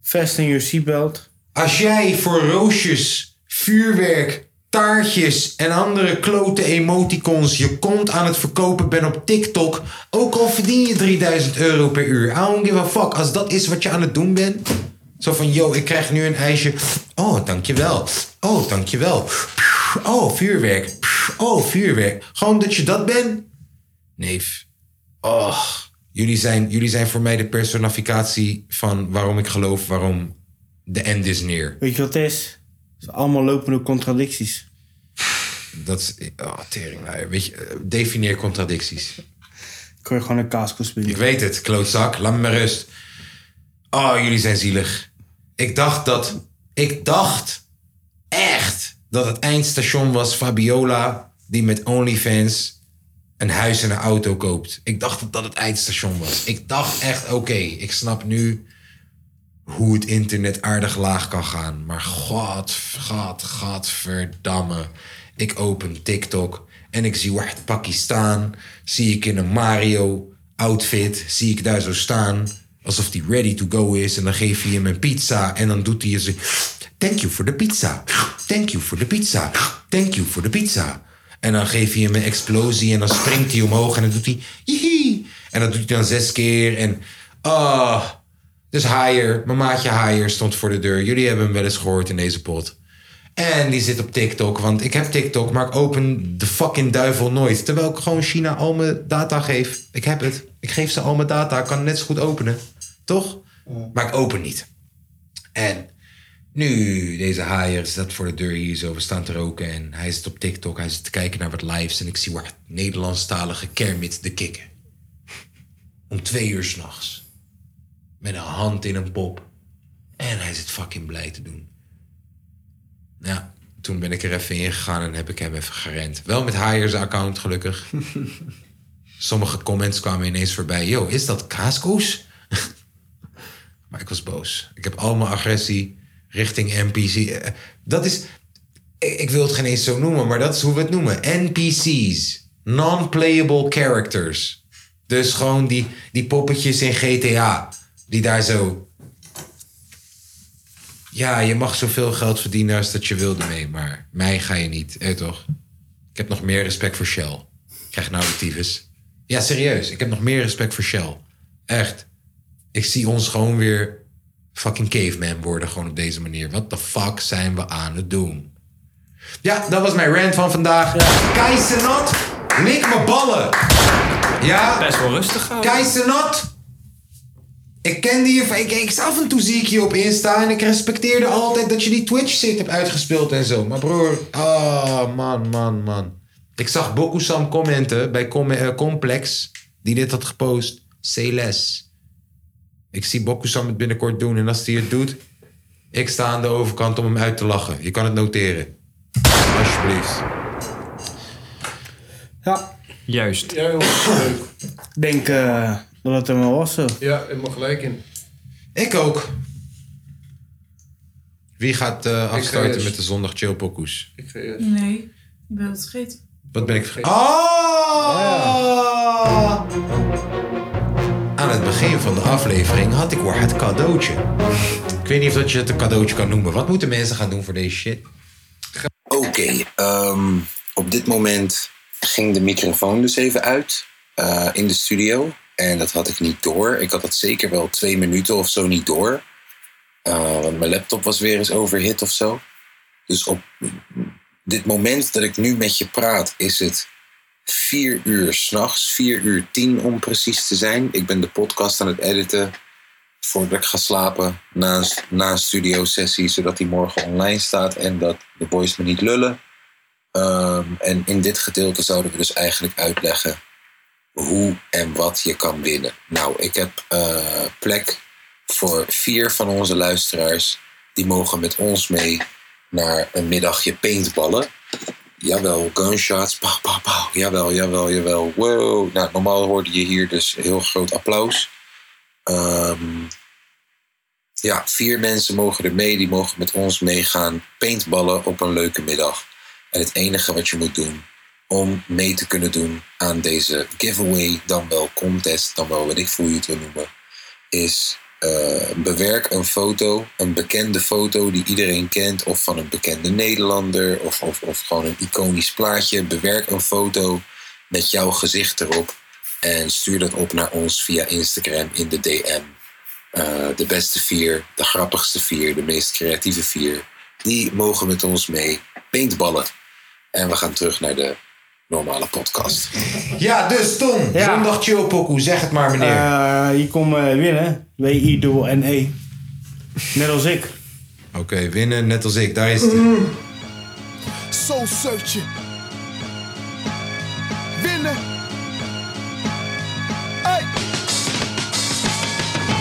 Vest in your seatbelt. Als jij voor roosjes, vuurwerk, taartjes en andere klote emoticons je kont aan het verkopen bent op TikTok, ook al verdien je 3000 euro per uur. I don't give a fuck. Als dat is wat je aan het doen bent. Zo van, yo, ik krijg nu een ijsje. Oh, dankjewel. Oh, dankjewel. Oh, vuurwerk. Oh, vuurwerk. Gewoon dat je dat bent. Neef. Oh, Jullie zijn, jullie zijn voor mij de personificatie van waarom ik geloof, waarom de end is neer. Weet je wat het is? Het is allemaal lopende contradicties. Dat is, oh, tering. nou, Weet je, eh, defineer contradicties. Kun je gewoon een kaaskoes bieden. Ik weet het, klootzak. Laat me maar rust. Oh, jullie zijn zielig. Ik dacht dat... Ik dacht echt dat het eindstation was Fabiola... die met OnlyFans een huis en een auto koopt. Ik dacht dat dat het eindstation was. Ik dacht echt, oké, ik snap nu... hoe het internet aardig laag kan gaan. Maar god, god, godverdamme. Ik open TikTok en ik zie Wacht Pakistan. Zie ik in een Mario outfit, zie ik daar zo staan. Alsof die ready to go is. En dan geef je hem een pizza. En dan doet hij zo... Thank you for the pizza. Thank you for the pizza. Thank you for the pizza. En dan geef je hem een explosie. En dan springt hij omhoog. En dan doet hij... Jihie. En dat doet hij dan zes keer. En... Ah... dus Haier, mijn maatje Haier stond voor de deur. Jullie hebben hem wel eens gehoord in deze pot. En die zit op TikTok, want ik heb TikTok, maar ik open de fucking duivel nooit. Terwijl ik gewoon China al mijn data geef. Ik heb het. Ik geef ze al mijn data. Ik kan het net zo goed openen. Toch? Maar ik open niet. En nu, deze haaier staat voor de deur hier zo. We staan te roken en hij zit op TikTok. Hij zit te kijken naar wat lives. En ik zie waar Nederlandstalige Kermit de kikken. Om twee uur s'nachts. Met een hand in een pop. En hij zit fucking blij te doen. Ja, toen ben ik er even in gegaan en heb ik hem even gerend. Wel met Haaier zijn account, gelukkig. Sommige comments kwamen ineens voorbij. Yo, is dat kaaskoes? maar ik was boos. Ik heb al mijn agressie richting NPC. eh, Dat is... Ik ik wil het geen eens zo noemen, maar dat is hoe we het noemen. NPC's. Non-playable characters. Dus gewoon die, die poppetjes in GTA. Die daar zo ja, je mag zoveel geld verdienen als dat je wilde mee, maar mij ga je niet. Eh, toch? Ik heb nog meer respect voor Shell. Ik krijg nou de tyfus. Ja, serieus. Ik heb nog meer respect voor Shell. Echt. Ik zie ons gewoon weer fucking caveman worden, gewoon op deze manier. Wat de fuck zijn we aan het doen? Ja, dat was mijn rant van vandaag. Keizernat, lik mijn ballen. Ja. Best wel rustig. Keizernat. Ik kende je van, ik, ik, af en toe zie ik je op Insta en ik respecteerde altijd dat je die Twitch zit hebt uitgespeeld en zo. Maar broer, oh man, man, man. Ik zag Bokusam commenten bij Com- eh, Complex, die dit had gepost. Celes. Ik zie Bokusam het binnenkort doen en als hij het doet, ik sta aan de overkant om hem uit te lachen. Je kan het noteren. Alsjeblieft. Juist. Ja, joh, leuk. Ik denk eh, dat het hem wel was zo. Ja, helemaal gelijk in. Ik ook. Wie gaat eh, afstarten eerst. met de zondag chill pokoes? Ik ga eerst. eh, Nee, ik ben het vergeten. Wat ben ik vergeten? Oh! Aan het begin van de aflevering had ik weer het cadeautje. Ik weet niet of dat je het een cadeautje kan noemen. Wat moeten mensen gaan doen voor deze shit? Oké, ehm, op dit moment ging de microfoon dus even uit eh, in de studio. En dat had ik niet door. Ik had dat zeker wel twee minuten of zo niet door. Eh, want mijn laptop was weer eens overhit of zo. Dus op dit moment dat ik nu met je praat, is het vier uur s'nachts, vier uur tien om precies te zijn. Ik ben de podcast aan het editen voordat ik ga slapen na, een- na een studio sessie, zodat die morgen online staat en dat de boys me niet lullen. Ehm, en in dit gedeelte zouden we dus eigenlijk uitleggen hoe en wat je kan winnen. Nou, ik heb eh, plek voor vier van onze luisteraars. Die mogen met ons mee naar een middagje paintballen. Jawel, gunshots. Pauw, pauw, pauw. Jawel, jawel, jawel. Wow. Nou, normaal hoorde je hier dus heel groot applaus. Ehm, ja, vier mensen mogen er mee. Die mogen met ons meegaan paintballen op een leuke middag. En het enige wat je moet doen om mee te kunnen doen aan deze giveaway, dan wel contest, dan wel wat ik voor je het wil noemen, is eh, bewerk een foto, een bekende foto die iedereen kent, of van een bekende Nederlander, of, of, of gewoon een iconisch plaatje. Bewerk een foto met jouw gezicht erop en stuur dat op naar ons via Instagram in de DM. Eh, de beste vier, de grappigste vier, de meest creatieve vier, die mogen met ons mee paintballen. En we gaan terug naar de normale podcast. Ja, dus Tom, zondag chillpokoe, zeg het maar meneer. Eh, je komt eh, winnen. W-I-N-E. E. Net als ik. Oké, winnen net als ik, daar is het. Soul searching. Winnen. Hey.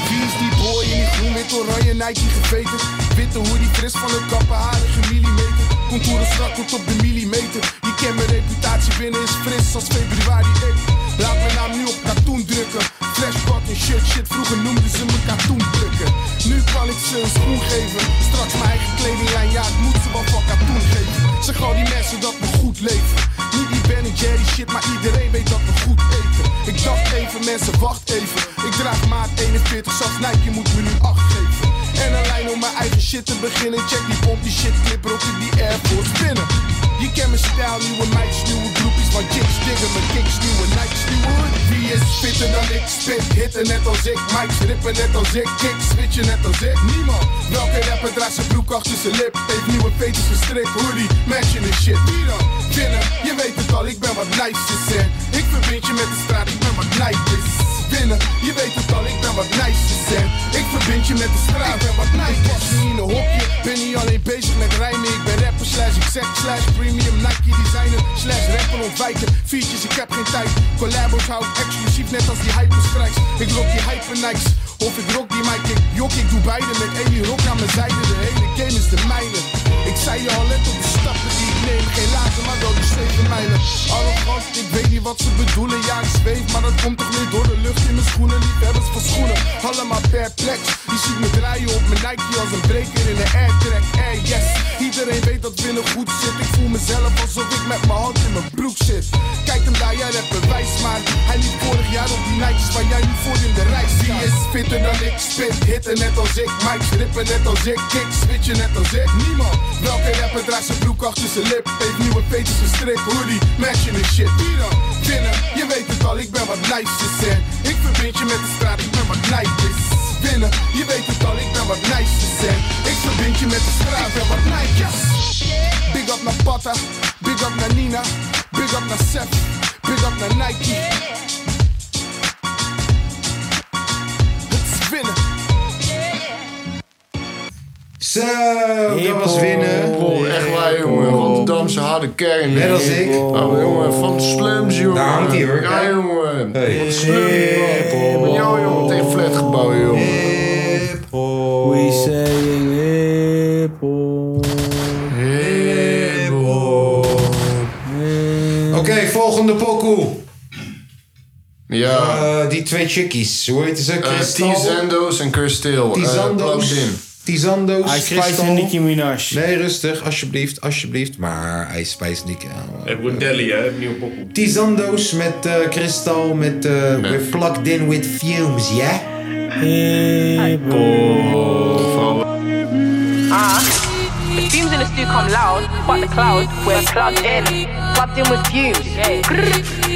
Wie is die boy in die groen met oranje Nike geveten? Witte hoodie fris van een kapper, haren gemillimeter. Contouren strak tot op de millimeter. Je kent mijn reputatie binnen is fris als februari 1. Laat mijn naam nu op katoen drukken. Flash en shirt shit, vroeger noemden ze me katoen drukken. Nu kan ik ze een schoen geven. Straks mijn eigen kledinglijn, ja ik moet ze wel van katoen geven. Zeg al die mensen dat we goed leven. Niet die Ben Jerry shit, maar iedereen weet dat we goed eten. Ik dacht even, mensen wacht even. Ik draag maat 41, zelfs Nike moet me nu acht geven. En een lijn om mijn eigen shit te beginnen. Check die pomp, die shit clipper op in die airport binnen. Je kent mijn stijl, nieuwe meisjes, nieuwe groepies van chicks, diggen mijn kicks, nieuwe Nikes, nieuwe hood. Wie is fitter dan ik? Spit, hitten net als ik, mics rippen net als ik, kicks switchen net als ik. Niemand, welke rapper draagt zijn broek achter zijn lip? Heeft nieuwe peters gestrikt, hoodie, matching en shit. Wie dan? Binnen, je weet het al, ik ben wat nicejes en ik verbind je met de straat, ik ben wat nicejes. Binnen, je weet het al, ik ben wat nicejes en ik verbind je met de straat, ik ben wat nicejes. Ik pas niet in een hokje, ben niet alleen bezig met rijmen, ik ben rapper slash exec slash premium Nike designer slash rapper ontwijken. Features, ik heb geen tijd, collabos hou ik exclusief net als die hyperstrikes. Ik lok die hyper Nikes, of ik rock die mic, ik jok, ik doe beide met Amy Rock aan mijn zijde. De hele game is de mijne. Ik zei je al, let op de stappen die ik neem, geen later, maar wel die zeven mijlen. Arrogant, ik weet niet wat ze bedoelen, ja ik zweef, maar dat komt toch niet door de lucht in mijn schoenen. Liefhebbers van schoenen, allemaal perplex. Je ziet me draaien op mijn Nike als een breker in een airtrack. Air yes, iedereen weet dat binnen goed zit. Ik voel mezelf alsof ik met mijn hand in mijn broek zit. Kijk hem daar, jij hebt bewijs, maar hij liep vorig jaar op die Nikes waar jij nu voor in de rij staat. Wie is fitter dan ik? Spit, hitten net als ik. Mics rippen net als ik. Kicks switchen net als ik. Niemand, welke rapper draagt zijn broek achter zijn lip? Heeft nieuwe peters gestrikt, hoodie, matching en shit. Wie dan? Binnen, je weet het al, ik ben wat nicejes en ik verbind je met de straat, ik ben wat nicejes. Binnen, je weet het al, ik ben wat nicejes en ik verbind je met de straat, ik ben wat nicejes. Big up naar Patta, big up naar Nina, big up naar Seth, big up naar Nike. Het is winnen. Zo, dat was winnen. Oh, echt waar, jongen. Rotterdamse harde kern. Net als ik. Oh, jongen, van de slums, jongen. Daar hangt hij, hoor. Ja, jongen. Van de slums, jongen. Van jou, jongen, tegen flatgebouwen, jongen. We saying hip Oké, volgende pokoe. Ja. Eh, die twee chickies, hoe heet ze? Eh, Kristal? Tizando's en Eh, Kirstil. eh, Tizando's. Tizando's, Ice Spice Kristal. en Nicki Minaj. Nee, rustig, alsjeblieft, alsjeblieft. Maar Ice Spice, Nicki... eh. ja. Het wordt Delhi, hè? Nieuw pokoe. Tizando's met eh Kristal, met... eh We're plugged in with fumes, ja? Ah. The fumes in the stew come loud, but the cloud, we're plugged in. Plugged in with fumes. Yeah. Grrr.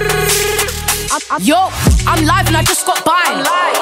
I'm- I'm- Yo, I'm live and I just got by.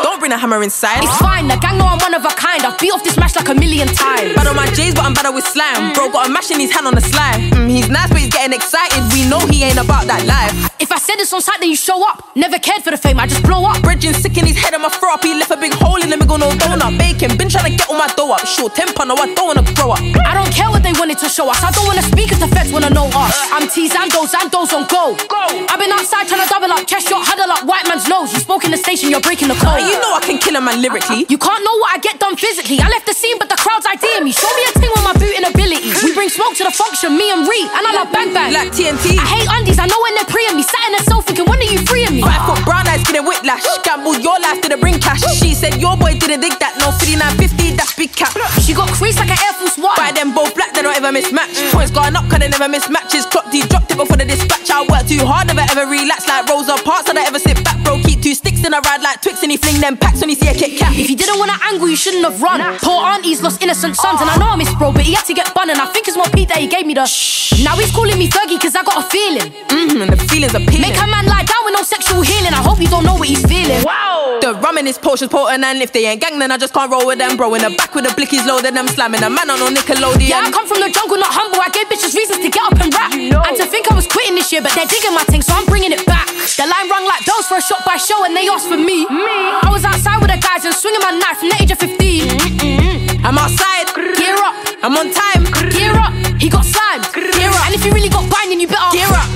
Don't bring a hammer inside. It's fine, the gang know I'm one of a kind. I've beat off this match like a million times. Bad on my J's, but I'm better with slime. Bro, got a mash in his hand on the slime. Mm, he's nice, but he's getting excited. We know he ain't about that life. If I said this on site, then you show up. Never cared for the fame, I just blow up. Bridging sick in his head, I'ma throw up. He left a big hole in the middle, no donut. Bacon, been trying to get all my dough up. Short temper, no, I don't wanna grow up. I don't care what they wanted to show us. I don't wanna speak if the feds wanna know us. I'm T Zandos, Zandos on go. Go. I've been outside trying to double up, chest shot, huddle up, white man's nose. You spoke in the station, you're breaking the code. you know I can kill a man lyrically. You can't know what I get done physically. I left the scene, but the crowd's ideeing me. Show me a thing with my booting ability. We bring smoke to the function, me and Ree, and I love bang bang. Like TNT. I hate undies, I know when they're pre me. Sat in the cell thinking, when are you freeing me? But I got brown eyes, getting whiplash. Gamble your life, didn't bring cash. She said your boy didn't dig that. No 3950, that's big cap. She got creased like an Air Force One. By them both black, they don't ever mismatch. Points going up, cause they never miss matches. Clock D dropped it before the dispatch. I work too hard, never ever relax. Like Rosa Parks, I don't ever sit back, bro. Keep two sticks in a ride like Twix and he fling them packs when he see a Kit Kat. If you didn't want to angle, you shouldn't have run. Poor aunties lost innocent sons, and I know I miss bro, but he had to get bun, and I think it's more Pete that he gave me the. Shh. Now he's calling me Fergie, cause I got a feeling. Mm, and the feelings are peeling. Make a man lie down with no sexual healing. I hope you don't know what he's feeling. Wow. The rum in his potion's potent, and if they ain't gang, then I just can't roll with them, bro. In the back with the blickies loaded, I'm slamming a man on no Nickelodeon. Yeah, I come from the jungle, not humble. I gave bitches reasons to get up and rap. And to think I was quitting this year, but they're digging my thing, so I'm bringing it back. The line rung like bells for a shot by show, and they asked for me. Me. I was outside with the guys and swinging my knife from the age of 15. I'm outside. Gear up. I'm on time. Gear up. He got slimed. Gear up. And if you really got binding, you better gear up.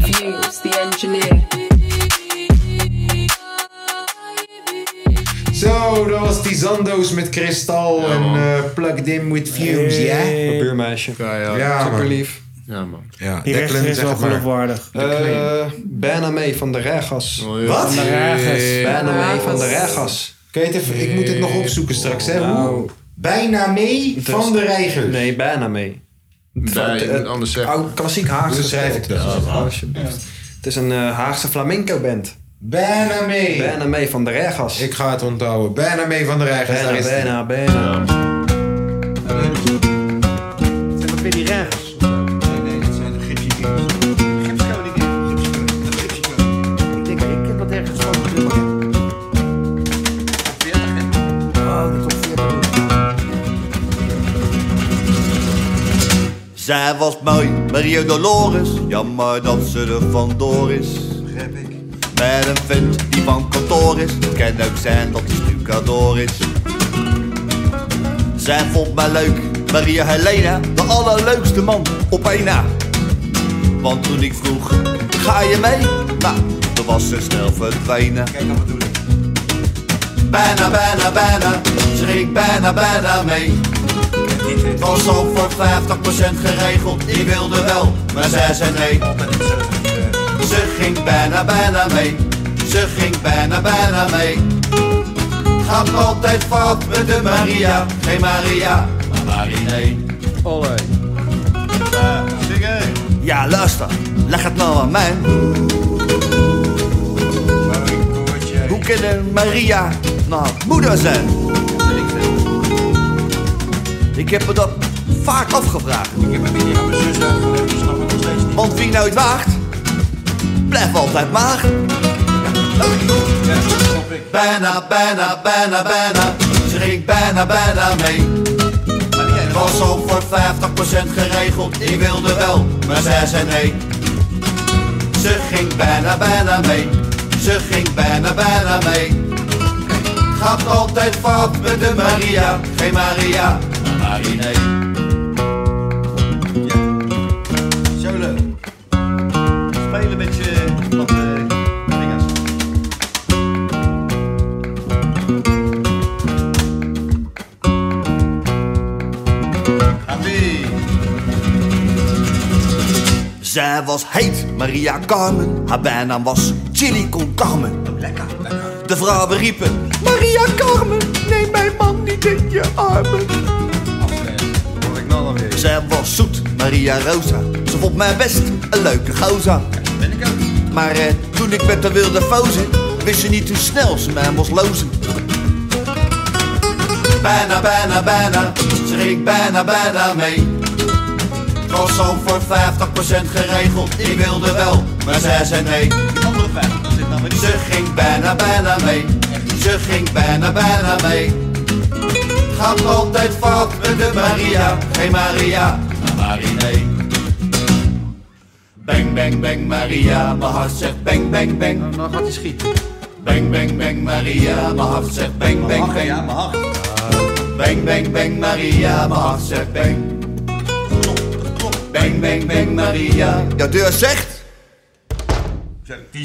Views, the engineer. Zo, dat was die Zando's met Kristal en eh, Plugged In With Fumes, ja? Mijn buurmeisje. Ja, ja. Ja, man. Super lief. Ja, man. Ja, Die Declan, rechter is zeg wel maar. geloofwaardig. Eh, bijna mee van de Regas. ja. Wat? Van de Regas. Bijna mee van de Regas. Kun je het even, ik moet het nog opzoeken straks, hè? Hoe? Nou. Bijna mee Het van is- de reiger. Nee, bijna mee. Nee, je moet anders zeggen. Oud klassiek Haagse Hoe schrijf ik dat? sport. Alsjeblieft. Het is een eh, Haagse flamenco band. Bijna mee. Bijna mee van de Regas. Ik ga het onthouden. Bijna mee van de Reigers. Bijna, daar is die. bijna, bijna. Zijn dat weer die regels? Nee, nee, dat zijn de gypsy girls. Gypsy girl, die gypsy girl. De gypsy girl. Ik denk, ik heb dat ergens van gezien. Oh, Zij was mooi, Maria Dolores. Jammer dat ze er vandoor is. Begrijp ik. Met een vent die van kantoor is. Het kan ook zijn dat hij stucador is. Zij vond mij leuk, Maria Helena. De allerleukste man op één na. Want toen ik vroeg, ga je mee? Nou, toen was ze snel verdwenen. Kijk, wat bedoel ik. Bijna, bijna, bijna. Ze ging bijna, bijna mee. Het was al voor 50% geregeld, ik wilde wel, maar zij zei nee. Ze ging bijna, bijna mee, ze ging bijna, bijna mee. Gaat altijd fout met de Maria, geen Maria, maar Marinee. Olé. Ja, luister, leg het nou aan mij. Hoe kunnen Maria nou moeder zijn? Ik heb me dat vaak afgevraagd. Ik heb het niet aan mijn zus uitgelegd, dus snap ik nog steeds niet. Want wie nooit waagt, blijft altijd mager. Bijna, bijna, bijna, bijna. Ze ging bijna, bijna mee. Het was al voor 50% geregeld. Ik wilde wel, maar zij zei nee. Ze ging bijna, bijna mee. Ze ging bijna, bijna mee. Gaat altijd fout met de Maria. Geen Maria, maar Marinee. Zo leuk. Spelen met je... wat, eh, vingers. Happy. Zij was heet, Maria Carmen. Haar bijnaam was Chili con Carmen. Lekker, lekker. De vrouwen riepen, Maria Carmen, neem mijn man niet in je armen. nou Zij was zoet, Maria Rosa. Ze vond mij best een leuke goza. Ben ik ook. Maar eh, toen ik met de wilde fozen, wist ze niet hoe snel ze mij moest lozen. Bijna, bijna, bijna, ze ging bijna, bijna mee. Het was al voor 50% geregeld, ik wilde wel, maar zij zei nee. Ze ging bijna, bijna mee, ze ging bijna, bijna mee. Gaat altijd fout met de Maria, geen Maria, maar Marinee. Bang, bang, bang, Maria, mijn hart zegt bang, bang, bang. Nou, gaat hij schieten. Bang, bang, bang, Maria, mijn hart zegt bang, bang, bang. Ja, mijn hart. Bang, bang, bang, Maria, mijn hart zegt bang. Bang, bang, bang, Maria. Ja, deur zegt.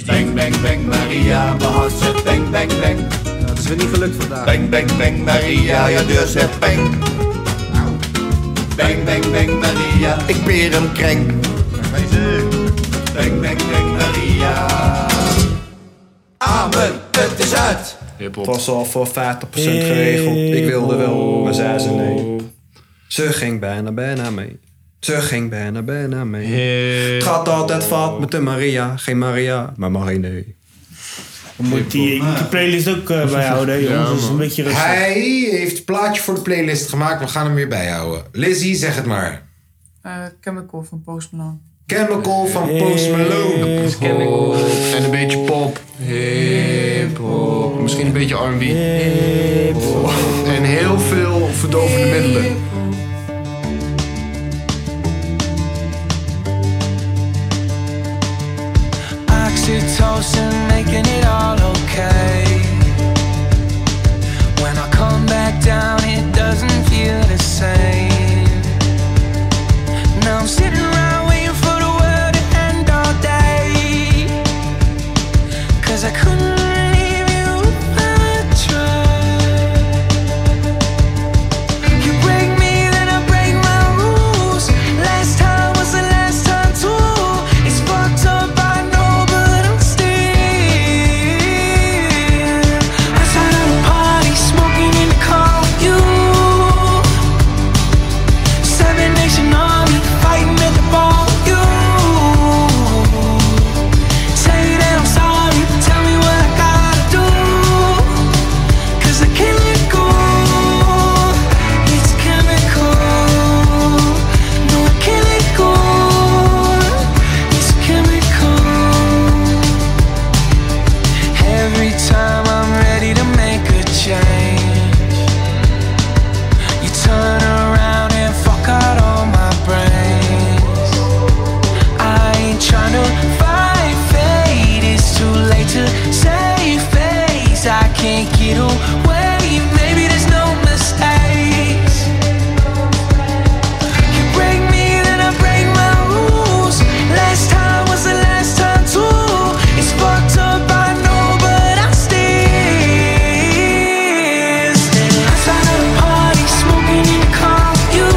Bang, bang, bang, Maria, mijn hart zegt bang, bang, bang. Dat is weer niet gelukt vandaag. Bang, bang, bang, Maria, ja, deur zegt bang. Bang, bang, bang, Maria, ik peer hem kreng. Bang, bang, bang, Maria. Amen, het is uit. Het was al voor 50% geregeld. Ik wilde wel, maar zei ze nee. Ze ging bijna, bijna mee. Ze ging bijna, bijna mee. Het gaat altijd fout met de Maria. Geen Maria, maar Marinee. Moet die, ik moet die playlist ook eh, bijhouden, hè, jongens. dat is een beetje rustig. Hij heeft het plaatje voor de playlist gemaakt. We gaan hem weer bijhouden. Lizzie, zeg het maar. Eh, chemical van Post Malone. Chemical van Post Malone. En een beetje pop. Hip-hop. Misschien een beetje RB. En heel veel verdovende middelen. Oxytocin making it all okay. When I come back down, it doesn't feel the same. Now I'm sitting around waiting for the world to end all day. Cause I couldn't leave you without a try. You break me, then I break my rules. Last time was the last time too. It's fucked up, I know, but I'm still outside at a party, smoking in the car with you. Seven Nation Army fighting at the bar with you. Say that I'm sorry, tell me what I gotta do, 'cause I can't let go. It's chemical. No, I can't let go. It's chemical. Every time I'm ready to make a change, you turn around and fuck out all my brains. I ain't trying to fight fate. It's too late to save face. I can't get away. Maybe there's no mistakes. You break me, then I break my rules. Last time was the last time too. It's fucked up, I know, but I still still outside of the party, smoking in the car with you.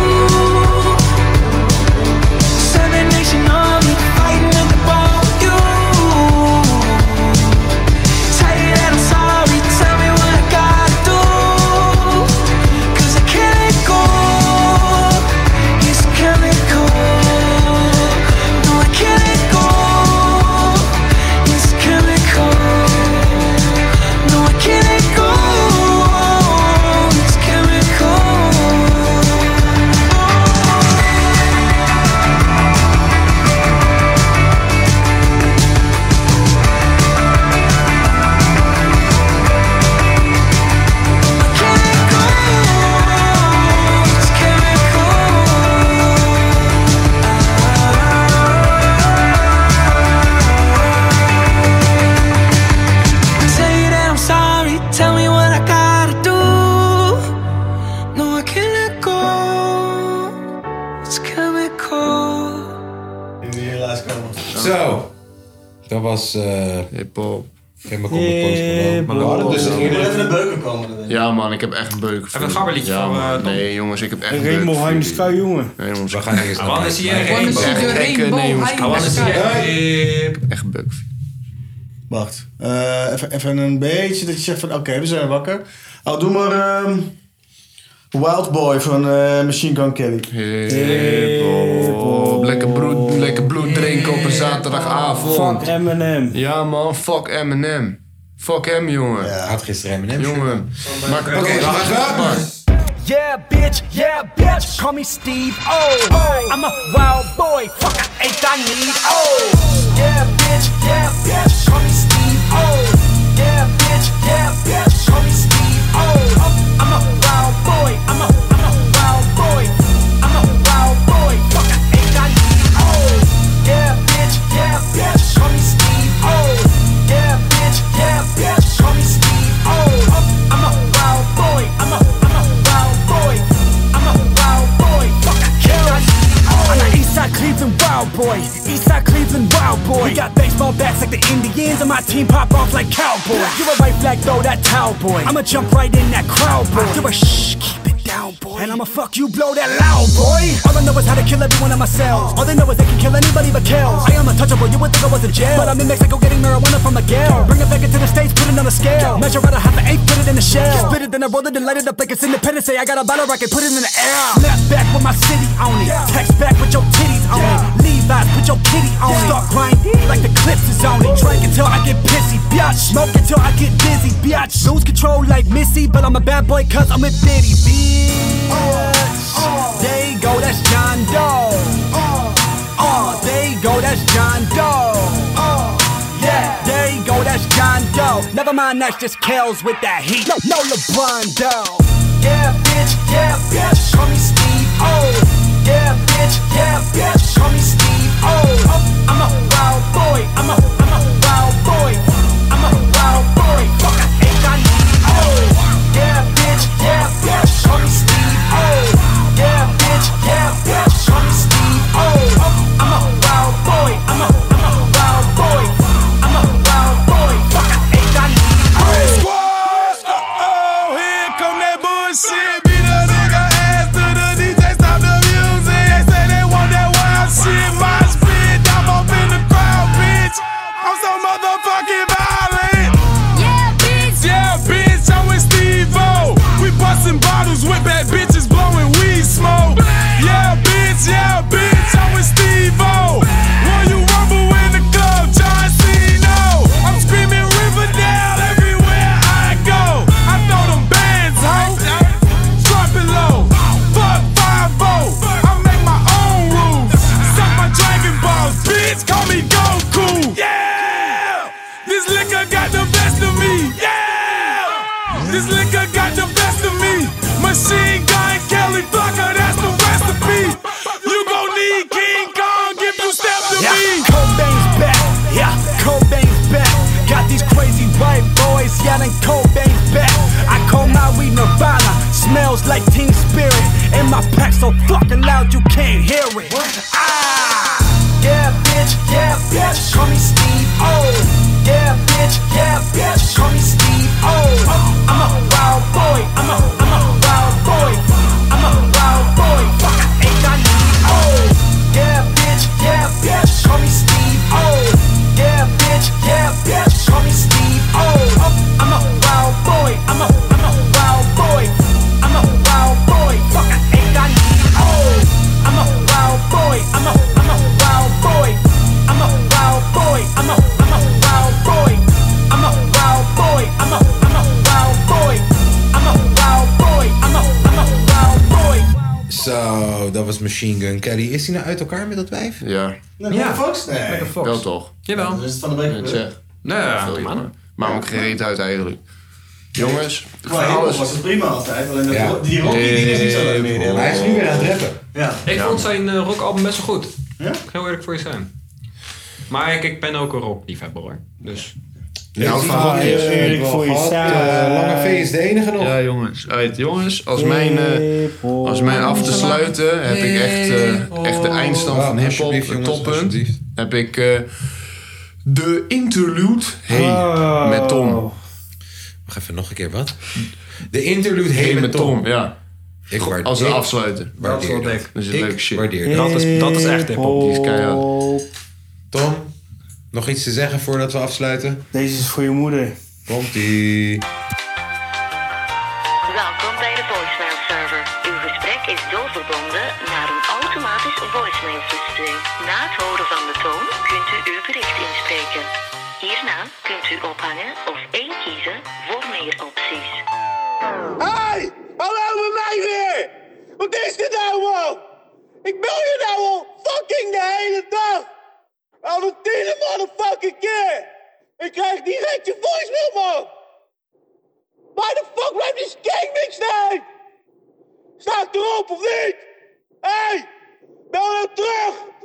Seven Nation Army fighting at the bar with you. Tell you that I'm sorry, tell me what I gotta do, 'cause I can't let go. It's chemical. No, I can't let go. It's chemical. No, I can't let go. It's chemical. Say that I'm sorry, tell me what I gotta do. No, I can't let go. It's chemical. Zo. Dat was... eh Hip-hop. Chemical van Post Malone. Maar we hadden dus Hip-hop. eerder- komen. Ja man, ik heb echt een beuken. Even een gabberliedje ja, van, eh, man. Tom. Nee jongens, ik heb echt een Rainbow beuken. Heinz Sky, jongen. Nee jongens, we gaan eerst naar wanna see a rainbow. Echt gekke, eh, Rainbow nee jongens. Heinz I wanna see a Echt een beuken. Wacht. Eh, even, even een beetje dat je zegt van oké, we zijn wakker. Oh, doe maar ehm, Wild Boy van eh, Machine Gun Kelly. Hip-hop. Lekker bloed, lekker bloed drinken op een zaterdagavond. Fuck Eminem. Ja man, fuck Eminem. Fuck hem jongen. Ja, had gisteren Eminem. Jongen. Maak een Oké, wacht maar. Yeah, bitch, yeah, bitch, call me Steve O. I'm a wild boy, fuck, I ain't I need O. Yeah, bitch, yeah, bitch, call me Steve O. Yeah, bitch, yeah, bitch, call me Steve O. I'm a wild boy, I'm a, I'm a wild boy. I'm a wild boy, fuck, I ain't I need O. Yeah, bitch, yeah, bitch, call me Steve O. Yeah, bitch, yeah, bitch, call me Steve O. I'm a wild boy, I'm a, I'm a wild boy. I'm a wild boy, fuck, I can't I need I'm an Eastside Cleveland wild boy. Eastside Cleveland wild boy. We got baseball bats like the Indians, and my team pop off like cowboy. You're a right flag, throw that towel, boy. I'ma jump right in that crowd, boy. You're a shh, keep it down, boy. And I'ma fuck you, blow that loud, boy. All I know is how to kill everyone in my cells. All they know is they can kill anybody but Kels. I am untouchable, you would think I was in jail. But I'm in Mexico getting marijuana from Miguel. Bring it back into the States, put it on a scale. Measure out a half an eight, put it in a shell. Spit it, then I roll it and light it up like it's independence. Say I got a bottle rocket, put it in the air. Snap back with my my city on it. Text back with your titties on it. Levi's, put your kitty on it. Start grinding like the clips is on it. Drink until I get pissy, biatch. Smoke until I get dizzy, biatch. Lose control like Missy, but I'm a bad boy cause I'm a bitty, bitch. There you go, that's John Doe. Uh, there you go, that's John Doe. Uh, yeah, there you go, that's John Doe. Never mind, that's just Kells with that heat. No, no LeBron Doe. Yeah, bitch, yeah, bitch, call me Steve O. Yeah, bitch, yeah, bitch, call me Steve O. Oh, I'm a wild boy, I'm a, I'm a wild boy. I'm a wild boy, fuck, I hate I need oh. Yeah, bitch, yeah, bitch, call me Steve O. Yeah, bitch, yeah, bitch, call me Steve O. Oh, I'm a wild boy, I'm a, I'm a wild boy. I'm a wild boy, fuck, I hate I need oh. Oh, here come that bullshit. Beat a nigga ass to the DJ, stop the music. They say they want that wild shit. My spit, I'm up in the crowd, bitch. I'm so motherfucking violent. Yeah, bitch. Yeah, bitch, I'm with Steve-O. We busting bottles with bad bitches blowing weed smoke. Yeah, bitch, yeah, bitch, I'm with Steve-O. Will you rumble in the club, John Cena? I'm screaming Riverdale everywhere I go. I throw them bands, ho. Drop it low. Fuck 5 I make my own rules. Suck my Dragon Balls, bitch. Call me Goku. Yeah! This liquor got the best of me. Yeah! This liquor got the best of me. Machine gun Kelly Blocker, that's the recipe. You gon' need King Kong if you step to yeah. me. Cobain's back, yeah, Cobain's back. Got these crazy white boys yelling Cobain's back. I call my weed Nirvana, smells like Teen Spirit. And my pack so fucking loud you can't hear it. Ah, yeah, bitch, yeah, bitch, call me Steve O. Yeah, bitch, yeah, bitch, call me Steve O. Oh, I'm a wild boy, I'm a, I'm a wild boy. I'm a wild boy, fuck, I ain't I need oh. Yeah, bitch, yeah, bitch, call me Steve O. Yeah, bitch, yeah, bitch, call me Steve O. Oh, I'm a wild boy, I'm a, I'm a wild boy. I'm a wild boy, fuck, I ain't I need oh. I'm a wild boy, I'm a, I'm a wild boy. I'm a wild boy, I'm a, I'm a wild boy. I'm a wild boy, I'm a, I'm a wild boy. I'm a wild boy, I'm a, I'm a wild boy. Zo, dat was Machine Gun Kelly. Is hij nou uit elkaar met dat wijf? Ja. Nee, ja. Fox? Nee. Megan Fox. Wel toch? Jawel. Dat is het van de week. Ja. Nee, ja, prima. Maar ook geen reet uit eigenlijk. Jongens, Qua alles- hiphop was het prima altijd. Alleen dat Ja. die Rocky die is niet zo leuk meer. Hij is nu weer aan het rappen. Ja. Ik Ja. vond zijn eh, rockalbum best wel goed. Ja? Heel eerlijk voor je zijn. Maar ik, ik ben ook een rockliefhebber hoor. Dus. Ja, Ja, van rock heel is, eh, eerlijk wel voor je gehad. zijn. Eh, Lange V is de enige nog. Ja, jongens. Uit, jongens, als mijn, eh, als mijn af te sluiten heb ik echt, eh, echt de eindstand van hip-hop, het toppunt. Heb ik eh, de interlude Hey met Tom. Oh. Wacht even, nog een keer wat? De interlude Hey, Hey met met Tom. ja. Ik waardeer- Als een ik afsluiter. waardeer Dat is wel dat. dik. Dat is Ik leuk shit. waardeer dat. is, dat is echt hip-hop. Die is keihard. Tom, nog iets te zeggen voordat we afsluiten? Deze is voor je moeder. Komt-ie. Welkom bij de voicemail server. Uw gesprek is doorverbonden naar een automatisch voicemail systeem. Na het horen van de toon kunt u uw bericht inspreken. Hierna kunt u ophangen of één kiezen voor meer opties. Hey, hallo met mij weer! Wat is dit nou al? Ik bel je nou al fucking de hele dag! Al de tiende motherfucking keer! Ik krijg direct je voicemail, man! Waar de fuck blijft die skatemix nou? Sta ik erop of niet? Hey, bel nou terug!